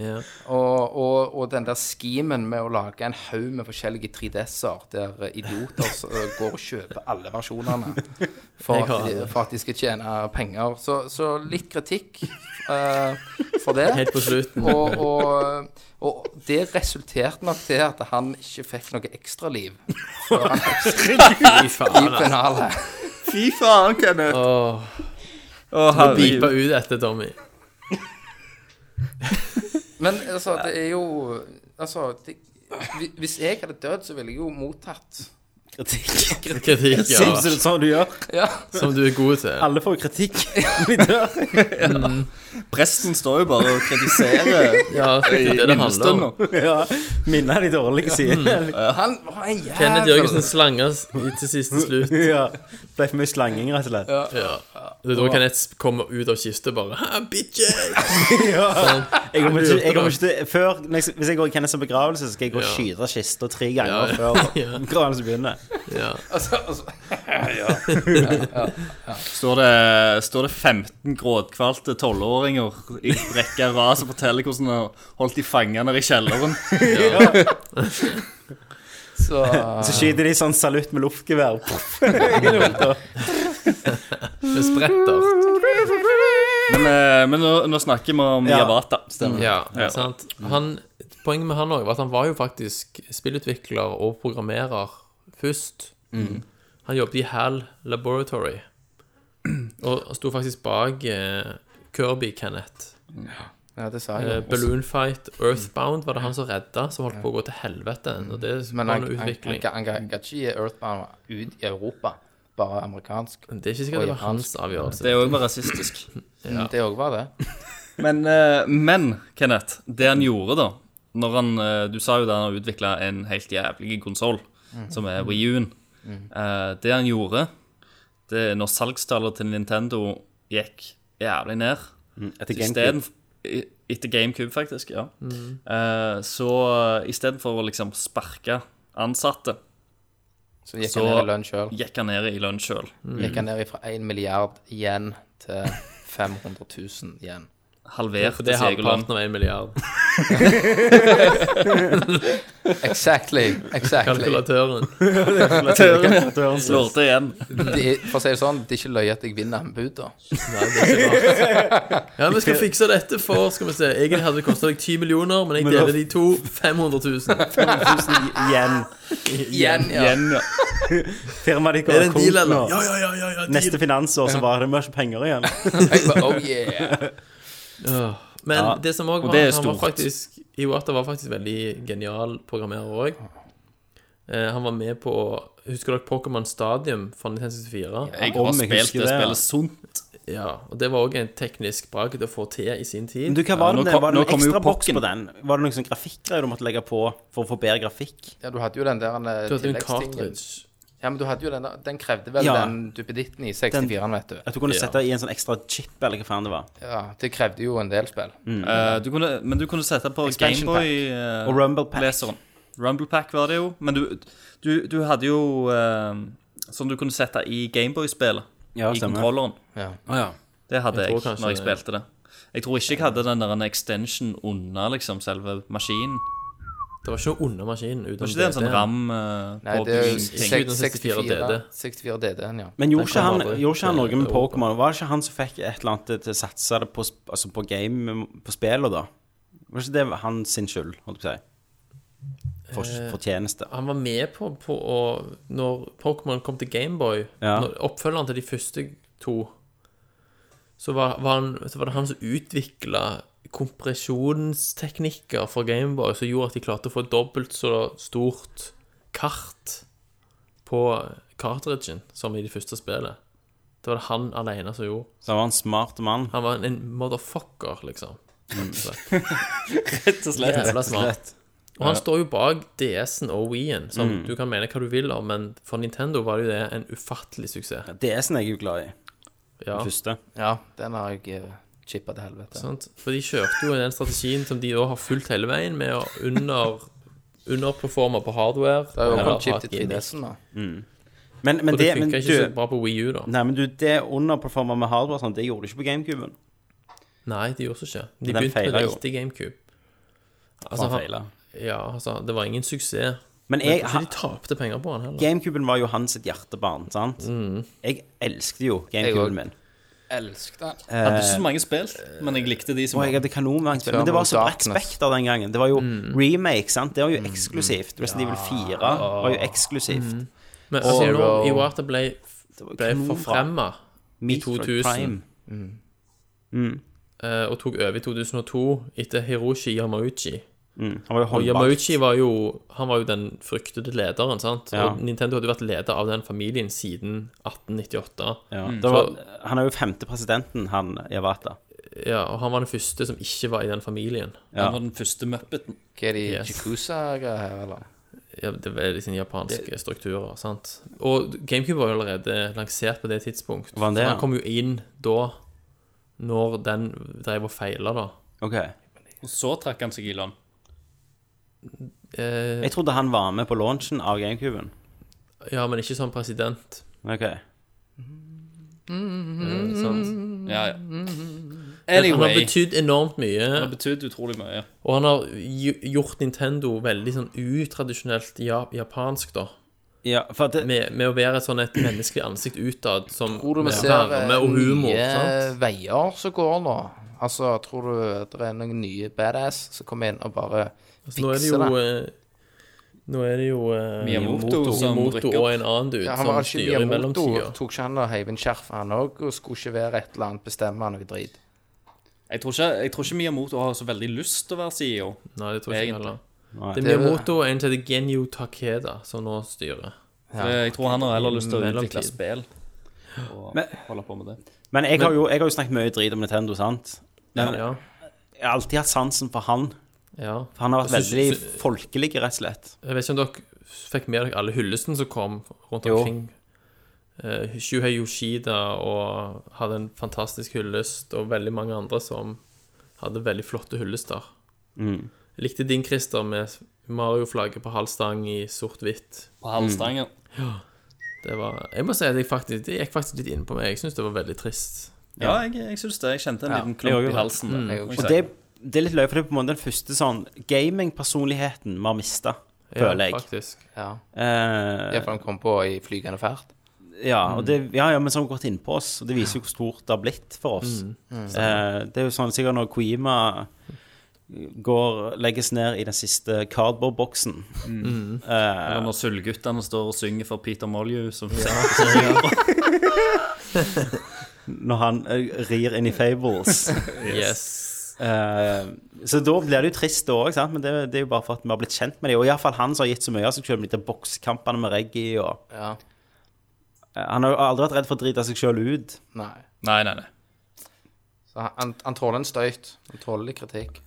Speaker 4: Ja.
Speaker 2: Og, og, og den der skimen med å lage en haug med forskjellige 3DS-er, der idioter s- eh, går og kjøper alle versjonene for
Speaker 4: Jeg har
Speaker 2: at, de,
Speaker 4: det.
Speaker 2: for at de skal tjene penger. Så, så litt kritikk eh, for det.
Speaker 4: Helt på slutten.
Speaker 2: Og, og, og det resulterte nok til at han ikke fikk noe ekstraliv før han
Speaker 4: Fy
Speaker 2: i
Speaker 4: faen.
Speaker 2: penale.
Speaker 3: Fy faen, Kenneth!
Speaker 4: Åh,
Speaker 3: Å, herregud.
Speaker 4: Bipa ut etter Tommy.
Speaker 2: Men altså, det er jo Altså, det, hvi- hvis jeg hadde dødd, så ville jeg jo mottatt
Speaker 1: Kritikk.
Speaker 4: Kritikk, ja.
Speaker 1: Syns du det er sånn du gjør?
Speaker 2: Ja.
Speaker 4: Som du er god til.
Speaker 1: Alle får kritikk *laughs* når de dør.
Speaker 3: Presten står jo bare og kritiserer
Speaker 4: Ja, det er det det handler om.
Speaker 3: julestønner.
Speaker 1: Ja. Minner de dårlige sidene.
Speaker 2: Han var en jævel.
Speaker 4: Kenneth Jørgensen slanga til siste slutt.
Speaker 1: *laughs* Ja. Ble for mye slanging, rett og slett.
Speaker 4: Ja. Det er da Kenneth kommer ut av kista bare «Ha,
Speaker 1: *laughs*
Speaker 4: Bitches! Sånn.
Speaker 1: Jeg kommer ikke, jeg kommer ikke til før, når jeg- Hvis jeg går i Kenneths begravelse, så skal jeg gå og skyte kista tre ganger
Speaker 4: Ja.
Speaker 1: før
Speaker 4: *laughs* Ja.
Speaker 1: begravelsen begynner.
Speaker 4: Ja.
Speaker 2: Altså, altså,
Speaker 3: Står det, står det 15 gråtkvalte tolvåringer i rekke av ras og forteller hvordan de har holdt de fanget nede i kjelleren?
Speaker 2: så
Speaker 4: Ah.
Speaker 1: Så skyter de sånn salutt med
Speaker 4: *laughs*
Speaker 1: luftgevær.
Speaker 4: Med spretter.
Speaker 3: Men, eh, men nå, nå snakker vi om
Speaker 1: Ja.
Speaker 3: Javata. Stemmer.
Speaker 5: Ja, sant. Han, poenget med han òg var at han var jo faktisk spillutvikler og programmerer først.
Speaker 2: Mm.
Speaker 5: Han jobbet i HAL Laboratory og sto faktisk bak eh, Kirby Kenneth.
Speaker 2: Ja, det sa
Speaker 5: Eh,
Speaker 2: jeg jo.
Speaker 5: Balloon Fight,
Speaker 2: Mm.
Speaker 5: Earthbound var det han som redda, som holdt på å gå til helvete. Og det
Speaker 2: Men
Speaker 5: var
Speaker 2: han,
Speaker 5: noe
Speaker 2: han, han,
Speaker 5: utvikling.
Speaker 2: han, han ga ikke gi Earthbound ut i Europa, bare amerikansk.
Speaker 5: Det er ikke sikkert det var hans avgjørelse.
Speaker 3: Det er òg rasistisk.
Speaker 2: Mm, Det òg var det.
Speaker 3: Men, eh, men, Kenneth, det han gjorde da når han, eh, Du sa jo da han har utvikla en helt jævlig konsoll,
Speaker 1: Mhm.
Speaker 3: som er Wii U-en. Eh, det han gjorde det er Når salgstallet til Nintendo gikk jævlig ned
Speaker 1: Mhm. Etter
Speaker 3: så
Speaker 1: GameCube. Mhm.
Speaker 3: isteden- i- Etter GameCube, faktisk, ja. Eh, så istedenfor å liksom sparke ansatte,
Speaker 2: Så gikk
Speaker 3: Så-
Speaker 2: han ned i lønn sjøl.
Speaker 3: gikk han ned i lønn sjøl.
Speaker 2: Gikk han ned fra 1 milliard igjen til 500 000 igjen.
Speaker 3: Halverte
Speaker 5: For det er
Speaker 3: sin egen lønn.
Speaker 5: halvparten av en *laughs* milliard.
Speaker 2: Exactly. exactly.
Speaker 5: Kalkulatøren.
Speaker 3: Slår til igjen.
Speaker 2: Det, er- for å si det sånn, det er ikke løye at jeg vinner anbud, da.
Speaker 5: Nei, det er ikke rart.
Speaker 4: Ja, vi skal fikse dette for skal vi se, Egentlig hadde det kosta deg 10 millioner, men jeg
Speaker 1: da-
Speaker 4: deler de to. 500
Speaker 3: *laughs*
Speaker 4: 000.
Speaker 1: sånn igjen.
Speaker 2: Igjen, ja.
Speaker 3: igjen ja.
Speaker 1: Firmaet ditt går
Speaker 4: Er det en
Speaker 1: konk
Speaker 4: deal,
Speaker 1: nå.
Speaker 4: eller? Ja, ja, ja. ja, ja deal.
Speaker 1: Neste finansår så var det mye penger igjen.
Speaker 2: Jeg bare, oh yeah.
Speaker 4: Men
Speaker 1: Ja,
Speaker 4: det som òg
Speaker 3: og
Speaker 4: var,
Speaker 3: det er
Speaker 4: han var
Speaker 3: stort.
Speaker 4: faktisk Iwata var faktisk veldig genial programmerer òg. Eh, han var med på Husker dere Pokémon Stadium fra 1964?
Speaker 3: Jeg
Speaker 1: Om
Speaker 3: har
Speaker 1: jeg
Speaker 3: spilt
Speaker 1: husker
Speaker 3: det
Speaker 1: det, ja.
Speaker 3: spillet sunt.
Speaker 4: Ja, og det var òg en teknisk bragd å få til i sin tid.
Speaker 1: Men du, hva var
Speaker 3: nå
Speaker 1: det,
Speaker 3: kom-
Speaker 1: var det
Speaker 3: nå kom
Speaker 1: noen
Speaker 3: jo
Speaker 1: ekstra boks
Speaker 3: pokken.
Speaker 1: på den? Var det noen sånn grafikkgreier du måtte legge på for å få bedre grafikk?
Speaker 2: ja. Du hadde jo den der eh,
Speaker 4: Du hadde en
Speaker 2: tilleggstingen.
Speaker 4: cartridge.
Speaker 2: Ja, men du hadde jo den der Den krevde vel
Speaker 1: Ja.
Speaker 2: den duppeditten i 64-en, vet du.
Speaker 1: At du kunne
Speaker 4: Ja.
Speaker 1: sette i en sånn ekstra chip, eller hva faen det var.
Speaker 2: Ja, Det krevde jo en del spill.
Speaker 3: Eh, du kunne, men du kunne sette på
Speaker 2: Expansion
Speaker 1: Og
Speaker 3: Gameboy-leseren.
Speaker 1: Rumble Pack.
Speaker 3: Rumble Pack var det jo. Men du, du, du hadde jo eh, sånn du kunne sette i Gameboy-spillet.
Speaker 1: Ja,
Speaker 3: I
Speaker 1: stemmer.
Speaker 3: kontrolleren.
Speaker 2: Ja.
Speaker 3: Det hadde
Speaker 4: Jeg
Speaker 3: jeg,
Speaker 4: tror kanskje
Speaker 3: når jeg
Speaker 4: det-
Speaker 3: spilte det. Jeg tror ikke jeg hadde den der en extension under liksom selve maskinen.
Speaker 4: Det var ikke noe under maskinen. Utenom
Speaker 3: Var ikke det en sånn
Speaker 4: DD-en.
Speaker 3: ram uh,
Speaker 2: Nei, det er jo
Speaker 3: ting?
Speaker 4: Ikke uten 64 DD.
Speaker 2: 64 DD-en, ja.
Speaker 1: Men gjorde
Speaker 4: Den
Speaker 1: ikke,
Speaker 4: kom
Speaker 1: han,
Speaker 4: aldri
Speaker 1: gjorde ikke han
Speaker 4: til
Speaker 1: noe med
Speaker 4: Europa.
Speaker 1: Pokémon? Var det ikke han som fikk et eller annet til å satse det på, sp- altså på game, på spillet, da? Var ikke det hans sin skyld, holdt jeg på å si? For-
Speaker 4: Eh.
Speaker 1: Fortjeneste.
Speaker 4: Han var med på, på å Når Pokémon kom til Gameboy,
Speaker 1: Ja.
Speaker 4: når oppfølgeren til de første to, så var, var, han, så var det han som utvikla kompresjonsteknikker for Gameboy som gjorde at de klarte å få dobbelt så stort kart på cartridgen som i de første spillet. Det var det han alene som gjorde.
Speaker 1: Så han var en smart mann.
Speaker 4: Han var en, en motherfucker, liksom.
Speaker 1: Mm. *laughs*
Speaker 3: Rett og slett.
Speaker 4: Jævla smart. Og han står jo bak DS-en og Wii-en, som
Speaker 1: Mm.
Speaker 4: du kan mene hva du vil om, men for Nintendo var det jo det en ufattelig suksess.
Speaker 1: DS-en er sånn jeg jo glad i.
Speaker 4: Ja,
Speaker 1: Den første.
Speaker 2: Ja, den har jeg eh, chippa til helvete.
Speaker 4: sant? For de kjørte jo den strategien som de da har fulgt hele veien, med å under, underperforme på hardware.
Speaker 2: Det er jo
Speaker 4: eller
Speaker 2: kommet
Speaker 4: ha
Speaker 2: chip
Speaker 4: et
Speaker 2: til
Speaker 4: gimmick.
Speaker 2: 3DS-en, da.
Speaker 1: Men, men
Speaker 4: Og det
Speaker 1: det, men
Speaker 4: funka ikke så
Speaker 1: du Mm.
Speaker 4: bra på Wii U, da.
Speaker 1: Nei, men du, det underperforma med hardware og sånn, det gjorde du ikke på GameCuben.
Speaker 4: Nei, de gjorde så ikke. De
Speaker 1: Den
Speaker 4: begynte med
Speaker 1: feilet jo.
Speaker 4: lite GameCube. Altså,
Speaker 1: Altså,
Speaker 4: han, ja, altså, det var ingen suksess.
Speaker 1: men
Speaker 4: Jeg,
Speaker 1: jeg,
Speaker 4: ikke
Speaker 1: ha,
Speaker 4: de tapte penger på han heller.
Speaker 1: GameCuben var jo hans sitt hjertebarn, sant?
Speaker 4: Mm.
Speaker 1: Jeg elsket jo GameCuben min.
Speaker 2: Elsker den.
Speaker 3: Jeg hadde ikke så mange spill, men jeg likte de som
Speaker 1: Og jeg
Speaker 3: var
Speaker 1: hadde kanonmangt Men
Speaker 2: Eternal
Speaker 1: det var så bredt
Speaker 2: Darkness.
Speaker 1: spekter den gangen. Det var jo
Speaker 4: Mm.
Speaker 1: remake, sant. Det var jo eksklusivt. Resident Evil 4 var jo eksklusivt.
Speaker 4: Men altså,
Speaker 2: Zero.
Speaker 4: når Iwata ble,
Speaker 1: Det var
Speaker 4: ble
Speaker 1: kanonbra.
Speaker 4: forfremma i
Speaker 1: Metroid
Speaker 4: 2000
Speaker 1: Prime.
Speaker 4: eh, og tok over i 2002 etter Hiroshi Yamauchi.
Speaker 1: Mm. Han var jo
Speaker 4: Og
Speaker 1: håndbak.
Speaker 4: Yamauchi var jo han var jo den fryktede lederen, sant?
Speaker 1: Ja.
Speaker 4: Og Nintendo hadde jo vært leder av den familien siden 1898.
Speaker 1: Ja. Det var, han er jo femte presidenten, han Yavata.
Speaker 4: Ja, og han var den første som ikke var i den familien.
Speaker 1: Ja.
Speaker 3: Han var den første muppeten.
Speaker 2: Hva er de
Speaker 4: Yes.
Speaker 2: Jacuzza-greier her, eller?
Speaker 4: Ja, det var liksom japanske strukturer, sant. Og GameCube var jo allerede lansert på det tidspunkt.
Speaker 1: Var han det,
Speaker 4: så
Speaker 1: ja?
Speaker 4: han kom jo inn da, når den drev og feila, da.
Speaker 1: Ok.
Speaker 3: Og så trakk han seg i lønn.
Speaker 4: Eh,
Speaker 1: Jeg trodde han var med på launchen av GameCuben.
Speaker 4: ja, men ikke som president.
Speaker 1: Ok.
Speaker 4: eh, sant?
Speaker 3: Ja, ja.
Speaker 4: Men Han har
Speaker 3: Anyway.
Speaker 4: betydd enormt
Speaker 3: Det
Speaker 4: mye,
Speaker 3: har betydd utrolig mye.
Speaker 4: og han har gj- gjort Nintendo veldig sånn utradisjonelt ja, japansk, da.
Speaker 1: Ja, for at det,
Speaker 4: med, med å være et sånn et menneskelig ansikt utad som
Speaker 2: Tror du vi
Speaker 4: med
Speaker 2: ser eh,
Speaker 4: varme og humor.
Speaker 2: nye
Speaker 4: sant?
Speaker 2: veier som går nå? Altså, tror du det er noen nye badass som kommer inn og bare
Speaker 4: Altså, Nå er det
Speaker 2: fikser
Speaker 4: jo
Speaker 2: det?
Speaker 4: eh, Nå er det jo eh,
Speaker 3: Miyamoto
Speaker 4: Miyamoto
Speaker 3: som
Speaker 4: Miyamoto
Speaker 3: rykker opp.
Speaker 4: og en annen dude
Speaker 2: Ja, han
Speaker 4: som
Speaker 2: var ikke
Speaker 4: styrer i
Speaker 2: Miyamoto,
Speaker 4: mellomtida.
Speaker 2: tok ikke han og heiv inn skjerf, han òg, og skulle ikke være et eller annet bestemme noe drit.
Speaker 3: Jeg tror ikke, jeg tror ikke Miyamoto har så veldig lyst til å være CEO.
Speaker 4: Nei, det tror jeg ikke
Speaker 3: Egentlig.
Speaker 4: heller.
Speaker 1: Nei.
Speaker 4: Det er
Speaker 2: Det er-
Speaker 4: Miyamoto og en som heter Genyu Takeda, som nå styrer.
Speaker 3: For Eh, Jeg tror han har heller lyst til å
Speaker 4: Mellomtid.
Speaker 3: utvikle spill og
Speaker 1: Men-
Speaker 3: holde på med det.
Speaker 1: Men jeg har, jo, jeg har jo snakket mye drit om Nintendo, sant? Men
Speaker 4: Ja,
Speaker 1: jeg har alltid hatt sansen for han.
Speaker 4: ja.
Speaker 1: For han har vært
Speaker 4: Jeg synes-
Speaker 1: veldig folkelig, rett og slett.
Speaker 4: Jeg vet ikke om dere fikk med dere alle hyllesten som kom rundt
Speaker 1: Jo.
Speaker 4: omkring. Eh, Shuhei Yoshida og hadde en fantastisk hyllest, og veldig mange andre som hadde veldig flotte hyllester.
Speaker 1: Mm.
Speaker 4: Jeg likte din, Christer, med Mario-flagget på halv stang i sort-hvitt.
Speaker 3: På halvstangen.
Speaker 4: Det var, jeg må si at jeg faktisk, det gikk faktisk litt inn på meg. Jeg syns det var veldig trist.
Speaker 3: Ja, jeg, jeg syns det. Jeg kjente en liten
Speaker 1: jeg
Speaker 3: klump
Speaker 1: også.
Speaker 3: i halsen. der,
Speaker 2: Jeg
Speaker 3: må jeg
Speaker 1: Og
Speaker 3: si.
Speaker 1: det, det er litt løye, for det er på en måte den første sånn gaming-personligheten vi har mista, føler
Speaker 4: Ja,
Speaker 1: jeg.
Speaker 4: faktisk.
Speaker 2: Ja.
Speaker 1: Eh,
Speaker 2: Iallfall han kom på i flygende fart.
Speaker 1: ja, og det, ja, ja, men så har vi gått innpå oss, og det viser jo hvor stort det har blitt for oss. Eh, det er jo sånn sikkert når Koima går, legges ned i den siste cardboard-boksen eh,
Speaker 3: Eller når Sølvguttene står og synger for Peter Molyu. *laughs* Som
Speaker 1: Når han eh, rir inn i Fables.
Speaker 4: Yes.
Speaker 1: Eh, så da blir det jo trist det òg, men det, det er jo bare for at vi har blitt kjent med dem. Og iallfall han som har gitt så mye altså, av seg sjøl med de der bokskampene med Reggie. Og,
Speaker 2: Ja.
Speaker 1: eh, han har jo aldri vært redd for å drite seg sjøl ut.
Speaker 2: Nei.
Speaker 3: Nei, nei, nei.
Speaker 2: Så han, han, han tåler en støyt. Han tåler litt kritikk.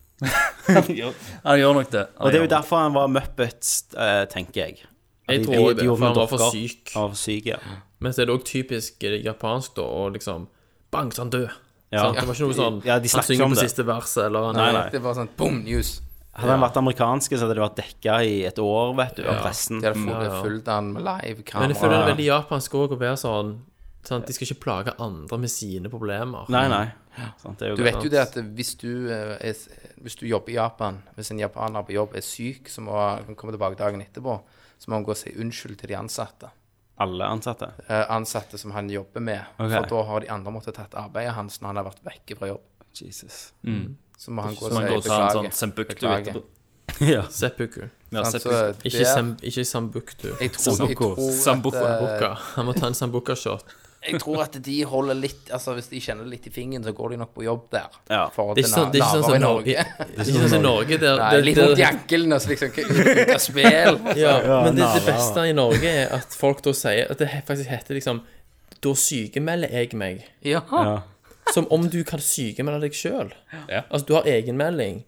Speaker 3: Han gjør- Han gjør nok det. Han
Speaker 1: Og det er
Speaker 3: gjør
Speaker 1: jo derfor han var Muppets, eh, tenker jeg. At
Speaker 4: Jeg
Speaker 1: de-
Speaker 4: tror
Speaker 1: de-
Speaker 4: også
Speaker 1: de
Speaker 4: det,
Speaker 1: gjorde
Speaker 4: for han var
Speaker 1: dokker
Speaker 4: for syk.
Speaker 1: Av syk, ja.
Speaker 4: Men så er det òg typisk eh, japansk da, å liksom Bang, så han død.
Speaker 1: Ja.
Speaker 4: Sant? Det var ikke noe sånn
Speaker 1: Ja, de
Speaker 4: Han
Speaker 1: snakker
Speaker 4: synger
Speaker 1: om
Speaker 4: på
Speaker 1: det.
Speaker 4: siste verset, eller han
Speaker 1: Nei,
Speaker 4: er
Speaker 1: nei.
Speaker 2: Det er bare sånn boom, news.
Speaker 1: Hadde han vært amerikansk, så hadde det vært dekka i et år, vet du, av pressen.
Speaker 2: De hadde fått-
Speaker 4: Ja, ja.
Speaker 2: fulgt han med
Speaker 4: Men
Speaker 2: live
Speaker 4: jeg føler det
Speaker 2: kamera.
Speaker 4: er veldig japansk òg å være sånn sant? De skal ikke plage andre med sine problemer.
Speaker 1: Nei, nei. Sant, det er jo
Speaker 2: Du
Speaker 1: greit.
Speaker 2: vet jo det at hvis du, eh, er, hvis du jobber i Japan, hvis en japaner på jobb er syk, så må han komme tilbake dagen etterpå, så må han gå og si unnskyld til de ansatte.
Speaker 1: Alle ansatte.
Speaker 2: Eh, ansatte som han jobber med.
Speaker 1: Ok.
Speaker 2: For da har de andre måttet tatt arbeidet hans når han har vært vekke fra jobb.
Speaker 1: Jesus.
Speaker 2: Så må han gå
Speaker 3: det.
Speaker 2: og
Speaker 3: Så
Speaker 2: si
Speaker 3: han går og tar en
Speaker 2: beklager.
Speaker 3: sånn sembuktu
Speaker 2: Beklager.
Speaker 3: etterpå.
Speaker 1: ja.
Speaker 4: Seppuku.
Speaker 3: Ja,
Speaker 2: Sant, så
Speaker 3: seppuku.
Speaker 4: Ikke,
Speaker 2: det-
Speaker 4: sem, ikke sambuktu.
Speaker 2: Jeg tror, jeg, tror
Speaker 3: Sambuco.
Speaker 2: at, eh,
Speaker 4: Buka. Han må ta en
Speaker 2: *laughs*
Speaker 4: sambuka-shot.
Speaker 2: jeg tror at de holder litt Altså Hvis de kjenner det litt i fingeren, så går de nok på jobb der.
Speaker 1: Ja.
Speaker 4: Det er ikke sånn, det er ikke sånn som
Speaker 2: *laughs*
Speaker 4: Norge. *laughs* Det er ikke sånn som Norge der,
Speaker 2: Nei,
Speaker 4: der-
Speaker 2: litt
Speaker 4: der-
Speaker 2: rundt i ankelen og så liksom ut av
Speaker 4: *laughs*
Speaker 2: spill.
Speaker 4: Ja, men det, det beste i Norge er at folk da sier At det he- faktisk heter liksom Da sykemelder jeg meg.
Speaker 2: Ja.
Speaker 4: Som om du kan sykemelde deg sjøl.
Speaker 3: Ja.
Speaker 4: Altså, du har egenmelding,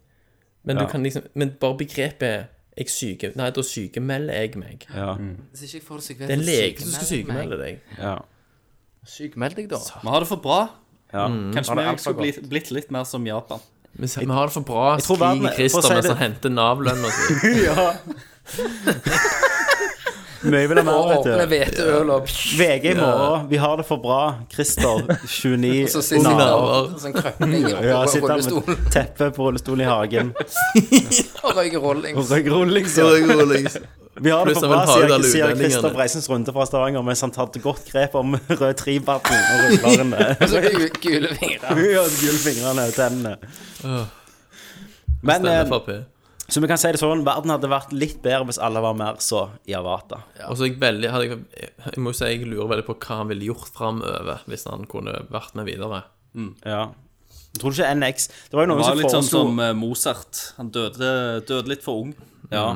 Speaker 4: men du kan liksom Men bare begrepet jeg syke, Nei, da sykemelder jeg meg.
Speaker 1: Ja.
Speaker 2: Hvis ikke jeg får det så vet
Speaker 4: Det er en
Speaker 2: jeg
Speaker 4: lege som skal
Speaker 2: sykemeld meg.
Speaker 4: sykemelde deg.
Speaker 1: ja.
Speaker 2: Sykmeld deg, da.
Speaker 3: Vi har det for bra.
Speaker 1: ja.
Speaker 4: Mm.
Speaker 3: Kanskje
Speaker 2: det
Speaker 3: vi
Speaker 2: er
Speaker 3: også skulle
Speaker 2: altfor
Speaker 3: blitt, blitt litt mer som Japan.
Speaker 4: Vi vi har det for bra,
Speaker 1: tror verden-
Speaker 4: skriker
Speaker 1: for å si
Speaker 4: Christer mens
Speaker 1: det-
Speaker 4: han henter Nav-lønna si.
Speaker 1: *laughs* Mye vil ha mer, vet du.
Speaker 2: Åpne hveteøl og
Speaker 1: VG i morgen. Vi har det for bra. Christer, 29,
Speaker 2: Så sitter han
Speaker 1: Nav.
Speaker 2: og sånn krøpning og
Speaker 1: Ja,
Speaker 2: og
Speaker 1: sitter han
Speaker 2: rullestol *laughs*
Speaker 1: med teppe på rullestolen i hagen.
Speaker 2: og røyker rolling.
Speaker 1: Og røyker rullings. Vi har det
Speaker 4: Pluss
Speaker 1: for
Speaker 4: av en
Speaker 1: bra, sier,
Speaker 4: Haugdal
Speaker 1: sier
Speaker 4: utlendingene.
Speaker 1: Christer Breisens runde fra Stavanger mens han tar et godt grep om *laughs* rød tribatten og *laughs* rullerne.
Speaker 2: Og så gu- gule fingre.
Speaker 1: Gullfingrene og tennene. Men eh,
Speaker 4: Frp.
Speaker 1: så vi kan si det sånn, verden hadde vært litt bedre hvis alle var mer så i Avata.
Speaker 4: Og så er jeg veldig hadde jeg, jeg må jo si jeg lurer veldig på hva han ville gjort framover, hvis han kunne vært med videre.
Speaker 1: Ja. Jeg tror ikke NX Det var jo
Speaker 3: Det
Speaker 1: noen
Speaker 3: var
Speaker 1: som
Speaker 3: litt sånn
Speaker 1: foreslo
Speaker 3: som eh, Mozart. Han døde, døde litt for ung.
Speaker 1: Ja.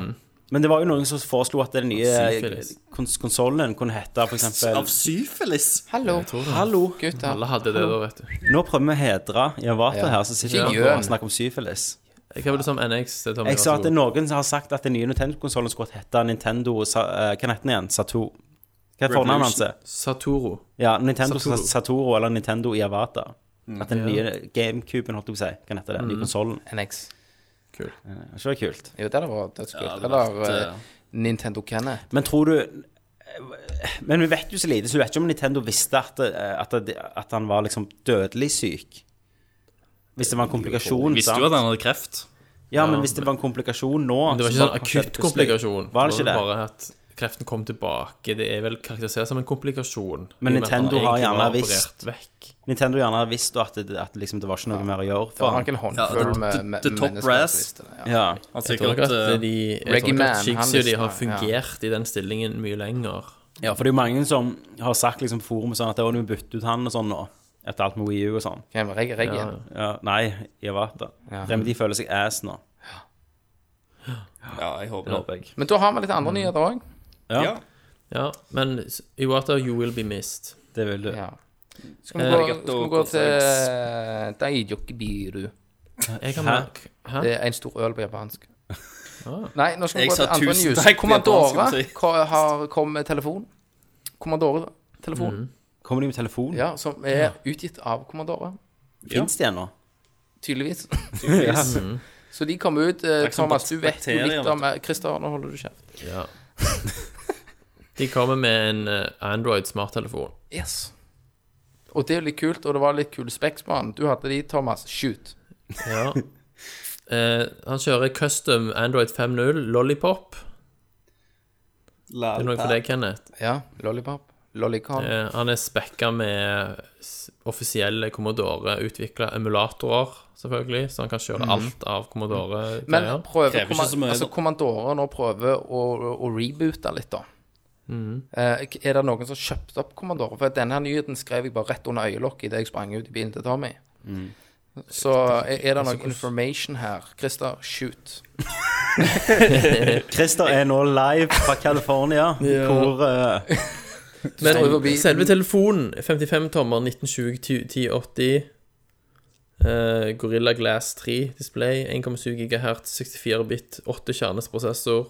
Speaker 1: Men det var jo noen som foreslo at den nye
Speaker 4: Syfilis.
Speaker 1: kons konsollen kunne hete for
Speaker 3: Av
Speaker 1: eksempel
Speaker 3: syfilis.
Speaker 2: Hallo. Hallo, gutter.
Speaker 4: Alle hadde det da, vet du.
Speaker 1: Nå prøver vi å hedre Javata
Speaker 2: Ja.
Speaker 1: her, så sitter
Speaker 2: Ikke
Speaker 1: vi
Speaker 2: gjør
Speaker 1: og
Speaker 2: det.
Speaker 1: snakker om syfilis.
Speaker 4: Hva var det som NX? Det Tommy,
Speaker 1: Jeg sa
Speaker 4: vær så
Speaker 1: at
Speaker 4: god.
Speaker 1: det er noen som har sagt at den nye Nintendo-konsollen skulle hete Nintendo Sa eh, Hva heter den igjen? Sato? Hva er fornavnet hans? er?
Speaker 4: Satoru.
Speaker 1: Ja, Nintendo Sa-
Speaker 4: Satoru.
Speaker 1: Satoro eller Nintendo Javata. At den nye GameCuben, holdt jeg på å si, hva heter det? Den nye konsollen.
Speaker 2: NX.
Speaker 1: Er ikke det kult?
Speaker 2: Jo, det var dødskult.
Speaker 3: Ja, det hadde
Speaker 2: Eller
Speaker 3: vært,
Speaker 2: eh, Nintendo Kenneth.
Speaker 1: Men tror du Men vi vet jo så lite, så du vet ikke om Nintendo visste at, eh, at, at han var liksom dødelig syk. Hvis det var en komplikasjon,
Speaker 3: Visste jo at han hadde kreft.
Speaker 1: Ja, men hvis det var en komplikasjon nå
Speaker 4: Men det var
Speaker 1: så
Speaker 4: ikke
Speaker 1: kanskje
Speaker 4: sånn akutt
Speaker 1: plutselig-
Speaker 4: komplikasjon.
Speaker 1: Var det ikke det?
Speaker 4: Bare at kreften kom tilbake. Det er vel karakterisert som en komplikasjon.
Speaker 1: Men
Speaker 4: i og med at han
Speaker 1: Nintendo har
Speaker 4: egentlig
Speaker 1: gjerne
Speaker 4: var operert
Speaker 1: visst.
Speaker 4: vekk.
Speaker 1: Nintendo gjerne visste at, det, at liksom det var ikke noe mer å gjøre
Speaker 2: Det
Speaker 1: for
Speaker 2: var
Speaker 1: han.
Speaker 2: nok en håndfull
Speaker 3: det-
Speaker 2: med,
Speaker 3: det-
Speaker 2: med
Speaker 3: det top
Speaker 2: mennesker
Speaker 3: brass.
Speaker 2: som visste det, ja.
Speaker 1: Ja.
Speaker 3: Han
Speaker 4: Jeg tror nok
Speaker 3: sikkert
Speaker 4: at
Speaker 3: eh,
Speaker 4: de, jeg
Speaker 2: Reggie
Speaker 4: tror nok
Speaker 2: Man,
Speaker 4: at Chigsy
Speaker 2: han
Speaker 4: og de har
Speaker 2: visste det, ja.
Speaker 4: fungert i den stillingen mye lenger.
Speaker 1: ja, for det er jo mange som har sagt liksom på forumet sånn at det var noe bytte ut han og sånn nå, etter alt med Wii U og sånn.
Speaker 2: Hvem er Reggie? Reggie?
Speaker 1: Ja, nei, Iwata.
Speaker 2: Ja.
Speaker 1: Remedy føler seg ass nå.
Speaker 3: Ja, jeg håper
Speaker 1: Det
Speaker 3: det.
Speaker 1: håper jeg.
Speaker 2: Men da har vi litt andre nyheter òg.
Speaker 1: Ja,
Speaker 3: Ja.
Speaker 4: Ja, men Iwata, you will be missed.
Speaker 1: det vil du.
Speaker 2: Ja. Skal vi gå, skal vi gå til Daijokibiru?
Speaker 4: Jeg har merk... Hæ?
Speaker 2: Det er en stor øl på japansk. Nei, nå skal vi
Speaker 3: Jeg
Speaker 2: gå
Speaker 3: sa
Speaker 2: til andre
Speaker 3: tusen
Speaker 2: news.
Speaker 3: takk på
Speaker 2: Kommandore
Speaker 3: japansk, skal vi si.
Speaker 2: ko- har kommet med telefon. Kommandore-telefon.
Speaker 1: Kommer de med telefon?
Speaker 2: Ja, som er utgitt av Kommandore,
Speaker 1: Fins de ennå?
Speaker 2: tydeligvis. Så de kom ut. eh,
Speaker 3: som
Speaker 2: Thomas, du vet jo
Speaker 3: bakterier,
Speaker 2: litt om eh, Christer, nå holder du kjeft.
Speaker 4: Ja. *laughs* De kommer med en eh, Android smarttelefon.
Speaker 2: Yes. Og det er jo litt kult, og det var litt kule specs på han. Du hadde de, Thomas. Shoot.
Speaker 4: Ja.
Speaker 1: *laughs*
Speaker 4: Eh, han kjører custom Android 5.0 Lollipop. Det er noe for deg, Kenneth.
Speaker 2: Ja, Lollipop. Lollicon.
Speaker 4: Eh, han er spekka med s- offisielle Commodore-utvikla emulatorer, selvfølgelig. Så han kan kjøre alt av
Speaker 2: Mhm. Men
Speaker 4: Commodore-greier.
Speaker 2: prøver
Speaker 3: Krever ikke
Speaker 2: komma-
Speaker 3: så mye,
Speaker 2: altså,
Speaker 3: da.
Speaker 2: kommandorer nå prøver å, å reboote litt, da. Eh, er det noen som har kjøpt opp kommandorer? For denne her nyheten skrev jeg bare rett under øyelokket idet jeg sprang ut i bilen til Tommy.
Speaker 3: Mm.
Speaker 2: Så er er det noe information her? Christer, shoot.
Speaker 1: Christer er nå live fra
Speaker 2: *laughs*
Speaker 1: California, hvor eh,
Speaker 4: Men,
Speaker 2: står jo forbi-
Speaker 4: selve telefonen, 55-tommer, 1920 1080 eh, Gorilla Glass 3-display, 1,7 GHz, 64-bit, 8-kjernes prosessor.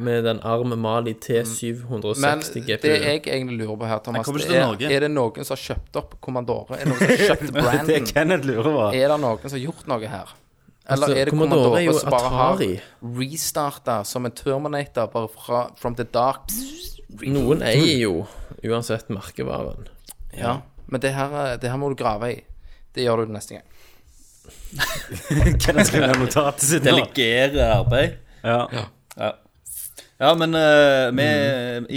Speaker 4: Med den arm Mali
Speaker 2: Mm. Men
Speaker 4: T760 GPU.
Speaker 2: det jeg egentlig lurer på her, Thomas,
Speaker 3: kommer ikke
Speaker 2: det
Speaker 3: til
Speaker 2: er,
Speaker 3: Norge.
Speaker 2: er det noen som har kjøpt opp kommandorer? Er det noen som har kjøpt
Speaker 1: Det
Speaker 2: branden?
Speaker 1: Kenneth lurer på.
Speaker 2: Er det noen som har gjort noe her? Eller
Speaker 4: Altså,
Speaker 2: er det
Speaker 4: Commodore er
Speaker 2: Commodore
Speaker 4: jo
Speaker 2: som bare har
Speaker 4: Atari.
Speaker 2: restarta som en Terminator bare fra From the Dark?
Speaker 4: Noen eier jo uansett merkevaren.
Speaker 2: Ja. Men det her, eh, det her må du grave i. Det gjør du neste gang.
Speaker 1: *laughs* Kenneth skriver ned notatet sitt nå.
Speaker 3: Delegere arbeid.
Speaker 1: Ja.
Speaker 3: Ja, men eh, vi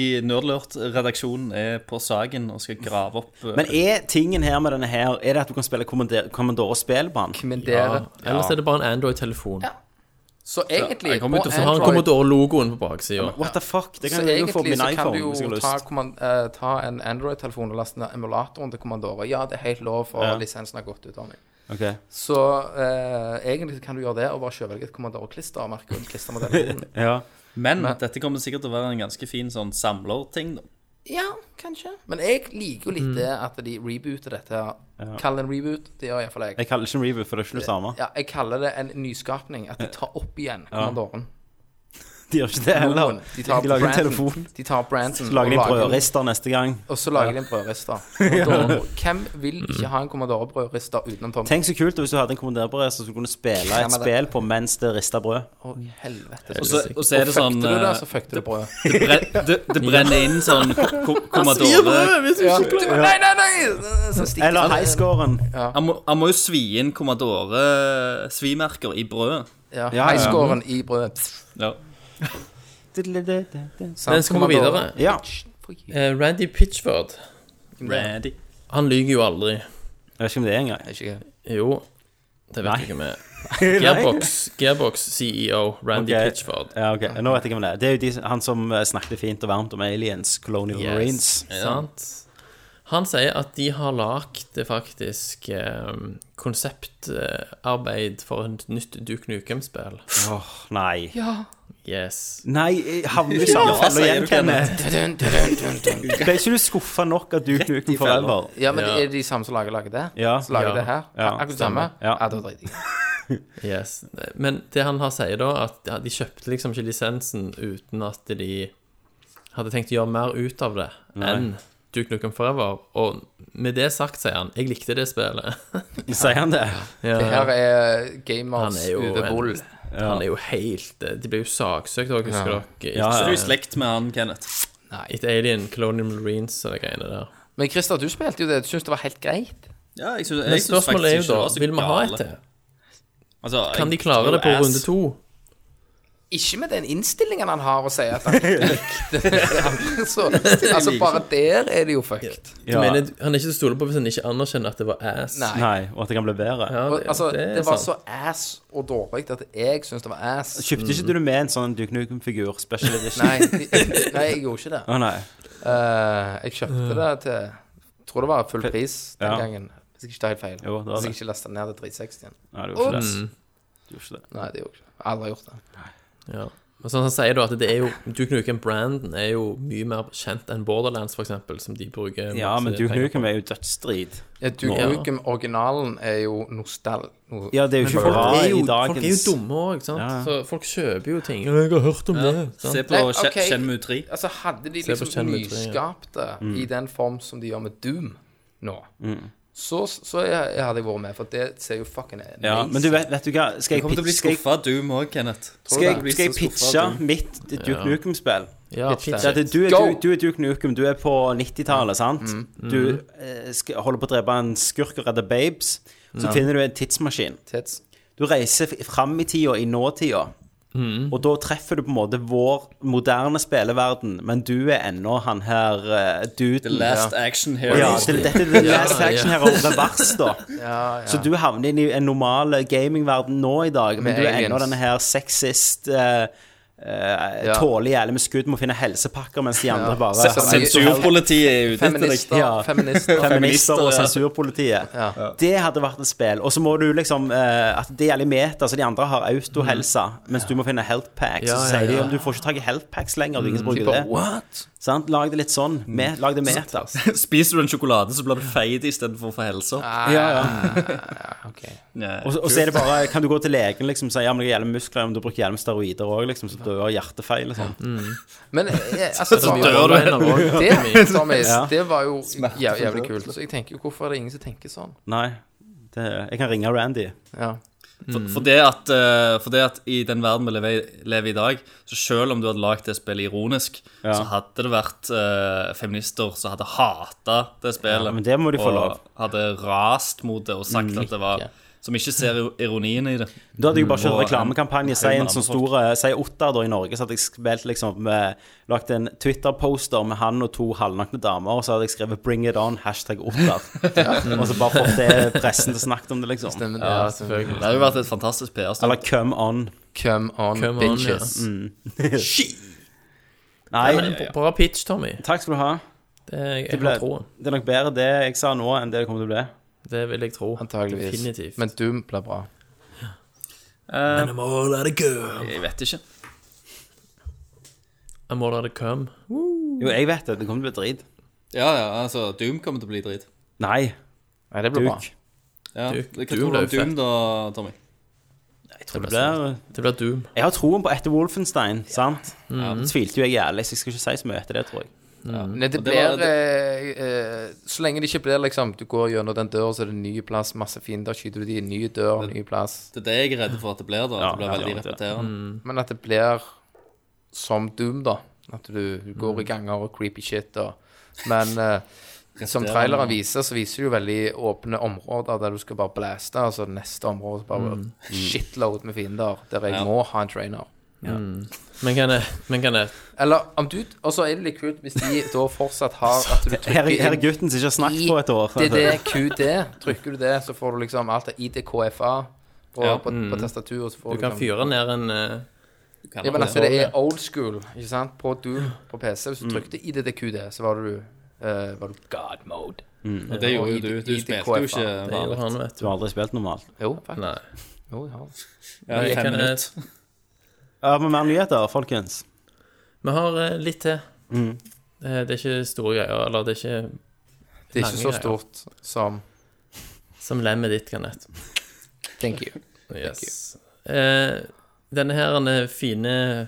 Speaker 3: i Nerdlurt-redaksjonen er på saken og skal grave opp eh,
Speaker 1: Men er tingen her med denne her Er det at du kan spille Commodore- Commodore-spill på den?
Speaker 2: Men
Speaker 4: Ja.
Speaker 2: dere
Speaker 4: Ellers er det bare en Android-telefon.
Speaker 2: Så egentlig
Speaker 3: jeg kommer
Speaker 2: på
Speaker 3: til å
Speaker 4: Så har han
Speaker 2: Android-
Speaker 4: Commodore-logoen på baksida.
Speaker 1: What the fuck? Det
Speaker 2: så
Speaker 1: kan jeg jo få på
Speaker 2: egentlig
Speaker 1: min
Speaker 2: så kan
Speaker 1: iPhone
Speaker 2: du
Speaker 1: hvis jeg har
Speaker 2: jo ta,
Speaker 1: lyst.
Speaker 2: komman- eh, ta en Android-telefon og laste ned emulatoren til Commandore. Ja, det er helt lov, for
Speaker 1: Ja.
Speaker 2: lisensen har gått ut. Tommy.
Speaker 1: Ok.
Speaker 2: Så eh, egentlig kan du gjøre det, og bare kjøpe deg et Commandore-klister og merke ut klistermodellen.
Speaker 1: *laughs* Ja.
Speaker 3: Men dette kommer sikkert til å være en ganske fin sånn samlerting, da.
Speaker 2: ja, kanskje. Men jeg liker jo litt det at de rebooter dette. her Kall det en reboot. Det gjør iallfall jeg.
Speaker 1: Jeg kaller det ikke en reboot, for det er ikke det samme.
Speaker 2: Ja, jeg kaller det en nyskapning. At de tar opp igjen Commandoren.
Speaker 1: De gjør ikke det heller.
Speaker 2: Noen.
Speaker 1: De, Eh, lager en telefon,
Speaker 2: De tar Branson.
Speaker 1: så lager de
Speaker 2: og
Speaker 1: en brødrister neste gang.
Speaker 2: Og så lager de en
Speaker 1: *laughs*
Speaker 2: brødrister. Commodore. Hvem vil
Speaker 4: Mm.
Speaker 2: ikke ha en Commodore-brødrister utenom Tom?
Speaker 1: Tenk så kult hvis du hadde en kommanderbrødrister som du kunne spille
Speaker 2: Ja,
Speaker 1: et
Speaker 2: men det-
Speaker 1: spill på mens det rista brød.
Speaker 2: Å, helvete.
Speaker 3: Og
Speaker 2: Så,
Speaker 3: så, og så er det sånn
Speaker 2: du det,
Speaker 3: eh,
Speaker 2: så fuckte
Speaker 1: *laughs*
Speaker 2: du brødet.
Speaker 3: det, bren- det, det brenner inn sånn ko- ko-
Speaker 2: *laughs*
Speaker 3: Commodore
Speaker 2: Ja. Nei, nei, nei! Så stikker
Speaker 1: Eller
Speaker 2: det.
Speaker 1: highscoren.
Speaker 3: Han må, han må jo svi inn Commodore-svimerker i brødet.
Speaker 2: Ja,
Speaker 1: ja.
Speaker 2: Highscoren i brødet.
Speaker 3: Ja.
Speaker 4: Men skal vi gå videre?
Speaker 1: Ja.
Speaker 4: Eh, Randy Pitchford,
Speaker 3: Ready.
Speaker 4: han lyver jo aldri.
Speaker 1: Jeg vet ikke om det er engang.
Speaker 2: Ikke
Speaker 4: Jo, det vet jeg ikke
Speaker 1: *laughs*
Speaker 4: med. Gearbox, Gearbox CEO Randy
Speaker 1: Ok.
Speaker 4: Pitchford.
Speaker 1: Ja, ok. Nå vet jeg hvem det er. Det er jo de, han som eh, snakket fint og varmt om aliens, Colonial Marines.
Speaker 4: Sant? Han sier at de har lagd faktisk eh, konseptarbeid for et nytt Duke Nukem-spill.
Speaker 1: Åh, nei.
Speaker 4: Yes.
Speaker 1: Nei, jeg havner i samme felle
Speaker 3: sier
Speaker 1: igjen,
Speaker 3: du, Kenneth.
Speaker 1: Kenneth. Ble ikke du skuffa nok av Duke Nukem
Speaker 3: fella.
Speaker 1: Forever?
Speaker 2: Ja, men
Speaker 4: Ja.
Speaker 2: er det de samme som lager, lager det?
Speaker 1: Ja.
Speaker 2: Som lager
Speaker 4: Ja.
Speaker 2: det her?
Speaker 1: Ja,
Speaker 2: Akkurat det samme?
Speaker 1: stemmer. Ja.
Speaker 2: ja det
Speaker 4: *laughs*
Speaker 2: var dritig.
Speaker 4: yes. Men det han har sier da, at ja, de kjøpte liksom ikke lisensen uten at de hadde tenkt å gjøre mer ut av det enn Duke Nukem Forever. Og med det sagt, sier han, jeg likte det
Speaker 3: *laughs*
Speaker 4: spillet.
Speaker 1: Sier han det?
Speaker 4: Ja.
Speaker 2: Det her er
Speaker 4: Han
Speaker 2: gamers
Speaker 4: er jo en-
Speaker 2: uveboll.
Speaker 4: Han er jo helt eh, De ble jo saksøkt òg, husker dere?
Speaker 1: Ja,
Speaker 3: Så
Speaker 1: ja.
Speaker 3: du er i slekt med han, Kenneth.
Speaker 4: Etter Alien, Colonial Marines og de greiene der.
Speaker 2: Men Christer, du spilte jo det. Du syntes det var helt greit?
Speaker 3: Ja, jeg synes,
Speaker 4: Men
Speaker 3: jeg synes
Speaker 4: spørsmålet er jo
Speaker 3: faktisk ikke
Speaker 4: da,
Speaker 3: det var så
Speaker 4: vil vi ha
Speaker 3: gale.
Speaker 4: et til?
Speaker 3: Altså,
Speaker 4: eh, Kan de
Speaker 3: jeg
Speaker 4: klare
Speaker 3: tror
Speaker 4: det på
Speaker 3: ass-
Speaker 4: runde to?
Speaker 2: Ikke med den innstillingen han har å si at han ikke likte så, Altså, bare der er det jo fucked.
Speaker 1: Ja.
Speaker 4: Men jeg- han er ikke til å stole på hvis han ikke anerkjenner at det var ass.
Speaker 2: Nei.
Speaker 1: Nei, og at det kan bli bedre.
Speaker 4: Ja,
Speaker 2: Og, altså,
Speaker 4: det er
Speaker 2: det var
Speaker 4: sant.
Speaker 2: så ass og dårlig at jeg syns det var ass.
Speaker 1: Kjøpte ikke du med en sånn Duke Nukem-figur special edition?
Speaker 2: Nei, de, *laughs* nei, jeg gjorde ikke det.
Speaker 1: Å nei.
Speaker 2: Eh, jeg kjøpte det til Tror det var full pris den
Speaker 1: Ja.
Speaker 2: gangen. Hvis jeg ikke tar helt feil.
Speaker 1: Jo, det var
Speaker 2: Hvis
Speaker 1: det.
Speaker 2: jeg ikke lasta ned til 360.
Speaker 1: Nei, det gjorde ikke
Speaker 2: Ops.
Speaker 4: Mm.
Speaker 1: det. Du gjorde ikke det.
Speaker 2: Nei, det gjorde jeg ikke. Jeg har aldri gjort det.
Speaker 5: Ja. Og sånn han sier da at det er jo Duke Nukem-branden er jo mye mer kjent enn Borderlands, for eksempel, som de bruker
Speaker 1: Ja,
Speaker 5: masse
Speaker 1: men Duke
Speaker 5: penger på.
Speaker 1: Nukem er jo dødsstrid.
Speaker 2: Ja, Duke Nukem-originalen er jo nostal... No,
Speaker 1: Ja, det er jo ikke
Speaker 5: Folk
Speaker 1: bra
Speaker 5: er jo,
Speaker 1: i
Speaker 5: folk er jo
Speaker 1: dagens
Speaker 5: dumme òg, ikke sant?
Speaker 1: Ja.
Speaker 5: Så folk kjøper jo ting. Jeg har hørt om det.
Speaker 3: Se på
Speaker 2: Nei,
Speaker 3: Nei,
Speaker 2: ok.
Speaker 3: Shenmue 3.
Speaker 2: Altså, hadde de
Speaker 5: Se på
Speaker 2: liksom
Speaker 5: Shenmue 3, ja.
Speaker 2: nyskapte i den form som de gjør med Doom nå, så, så jeg, jeg hadde jeg vært med, for det ser jo fucking nice
Speaker 1: Ja, men du vet, vet du hva, skal
Speaker 3: Jeg
Speaker 1: jeg,
Speaker 3: kommer til å bli
Speaker 1: pitch- skal jeg,
Speaker 3: skuffa, du òg, Kenneth.
Speaker 1: skal jeg, skal jeg pitche mitt Duke Nukem-spill?
Speaker 5: Ja,
Speaker 2: Pitch
Speaker 1: Ja,
Speaker 5: pitch.
Speaker 1: det, du, er,
Speaker 2: Go!
Speaker 1: du, du er Duke Nukem, du er på 90-tallet, sant?
Speaker 3: Mm.
Speaker 1: Du eh, skal, holder på å drepe en skurk og redde babes. Så finner du en tidsmaskin.
Speaker 2: tits.
Speaker 1: Du reiser fram i tida, i nåtida.
Speaker 3: Mm.
Speaker 1: Og da treffer du på en måte vår moderne spilleverden, men du er ennå han her eh,
Speaker 3: The
Speaker 1: duden.
Speaker 3: Last Action Hero.
Speaker 1: Ja, det, dette er the last action her, og revers, da. Så du havner inn i en normal gamingverden nå i dag, men
Speaker 2: Med
Speaker 1: du er
Speaker 2: aliens.
Speaker 1: ennå denne her sexist eh, eh,
Speaker 2: Ja.
Speaker 1: Tåler jævlig med skudd, må finne helsepakker, mens de andre bare
Speaker 2: Sens-
Speaker 3: Sensurpolitiet er ute etter deg.
Speaker 2: Feminister,
Speaker 1: Ja. *laughs*
Speaker 2: feminister.
Speaker 1: Feminister og
Speaker 3: feminister, ja.
Speaker 1: sensurpolitiet. Det hadde vært et spill. Og så må du liksom eh, At det er jævlig meta, så de andre har autohelse, mens du må finne health packs. Og så sier de at du får ikke tak i health packs lenger, du er ingen som bruker det.
Speaker 2: What?
Speaker 1: Sant? Lag det litt sånn. Med, lag det meta.
Speaker 3: Spiser du en sjokolade, så blir du feit istedenfor å få helsa.
Speaker 1: Ja, ja. *laughs*
Speaker 2: Ok.
Speaker 1: Og, så- og så er det bare Kan du gå til legen liksom, og si ja, men jeg har hjelm muskler, men du bruker hjelm steroider òg, liksom, så dør hjertefeil og sånn.
Speaker 2: Men eh, altså, Tommy,
Speaker 3: dør du.
Speaker 2: det, Tommy,
Speaker 1: Ja.
Speaker 2: det var jo jæv, jævlig kult. Så jeg tenker jo, hvorfor er det ingen som tenker sånn?
Speaker 1: Nei. Det, jeg kan ringe Randy.
Speaker 2: Ja.
Speaker 1: mm.
Speaker 3: For, for, det at, eh, for det at i den verden vi lever, i- lever i i dag, så selv om du hadde lagd det spillet ironisk, så hadde det vært eh, feminister som hadde hata det spillet.
Speaker 1: Ja, men det må de få
Speaker 3: og
Speaker 1: lov. Mm.
Speaker 3: hadde rast mot det og sagt at det var Som ikke ser i- ironien i det.
Speaker 1: Da hadde jeg bare kjørt
Speaker 3: Og en-
Speaker 1: reklamekampanje. Si en
Speaker 3: med
Speaker 1: sånn
Speaker 3: andre folk.
Speaker 1: stor eh, Si Otter da i Norge, så hadde jeg spilt liksom eh, Lagt en Twitter-poster med han og to halvnakne damer, og så hadde jeg skrevet 'Bring it on', hashtag Otter. Og så bare fått det pressen til å snakke om det, liksom.
Speaker 2: Stemmer det.
Speaker 5: Ja,
Speaker 2: altså.
Speaker 5: selvfølgelig.
Speaker 3: Det hadde jo vært et fantastisk PR-stunt.
Speaker 1: Eller 'Come on'.
Speaker 2: Come on,
Speaker 5: Come on,
Speaker 2: bitches.
Speaker 1: Nei.
Speaker 5: Bra pitch, Tommy.
Speaker 1: Takk skal du ha.
Speaker 5: Det er, jeg
Speaker 1: Det,
Speaker 5: har
Speaker 1: ble,
Speaker 5: troen.
Speaker 1: det er nok bedre det jeg sa nå, enn det det kommer til å bli.
Speaker 5: Det vil jeg tro.
Speaker 2: Antageligvis.
Speaker 5: Definitivt.
Speaker 2: Men Doom ble bra.
Speaker 3: Eh,
Speaker 5: I'm all out of girl.
Speaker 3: jeg vet ikke.
Speaker 5: I'm all out of cum.
Speaker 1: Jo, jeg vet det. Det kommer til å bli drit.
Speaker 3: Ja, ja, altså, Doom kommer til å bli drit.
Speaker 1: Nei.
Speaker 2: Nei, det ble bra.
Speaker 1: Duk.
Speaker 3: Ja.
Speaker 5: Doom-
Speaker 3: Hva
Speaker 5: Doom
Speaker 3: tror du
Speaker 5: ble
Speaker 3: om
Speaker 5: jo
Speaker 3: Doom, da, Tommy?
Speaker 1: Jeg tror det blir
Speaker 5: Det blir Doom.
Speaker 1: Jeg har troen på etter Wolfenstein, sant? Det tvilte jo jeg jævlig, så jeg skal ikke si så mye etter det, tror jeg.
Speaker 2: Nei, det
Speaker 3: Og det
Speaker 2: blir
Speaker 3: var-
Speaker 2: eh, eh, Så lenge det ikke blir liksom Du går gjennom den døra, så er det en ny plass, masse fiender, skyter du de, ny dør, ny plass.
Speaker 3: Det er det jeg er redd for at det blir, da. At
Speaker 1: Ja,
Speaker 3: det blir
Speaker 1: ja,
Speaker 3: veldig
Speaker 1: ja.
Speaker 3: repeterende.
Speaker 2: Men at det blir som Doom, da. At du du går
Speaker 3: Mm.
Speaker 2: i ganger og creepy shit og
Speaker 3: *laughs*
Speaker 2: Men eh, som traileren viser, så viser det jo veldig åpne områder der du skal bare blaste, og så neste område så bare Mm. shitload med fiender, der jeg
Speaker 3: Mm. Ja.
Speaker 2: må ha en trainer.
Speaker 5: Men kan jeg, men kan jeg
Speaker 2: Eller om du Og så er det litt kult hvis de da fortsatt har
Speaker 3: *laughs*
Speaker 2: at du
Speaker 1: Her,
Speaker 2: trykker
Speaker 1: er- her er
Speaker 2: inn
Speaker 1: gutten som ikke har snakket på et år.
Speaker 2: IDDQD. Trykker du det, så får du liksom alt av IDKFA på,
Speaker 3: Ja.
Speaker 2: på, på tastaturet. Så får
Speaker 5: Du kan
Speaker 2: liksom-
Speaker 5: fyre ned en eh,
Speaker 2: Ja, men altså, det er old school, ikke sant? På Doom på PC. Hvis du trykte IDDQD, så var du eh, var du god mode.
Speaker 1: Mm.
Speaker 3: Og det gjorde jo du. Du
Speaker 2: I- i-
Speaker 3: spilte jo
Speaker 2: KFA.
Speaker 3: ikke
Speaker 5: Det gjorde
Speaker 3: vanlig.
Speaker 5: han, vet du.
Speaker 1: Du har aldri spilt normalt.
Speaker 2: Jo, faktisk.
Speaker 5: Nei.
Speaker 2: Jo, jeg har det.
Speaker 3: Ja, i
Speaker 5: Jeg
Speaker 3: fem
Speaker 5: kan, eh,
Speaker 3: minutter.
Speaker 1: Ja, men mer nyheter, folkens.
Speaker 5: Vi har eh, litt til.
Speaker 1: Mm.
Speaker 5: Eh, Det er ikke store greier, eller det er ikke
Speaker 2: Det er ikke
Speaker 5: Lange
Speaker 2: så
Speaker 5: greier.
Speaker 2: stort som
Speaker 5: som lemmet ditt, Kanett.
Speaker 2: Thank you.
Speaker 5: Yes. Eh, denne her denne fine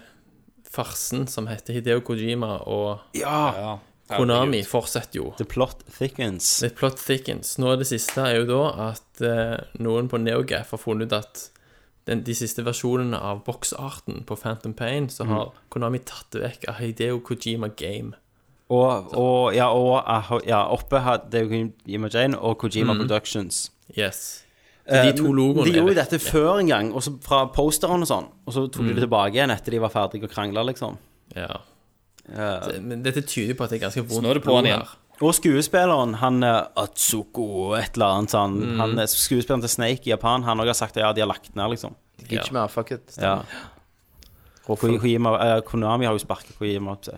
Speaker 5: farsen som heter Hideo Kojima og
Speaker 3: Ja.
Speaker 5: Konami, fortsetter jo.
Speaker 1: The plot thickens.
Speaker 5: The plot thickens. Nå er det siste er jo da at eh, noen på NeoGaf har funnet ut at den, de siste versjonene av boksarten på Phantom Pain, så har Konami tatt det vekk av Hideo Kojima Game.
Speaker 1: Og, og, ja, og ah, ja, oppe hadde det er jo Jima Jane og Kojima Productions.
Speaker 5: Yes.
Speaker 1: Eh,
Speaker 5: to logoene
Speaker 1: Mm. De
Speaker 5: er
Speaker 1: gjorde jo
Speaker 5: vekk.
Speaker 1: dette før en gang, og så fra posteren og sånn. Og så tok de det tilbake igjen etter de var ferdige og krangla, liksom.
Speaker 5: Ja.
Speaker 1: Eh,
Speaker 5: Men dette tyder jo på at det er ganske vondt.
Speaker 3: nå er det på'n
Speaker 5: blod
Speaker 3: igjen.
Speaker 5: her.
Speaker 1: og skuespilleren, han eh, Atsuko et eller annet sånn han, eh, Skuespilleren til Snake i Japan, han òg har sagt at ja, de har lagt ned, liksom.
Speaker 2: Gidder ikke mer, fuck it.
Speaker 1: Ja. Og Ko- Kojima, eh, Konami har jo sparket Kojima opp seg.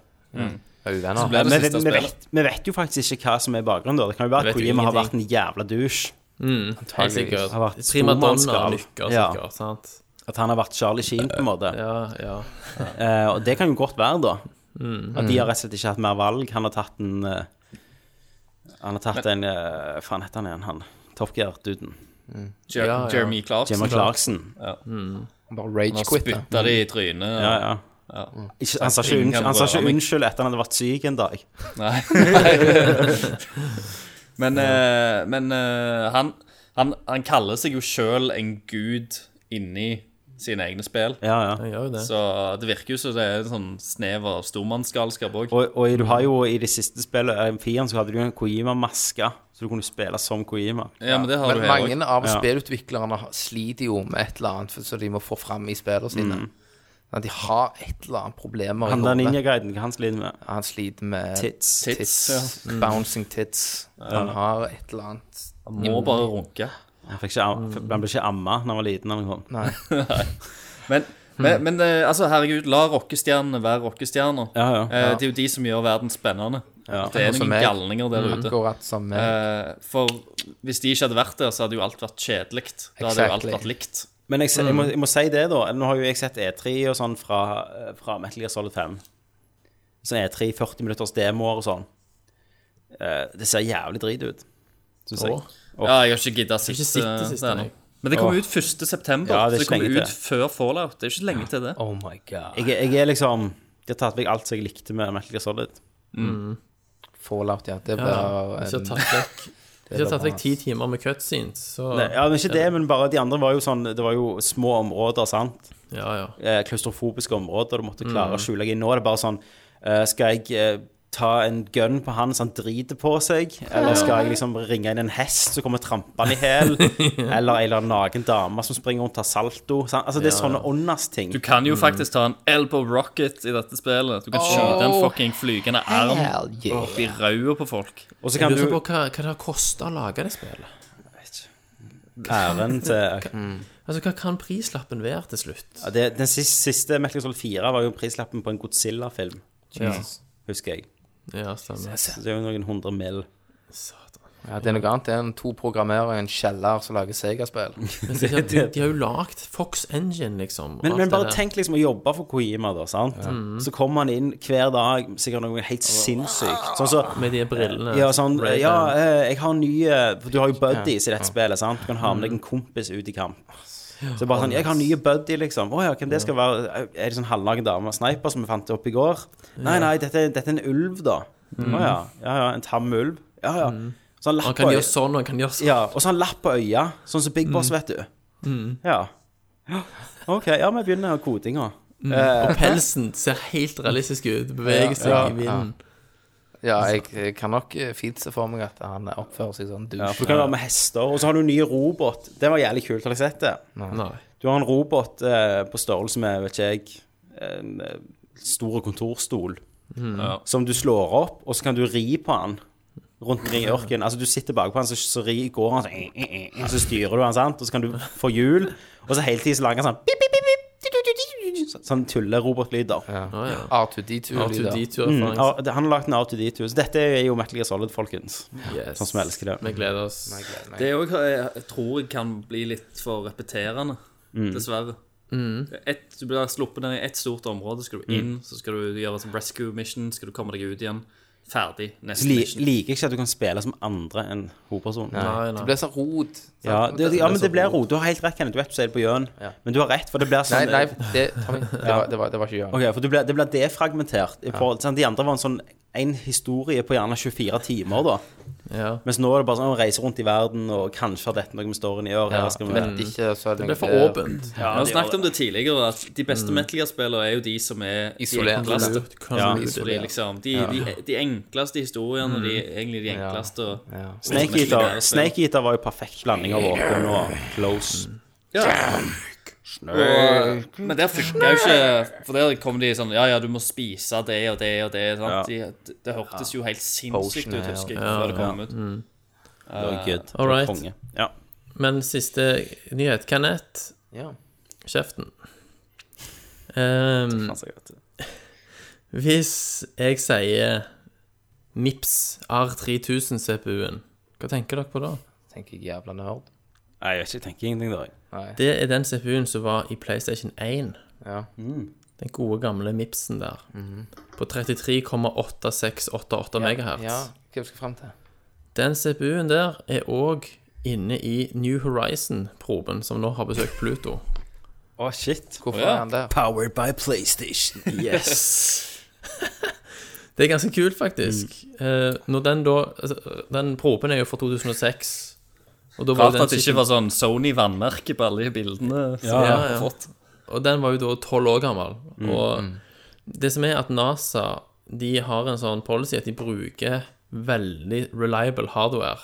Speaker 2: Er vi venner?
Speaker 1: Vi,
Speaker 3: Ble det
Speaker 1: vi,
Speaker 3: siste spillet.
Speaker 1: vet, vi vet jo faktisk ikke hva som er bakgrunnen, da. Det kan jo være
Speaker 5: Vi
Speaker 1: at
Speaker 5: vet jo
Speaker 1: Kojima har vært
Speaker 5: ingenting.
Speaker 1: en jævla douche.
Speaker 5: Helt Mm. sikkert.
Speaker 1: Har vært
Speaker 5: Primadonna
Speaker 1: stormannsgal.
Speaker 5: lykker
Speaker 1: Ja.
Speaker 5: sikkert, sant?
Speaker 1: At han har vært Charlie Sheen, på en måte.
Speaker 5: Ja, ja.
Speaker 1: Eh, og det kan jo godt være, da. At de har rett og slett ikke hatt mer valg. Han har tatt en eh, Han har tatt en eh, Hva faen heter han igjen, han? Top Gear-duden.
Speaker 5: Ja,
Speaker 3: Jer
Speaker 5: ja.
Speaker 3: Jeremy Clarkson.
Speaker 1: Jemma Clarkson.
Speaker 2: Bare
Speaker 3: Han
Speaker 2: rage-quit. da.
Speaker 3: spytta det i trynet. og-
Speaker 1: Ja, ja. Ikke, han sa ikke,
Speaker 3: Ingen
Speaker 1: unnskyld, han sa ikke
Speaker 3: rører meg.
Speaker 1: unnskyld etter han hadde vært syk en dag.
Speaker 3: Nei. men eh, men eh, han, han, han kaller seg jo sjøl en gud inni sine egne spill.
Speaker 1: Ja, ja.
Speaker 5: Han gjør jo det.
Speaker 3: Så det virker jo som det er en sånn snev av stormannsgalskap òg.
Speaker 1: Og, og du har jo i det siste spillet, eh, Firen, så hadde du en Kojima-maske, så du kunne spille som Kojima.
Speaker 3: Ja, men det har
Speaker 2: Men
Speaker 3: du her òg.
Speaker 2: mange av
Speaker 1: Ja.
Speaker 2: spillutviklerne har- sliter jo med et eller annet for- så de må få fram i spillene sine. At de har et eller annet problemer i
Speaker 1: Han der
Speaker 2: hodet.
Speaker 1: ninja-guiden, hva han sliter med?
Speaker 2: Han sliter med
Speaker 1: Tits.
Speaker 3: Tits.
Speaker 2: tits, Mm. Bouncing tits. Han har et eller annet
Speaker 3: Han må bare runke.
Speaker 1: Han, fikk ikke, am- han ble ikke amma da han var liten. Eller noe. sånt.
Speaker 2: Nei.
Speaker 3: Men,
Speaker 1: Hmm.
Speaker 3: men, men eh, altså, herregud, la rockestjernene være rockestjerner.
Speaker 1: Ja, ja.
Speaker 3: Eh, det er jo de som gjør verden spennende. At Det er
Speaker 2: Som
Speaker 3: noen
Speaker 2: meg.
Speaker 3: galninger der
Speaker 1: Mm.
Speaker 3: ute.
Speaker 2: Akkurat som meg.
Speaker 3: *laughs* Eh, for hvis de ikke hadde vært der, så hadde jo alt vært kjedelig. Da hadde jo alt
Speaker 2: Exactly.
Speaker 3: vært likt.
Speaker 1: Men jeg, se- jeg, må, jeg må si det, da. Nå har jo jeg sett E3 og sånn fra, fra Metal Gear Solid 5. Så E3 40 minutters demoer og sånn. Eh, det ser jævlig drit ut, syns jeg.
Speaker 3: Ja, jeg har ikke gidda å sitte,
Speaker 5: sitte sist,
Speaker 3: der nå.
Speaker 5: nei.
Speaker 3: Men det kommer ut 1. september,
Speaker 1: Ja,
Speaker 3: så
Speaker 1: det er
Speaker 3: det
Speaker 1: ikke
Speaker 3: kommer
Speaker 1: lenge
Speaker 3: ut før Fallout. Det er ikke lenge til det.
Speaker 2: Oh my god.
Speaker 1: jeg. Jeg er liksom De har tatt vekk alt som jeg likte med Metal Gear Solid.
Speaker 2: Fallout, ja. Det
Speaker 5: Ja.
Speaker 2: blir
Speaker 5: Hvis jeg har tatt
Speaker 1: *laughs*
Speaker 5: vekk, hvis jeg har tatt vekk ti timer med cutscenes, så
Speaker 1: Nei, ja, men Ikke det, men bare de andre var jo sånn Det var jo små områder, sant.
Speaker 5: Ja, ja.
Speaker 1: Eh, klaustrofobiske områder du måtte
Speaker 5: Mm.
Speaker 1: klare å skjule deg i. Nå er det bare sånn eh, Skal jeg eh, ta en gun på han så han driter på seg? Eller skal jeg liksom ringe inn en hest som kommer trampende i hæl?
Speaker 5: *laughs*
Speaker 1: Eller ei eller annen naken dame som springer rundt og tar salto? Sant? Altså, det er sånne åndas-ting.
Speaker 3: Du kan jo faktisk ta en elbow rocket i dette spillet. Du kan skyte en fucking flygende arm
Speaker 2: Hell yeah.
Speaker 3: opp i ræva på folk.
Speaker 1: Og så
Speaker 5: Jeg
Speaker 1: kan du
Speaker 5: lurer på hva, hva det har kosta å lage det spillet.
Speaker 1: Æren
Speaker 5: *laughs*
Speaker 1: til
Speaker 5: Altså, Hva kan prislappen være til slutt?
Speaker 1: ja, det, Den siste, siste Metal Gear Solid 4 var jo prislappen på en Godzilla-film,
Speaker 5: Ja,
Speaker 1: husker jeg.
Speaker 5: ja stemmer.
Speaker 1: Så det er jo noen hundre mill.
Speaker 2: Ja, det er noe annet enn to programmerere og en kjeller som lager Sega-spill.
Speaker 5: Men så,
Speaker 1: *laughs*
Speaker 5: de, de, de har jo lagd Fox Engine, liksom. og
Speaker 1: Men,
Speaker 5: alt
Speaker 1: men
Speaker 5: det Mm.
Speaker 1: bare
Speaker 5: der.
Speaker 1: tenk liksom å jobbe for Kojima, da. sant? Så kommer han inn hver dag, sikkert noe helt sinnssykt. Sånn så,
Speaker 5: Med de brillene.
Speaker 1: ja, sånn,
Speaker 5: Ray-Ban.
Speaker 1: ja, eh, jeg har nye For du har jo buddies i dette spillet, sant? Du kan ha
Speaker 5: Mm.
Speaker 1: med deg en kompis ut i kamp. Så bare sånn, jeg har nye buddy, liksom. Å ja, hvem det skal være? Er det sånn halvnaken dame og sniper som vi fant opp i går? Nei, nei, dette, er- dette er en ulv, da. Å ja. ja, ja, en tam ulv. Ja, ja. Så han
Speaker 5: Mm. Han
Speaker 1: lapper
Speaker 5: kan gjøre sånn, og han kan gjøre sånn.
Speaker 1: ja, og så har han lapp på øya, sånn som Big Boss, vet du. Ja. Ja, OK, ja, vi begynner kodinga. Eh,
Speaker 5: Og pelsen ser helt realistisk ut. Beveger seg i vinden.
Speaker 2: Ja, jeg, jeg kan nok eh, fint se for meg at han oppfører seg sånn
Speaker 1: Ja, for du
Speaker 2: douche.
Speaker 1: kan være med hester. Og så har du en ny robot. Det var jævlig kult, har dere sett det?
Speaker 5: Nei.
Speaker 1: Du har en robot eh, på størrelse med, vet ikke jeg, en eh, stor kontorstol. Mm.
Speaker 3: Ja.
Speaker 1: Som du slår opp, og så kan du ri på han rundt omkring i ørkenen. Altså, du sitter bakpå han, så, så ri, går han sånn, eh, eh, eh, så styrer du han, sant? Og så kan du få hjul, og så hele tiden så lager han sånn pip, pip, pip, pip, du, du, du, du, du, sånn- Sånn tullerobotlyder.
Speaker 5: Å ja.
Speaker 2: R2D2-lyder.
Speaker 1: Mm,
Speaker 5: R2D2-referanse.
Speaker 1: ja, det- han har lagt en R2D2, så dette er jo Metal Gear Solid, folkens.
Speaker 5: Yes.
Speaker 1: Sånn som jeg elsker det.
Speaker 5: Vi gleder oss.
Speaker 3: Det òg jeg tror jeg kan bli litt for repeterende, dessverre. Et, du blir sluppet ned i ett stort område, skal du inn, så skal du gjøre et rescue mission, skal du komme deg ut igjen. Ferdig.
Speaker 1: Så
Speaker 3: Neste
Speaker 1: li,
Speaker 3: mission.
Speaker 1: liker ikke at du kan spille som andre enn hovedpersonen.
Speaker 5: Nei,
Speaker 2: Det
Speaker 5: nei.
Speaker 2: blir sånn rot. sant?
Speaker 1: Ja, det, ja, men det blir ro. Du har helt rett, Kenneth. Du vet du sier det på Jørn, men du har rett, for det blir
Speaker 2: Nei,
Speaker 1: sånn
Speaker 2: nei, det, Tommy, det, var, det, var, det var ikke Jørn.
Speaker 1: Ok, for det blir, det blir defragmentert. I forhold, sant? De andre var en sånn en historie på gjerne 24 timer, da.
Speaker 4: Ja.
Speaker 1: Mens nå er det bare sånn å reise rundt i verden, og kanskje har dette noe med storyen å gjøre. her skal
Speaker 2: Jeg
Speaker 1: vi...
Speaker 2: vet ikke så lenge
Speaker 4: Det er for åpent.
Speaker 3: Vi har snakket om det tidligere, at de beste Metal Gear-spillene er jo de som er de
Speaker 2: Isolert.
Speaker 3: enkleste.
Speaker 1: Ja,
Speaker 3: Så de, liksom, de, de, de enkleste historiene, de er egentlig de enkleste. og-
Speaker 1: Snake Eater- Snake Eater var jo perfekt blanding av åpen og close.
Speaker 3: Og, men der funka jo ikke For der kom de sånn Ja, ja, du må spise det og det og det. Sant? De, det hørtes jo helt sinnssykt ut, husker jeg, før det kom ut. Eh,
Speaker 1: Det var good. Det var
Speaker 4: Alright.
Speaker 1: konge. Ja.
Speaker 4: Men siste nyhet. Kanett.
Speaker 2: Ja.
Speaker 4: Kjeften. Ehm,
Speaker 1: Altså, jeg vet det.
Speaker 4: hvis jeg sier Nips R3000 CPU-en, hva tenker dere på da?
Speaker 2: Tenker jeg jævla nerd.
Speaker 1: Nei, jeg vet ikke. Jeg tenker ingenting da. jeg.
Speaker 4: Det er den CPU-en som var i PlayStation 1.
Speaker 2: Ja.
Speaker 1: Mm.
Speaker 4: Den gode gamle Mipsen der. På 33,8688 megahertz.
Speaker 2: Ja, hva skal vi frem til?
Speaker 4: Den CPU-en der er òg inne i New Horizon-proben, som nå har besøkt Pluto.
Speaker 1: Å, shit.
Speaker 2: Hvorfor
Speaker 3: Ja.
Speaker 2: er han
Speaker 1: *laughs*
Speaker 2: der?
Speaker 1: Powered by *laughs* PlayStation.
Speaker 4: Yes! *laughs* det er ganske kult, faktisk. Eh, når den da altså, Den proben er jo fra 2006. Og da
Speaker 3: Rart
Speaker 4: jo den
Speaker 3: at det ikke
Speaker 4: skikken-
Speaker 3: var sånn Sony-vannmerke på alle de bildene. som
Speaker 4: Ja,
Speaker 3: jeg har
Speaker 4: ja.
Speaker 3: fått.
Speaker 4: Og den var jo da tolv år gammel. Og det som er at NASA de har en sånn policy at de bruker veldig reliable hardware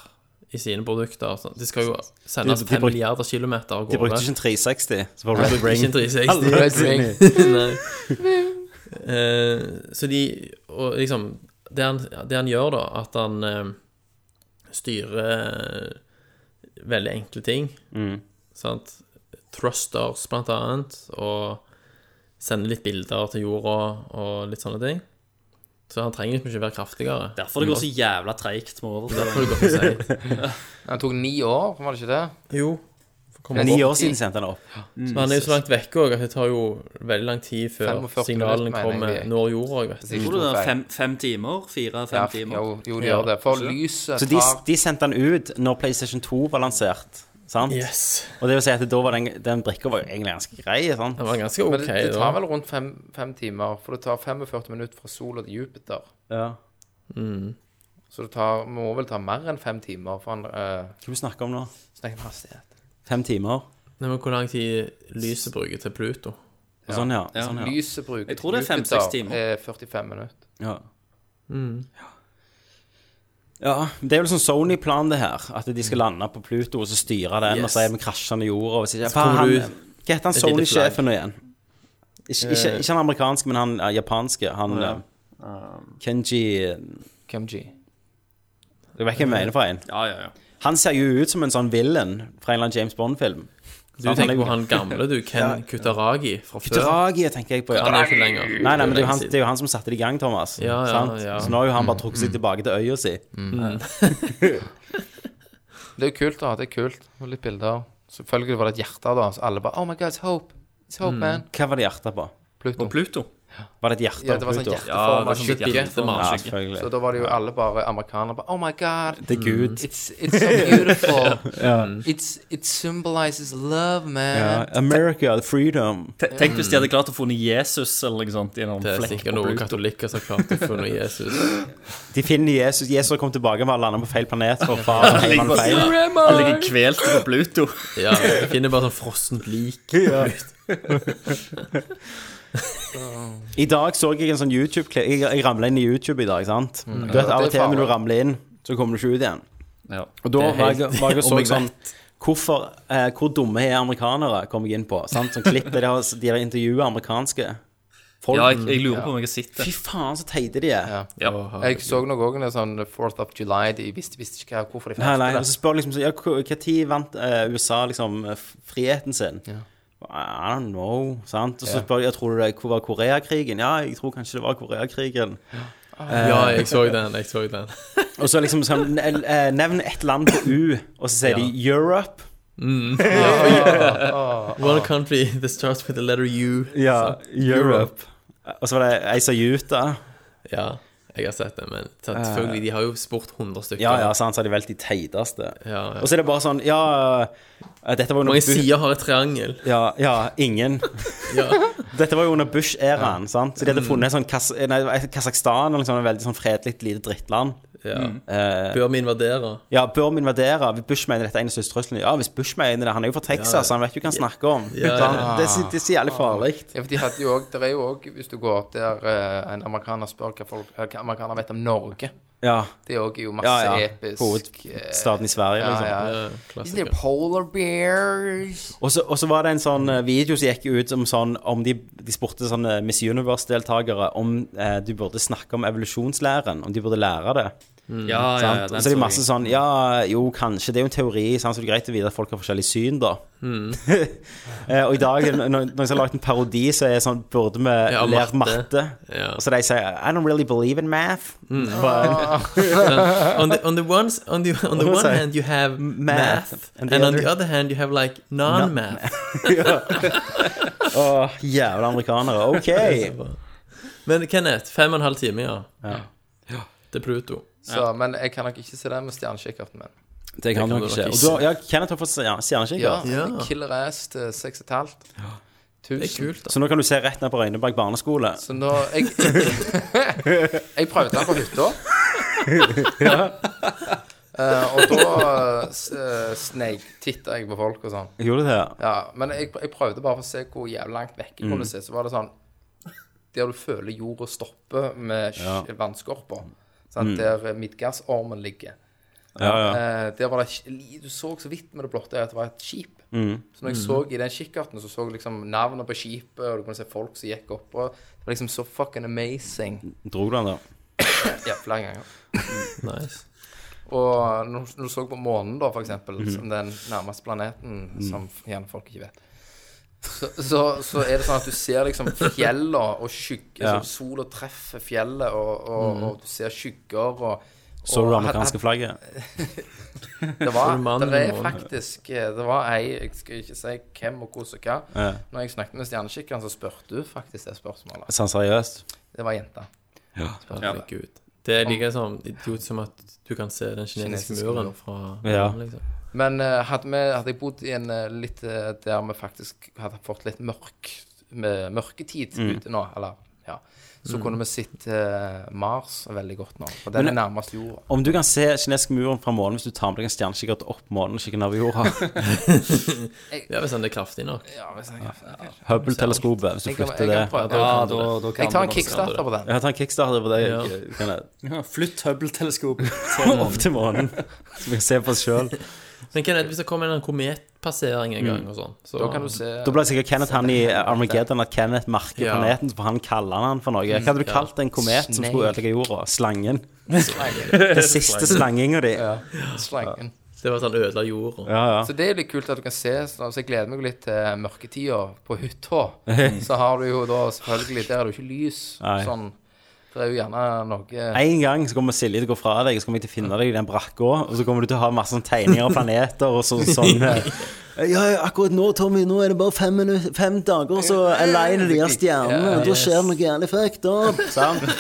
Speaker 4: i sine produkter. Så det skal jo sendes
Speaker 1: De- de
Speaker 4: 5
Speaker 1: bruk-
Speaker 4: milliarder kilometer av
Speaker 1: De brukte
Speaker 4: gårde.
Speaker 1: ikke en 360. Så var Red
Speaker 4: Ikke
Speaker 1: Ring.
Speaker 4: en 360.
Speaker 2: Red Ring.
Speaker 1: *laughs*
Speaker 4: Nei. Eh, så de Og liksom det han, det han gjør, da, at han eh, styrer eh, veldig enkle ting.
Speaker 2: Mm.
Speaker 4: Sant? Thrusters, blant annet, og sender litt bilder til jorda og litt sånne ting. Så han trenger liksom ikke være kraftigere.
Speaker 3: Derfor det går så jævla treigt med
Speaker 4: Derfor er
Speaker 3: overføring.
Speaker 4: det godt å
Speaker 2: *laughs*
Speaker 4: si.
Speaker 2: Han tok ni år, var det ikke det?
Speaker 4: Jo.
Speaker 1: Men Ni år siden sendte han opp.
Speaker 4: Men han er jo så langt vekke òg at det tar jo veldig lang tid før
Speaker 2: 45
Speaker 4: signalene
Speaker 2: minutter, mener
Speaker 4: kommer
Speaker 2: jeg.
Speaker 4: når jorda òg, vet du.
Speaker 3: Tror du det er fem, fem timer? Fire-fem
Speaker 2: Ja,
Speaker 3: timer?
Speaker 2: jo, jo, de gjør det. For lyset
Speaker 1: Så de, de sendte han ut når PlayStation 2 var lansert. Sant?
Speaker 4: Yes.
Speaker 1: Og det vil si at da var den, den brikka var jo egentlig ganske grei. Sant?
Speaker 4: Den var ganske
Speaker 2: Men
Speaker 4: ok,
Speaker 2: det, det tar
Speaker 4: da.
Speaker 2: vel rundt fem, fem timer, for det tar 45 minutter fra sola til Jupiter.
Speaker 1: Ja.
Speaker 2: Så det tar, må vel ta mer enn fem timer, for han eh,
Speaker 1: Hva vi snakker om nå?
Speaker 2: snakker om hastighet.
Speaker 1: Fem timer?
Speaker 4: Nei, men hvor lang tid lyset bruker til Pluto?
Speaker 1: Og sånn, ja. Sånn, ja.
Speaker 2: Lyset bruker
Speaker 3: Jeg tror det er
Speaker 2: til
Speaker 3: fem-seks
Speaker 2: Jupiter
Speaker 3: timer.
Speaker 2: er 45 minutter.
Speaker 1: Ja. ja. Det er vel sånn Sony-plan, det her. At de skal lande på Pluto og så styre den, og så er vi krasjende i jorda. og så- Faen,
Speaker 4: kommer du-
Speaker 1: han- Hva heter han
Speaker 4: lite
Speaker 1: Sony-sjefen nå igjen? Ikke, ikke, ikke han amerikanske, men han eh, japanske. Han eh, Kenji eh,
Speaker 2: Kim G.
Speaker 1: Jeg vet ikke hva jeg mener for en.
Speaker 3: Ja, ja, ja.
Speaker 1: Han ser jo ut som en sånn villain fra en eller annen James Bond-film.
Speaker 4: Du tenker på han gamle, du. Ken Kutaragi fra før.
Speaker 1: Dragi, tenker jeg på. Ja.
Speaker 4: Han er jo ikke lenger.
Speaker 1: Nei, nei, men det er, jo
Speaker 4: Lenge
Speaker 1: han, det er jo han som satte det i gang, Thomas.
Speaker 4: Ja, ja,
Speaker 1: sant?
Speaker 4: ja.
Speaker 1: Så nå har jo han bare trukket seg tilbake til øya si.
Speaker 2: Det er jo kult, da. Det er kult. Og litt bilder. Selvfølgelig var det et hjerte, da. Så alle bare Oh my God, it's hope. It's hope, man.
Speaker 1: Hva var det hjertet på?
Speaker 2: Pluto.
Speaker 3: Mm. Og Pluto.
Speaker 1: Var det et hjerte?
Speaker 2: Ja, det var
Speaker 1: på
Speaker 2: sånn
Speaker 1: Pluto?
Speaker 3: Ja,
Speaker 2: hjerteform
Speaker 3: det
Speaker 2: av
Speaker 3: var sånn et
Speaker 2: skygge.
Speaker 3: hjerte med
Speaker 1: Ja,
Speaker 3: avskygge.
Speaker 2: Så
Speaker 1: selvfølgelig.
Speaker 2: da var det jo alle bare amerikanere bare Oh my
Speaker 1: *laughs*
Speaker 2: God.
Speaker 1: Det er Gud.
Speaker 4: Mm.
Speaker 2: It's, it's so
Speaker 1: *laughs*
Speaker 2: beautiful. it's, it symbolizes love,
Speaker 1: Ja,
Speaker 2: man.
Speaker 1: America, freedom.
Speaker 3: Te- Tenk hvis de hadde klart å funnet Jesus eller noe sånt i en
Speaker 4: Det er
Speaker 3: flekk
Speaker 4: sikkert
Speaker 3: på
Speaker 4: noen
Speaker 3: Pluto.
Speaker 4: katolikker som har klart å finne Jesus.
Speaker 1: *laughs* De finner Jesus. Jesus har kommet tilbake med å lande på feil planet. For far, han
Speaker 3: ligger
Speaker 1: var
Speaker 3: bare-
Speaker 1: feil.
Speaker 3: Han ligger kvelt på Pluto.
Speaker 4: Ja, Finner bare sånn frossent lik.
Speaker 1: I dag så jeg en sånn YouTube-klipp. Jeg, jeg ramla inn i YouTube i dag, sant.
Speaker 4: Mm.
Speaker 1: Du vet, Av og til når du ramler inn, så kommer du ikke ut igjen.
Speaker 3: Ja.
Speaker 1: Og da var
Speaker 4: Det er
Speaker 1: jeg,
Speaker 4: helt-
Speaker 1: var jeg og
Speaker 4: *laughs*
Speaker 1: så
Speaker 4: om jeg
Speaker 1: sånn Hvorfor, eh, Hvor dumme er amerikanere, kom jeg inn på. Sant? Sånn klipp der de har, de har intervjuet amerikanske folk.
Speaker 3: Ja, jeg, jeg lurer på om jeg har sett det.
Speaker 1: Fy faen, så teite de er.
Speaker 2: Ja.
Speaker 3: Ja.
Speaker 2: Jeg så noen ganger en sånn 4th of July De visste, visste ikke hva- hvorfor de
Speaker 1: Nei, nei,
Speaker 2: feirte
Speaker 1: og
Speaker 2: det.
Speaker 1: så spør liksom så, ja, hvor- hva tid vant eh, USA liksom eh, f- friheten sin?
Speaker 2: Ja.
Speaker 1: I don't know, sant? Og så spør de, ja, tror du det hvor var Koreakrigen? Ja, jeg tror kanskje det var Koreakrigen. Eh,
Speaker 4: Ja, jeg så den. jeg så
Speaker 1: *laughs*
Speaker 4: den
Speaker 1: Og så liksom sånn, eh, eh, nevn et land på U, og så sier de Europe. *laughs*
Speaker 4: One country that starts with the letter U.
Speaker 1: Ja, Europe. Og så var det ei som sa Utah.
Speaker 4: Ja, jeg har sett den, men selvfølgelig, de har jo spurt 100 stykker.
Speaker 1: Eh. Ja, ja, sant, så er de valgt de teiteste.
Speaker 4: Ja, ja.
Speaker 1: Og så er det bare sånn, ja eh, Dette var jo
Speaker 4: Mange
Speaker 1: under Bush
Speaker 4: sider har et triangel.
Speaker 1: ja, ja, ingen. *laughs*
Speaker 4: Ja.
Speaker 1: Dette var jo under
Speaker 2: Mm.
Speaker 1: liksom Bush-æraen, sant. Så de hadde funnet en sånn Kas nei, Kasakhstan, eller sånn, et veldig sånn fredelig lite drittland.
Speaker 4: Bør vi invadere?
Speaker 1: Ja, bør vi invadere? Hvis Bush mener dette er en av største truslene Ja, hvis Bush mener det Han er jo fra Texas, han vet jo hva han snakker om. Så han- Det, er så- det er så jævlig farlig.
Speaker 2: Ja, for de hadde jo også, Det er jo òg, hvis du går opp der eh, en amerikaner spør hva, folk, eh, hva amerikanere vet om Norge
Speaker 1: Ja.
Speaker 2: Det er også jo masse
Speaker 1: ja, ja.
Speaker 2: episk eh,
Speaker 1: Hovedstaden i Sverige,
Speaker 2: ja,
Speaker 1: liksom.
Speaker 2: ja. Isn't there polar bears?
Speaker 1: Og så, og så var det en sånn eh, video som gikk ut om sånn Om de, de spurte sånne Miss Universe-deltakere om eh, de burde snakke om evolusjonslæren, om de burde lære det.
Speaker 3: Ja, ja, ja,
Speaker 1: Sant?
Speaker 3: den
Speaker 1: så det er
Speaker 3: så
Speaker 1: masse
Speaker 3: jeg.
Speaker 1: sånn Ja, jo, kanskje. Det er jo en teori, sant? så det er greit å vite at folk har forskjellig syn, da. Mm. *laughs* Eh, og i dag, når når jeg har lagd en parodi, så er det sånn Burde vi
Speaker 5: Ja,
Speaker 1: lære
Speaker 5: matte.
Speaker 1: matte?
Speaker 5: Ja.
Speaker 1: Og så de sier I don't really believe in math. *laughs* But
Speaker 5: on the on the ones on the on the
Speaker 1: What was
Speaker 5: one
Speaker 1: I?
Speaker 5: hand you have
Speaker 1: Math.
Speaker 5: math,
Speaker 1: And
Speaker 5: and,
Speaker 1: the
Speaker 5: on
Speaker 1: other-
Speaker 5: the other hand you have like non-math.
Speaker 1: Å, jævla amerikanere. OK.
Speaker 5: Men Kenneth, fem og en halv time, ja. Til Pluto.
Speaker 2: Så, Men jeg kan nok ikke se det med stjernekikkerten min.
Speaker 1: Det kan du nok ikke. Og du, har- ja, Kenneth har fått stjerne-
Speaker 2: Ja,
Speaker 1: stjernekikker.
Speaker 5: Ja.
Speaker 2: Killer Ass til 6,5.
Speaker 5: Det er
Speaker 2: Tusen.
Speaker 5: kult, da.
Speaker 1: Så nå kan du se rett ned på Røyneberg barneskole.
Speaker 2: Så nå Jeg, *laughs* jeg prøvde den på
Speaker 5: *laughs*
Speaker 2: hytta. Eh, og da uh, sneiktitta jeg på folk og sånn.
Speaker 1: Gjorde du det?
Speaker 2: Ja, men jeg, jeg prøvde bare for å se hvor jævlig langt vekk jeg
Speaker 5: Mm.
Speaker 2: kunne se. Så var det sånn Der du føler jorda stopper med ja. vannskorpa. Sant?
Speaker 5: Mm.
Speaker 2: Der midtgassormen ligger.
Speaker 1: Ja, ja.
Speaker 2: Eh, der var det sk- li- Du så så vidt med det blotte øyet at det var et skip.
Speaker 1: Mm.
Speaker 2: Så når jeg så i den kikkerten, så så jeg liksom navnet på skipet, og du kunne se folk som gikk opp. Og det var liksom så fucking amazing.
Speaker 1: Dro du den der?
Speaker 2: Ja, flere ganger.
Speaker 5: Nice.
Speaker 2: Og når når du så på månen, da, for eksempel,
Speaker 1: Mhm.
Speaker 2: som den nærmeste planeten,
Speaker 1: Mm.
Speaker 2: som gjerne folk ikke vet så, så, så er det sånn at du ser liksom fjellene og skygger
Speaker 1: Ja. Mm.
Speaker 2: altså, Sola treffer fjellet, og, og, og du ser skygger og
Speaker 1: Så du det amerikanske flagget?
Speaker 2: Det var,
Speaker 5: mannen
Speaker 2: det er
Speaker 5: i morgen?
Speaker 2: faktisk eh, Det var ei Jeg skal ikke si hvem og hvordan og hva.
Speaker 1: Ja.
Speaker 2: Når jeg snakket med stjernekikkeren, så spurte hun faktisk det spørsmålet.
Speaker 1: Sånn seriøst?
Speaker 2: Det var jenta.
Speaker 5: Herregud. Det er like som idiot som at du kan se den kinesiske
Speaker 2: Kinesiske mur.
Speaker 5: muren fra
Speaker 1: Ja.
Speaker 5: liksom.
Speaker 2: Men eh, hadde, vi, hadde jeg bodd i en eh, litt eh, der vi faktisk hadde fått litt mørk med mørketid
Speaker 1: Mm.
Speaker 2: ute nå, eller ja, så kunne vi sett eh, Mars veldig godt nå. For den
Speaker 1: Men-
Speaker 2: er nærmest jorda.
Speaker 1: Om du kan se kinesisk muren fra månen hvis du tar med deg en stjernekikkert opp månen og kikker ned over jorda?
Speaker 5: Ja, hvis han er kraftig nok.
Speaker 2: Ja, hvis jeg, jeg,
Speaker 1: *laughs* Hubble-teleskopet, hvis du
Speaker 2: kan,
Speaker 1: flytter
Speaker 2: jeg
Speaker 1: det.
Speaker 2: kan prøve.
Speaker 3: Ja,
Speaker 2: Jeg,
Speaker 3: da, da kan
Speaker 2: jeg tar
Speaker 3: du
Speaker 2: en
Speaker 3: nok se
Speaker 2: kickstarter på den.
Speaker 1: Jeg tar en kickstarter på deg.
Speaker 2: *laughs*
Speaker 1: Kenneth.
Speaker 3: det. Ja, flytt *laughs* Hubble-teleskopet til
Speaker 1: Opp til månen, så vi kan se på oss
Speaker 2: *laughs*
Speaker 1: sjøl.
Speaker 5: Men Kenneth, hvis det kommer en eller annen kometpassering en
Speaker 1: Mm.
Speaker 5: gang og sånn, så
Speaker 2: Da kan du se
Speaker 1: Da ble sikkert Kenneth han i Armageddon at Kenneth merker
Speaker 5: Ja.
Speaker 1: planeten, så han kaller han for noe. Hva hadde du kalt en komet som
Speaker 2: Mm, Snake.
Speaker 1: skulle ødelegge jorda? Slangen.
Speaker 2: slangen.
Speaker 1: *laughs* Den siste slanginga di.
Speaker 2: Ja, slangen.
Speaker 5: Det var at han ødela jorda.
Speaker 1: Ja, ja.
Speaker 2: Så det er jo litt kult at du kan se, så jeg gleder meg jo litt til mørketida på hytta. Så har du jo da selvfølgelig, der er det jo ikke lys,
Speaker 1: Mm. Nei.
Speaker 2: sånn, det er jo gjerne noe...
Speaker 1: En gang så kommer Silje til å gå fra deg, og så kommer jeg til å finne deg i den brakka, og så kommer du til å ha masse sånne tegninger av planeter og så, sånn eh, *laughs* Ja, ja, akkurat nå, Tommy, nå er det bare fem, minu- fem dager, så aligner de her stjernene, og da skjer det noe jævlig fucked up. *laughs* Sant? *laughs*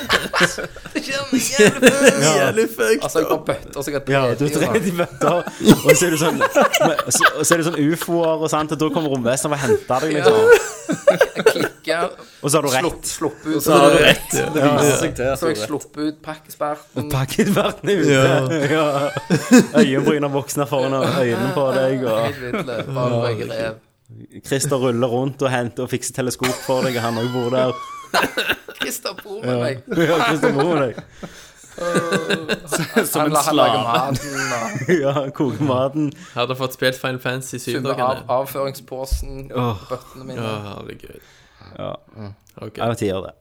Speaker 2: Altså, jeg har bøtter som jeg har
Speaker 1: Ja,
Speaker 2: drevet
Speaker 1: du
Speaker 2: i, da.
Speaker 1: trenger de bøtter, og så er du sånn men så, og så er det sånn ufoer og sånt, og da kommer romvesenet og henter deg, liksom.
Speaker 2: Ikke
Speaker 1: Og så har du
Speaker 2: slupp-
Speaker 1: rett.
Speaker 2: sluppe ut Så har du rett.
Speaker 3: Det viser seg til
Speaker 2: Så jeg sluppe ut pakkesperten.
Speaker 1: Pakket verden er ute. *laughs* Ja. Øyenbryna voksne foran øynene på deg, og
Speaker 2: Helt videre, bare hvor jeg rev.
Speaker 1: Christer ruller rundt og henter og fikser teleskop for deg, og han òg bor der.
Speaker 2: Christer bor med meg.
Speaker 1: *laughs* Ja, Christer bor med deg.
Speaker 2: Han la- han lager
Speaker 1: *laughs*
Speaker 2: maten og
Speaker 1: Ja, koker maten.
Speaker 5: Hadde fått spilt Final Fantasy 7 da,
Speaker 2: tømmer av
Speaker 5: Kenneth.
Speaker 2: avføringspåsen,
Speaker 1: Åh.
Speaker 2: bøttene
Speaker 5: Å,
Speaker 2: mine.
Speaker 5: herregud.
Speaker 1: Ja.
Speaker 5: Ok.
Speaker 1: Jeg vet ikke gjør det.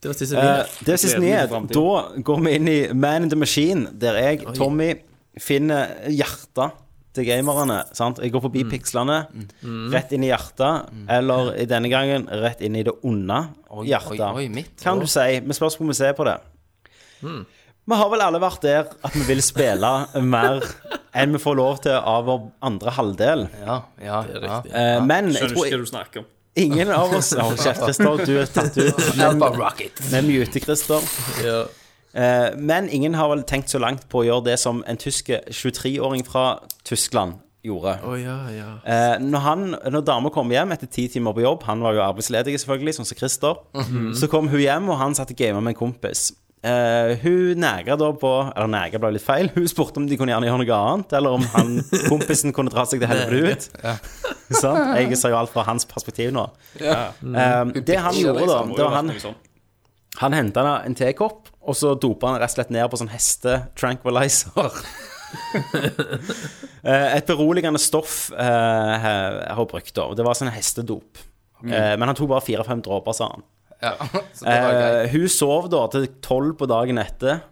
Speaker 5: Det var siste
Speaker 1: Eh,
Speaker 5: video.
Speaker 1: det er siste
Speaker 3: Gleder meg til
Speaker 1: nyhet.
Speaker 3: fremtiden.
Speaker 1: Da går vi inn i Man in the Machine, der jeg, Tommy, finner hjertet til gamerne. Sant? Jeg går forbi
Speaker 2: Mm.
Speaker 1: pikslene, rett inn i hjertet, eller i denne gangen rett inn i det onde hjertet.
Speaker 2: Oi, oi, mitt.
Speaker 1: kan du si, med spørsmål vi ser på det. Vi har vel alle vært der at vi vil spille mer enn vi får lov til av vår andre halvdel.
Speaker 2: Ja, ja, ja.
Speaker 1: Eh, men jeg
Speaker 3: Skjønner
Speaker 1: tror
Speaker 3: ikke hva du snakker om.
Speaker 1: ingen av oss Hold kjeft, Christer. Du er tatt ut.
Speaker 2: Alba Rocket.
Speaker 1: Vi muter Christer.
Speaker 5: Ja.
Speaker 1: Eh, men ingen har vel tenkt så langt på å gjøre det som en tysk 23-åring fra Tyskland gjorde.
Speaker 5: Å ja, ja.
Speaker 1: Eh, når, han, når dama kom hjem etter ti timer på jobb, han var jo arbeidsledig selvfølgelig, sånn som Christer, så kom hun hjem, og han satt og gamet med en kompis. eh, hun nega da på Eller nega ble litt feil. Hun spurte om de kunne gjerne gjøre noe annet, eller om han, kompisen kunne dra seg til helvete ut. *laughs* Sant? Jeg sa jo alt fra hans perspektiv nå. Eh, det han gjorde, da, det var han han henta en tekopp, og så dopa han rett og slett ned på sånn heste-tranquilizer. Eh, Et beroligende stoff eh, har har hun brukt, da. og Det var sånn hestedop. Eh, Men han tok bare fire-fem dråper, sa han.
Speaker 2: Ja, *laughs* så det var greit.
Speaker 1: Eh, hun sov da til tolv på dagen etter.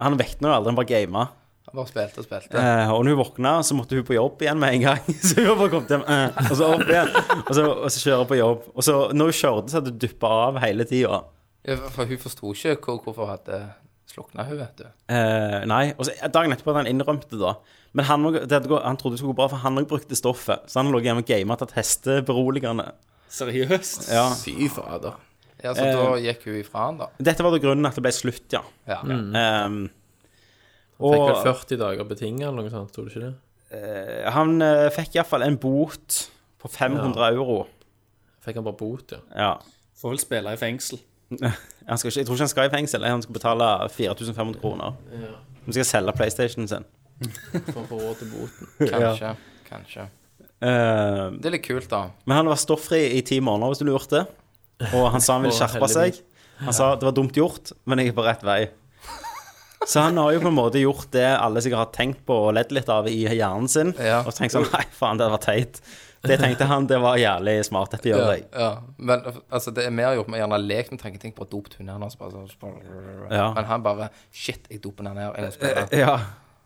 Speaker 1: Han vekna jo aldri, han bare gama.
Speaker 2: Han bare spilte og spilte.
Speaker 1: Eh, og når hun våkna, så måtte hun på jobb igjen med en gang. *laughs* Så hun bare kom til eh, og så opp igjen, og så, og så kjøre på jobb. Og så når hun kjørte, så hadde hun duppa av hele tida.
Speaker 2: Ja, For hun forsto ikke hvor, hvorfor hun hadde slukna hun, vet du.
Speaker 1: Eh, nei, og så dagen etterpå at han innrømte da Men han, må- det hadde gå- han trodde det skulle gå bra, for han òg brukte stoffet. Så han lå hjemme og gamet tatt hesteberoligende.
Speaker 3: Seriøst?
Speaker 1: Ja.
Speaker 4: Fy fader.
Speaker 2: Ja, Så da
Speaker 5: Eh.
Speaker 2: gikk hun ifra han, da.
Speaker 1: Dette var da grunnen at det ble slutt, ja.
Speaker 2: Ja.
Speaker 5: Mm.
Speaker 1: Ehm,
Speaker 5: Fikk
Speaker 1: og
Speaker 5: vel 40 dager betinget eller noe sånt, tror du ikke det?
Speaker 1: eh, han uh, fikk iallfall en bot på 500 euro.
Speaker 5: Fikk han bare bot, ja.
Speaker 1: Ja.
Speaker 3: Får vel spille i fengsel.
Speaker 1: Han skal ikke, jeg tror ikke han skal i fengsel. Han skal betale 4500 kroner. Han skal selge PlayStationen sin.
Speaker 5: For å få råd til boten.
Speaker 2: Kanskje. Kanskje.
Speaker 1: Eh,
Speaker 2: Det er litt kult, da.
Speaker 1: Men han var stofffri i ti måneder, hvis du lurte. Og han sa han ville
Speaker 5: Å,
Speaker 1: skjerpe seg. Han sa det var dumt gjort, men jeg er på rett vei. Så han har jo på en måte gjort det alle sikkert har tenkt på og ledd litt av i hjernen sin.
Speaker 2: Ja.
Speaker 1: Og tenkt sånn Nei, faen, det var teit. Det tenkte han, det var jævlig smart. Dette gjør jeg.
Speaker 2: Ja, men altså, det er mer gjort med gjerne lek med tanken. Tenk på å dope tunnelen hans. Bare, sånn-
Speaker 1: Ja.
Speaker 2: Men han bare Shit, jeg doper den her.
Speaker 5: Eh,
Speaker 2: Jeg må spille.
Speaker 1: Ja.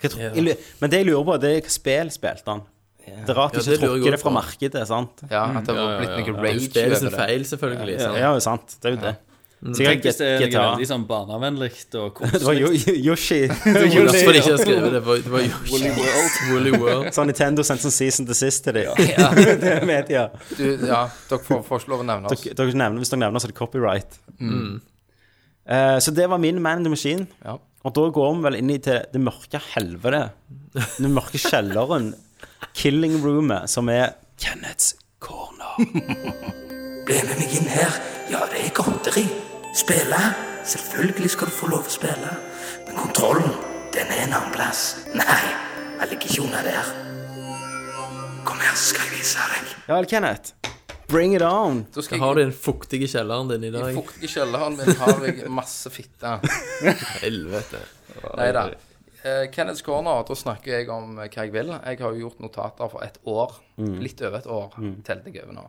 Speaker 1: Hva tro- jeg lu- Men det jeg lurer på, det er hva spill spilte han? Det er rart du
Speaker 5: Ja, det
Speaker 1: ikke
Speaker 5: lurer jeg
Speaker 1: trukker det
Speaker 5: også
Speaker 1: fra
Speaker 5: på.
Speaker 1: markedet, sant?
Speaker 2: Ja, at det har blitt
Speaker 5: Det
Speaker 2: noe
Speaker 5: er jo
Speaker 2: rage
Speaker 5: spillet sin
Speaker 2: over det.
Speaker 5: feil, selvfølgelig.
Speaker 1: Ja,
Speaker 5: sant?
Speaker 1: det er jo sant. Det er jo det. Sikkert
Speaker 3: Tenk hvis det er noe
Speaker 1: GTA.
Speaker 3: veldig sånn barnevennlig *laughs* og
Speaker 1: Det var
Speaker 3: koselig.
Speaker 1: Yo- Yo-
Speaker 5: *laughs*
Speaker 1: Yoshi.
Speaker 5: Det var derfor de ikke har skrevet det. var- Det var jo
Speaker 3: Woolly World.
Speaker 5: Woolly World.
Speaker 1: Så Nintendo sendte sånn season to sist til dem. *laughs* det vet jeg.
Speaker 2: Du, ja, dere får, får ikke lov å nevne oss.
Speaker 1: Dere, Mm. dere nevner, hvis dere nevner, så er det copyright. Eh, så det var min Man in the Machine.
Speaker 2: Mm. Ja.
Speaker 1: Og da går vi vel inn i til det mørke helvete. Den mørke
Speaker 2: *laughs*
Speaker 1: kjelleren. Killing roomet, som er Kenneths corner.
Speaker 6: Ble med meg inn her. Ja, det er godteri. Spille? Selvfølgelig skal du få lov å spille. Men kontrollen, den er en annen plass. Nei, jeg ligger ikke under der. Kom her, skal jeg vise deg.
Speaker 1: Ja vel, Kenneth. Bring it on.
Speaker 2: Da
Speaker 5: Hva
Speaker 2: skal
Speaker 5: har
Speaker 2: jeg
Speaker 5: du i den fuktige kjelleren din i
Speaker 2: i
Speaker 5: dag?
Speaker 2: fuktige kjelleren min har jeg masse fitte.
Speaker 5: Helvete.
Speaker 2: Nei da. Eh, Kenneths Corner, da snakker jeg om hva jeg vil. Jeg har jo gjort notater for et år. Litt over et år, telte jeg over nå.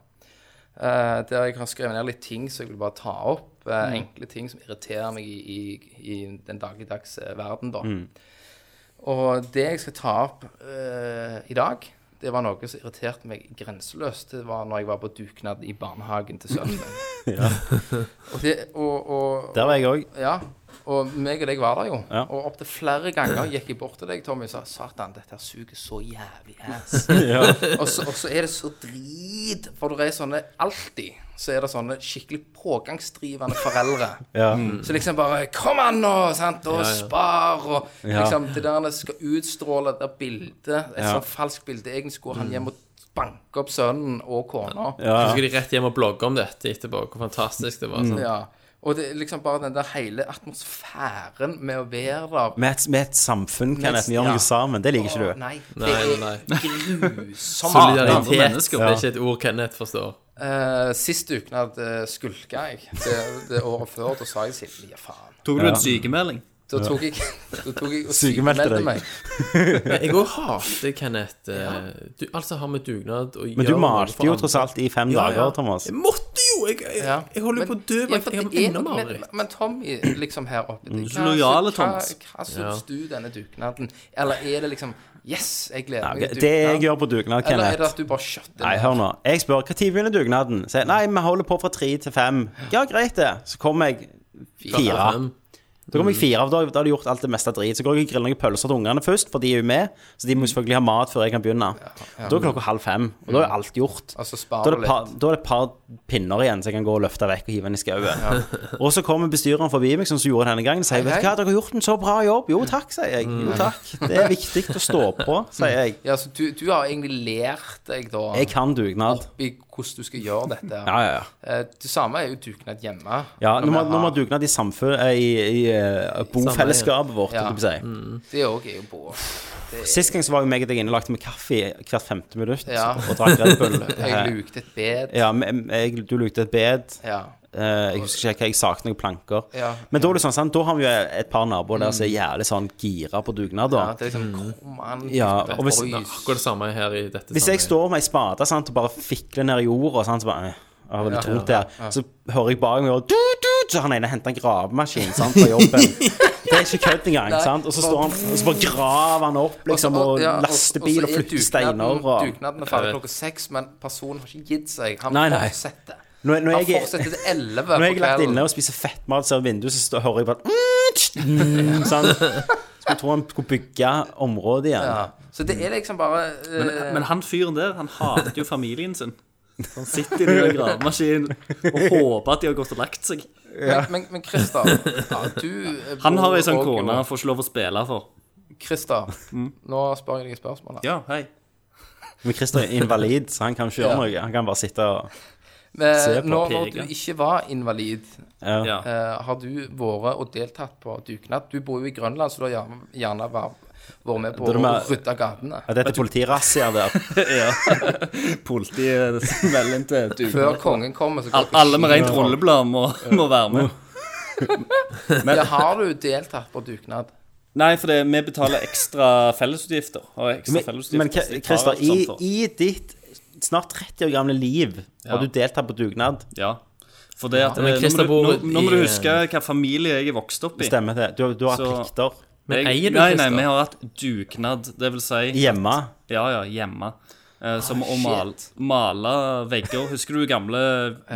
Speaker 2: Eh, der jeg har skrevet ned litt ting som jeg vil bare ta opp. eh, Enkle ting som irriterer meg i, i, i den dagligdags eh, verden, da. Og det jeg skal ta opp eh, i dag, det var noe som irriterte meg grenseløst. Det var når jeg var på dugnad i barnehagen til sønnen min. og, det, og, og,
Speaker 1: Der var jeg *laughs* òg.
Speaker 2: ja, og meg og deg var der jo.
Speaker 1: Ja.
Speaker 2: Og opptil flere ganger gikk jeg bort til deg, Tommy, og sa Satan, dette her suger så jævlig
Speaker 1: *laughs*
Speaker 2: ass. og, så, og så er det så drit, for det er sånne alltid så er det sånne skikkelig pågangsdrivende foreldre.
Speaker 1: Ja.
Speaker 2: Så liksom bare Kom an nå! sant, Og spar! Og liksom det der det skal utstråle det der bildet. Et
Speaker 1: Ja. Mm.
Speaker 2: sånt falskt bilde. Egentlig skulle han hjem og banke opp sønnen og kona.
Speaker 5: Så skal de rett hjem og blogge om dette etterpå, hvor fantastisk det var. sånn.
Speaker 2: Ja. Og det er liksom bare den der hele atmosfæren med å være der
Speaker 1: Med et, med et samfunn, Kenneth. Vi gjør
Speaker 2: ja.
Speaker 1: noe sammen. Det liker ikke
Speaker 2: Å,
Speaker 1: du.
Speaker 2: Nei, det
Speaker 5: Nei,
Speaker 2: er
Speaker 5: nei.
Speaker 1: *laughs*
Speaker 2: grusomt.
Speaker 5: Solidaritet
Speaker 3: Andre mennesker.
Speaker 5: det er ikke et ord Kenneth forstår.
Speaker 2: Eh, sist dugnad uh, skulka jeg. Det, det året før, da sa jeg til ja faen.
Speaker 3: Tok du en sykemelding?
Speaker 2: Da tok jeg, *laughs* da tok jeg og
Speaker 1: Sykemeldte
Speaker 2: sykemeldte
Speaker 1: deg.
Speaker 2: meg.
Speaker 5: Men jeg òg hater Kenneth. eh, Du, alt som har med dugnad å gjøre
Speaker 1: Men du
Speaker 5: noe for
Speaker 1: malte jo
Speaker 5: andre.
Speaker 1: tross alt i fem dager, Thomas.
Speaker 5: Jeg måtte jo! Jeg, jeg,
Speaker 2: Ja.
Speaker 5: jeg holder jo på å dø.
Speaker 2: Ja,
Speaker 5: men
Speaker 2: for
Speaker 5: Jeg har
Speaker 2: det er
Speaker 5: enda
Speaker 2: noe-
Speaker 5: mareritt.
Speaker 2: Men, men Tommy, liksom her oppe det-
Speaker 3: Så
Speaker 2: hva-
Speaker 3: lojale, Thomas.
Speaker 2: Hva syns du denne dugnaden? Eller er det liksom Yes, jeg gleder
Speaker 1: Ja,
Speaker 2: meg til
Speaker 1: Det jeg
Speaker 2: dugnad.
Speaker 1: gjør på dugnad,
Speaker 2: Eller er det
Speaker 1: Kenneth
Speaker 2: at du bare kjøtter
Speaker 1: Nei, hør nå. Jeg spør når begynner dugnaden. Sier nei, vi holder på fra tre til fem. Ja, greit det. Så kommer jeg fire.
Speaker 5: fem.
Speaker 1: Da kommer jeg fire av da, da har de gjort alt det meste drit. Så går jeg og griller noen pølser til ungene først, for de er jo med. Så de må selvfølgelig ha mat før jeg kan begynne. Da er klokka halv fem, og da er alt gjort.
Speaker 2: Altså spar
Speaker 1: Da er,
Speaker 2: du
Speaker 1: det
Speaker 2: litt.
Speaker 1: par, da er det et par pinner igjen som jeg kan gå og løfte vekk og hive inn i skauen. *laughs* Og så kommer bestyreren forbi meg, sånn som hun gjorde denne gangen, og sier
Speaker 2: Hei,
Speaker 1: 'Vet du
Speaker 2: hei.
Speaker 1: hva, dere har gjort en så bra jobb'. 'Jo takk', sier jeg. 'Jo takk'. Det er viktig å stå på, sier jeg.
Speaker 2: Ja, så du, du har egentlig lært deg da
Speaker 1: Jeg kan dugnad.
Speaker 2: oppi hvordan du skal gjøre dette.
Speaker 1: Ja, ja, ja.
Speaker 2: Eh, Det samme er jo dugnad hjemme.
Speaker 1: ja
Speaker 2: Når
Speaker 1: Nå må
Speaker 2: vi
Speaker 1: nå må
Speaker 2: har-
Speaker 1: dugnad i samfunn eh, I, i eh, bofellesskapet vårt,
Speaker 2: Ja. Mm.
Speaker 1: holdt jeg på å si.
Speaker 2: Det òg er jo på.
Speaker 1: Sist gang så var jo meg og deg innelagt med kaffe hvert femte minutt
Speaker 2: Ja.
Speaker 1: og drakk Red Bull.
Speaker 2: *laughs*
Speaker 1: Eh, *laughs*
Speaker 2: Jeg lukte et bed.
Speaker 1: Ja, men jeg, du lukte et bed.
Speaker 2: Ja.
Speaker 1: Eh, jeg husker ikke hva jeg saknet noen planker.
Speaker 2: Ja. Mm.
Speaker 1: Men da er det sånn, sant? Da har vi jo et par naboer der som er jævlig sånn gira på dugnad.
Speaker 2: ja.
Speaker 1: da
Speaker 2: Det er liksom Kom an,
Speaker 1: Mm. Ja,
Speaker 2: gutter,
Speaker 1: og hvis-
Speaker 2: boys.
Speaker 5: Akkurat det samme her i dette
Speaker 1: Hvis jeg
Speaker 5: sammenheng.
Speaker 1: står med ei spade sant, og bare fikler ned i jorda, sant, så bare øh, det var veldig tungt der. Så hører jeg bak meg og du, du, Så han ene henter en gravemaskin sant, fra
Speaker 2: *laughs*
Speaker 1: jobben. Det er ikke kødd engang. Sant? Og så står han Og så bare graver han opp, liksom,
Speaker 2: Og-
Speaker 1: og
Speaker 2: ja, og-
Speaker 1: lastebil
Speaker 2: og
Speaker 1: og
Speaker 2: så er
Speaker 1: flytter
Speaker 2: dugnaden-
Speaker 1: steiner og
Speaker 2: Dugnaden er ferdig klokka seks, men personen har ikke gitt seg. Han
Speaker 1: Nei, nei.
Speaker 2: fortsetter.
Speaker 1: Når, når
Speaker 2: Han
Speaker 1: jeg er-
Speaker 2: fortsetter til
Speaker 1: *laughs*
Speaker 2: elleve
Speaker 1: Når
Speaker 2: på
Speaker 1: jeg er lagt
Speaker 2: kvelden.
Speaker 1: inne og spiser fettmat ser vinduet, så står- hører jeg bare mm, tsk, mm, sånn. Skulle tro han skulle bygge området igjen.
Speaker 2: Ja. Så det er liksom bare eh,
Speaker 3: Men, men han fyren der, han hater jo familien sin. Så Han sitter i *laughs* den gravemaskinen og håper at de har gått og lagt seg.
Speaker 2: Men, men
Speaker 1: *laughs*
Speaker 2: Christer, ja, du eh,
Speaker 3: Han har ei sånn
Speaker 2: bor også-
Speaker 3: kone han får ikke lov å spille for.
Speaker 2: Christer,
Speaker 1: Mm.
Speaker 2: nå spør jeg deg et spørsmål. her.
Speaker 3: Ja, hei.
Speaker 1: Men Christer er invalid, så han kan ikke gjøre noe. Han kan bare sitte og Se
Speaker 2: Men
Speaker 1: på
Speaker 2: når, Eh, når
Speaker 3: Pega.
Speaker 2: du ikke var invalid,
Speaker 1: ja.
Speaker 3: Ja.
Speaker 2: eh, har du vært og deltatt på dugnad? Du bor jo i Grønland, så du har gjerne, gjerne vært vært med på
Speaker 1: Da er det
Speaker 2: å
Speaker 1: mer-
Speaker 2: rydde gatene.
Speaker 1: Ja, Dette er politirassia der.
Speaker 3: *laughs* Politiet melder inn til du.
Speaker 2: Før kongen kommer, så går
Speaker 3: Al-
Speaker 2: det
Speaker 3: Alle med rent rolleblad må, må være med.
Speaker 2: Ja, har du deltatt på dugnad?
Speaker 3: Nei, for det, vi betaler ekstra fellesutgifter. Har ekstra
Speaker 1: Men,
Speaker 3: fellesutgifter
Speaker 1: men
Speaker 3: hvis de
Speaker 1: K- Christer,
Speaker 3: tar alt
Speaker 1: i,
Speaker 3: sånt for.
Speaker 1: i ditt snart 30 år gamle liv har du deltatt på dugnad.
Speaker 3: Ja. For det at,
Speaker 5: men
Speaker 3: eh, nå,
Speaker 5: Christer
Speaker 3: må
Speaker 5: bor
Speaker 3: du, nå, nå må du
Speaker 5: i- eh,
Speaker 3: huske hva familie jeg er vokst opp i.
Speaker 1: Stemmer det. Du, du har hatt
Speaker 3: Så-
Speaker 1: plikter
Speaker 5: Men
Speaker 3: Jeg-
Speaker 5: eier du,
Speaker 3: Nei, nei,
Speaker 5: Christer?
Speaker 3: vi har hatt dugnad. Det vil si
Speaker 1: hjemme.
Speaker 3: Ja, ja, hjemme. Eh,
Speaker 5: Ah,
Speaker 3: som å male, male vegger. Husker du gamle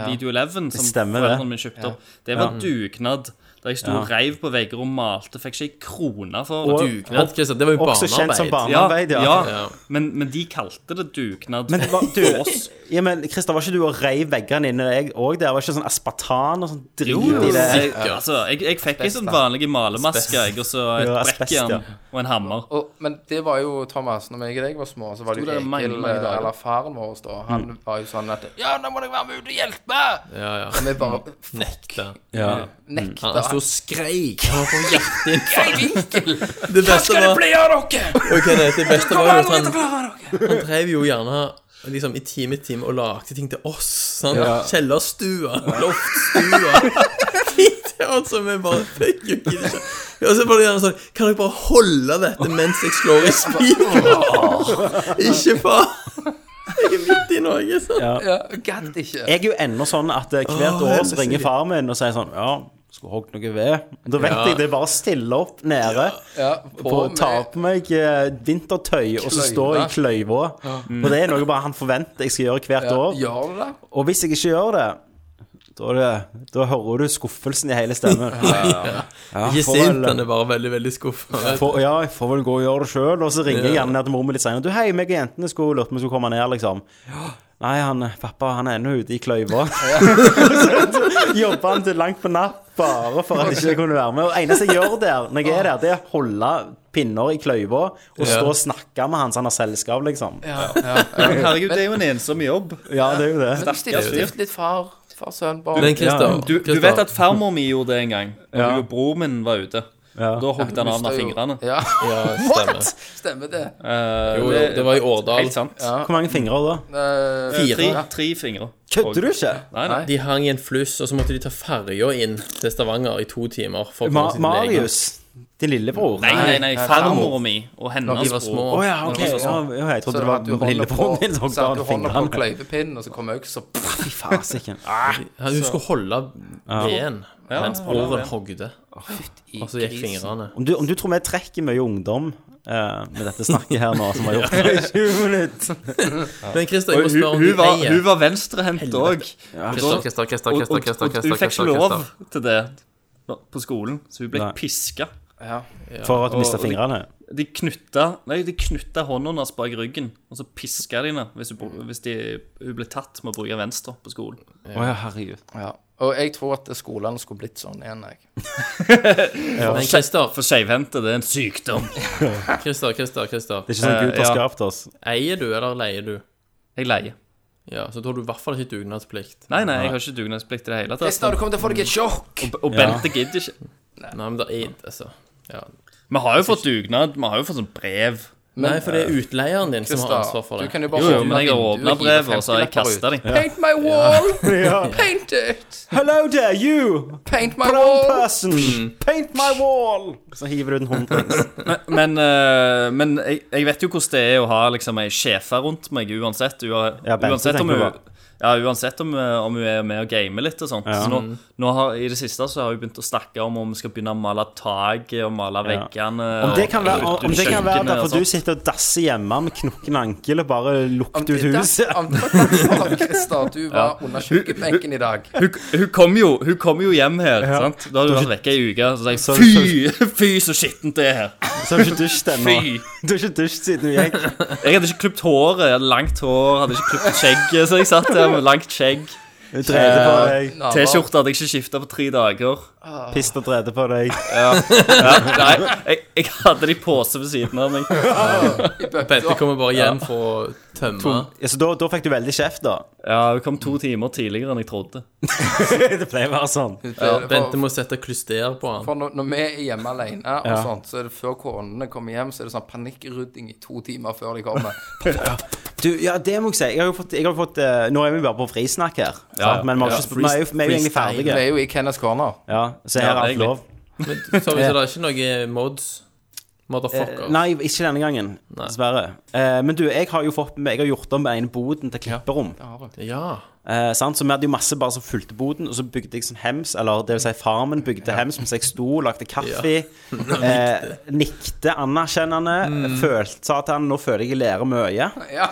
Speaker 3: Video 11 som
Speaker 1: Stemmer det.
Speaker 3: foreldrene mine kjøpte opp? Det var dugnad. Der jeg sto og reiv på vegger og malte. Fikk ikke ei krone for det.
Speaker 5: Dugnad, Christer. Det var jo
Speaker 1: Også kjent som
Speaker 5: barnearbeid.
Speaker 3: Ja,
Speaker 1: barnearbeid,
Speaker 3: ja.
Speaker 1: ja.
Speaker 3: Men, men de kalte det dugnad.
Speaker 1: Men, hva- du,
Speaker 3: For oss.
Speaker 1: ja, men Christer, var ikke du og reiv veggene inne jeg òg der? Var ikke sånn aspartan og sånn
Speaker 3: Jo,
Speaker 1: drit i det?
Speaker 3: jeg, altså, jeg, jeg fikk ei sånn vanlig malemaske, jeg, og så et
Speaker 1: Ja, asbest, ja.
Speaker 3: brekkjern og en hammer.
Speaker 2: Og, men det var jo, Thomas, når jeg og deg var små, så var det jo
Speaker 3: Tror det er
Speaker 2: Egil,
Speaker 3: mange, mange dager.
Speaker 2: eller faren vår, da. Han var jo sånn at Ja, nå må dere være med ut og hjelpe!
Speaker 5: Ja, ja.
Speaker 2: Og vi bare fuck,
Speaker 5: Ekte.
Speaker 1: Ja.
Speaker 2: nekta.
Speaker 5: Han sto og skreik. Han får hjerteinfarkt.
Speaker 2: Hei, vinkel!
Speaker 5: Det
Speaker 2: Hva
Speaker 5: beste
Speaker 2: skal det
Speaker 5: var
Speaker 2: bli av dere?
Speaker 5: Ok, det, det beste
Speaker 2: Kom
Speaker 5: var jo
Speaker 4: sånn-
Speaker 2: an,
Speaker 5: at
Speaker 2: dere
Speaker 5: han,
Speaker 2: klarer dere!
Speaker 5: han drev jo gjerne liksom i time etter time og lagde ting til oss. Sant? Kjellerstua, loftstua Fint, altså, vi bare fikk jo ikke det. Og så var det gjerne sånn Kan dere bare holde dette mens jeg slår i spikeren? Ikke faen! Jeg er midt i noe, sant?
Speaker 2: Ja, Gadd ikke.
Speaker 1: Jeg er jo ennå sånn at eh, hvert
Speaker 5: Åh,
Speaker 1: år så ringer
Speaker 5: helsike.
Speaker 1: far min og sier sånn Ja, skulle hogd noe ved. Da vet
Speaker 5: Ja.
Speaker 1: jeg det er bare å stille opp nede
Speaker 2: Ja,
Speaker 1: på å ta på meg eh, vintertøy og så stå i kløyva. Og det er noe bare han forventer jeg skal gjøre hvert
Speaker 2: Ja,
Speaker 1: år.
Speaker 2: Gjør du det?
Speaker 1: Og hvis jeg ikke gjør det da, er det, da hører du skuffelsen i hele *laughs* stemmen. Ja,
Speaker 5: Ikke
Speaker 1: får
Speaker 5: sint,
Speaker 1: vel-
Speaker 5: han er bare veldig, veldig skuffa.
Speaker 1: får, ja, jeg får vel gå og gjøre det sjøl. Og så ringer jeg gjerne ned til mor mi litt seinere. Du, hei, meg og jentene skulle lurt på om vi skulle komme ned, liksom. Nei, han, pappa han er ennå ute i kløyva. *laughs* Så Jobber han til langt på natt bare for at ikke jeg kunne være med. Og det eneste jeg gjør der, når jeg er der, det er å holde pinner i kløyva og stå og snakke med han så han har selskap, liksom.
Speaker 3: Herregud, det er jo en ensom jobb.
Speaker 1: Ja, det er jo det.
Speaker 2: Men stift, stift litt far, far, sønn, barn.
Speaker 5: Men Christer,
Speaker 3: Du, du vet at farmor mi gjorde det en gang, og
Speaker 1: Ja.
Speaker 3: ja. broren min var ute. Og Da hogde han av meg fingrene.
Speaker 2: Ja, *laughs*
Speaker 5: ja, stemmer.
Speaker 2: stemmer det.
Speaker 3: Eh,
Speaker 5: Jo, jo, det var i Årdal.
Speaker 3: Helt sant.
Speaker 1: Hvor mange fingre da?
Speaker 2: Eh,
Speaker 3: Tre,
Speaker 5: Fire.
Speaker 3: tre fingre.
Speaker 1: Kødder du ikke?
Speaker 3: Nei, nei.
Speaker 5: De hang i en fluss, og så måtte de ta ferja inn til Stavanger i to timer. For å
Speaker 1: Ma
Speaker 5: komme til sin egen.
Speaker 1: Marius, din lillebror?
Speaker 3: Nei, nei, nei.
Speaker 2: Nei,
Speaker 3: Farmor mi og
Speaker 5: Når de
Speaker 3: hennes
Speaker 5: var små.
Speaker 3: bror.
Speaker 1: Å ja, ok. Ja, ja, jeg
Speaker 2: Så
Speaker 1: trodde det
Speaker 2: det var at
Speaker 1: var
Speaker 2: du holder på,
Speaker 1: lillebroren din som
Speaker 2: så
Speaker 1: hogde
Speaker 2: at du
Speaker 1: av
Speaker 2: holder på
Speaker 1: fingrene.
Speaker 2: kløyvepinnen, og så kommer øksa
Speaker 1: Fy fasiken.
Speaker 5: Han hun skulle holde veden mens
Speaker 3: holde
Speaker 5: broren
Speaker 3: veden.
Speaker 5: hogde.
Speaker 2: i
Speaker 5: Og så gikk
Speaker 2: grisen.
Speaker 5: fingrene.
Speaker 1: Om du, om du tror vi trekker mye ungdom eh, med dette snakket her nå, som vi har *laughs* gjort det i 20 minutter
Speaker 5: Men Christer, jeg
Speaker 3: Og
Speaker 5: må
Speaker 3: hun,
Speaker 5: spørre om
Speaker 3: hun
Speaker 5: du
Speaker 3: var,
Speaker 5: eier
Speaker 3: hun var venstrehendt òg.
Speaker 5: Christer, Christer, Christer,
Speaker 3: Og,
Speaker 5: Christer, Christer,
Speaker 3: og, og hun
Speaker 5: Christer,
Speaker 3: fikk ikke
Speaker 5: Christer,
Speaker 3: lov
Speaker 5: Christer.
Speaker 3: til det på skolen, så hun ble
Speaker 1: Nei.
Speaker 3: piska.
Speaker 1: for at du mista
Speaker 3: og-
Speaker 1: fingrene.
Speaker 3: De knytta Nei, de knytta hånda hennes bak ryggen, og så piska de henne hvis, hun, bru-
Speaker 2: Mm.
Speaker 3: hvis de, hun ble tatt med å bruke venstre på skolen.
Speaker 1: Å ja, herregud.
Speaker 2: Ja. Og jeg tror at skolene skulle blitt sånn igjen, jeg.
Speaker 5: Men Christer,
Speaker 3: For skeivhendte, det er en sykdom.
Speaker 5: *laughs* Christer, Christer, Christer.
Speaker 2: Eh, *laughs*
Speaker 1: Det er ikke sånn Gud har
Speaker 3: ja.
Speaker 1: skapt oss.
Speaker 5: Eier du, eller leier du?
Speaker 3: Jeg leier.
Speaker 5: Ja, så da har du i hvert fall ikke dugnadsplikt.
Speaker 3: Nei, nei, jeg har ikke dugnadsplikt i det hele
Speaker 2: Kristian,
Speaker 3: tatt. altså.
Speaker 2: du kommer til å få deg et sjokk!
Speaker 3: Og Bente gidder ikke.
Speaker 5: Nei, men det er altså ja.
Speaker 3: Vi har jo fått dugnad, vi har jo fått sånn brev.
Speaker 5: Nei, for det er utleieren din som har ansvar for
Speaker 2: Du
Speaker 5: det.
Speaker 2: kan jo
Speaker 3: Jo,
Speaker 2: bare
Speaker 3: jo, men jeg har åpna brevet, og så har jeg kasta
Speaker 2: kastet
Speaker 3: dem.
Speaker 2: Paint my wall! Paint it!
Speaker 1: Hello there, you!
Speaker 2: Paint my
Speaker 1: Brown
Speaker 2: wall!
Speaker 1: person!
Speaker 2: Mm.
Speaker 1: Paint my wall! Så hiver du den håndtrings.
Speaker 3: Men, eh, men jeg, jeg vet jo hvordan det er å ha liksom ei sjefe rundt meg uansett. Ua,
Speaker 1: Ja, Bente
Speaker 3: uansett om
Speaker 1: tenker
Speaker 3: hun
Speaker 1: du
Speaker 3: ja, uansett om, eh, om hun er med og gamer litt og sånt. Så nå, nå har, I det siste så har hun begynt å snakke om om vi skal begynne å male taket og male
Speaker 1: Ja.
Speaker 3: veggene.
Speaker 1: Om det kan være,
Speaker 3: og-
Speaker 1: om det kan være
Speaker 3: kjøkkenet og
Speaker 1: derfor du
Speaker 3: sånt.
Speaker 1: sitter og dasser hjemme med knokken ankel og bare
Speaker 2: Om
Speaker 1: lukter
Speaker 2: det
Speaker 1: ut huset.
Speaker 2: om det var derfor, Christer, du var under kjøkkenbenken i dag.
Speaker 3: Hun, hun kom jo, hun kom jo hjem her, sant? Da har hun vært vekke ei uke. Så sa jeg
Speaker 1: Så-
Speaker 3: fy, *laughs* fy så skittent det er her.
Speaker 1: Så har du ikke dusjet ennå.
Speaker 3: Fy.
Speaker 1: Du har ikke dusjet siden vi *laughs* gikk.
Speaker 3: Jeg hadde ikke klipt håret, jeg hadde langt hår, hadde ikke klipt skjegget, så jeg satt der med langt skjegg.
Speaker 1: Du drede på deg.
Speaker 2: Navar.
Speaker 3: T-skjorte hadde jeg ikke skifta på tre dager.
Speaker 1: Pist og drede på deg.
Speaker 3: Nei, jeg, jeg hadde det i pose ved siden av meg.
Speaker 5: Bente kommer bare hjem for å tømme.
Speaker 1: Ja, så da, da fikk du veldig kjeft, da.
Speaker 3: Ja, Hun kom to timer tidligere enn jeg trodde.
Speaker 1: Det pleier å være sånn.
Speaker 2: Eh, For-
Speaker 5: Bente må sette klyster på han.
Speaker 2: For når, når vi er hjemme alene, og sånt, så er det før konene kommer hjem, så er det sånn panikkrydding i to timer før de kommer.
Speaker 1: Du, ja, det må jeg si. Jeg har jo fått, jeg har fått eh, Nå er vi bare på frisnakk her, sant? men vi, har ikke, sp- vi er jo vi er jo egentlig
Speaker 2: Vi
Speaker 1: ferdige.
Speaker 2: er jo i Kenneth Corner.
Speaker 1: Ja, så her
Speaker 3: Ja,
Speaker 1: er alt
Speaker 3: egentlig.
Speaker 1: lov.
Speaker 5: Men Tommy, så det er ikke noe eh, mods? Motherfucker.
Speaker 1: Nei, ikke denne gangen, dessverre. Eh, men du, jeg har jo fått Jeg har gjort om ene boden til klipperom.
Speaker 5: Ja.
Speaker 1: Eh, sant? Så vi hadde jo masse bare som fulgte boden, og så bygde jeg sånn hems, eller det vil si farmen bygde hems mens jeg sto, lagde kaffe, eh, nikte anerkjennende, følte, sa til han nå føler jeg jeg lærer mye.
Speaker 2: Ja.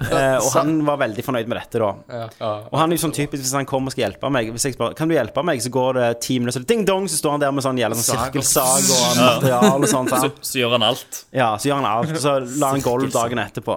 Speaker 1: Eh, og han var veldig fornøyd med dette, da. Og han er jo sånn typisk hvis han kommer og skal hjelpe meg. Hvis jeg spør, kan du hjelpe meg, så går det ti minutter, så ding dong, så står han der med sånn jævla sånn
Speaker 2: Sag.
Speaker 1: sirkelsag og material og sånt.
Speaker 3: Så, *laughs*
Speaker 1: sant?
Speaker 3: så gjør han alt.
Speaker 1: Ja, så gjør han alt, og så la han gulv dagen etterpå.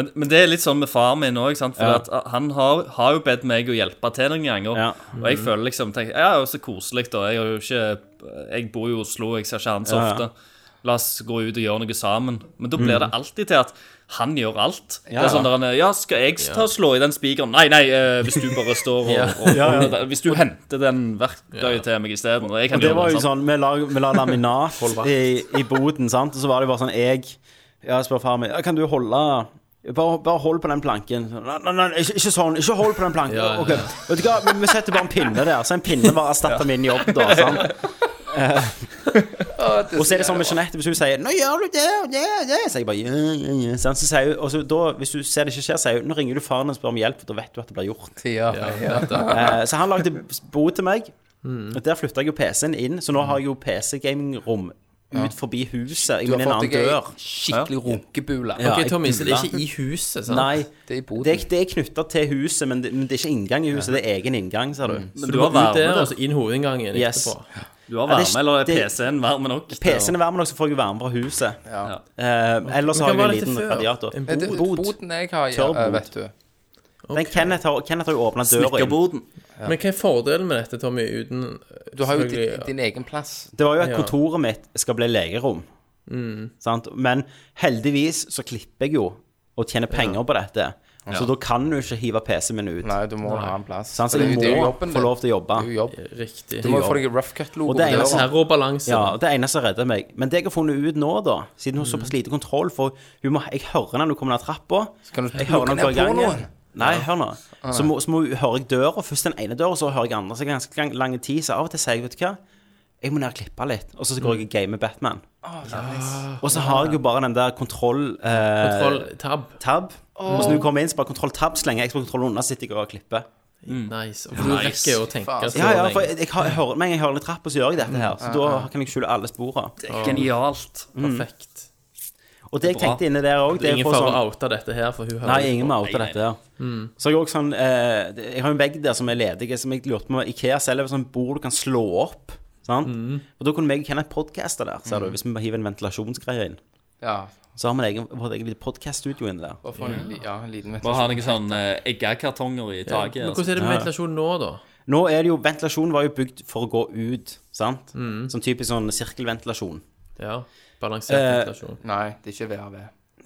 Speaker 3: Men, men det er litt sånn med far min òg. For at ah, han har, har jo bedt meg å hjelpe til noen ganger.
Speaker 1: Ja.
Speaker 3: Og jeg føler liksom tenker, Ja, jo, så koselig, da. Jeg, har jo ikke, jeg bor jo i Oslo, jeg ser ikke han så
Speaker 1: Ja, Mm. ja.
Speaker 3: ofte. La oss gå ut og gjøre noe sammen. Men da blir det alltid til at han gjør alt. Det er sånn der han er, Ja, skal jeg ta og slå i den spikeren? Nei, nei, eh, hvis du bare står
Speaker 1: *laughs*
Speaker 3: og, og, og, Hvis du henter den verktøyet til meg isteden. Og jeg
Speaker 1: Og
Speaker 3: kan
Speaker 1: det
Speaker 3: gjøre
Speaker 1: var
Speaker 3: det
Speaker 1: jo
Speaker 3: sånn.
Speaker 1: sånn, vi la, vi la
Speaker 5: *laughs*
Speaker 1: laminat i, i boden, sant? Og så var det bare sånn, jeg, jeg spør far min, «Ja, kan du holde... Bare, bare hold på den planken Nei, nei, nei, ikke, ikke sånn, ikke hold på den planken
Speaker 5: ja,
Speaker 1: Ok. Vet du hva, vi, vi setter bare en pinne der Så en pinne bare erstatter min jobb da sant?
Speaker 5: *laughs*
Speaker 1: Og så er det sånn med Jeanette, hvis hun sier Nå gjør du det, og det, og det Så jeg bare, ja, ja, ja sant? Så sier hun, og så da, hvis du ser det ikke skjer Sier hun, nå ringer du faren og spør om hjelp For da vet du at det blir gjort
Speaker 2: Ja, ja.
Speaker 1: Eh, Så han
Speaker 2: *laughs*
Speaker 1: lagde bo til meg.
Speaker 5: Mm.
Speaker 1: Og Der flytta jeg jo PC-en inn, så nå har jeg jo PC-gamingrom ut forbi huset. Jeg
Speaker 2: Du
Speaker 1: mener en
Speaker 2: har fått
Speaker 1: annen
Speaker 2: deg ei
Speaker 1: dør.
Speaker 2: skikkelig runkebule.
Speaker 1: Ja,
Speaker 5: Ok,
Speaker 1: jeg
Speaker 5: Tommy, så det er
Speaker 1: bulla.
Speaker 5: ikke i huset, sant?
Speaker 1: Nei,
Speaker 2: Det er i boden.
Speaker 1: det er, det er knytta til huset, men det, men det er ikke inngang i huset. Det er egen inngang, ser
Speaker 5: Mm.
Speaker 1: du.
Speaker 3: Men du har
Speaker 5: Ut der,
Speaker 3: varme,
Speaker 5: og så inn hovedinngangen
Speaker 1: Yes.
Speaker 5: etterpå.
Speaker 3: Altså,
Speaker 1: Ja, det er
Speaker 3: du har varme
Speaker 1: ikke-
Speaker 3: eller er
Speaker 1: det-
Speaker 3: PC-en varm nok?
Speaker 1: PC-en er varm nok, så får jeg jo varme fra huset.
Speaker 2: Ja.
Speaker 1: Eh, ellers så
Speaker 5: Hva
Speaker 1: har jeg
Speaker 5: var
Speaker 1: en
Speaker 5: dette
Speaker 1: liten
Speaker 5: før?
Speaker 1: radiator.
Speaker 5: En
Speaker 2: Det er
Speaker 1: bod.
Speaker 2: boden jeg har, ja,
Speaker 1: Tørrbod.
Speaker 2: eh, vet du.
Speaker 1: Men Kenneth har, Kenneth har jo åpna døra inn.
Speaker 3: Snekkerboden.
Speaker 5: Men hva er fordelen med dette, Tommy, uten
Speaker 2: Du har jo
Speaker 5: selvfølgelig,
Speaker 2: din, din egen plass.
Speaker 1: Det var jo at
Speaker 5: Ja. Mm.
Speaker 1: kontoret mitt skal bli legerom. Sant? Men heldigvis så klipper jeg jo og tjener penger på dette. Så da kan du ikke hive PC-en min ut.
Speaker 2: Nei, du må ha en plass.
Speaker 1: Sant, så
Speaker 2: For det
Speaker 1: jeg
Speaker 2: er jo- det er jo
Speaker 1: må
Speaker 2: jobben
Speaker 1: få
Speaker 2: din.
Speaker 1: lov til å jobbe.
Speaker 2: Det er jo jobb.
Speaker 5: ja, riktig.
Speaker 2: Du må jo få deg en rough cut-logo.
Speaker 1: Og det er
Speaker 2: på
Speaker 1: jo
Speaker 2: døra.
Speaker 1: sant.
Speaker 5: Terrorbalanse.
Speaker 1: Ja, det eneste redder meg. Men det jeg har funnet ut nå, da, siden hun har såpass lite kontroll For hun må, jeg hører henne når hun kommer ned trappa.
Speaker 2: kan du
Speaker 1: Jeg
Speaker 2: plukke
Speaker 1: hører henne
Speaker 2: ned
Speaker 1: hver gang.
Speaker 2: pornoen.
Speaker 1: igjen. Nei, hør nå. Så, må, så må, hører jeg døra, først den ene døra, så hører jeg andre. Så ganske lang, lang tid, så av og til sier jeg, vet du hva Jeg må ned og klippe litt. Og så går jeg og gamer Batman. Og så har jeg jo bare den der kontroll-tab.
Speaker 5: Kontroll tab.
Speaker 1: Og så når hun kommer inn, så bare kontroll-tab, så lenge jeg skal kontroll under, sitter jeg og klipper.
Speaker 5: Nice. Og du rekker jo å tenke
Speaker 2: Faen.
Speaker 5: så
Speaker 1: Mm. Ja, ja, for
Speaker 5: lenge.
Speaker 1: jeg, jeg, har- jeg hører, med en gang jeg hører litt rapp, og så gjør jeg dette her. Så da kan jeg skjule alle sporene.
Speaker 3: Genialt.
Speaker 5: Perfekt.
Speaker 1: Og det jeg
Speaker 3: Det er bra.
Speaker 1: tenkte inni der òg, Mm. det er
Speaker 5: Ingen
Speaker 1: for
Speaker 5: fare Mm.
Speaker 1: sånn
Speaker 5: å oute dette her, for hun hører
Speaker 1: Nei,
Speaker 5: jo
Speaker 1: ingen
Speaker 5: på.
Speaker 1: må oute
Speaker 3: Nei, nei.
Speaker 1: dette. her. Så har jeg også sånn eh, det- Jeg har en vegg der som er ledig, som jeg lurte på om Ikea selger sånn bord du kan slå opp. Sant?
Speaker 5: Mm.
Speaker 1: Og da kunne vi og Kenneth podcaste der, ser du, hvis vi bare hiver en ventilasjonsgreie inn.
Speaker 2: Ja.
Speaker 1: Så har vi en egen, vårt eget lite podkaststudio inni der.
Speaker 2: Bare få en li- ja, en liten
Speaker 3: Bare ha noen sånn eh, eggekartonger i taket.
Speaker 5: Men
Speaker 3: altså.
Speaker 5: hvordan er det med ventilasjon nå, da?
Speaker 1: Nå er det jo Ventilasjonen var jo bygd for å gå ut, sant?
Speaker 5: Mm.
Speaker 1: Sånn typisk sånn sirkelventilasjon.
Speaker 5: Ja, Balansert ventilasjon.
Speaker 2: Nei, det er ikke VRV.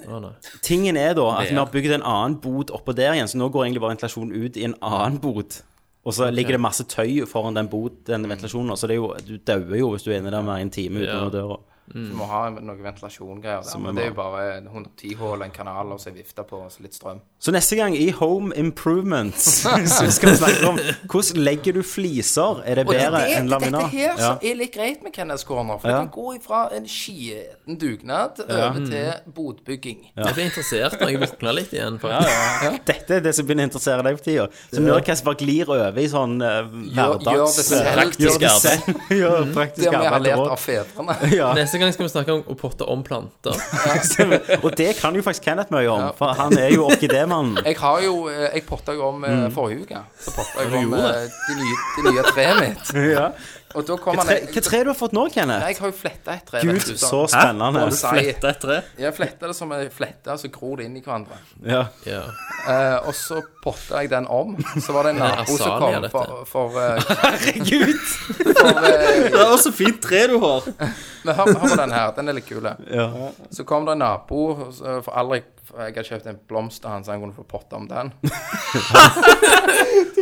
Speaker 5: Å, nei.
Speaker 1: Tingen er da at vi har bygd en annen bod oppå der igjen, så nå går egentlig bare ventilasjonen ut i en annen bod. Og så ligger det masse tøy foran den bod, den ventilasjonen, så det er jo, du dauer jo hvis du er inne der mer enn en time utenfor døra.
Speaker 2: Du må ha en- noe ventilasjongreier der. Men det er jo bare en 110 hull, en kanal og så ei vifte på og så litt strøm.
Speaker 1: Så neste gang i Home Improvements *laughs* så skal vi snakke om hvordan legger du fliser? Er det
Speaker 2: Og det,
Speaker 1: bedre
Speaker 2: det,
Speaker 1: enn laminat?
Speaker 2: dette her
Speaker 1: Ja.
Speaker 2: som er litt greit med Kenneth Corner. For
Speaker 1: Ja.
Speaker 2: det kan gå ifra en skjeten dugnad over
Speaker 1: Mm.
Speaker 2: til bodbygging.
Speaker 5: Jeg ble interessert når jeg våkna litt igjen. faktisk.
Speaker 1: Dette er det som begynner å interessere deg for tida. Så Nerdcast bare glir over i sånn eh,
Speaker 2: Gjør, gjør det
Speaker 1: hverdags...
Speaker 2: selv.
Speaker 1: Gjør det
Speaker 3: Praktisk
Speaker 1: selv. *laughs* Gjør praktisk
Speaker 2: Det har vi
Speaker 1: arbeid.
Speaker 2: lært
Speaker 1: og- *laughs*
Speaker 2: av fedrene.
Speaker 5: Neste gang skal vi snakke om å potte om planter.
Speaker 1: Og det kan jo faktisk Kenneth mye om, for han er jo orkidémannen.
Speaker 2: Jeg har jo eh, Jeg potta jo om
Speaker 1: Mm.
Speaker 2: eh, forrige uke. Så potta jeg om eh, det nye, det nye treet mitt.
Speaker 1: *laughs* Ja.
Speaker 2: Og da kom han
Speaker 1: Tre- Hva tre du har fått nå, Kenneth?
Speaker 2: Jeg har jo fletta et tre.
Speaker 1: Gud,
Speaker 2: vet du,
Speaker 1: så spennende.
Speaker 2: Bonsai.
Speaker 3: Flette et tre.
Speaker 2: Jeg fletta det som ei flette, så gror det inn i hverandre.
Speaker 1: Ja.
Speaker 5: Ja.
Speaker 2: Eh, og så potta jeg den om. Så var
Speaker 1: *laughs*
Speaker 2: det en nabo som
Speaker 5: Azalia,
Speaker 2: kom
Speaker 5: dette.
Speaker 2: for, for, eh,
Speaker 1: Herregud!
Speaker 2: for eh,
Speaker 3: *laughs* Det er også fint tre du har.
Speaker 2: Men hør, hør på den her, den er litt kule.
Speaker 1: Ja.
Speaker 2: Så kom det en nabo, og så- for Alrik for Jeg hadde kjøpt en blomst av han, så han kunne få potte om den.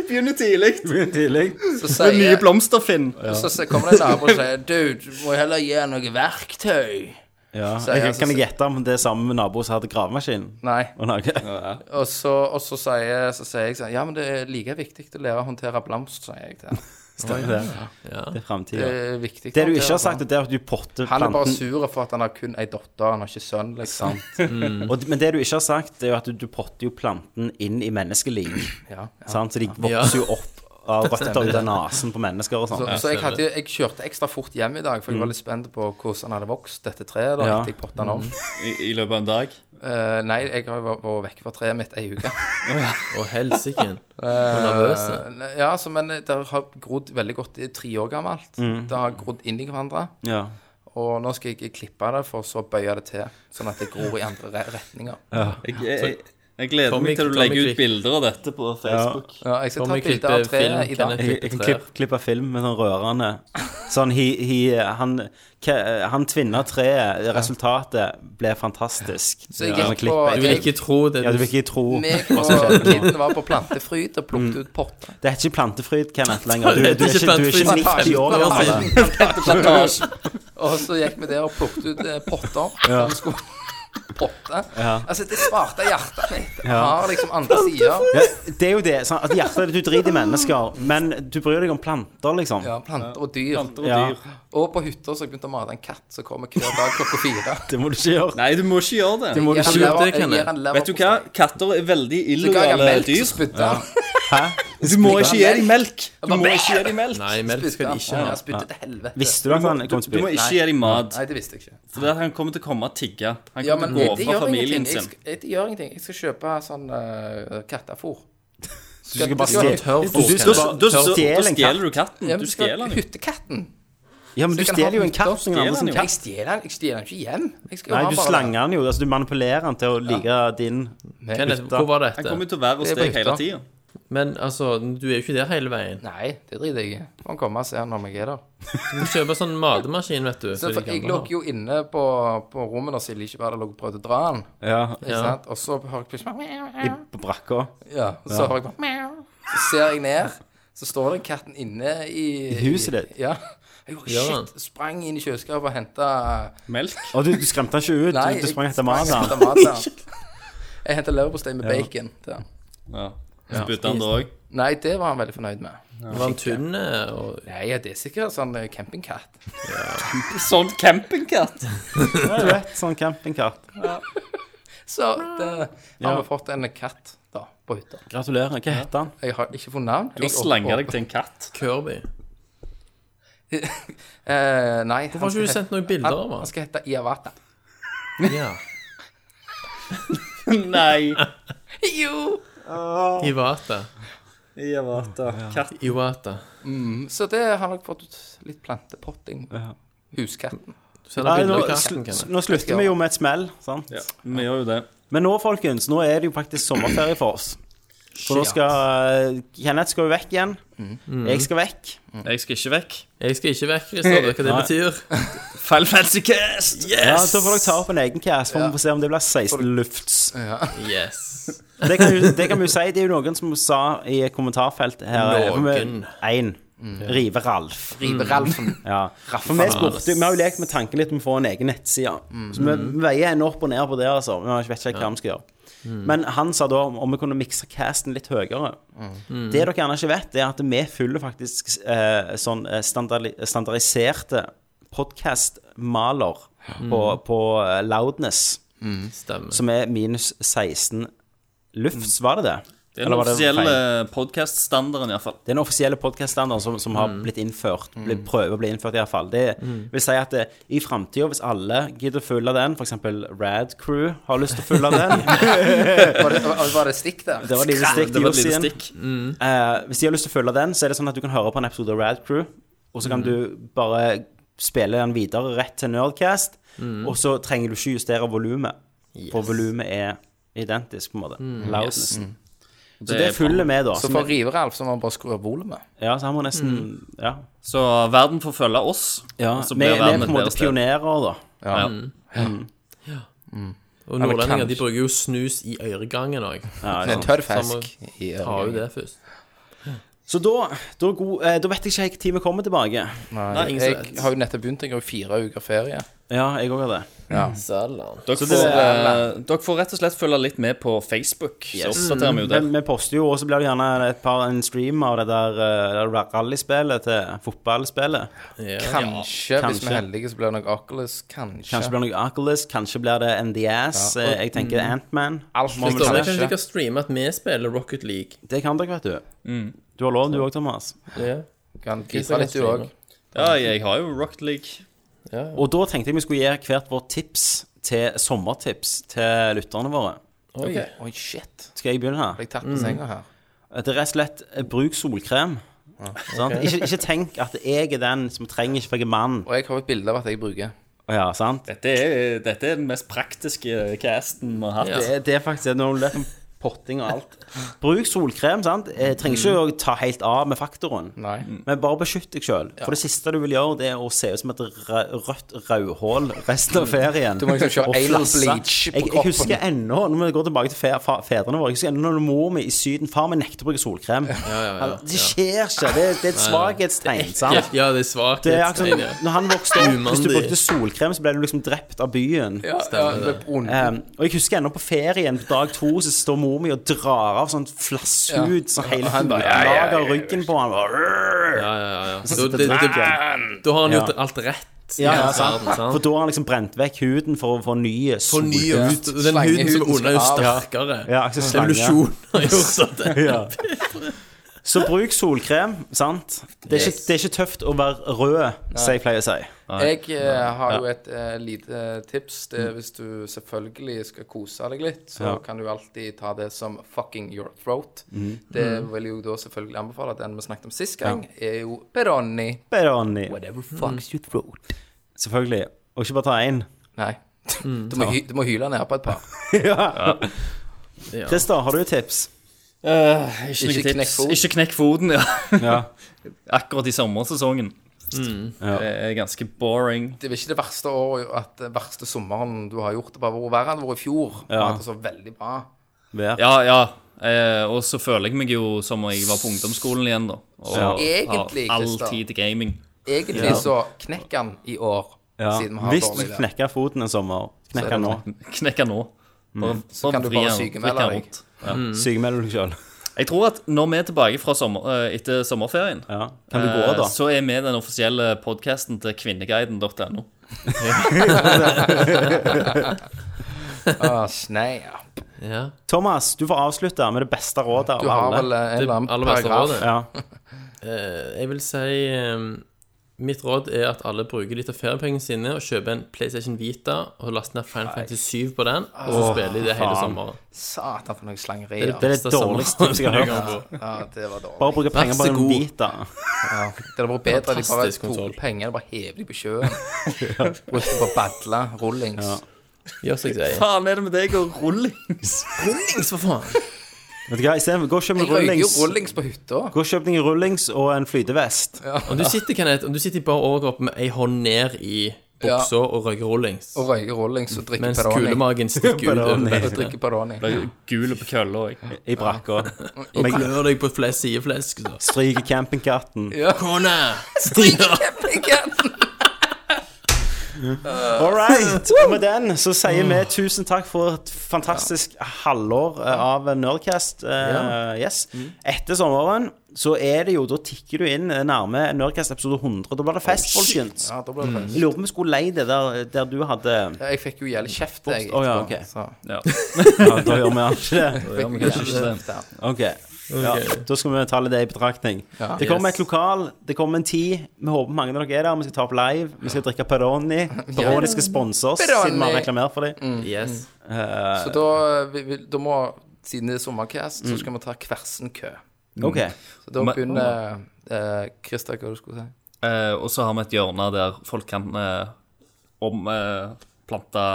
Speaker 3: Begynner tidlig.
Speaker 1: Tidlig.
Speaker 2: Så
Speaker 3: Med nye
Speaker 2: sier
Speaker 3: blomster, Finn.
Speaker 2: så, så kommer det en nabo og sier 'Du, du må heller gi han noe verktøy'.
Speaker 1: Ja.
Speaker 2: Så jeg-
Speaker 1: Jeg, kan jeg gjette om det er samme nabo som hadde gravemaskin?
Speaker 2: Nei.
Speaker 1: Og noe?
Speaker 2: Og så, og så, sier, så sier jeg sånn 'Ja, men det er like viktig å lære å håndtere blomst', sier jeg til han.
Speaker 1: Stemmer det. Det er
Speaker 2: Det
Speaker 1: framtida.
Speaker 2: er viktig.
Speaker 1: Det
Speaker 2: å
Speaker 1: du ikke
Speaker 2: håndtere
Speaker 1: har sagt, det er at du potter
Speaker 2: Han er Eh, bare
Speaker 1: planten.
Speaker 2: sur for at han har kun ei datter, han har ikke sønn, liksom.
Speaker 1: Og, men det du ikke har sagt, det er jo at du, du potter jo planten inn i menneskeliv.
Speaker 2: *laughs* Ja,
Speaker 1: Sant? Så de vokser jo opp av røtter ut av nesen på mennesker og sånn.
Speaker 2: Så, så jeg, hadde, jeg kjørte ekstra fort hjem i dag, for jeg var litt spent på hvordan han hadde vokst, dette treet. da,
Speaker 1: Ja.
Speaker 2: etter jeg potta han om.
Speaker 3: I, i løpet av en dag.
Speaker 2: Eh, nei, jeg har jo vært- vært vekk fra treet mitt ei
Speaker 1: *laughs*
Speaker 2: uke.
Speaker 5: Og
Speaker 2: *laughs*
Speaker 5: helsiken. Og nervøse.
Speaker 2: Eh, ja, så, Men det har grodd veldig godt. Det er tre år gammelt.
Speaker 1: Mm.
Speaker 2: Det har grodd inn i hverandre.
Speaker 1: Ja.
Speaker 2: Og nå skal jeg klippe det, for så å bøye det til. Sånn at det gror i andre re- retninger.
Speaker 3: Jeg, jeg, jeg gleder
Speaker 5: Tommy-
Speaker 3: meg til du
Speaker 5: Tommy
Speaker 3: legger
Speaker 5: Quick.
Speaker 3: ut bilder av dette på Facebook.
Speaker 2: Ja, jeg skal
Speaker 5: Kan
Speaker 2: ta
Speaker 5: vi
Speaker 2: et bilde av
Speaker 5: klippe film,
Speaker 2: treet i dag.
Speaker 5: Kenneth?
Speaker 1: Jeg, jeg kan klippe, klippe film med sånn rørende Sånn he, he, han, hva, han tvinna treet, resultatet ble fantastisk.
Speaker 2: Så jeg
Speaker 1: Ja, med
Speaker 2: gikk på
Speaker 1: klippet.
Speaker 5: Du vil ikke tro det.
Speaker 1: Ja, du vil ikke tro
Speaker 2: Meg
Speaker 1: hva som
Speaker 2: og
Speaker 1: skjedde nå.
Speaker 2: kiden var på plantefryd og plukket ut potter.
Speaker 1: Det er ikke plantefryd, Kenneth, lenger. Du, du, er,
Speaker 5: Det er ikke
Speaker 1: ikke, du er ikke
Speaker 5: plantefryd.
Speaker 1: 90 år altså. gammel. *laughs*
Speaker 2: Og så gikk vi der og plukket ut eh, potter. som vi skulle *laughs* potte. Altså, det svarte hjertet mitt har liksom andre sider.
Speaker 1: Ja, det er jo det. Sånn, at hjertet ditt, Du driter i mennesker, men du bryr deg om planter, liksom.
Speaker 2: Ja, planter og dyr.
Speaker 3: Planter og
Speaker 1: Ja.
Speaker 3: dyr.
Speaker 2: Og på hytta så har jeg begynt å mate en katt som kommer hver dag klokka fire.
Speaker 1: Det må du ikke gjøre.
Speaker 3: Nei, du må ikke gjøre det.
Speaker 1: må du
Speaker 2: Jeg
Speaker 1: ikke
Speaker 2: gir han
Speaker 1: gjøre.
Speaker 2: lever-
Speaker 5: det, Kenneth.
Speaker 2: jeg gir han lever
Speaker 3: Vet du
Speaker 2: på
Speaker 3: hva?
Speaker 2: steik.
Speaker 3: Katter er veldig
Speaker 2: Så ga jeg han
Speaker 3: illojale
Speaker 2: melk, så
Speaker 3: dyr.
Speaker 2: spytta han.
Speaker 3: Du må ikke gi dem melk. Du må
Speaker 2: bare-
Speaker 3: ikke gi dem melk.
Speaker 5: Nei, melk skal de
Speaker 2: Spytta
Speaker 5: ikke
Speaker 2: han.
Speaker 5: ha.
Speaker 2: Han spyttet til helvete.
Speaker 1: Visste du at han kom til
Speaker 3: Du
Speaker 1: å
Speaker 3: må
Speaker 1: spy?
Speaker 3: ikke gi dem mat.
Speaker 2: Nei, det visste jeg ikke.
Speaker 3: For det er at han kommer til å komme og tigge. Han
Speaker 2: Ja, men
Speaker 3: kommer til å
Speaker 2: det
Speaker 3: gå fra
Speaker 2: gjør
Speaker 3: familien
Speaker 2: ingenting. Jeg
Speaker 3: sin.
Speaker 2: skal, det gjør ingenting. Jeg skal kjøpe sånn uh, kattefôr.
Speaker 1: Du skal bare stjele
Speaker 5: Tørr
Speaker 1: Du- du-
Speaker 5: frosk.
Speaker 1: du-
Speaker 3: Da da- da
Speaker 1: Stjel en
Speaker 3: stjeler du katten.
Speaker 2: Ja, men
Speaker 3: Du
Speaker 2: du skal
Speaker 3: stjeler *laughs* den.
Speaker 2: Hyttekatten.
Speaker 1: Ja, men du
Speaker 2: Så kan
Speaker 1: stjeler jo
Speaker 2: han
Speaker 1: en katt.
Speaker 2: stjele
Speaker 1: som andre sin
Speaker 3: den jo.
Speaker 1: katt.
Speaker 2: Jeg stjeler den jeg stjeler den ikke hjem. Jeg skal jo
Speaker 1: Nei,
Speaker 2: ha
Speaker 1: du
Speaker 2: bare-
Speaker 1: slenger den jo. Altså, du manipulerer den til å like din
Speaker 5: Kenneth, hvor var
Speaker 3: Han
Speaker 5: dette?
Speaker 3: kommer til å være hos
Speaker 2: Det er på
Speaker 3: deg hele
Speaker 2: hytta.
Speaker 3: tida.
Speaker 5: Men altså, du er jo ikke der hele veien.
Speaker 2: Nei, det driter jeg i. Får han komme og se når jeg er der.
Speaker 5: Du må kjøpe sånn matemaskin, vet du.
Speaker 2: Så
Speaker 5: som
Speaker 2: for
Speaker 5: de
Speaker 2: jeg
Speaker 5: gamle
Speaker 2: lå
Speaker 5: har.
Speaker 2: jo inne på, på rommet da Silje ikke var der, lå og prøvde å dra den.
Speaker 1: ja,
Speaker 2: Ikke sant? Og så hører jeg plutselig
Speaker 1: i, på brakka.
Speaker 2: Ja, og så hører jeg bare «Meow». Så ser jeg ned, så står den katten inne i
Speaker 1: I huset ditt?
Speaker 2: Ja. Jeg gjorde
Speaker 5: Gjør
Speaker 2: shit, sprang inn i kjøleskapet og henta
Speaker 3: Melk.
Speaker 1: Og du, du skremte han ikke ut?
Speaker 2: Nei,
Speaker 1: du, du sprang
Speaker 2: jeg
Speaker 1: etter mat?
Speaker 2: sprang etter
Speaker 1: *laughs*
Speaker 2: mat til han. Jeg henta leverpostei med bacon til han.
Speaker 3: Ja. Spytter han det òg?
Speaker 2: Nei, det var han veldig fornøyd med.
Speaker 5: Det var en tynn eh, og
Speaker 2: Nei, ja, det er sikkert sånn eh, campingkatt.
Speaker 3: *laughs* Sånn campingkatt.
Speaker 1: Ja, du vet, *laughs* sånn campingkatt.
Speaker 2: Så det, har vi fått en katt da, på hytta.
Speaker 1: Gratulerer. Hva heter han?
Speaker 2: Jeg har ikke funnet navn.
Speaker 3: Du har slanga deg til en katt.
Speaker 5: Kirby.
Speaker 2: Eh, nei. Hvorfor
Speaker 5: Har ikke du sendt noen bilder av
Speaker 2: Han
Speaker 5: han?
Speaker 2: skal hete Iavata.
Speaker 5: Ja.
Speaker 3: *laughs* Nei.
Speaker 2: Jo!
Speaker 5: Iwata.
Speaker 3: Iwata. Katt.
Speaker 5: Iwata.
Speaker 2: Så det har nok fått ut litt plantepotting. Huskatten.
Speaker 5: Du sender
Speaker 1: Nei, nå,
Speaker 5: bilder av
Speaker 1: sl
Speaker 5: katten, Kenneth.
Speaker 1: nå slutter vi jo med et smell, sant?
Speaker 3: Vi gjør jo det.
Speaker 1: Men nå, folkens, nå er det jo faktisk sommerferie for oss. For nå skal eh, Kenneth skal jo vekk igjen. Jeg skal vekk.
Speaker 3: Jeg skal ikke vekk.
Speaker 5: Jeg skal ikke vekk, Christer. Hva det
Speaker 1: Nei.
Speaker 5: betyr?
Speaker 3: Final Fantasy Cast!
Speaker 1: Ja,
Speaker 3: Yes!
Speaker 1: Da får dere ta opp en egen cast, for vi får se om det blir 16 lufts.
Speaker 5: Yes.
Speaker 1: Det kan, jo, det kan vi jo si. Det er jo noen som sa i kommentarfeltet her eh,
Speaker 5: Noen.
Speaker 1: Én. Rive Ralf.
Speaker 2: Riberalfen.
Speaker 1: Mm. Ja. For vi, spurte, vi har jo lekt med tanken litt om å få en egen nettside. Så vi veier en opp og ned på det, altså. Vi har ikke- vet ikke helt hva vi skal gjøre. Men han sa da om- om vi kunne mikse casten litt høyere. Det dere gjerne ikke vet, det er at vi følger faktisk eh, sånn eh, standardi standardiserte podkast-maler på, på eh, loudness,
Speaker 5: Stemmer.
Speaker 1: som er minus 16 lufts, var det det?
Speaker 3: Det er
Speaker 1: Eller
Speaker 3: den
Speaker 1: var det feil?
Speaker 3: offisielle podkast-standarden, iallfall.
Speaker 1: Det er den offisielle podkast-standarden som, som har blitt innført. Blir prøver å bli innført, iallfall. Det vil si at det, i framtida, hvis alle gidder å følge den, f.eks. Rad Crew har lyst til å følge den
Speaker 2: Var det, var- var det stikk der?
Speaker 1: Det var et lite stikk.
Speaker 3: Det
Speaker 1: de
Speaker 3: var
Speaker 1: gjorde
Speaker 3: et lite
Speaker 1: siden.
Speaker 3: stikk.
Speaker 1: Eh, hvis de har lyst til å følge den, så er det sånn at du kan høre på en episode av Rad Crew, og så kan du bare spille den videre rett til Nerdcast, og så trenger du ikke justere volumet, for volumet er identisk, på en måte. Loudnessen. Så det
Speaker 3: er
Speaker 1: følger
Speaker 3: bra.
Speaker 1: med, da.
Speaker 2: Så for Riveralf så må man bare skru opp volumet.
Speaker 1: Ja, så han må nesten Ja.
Speaker 3: Så verden får følge oss.
Speaker 1: Ja,
Speaker 3: og så
Speaker 1: vi, vi
Speaker 3: blir
Speaker 1: er
Speaker 3: verden
Speaker 1: på en
Speaker 3: et bedre
Speaker 1: måte
Speaker 3: sted.
Speaker 1: pionerer, da.
Speaker 3: Ja.
Speaker 5: Og nordlendinger de
Speaker 2: kanskje.
Speaker 5: bruker jo snus i øregangen òg.
Speaker 1: Ja,
Speaker 2: Det er
Speaker 1: ja.
Speaker 2: tørr fisk. i
Speaker 5: Har jo
Speaker 2: øret.
Speaker 5: det først.
Speaker 1: Så da, da, er god, eh, da vet jeg ikke helt når vi kommer tilbake.
Speaker 2: Nei, Jeg har jo nettopp begynt. Jeg har jo fire uker ferie.
Speaker 1: Ja, jeg òg har det.
Speaker 3: Dere, får, eh, dere får rett og slett følge litt med på Facebook. Så oppdaterer vi jo det.
Speaker 1: Men vi poster jo, og så blir det gjerne et par en stream av det der, eh, det der rallyspillet til fotballspillet.
Speaker 2: Kanskje, hvis vi
Speaker 1: kanskje.
Speaker 2: er heldige, så blir det noe Oculus. Kanskje.
Speaker 1: Kanskje blir det noe Oculus, kanskje blir det NDS. eh, Jeg tenker Antman.
Speaker 2: Alt
Speaker 1: Må
Speaker 2: litt
Speaker 1: vi
Speaker 5: Så
Speaker 1: se.
Speaker 5: jeg kan ikke streame at vi spiller Rocket League.
Speaker 1: Det kan dere, vet du. Du har lov, du òg, Thomas.
Speaker 2: Kan gripe litt, du òg.
Speaker 3: Ja, jeg har jo Rocket League.
Speaker 1: Og da tenkte jeg vi skulle gi hvert vårt tips til sommertips til lytterne våre.
Speaker 2: Oi, shit.
Speaker 1: Skal jeg begynne her?
Speaker 2: Ble jeg tatt på senga her?
Speaker 1: Det er rett og slett eh, bruk solkrem. Sant? Ikke, ikke tenk at jeg er den som trenger ikke, for jeg er mann.
Speaker 2: Og jeg har et bilde av at jeg bruker.
Speaker 1: Ja, sant?
Speaker 3: Dette er, dette er den mest praktiske casten vi har hatt.
Speaker 1: Det, er- det er faktisk det. Nå har du lært om potting og alt. Bruk solkrem, sant? Jeg trenger ikke å ta helt av med faktoren.
Speaker 2: Nei.
Speaker 1: Men bare beskytt deg sjøl. For det siste du vil gjøre, det er å se ut som et rø- rødt rødhål resten av ferien.
Speaker 2: Du må liksom kjøre
Speaker 1: Og
Speaker 2: anal
Speaker 1: flasse.
Speaker 2: bleach
Speaker 1: jeg,
Speaker 2: på
Speaker 1: jeg
Speaker 2: kroppen.
Speaker 1: husker ennå, når vi går tilbake til fe, fa, fedrene våre Jeg husker ennå når mor mi i Syden Far min nekter å bruke solkrem. Han- Det skjer ikke. Det, det er et svakhetstegn. sant?
Speaker 5: Ja, det er
Speaker 1: Det er akkurat sånn-
Speaker 5: svakhetstegn.
Speaker 1: som når han vokste opp, hvis du
Speaker 5: Umandig.
Speaker 1: brukte solkrem, så ble du liksom drept av byen.
Speaker 2: Ja, ja, det er ond.
Speaker 1: Um, og jeg husker ennå på ferien, på dag to, så står mor mi og drar av sånn flasshud, sånn hele
Speaker 2: han bare, ja, ja,
Speaker 1: lager ryggen på han. Bare,
Speaker 5: Ja, ja, ja.
Speaker 1: Så
Speaker 5: Da-
Speaker 1: sitter
Speaker 5: det-
Speaker 1: det- sånn
Speaker 5: det- Da har han gjort
Speaker 1: Ja.
Speaker 5: alt rett.
Speaker 1: ja, ja,
Speaker 5: hans
Speaker 1: sant.
Speaker 5: verden,
Speaker 1: For da har han liksom brent vekk huden for å få nye sol.
Speaker 5: hud. Den
Speaker 2: Slenge
Speaker 5: huden som
Speaker 2: huden
Speaker 5: er under, er jo
Speaker 2: skal av.
Speaker 5: sterkere.
Speaker 1: Ja, akkurat sånn slange.
Speaker 5: Evolusjon har gjort at det
Speaker 1: Ja. Så bruk solkrem, sant? Det er, ikke, det er ikke tøft å være rød, som jeg pleier å si.
Speaker 2: Jeg eh, har jo et eh, lite tips. Det er hvis du selvfølgelig skal kose deg litt, så
Speaker 1: Mm. Ja. Mm.
Speaker 2: kan du alltid ta det som fucking your throat. Det vil jo da selvfølgelig anbefale at den vi snakket om sist gang, er jo Peroni.
Speaker 1: Beroni.
Speaker 2: Whatever fucks your throat.
Speaker 1: Selvfølgelig. Og ikke bare ta
Speaker 2: *laughs*
Speaker 1: én.
Speaker 2: Nei.
Speaker 1: Mm.
Speaker 2: *laughs* Du må, hy du må hyle ned på et par.
Speaker 1: Ja. Christer, har du tips?
Speaker 3: Eh, ikke,
Speaker 2: Ikke
Speaker 3: noe tips.
Speaker 2: knekk foten.
Speaker 3: Ikke knekk foten, ja.
Speaker 1: Ja.
Speaker 3: *laughs* Akkurat i sommersesongen.
Speaker 2: Mm.
Speaker 3: Det er ganske boring.
Speaker 2: Det er ikke det verste året at eh, verste sommeren du har gjort. Det bare vært verre enn det var i fjor. Vi
Speaker 1: Ja.
Speaker 2: har hatt det så veldig bra.
Speaker 1: Vær.
Speaker 3: Ja, ja. Eh, og så føler jeg meg jo som om jeg var på ungdomsskolen igjen, da. Og
Speaker 1: Ja.
Speaker 2: Egentlig,
Speaker 3: har all
Speaker 2: Christer.
Speaker 3: tid til gaming.
Speaker 2: Egentlig så knekk han i år,
Speaker 1: Ja.
Speaker 2: siden vi har
Speaker 1: Hvis
Speaker 2: dårlig
Speaker 1: du
Speaker 2: vær.
Speaker 1: knekker foten en sommer, knekk den nå.
Speaker 3: Knekke nå.
Speaker 1: Mm.
Speaker 3: Bare, så
Speaker 2: kan du bare sykemelde deg. Mm.
Speaker 1: Sykemelder du deg sjøl.
Speaker 3: Jeg tror at når vi er tilbake fra sommer, eh, etter sommerferien,
Speaker 1: Ja. Kan du gå,
Speaker 3: eh,
Speaker 1: da?
Speaker 3: så er vi den offisielle podkasten til kvinneguiden.no.
Speaker 2: Ah, snei, ja.
Speaker 5: Ja,
Speaker 1: Thomas, du får avslutte med det beste rådet
Speaker 2: Du
Speaker 1: av
Speaker 2: har
Speaker 1: alle.
Speaker 2: vel eh, en
Speaker 5: det
Speaker 2: eller annen
Speaker 5: aller beste
Speaker 2: paragraf.
Speaker 5: rådet.
Speaker 1: Ja.
Speaker 5: Eh, Jeg vil si ehm, Mitt råd er at alle bruker litt av feriepengene sine og kjøper en PlayStation Vita og laster ned Final Fantasy 7 på den, og så spiller de det hele
Speaker 1: faen.
Speaker 5: sommeren.
Speaker 2: Satan, for noen slangerier.
Speaker 1: Det er
Speaker 5: Beste
Speaker 1: det dårligste tipset jeg har hørt.
Speaker 5: *laughs*
Speaker 2: Ja, det var dårlig.
Speaker 1: Bare bruke penger på
Speaker 5: så
Speaker 1: en
Speaker 5: god.
Speaker 1: Vita.
Speaker 2: Ja. Det hadde vært bedre at de bare
Speaker 5: Fantastisk
Speaker 2: tok
Speaker 5: konsol.
Speaker 2: penger og bare hev dem på
Speaker 1: *laughs*
Speaker 2: sjøen. Brukte på badla, rullings.
Speaker 5: Gjør som jeg sier.
Speaker 3: Faen er det med deg og rullings?
Speaker 5: Rullings, for faen!
Speaker 1: Vet du hva, i stedet- Gå og kjøp
Speaker 2: Jeg
Speaker 1: deg
Speaker 2: røyker jo
Speaker 1: rullings.
Speaker 2: rullings på hytta.
Speaker 1: Gå og kjøp deg en rullings og en flytevest.
Speaker 5: Om du sitter, Kenneth, om du sitter i bar overkropp med ei hånd ned i buksa og røyker rullings,
Speaker 2: Og røyker rullings og drikker
Speaker 5: mens
Speaker 2: Peroni.
Speaker 5: kulemagen *laughs* stikker ut over
Speaker 2: Og drikker Peroni.
Speaker 3: Gule på kølla òg.
Speaker 1: I brakka.
Speaker 5: og klør deg på flest sideflesk. så.
Speaker 1: Stryker campingkatten.
Speaker 5: Kone!
Speaker 1: All right. Og med den så sier
Speaker 2: Mm.
Speaker 1: vi tusen takk for et fantastisk halvår eh, av Nerdcast. eh, yes.
Speaker 2: Mm.
Speaker 1: Etter sommeren så er det jo Da tikker du inn eh, nærme Nerdcast episode 100. Da blir det fest, folkens.
Speaker 2: Ja, da ble det fest.
Speaker 1: Jeg lurer på om vi skulle leie det der, der du hadde
Speaker 2: Ja, Jeg fikk jo jævlig kjeft, jeg.
Speaker 1: Å, ja,
Speaker 2: etterpå,
Speaker 1: ok.
Speaker 2: så.
Speaker 3: Ja.
Speaker 1: Ja, da gjør vi ikke det.
Speaker 2: Fikk jo jævlig kjeft der.
Speaker 1: Ok. Ja, da skal vi ta litt det i betraktning.
Speaker 2: Ja.
Speaker 1: Det kommer et lokal, det kommer en tid. Vi håper mange av dere er der. Vi skal ta opp live. Vi skal drikke Peroni. Peroni skal sponse oss, siden vi har reklamert for
Speaker 4: Mm.
Speaker 1: dem.
Speaker 5: Yes.
Speaker 2: Så da, vi, vi, da må Siden det er sommercast,
Speaker 1: Mm.
Speaker 2: så skal vi ta Kversenkø.
Speaker 1: Ok.
Speaker 2: Så da
Speaker 3: Men-
Speaker 2: begynner eh, Christer, hva du skulle si?
Speaker 3: Eh, og så har vi et hjørne der folk kan eh, omplante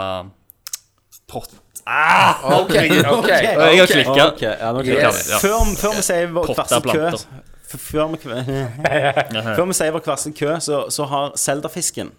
Speaker 3: pott... Ah!
Speaker 2: OK.
Speaker 1: ok.
Speaker 3: Jeg har klikka.
Speaker 1: Ok, ja, nå klikker
Speaker 2: Yes.
Speaker 1: vi. Ja. Før, før vi sier vår
Speaker 3: Potta
Speaker 1: kvasse kø
Speaker 3: planter.
Speaker 1: f- før vi, *laughs* før vi sier vår kvasse kø, så, så har Zelda-fisken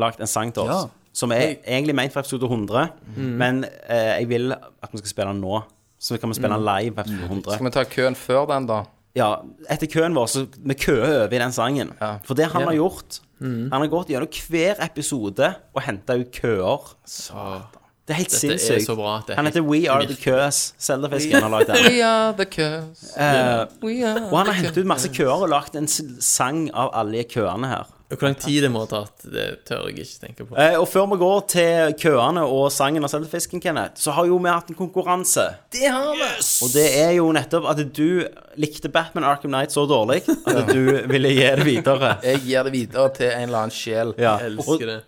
Speaker 1: lagd en sang til oss. Som er egentlig ment for episode 100, men eh, jeg vil at vi skal spille den nå. Så kan vi spille den live på episode 100.
Speaker 2: Skal vi ta køen før den, da?
Speaker 1: Ja, etter køen vår, så vi køer over i den sangen.
Speaker 2: Ja.
Speaker 1: For det han har gjort
Speaker 5: Mm.
Speaker 1: Han har gått gjennom hver episode og henta ut køer. Det er helt
Speaker 5: Det er
Speaker 1: sinnssykt.
Speaker 5: så bra. Det er
Speaker 1: Han
Speaker 5: helt,
Speaker 1: heter We Are The Curse. Zelda-fisken har lagd
Speaker 5: *laughs*
Speaker 1: den.
Speaker 2: We are the curse.
Speaker 1: Eh,
Speaker 2: We are
Speaker 1: Og han har hentet ut masse køer og lagt en s- sang av alle køene her.
Speaker 5: og hvor lang tid det må ha tatt, det tør jeg ikke tenke på.
Speaker 1: Eh, og før vi går til køene og sangen av Seldefisken, Kenneth, så har jo vi hatt en konkurranse. Det har vi! Og det er jo nettopp at du likte Batman Arkham Knight så dårlig at du ville gi det videre.
Speaker 2: Jeg gir det videre til en eller annen sjel.
Speaker 1: Ja.
Speaker 5: *laughs* Jeg
Speaker 1: Og
Speaker 5: elsker det.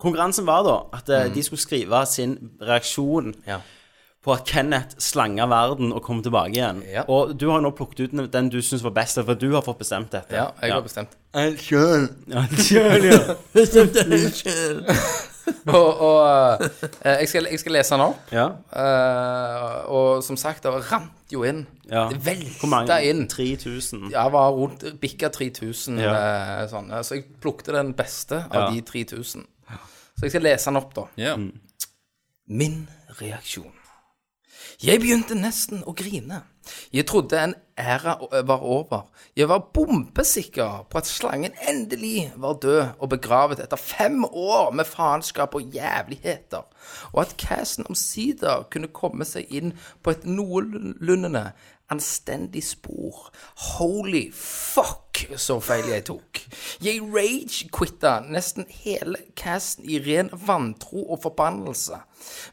Speaker 1: konkurransen var da at eh, de skulle skrive sin reaksjon
Speaker 2: Mm. Ja.
Speaker 1: på at Kenneth slanga verden og kom tilbake igjen.
Speaker 2: Ja.
Speaker 1: Og du har nå plukket ut den du syns var best, for du har fått bestemt dette. *laughs*
Speaker 2: Ja, jeg har bestemt. Og, og eh, jeg, skal, jeg skal lese den opp.
Speaker 1: ja.
Speaker 2: eh, og som sagt, det rant jo inn.
Speaker 1: Ja.
Speaker 2: Det
Speaker 1: Hvor
Speaker 2: velta
Speaker 1: mange?
Speaker 2: inn.
Speaker 1: 3000.
Speaker 2: Jeg var rundt bikka 3000.
Speaker 1: Ja.
Speaker 2: eh, sånn. Så jeg plukte den beste
Speaker 1: Ja.
Speaker 2: av de 3000. Så jeg skal lese den opp, da.
Speaker 3: Ja.
Speaker 2: Min reaksjon. Jeg begynte nesten å grine. Jeg trodde en æra o- var over. Jeg var bombesikker på at slangen endelig var død og begravet etter fem år med faenskap og jævligheter, og at casten omsider kunne komme seg inn på et noenlunde anstendig spor. Holy fuck, så feil jeg tok. Jeg rage-quitta nesten hele casten i ren vantro og forbannelse,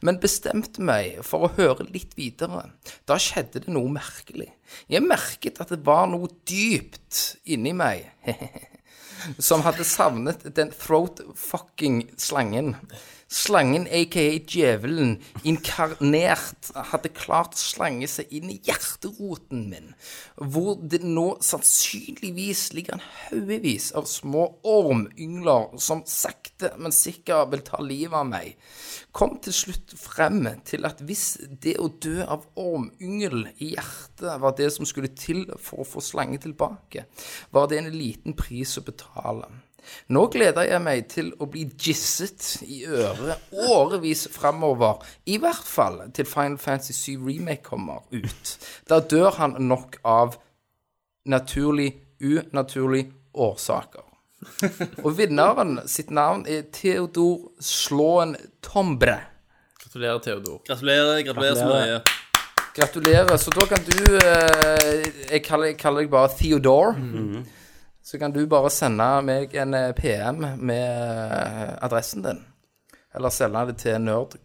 Speaker 2: men bestemte meg for å høre litt videre. Da skjedde det noe merkelig. Jeg merket at det var noe dypt inni meg som hadde savnet den throat-fucking slangen. Slangen, aka djevelen, inkarnert, hadde klart slange seg inn i hjerteroten min, hvor det nå sannsynligvis ligger en haugevis av små ormyngler som sakte, men sikkert vil ta livet av meg. Kom til slutt frem til at hvis det å dø av ormyngel i hjertet var det som skulle til for å få slange tilbake, var det en liten pris å betale. Nå gleder jeg meg til å bli gisset i øret årevis framover, i hvert fall til Final Fantasy 7 Remake kommer ut. Da dør han nok av naturlig, unaturlig årsaker. Og vinneren sitt navn er Theodor Slåen Tombre.
Speaker 5: Gratulerer, Theodor.
Speaker 3: Gratulerer. Gratulerer så mye.
Speaker 2: Gratulerer. Så da kan du eh, Jeg kaller, jeg kaller deg bare Theodore. Så kan du bare sende meg en eh, PM med eh, adressen din. Eller sende det til Nerd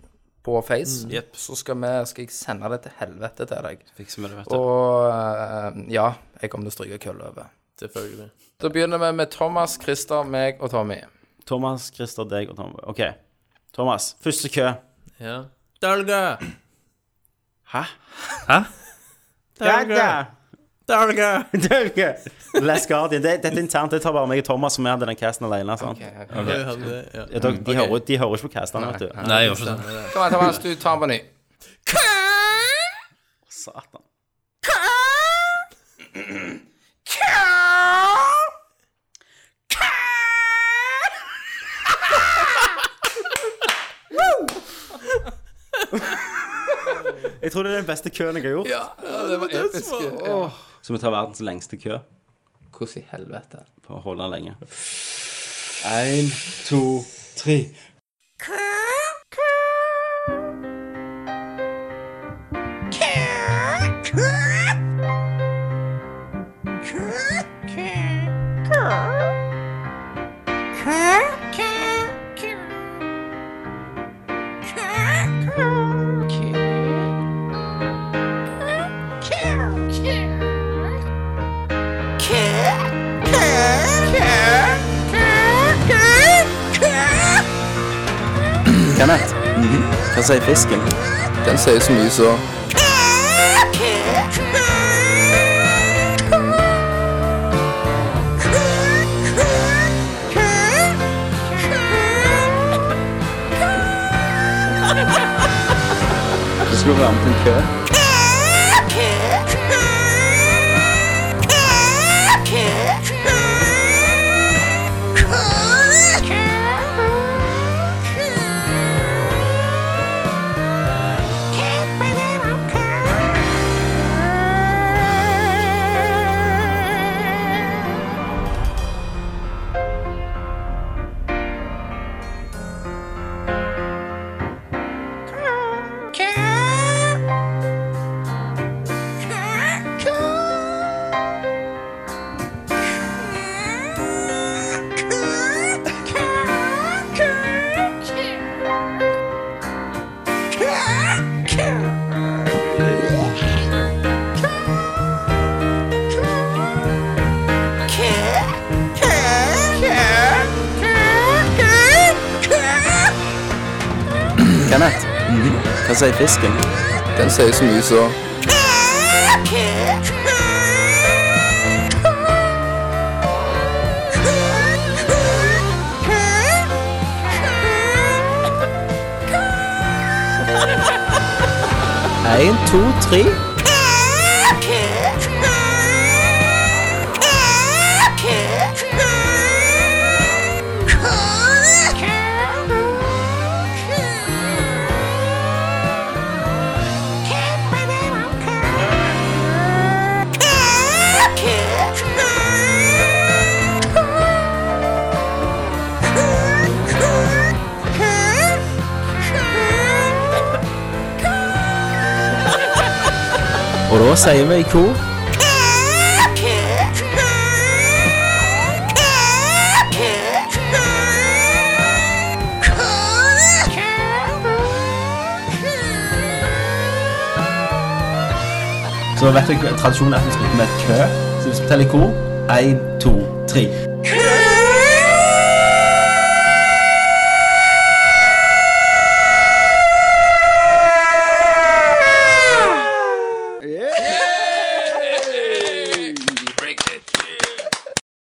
Speaker 2: på Face. Så skal, vi, skal jeg sende det til helvete til deg.
Speaker 1: Fikser vi det, vet du.
Speaker 2: Og eh, ja, jeg kommer til å stryke kølla over.
Speaker 5: Selvfølgelig.
Speaker 2: Da begynner vi med Thomas, Christer, meg og Tommy.
Speaker 1: Thomas, Christer, deg og Tom. OK. Thomas, første kø.
Speaker 5: Ja. Dalga!
Speaker 1: Hæ?
Speaker 3: Hæ?
Speaker 5: Dalga!
Speaker 1: *laughs* Dølge! Last Guardian. Det, dette er internt. Det tar bare meg og Thomas som er hadde den casten alene. sant?
Speaker 5: Jeg hadde, ja.
Speaker 1: Ja, dere-
Speaker 2: Mm,
Speaker 1: de, hører, de hører ikke på castene, vet du.
Speaker 3: Nei, jeg gjør ikke det.
Speaker 2: Kom igjen, Thomas, du tar den på ny.
Speaker 1: Satan.
Speaker 7: Jeg tror det er den beste køen jeg har gjort.
Speaker 2: det var episk.
Speaker 7: Så vi tar verdens lengste kø
Speaker 2: Hvordan i helvete?
Speaker 7: for å holde den lenge. Kenneth, hva sier fisken?
Speaker 2: Den sier så mye så
Speaker 7: Du skulle være med til en kø. Kenneth, hva sier fisken?
Speaker 2: Den sier så mye så
Speaker 7: Én, to, tre. Og da sier vi i kor Så vet du tradisjonen er at vi skal med et kø. Så vi skal telle i kor. Én, to, tre.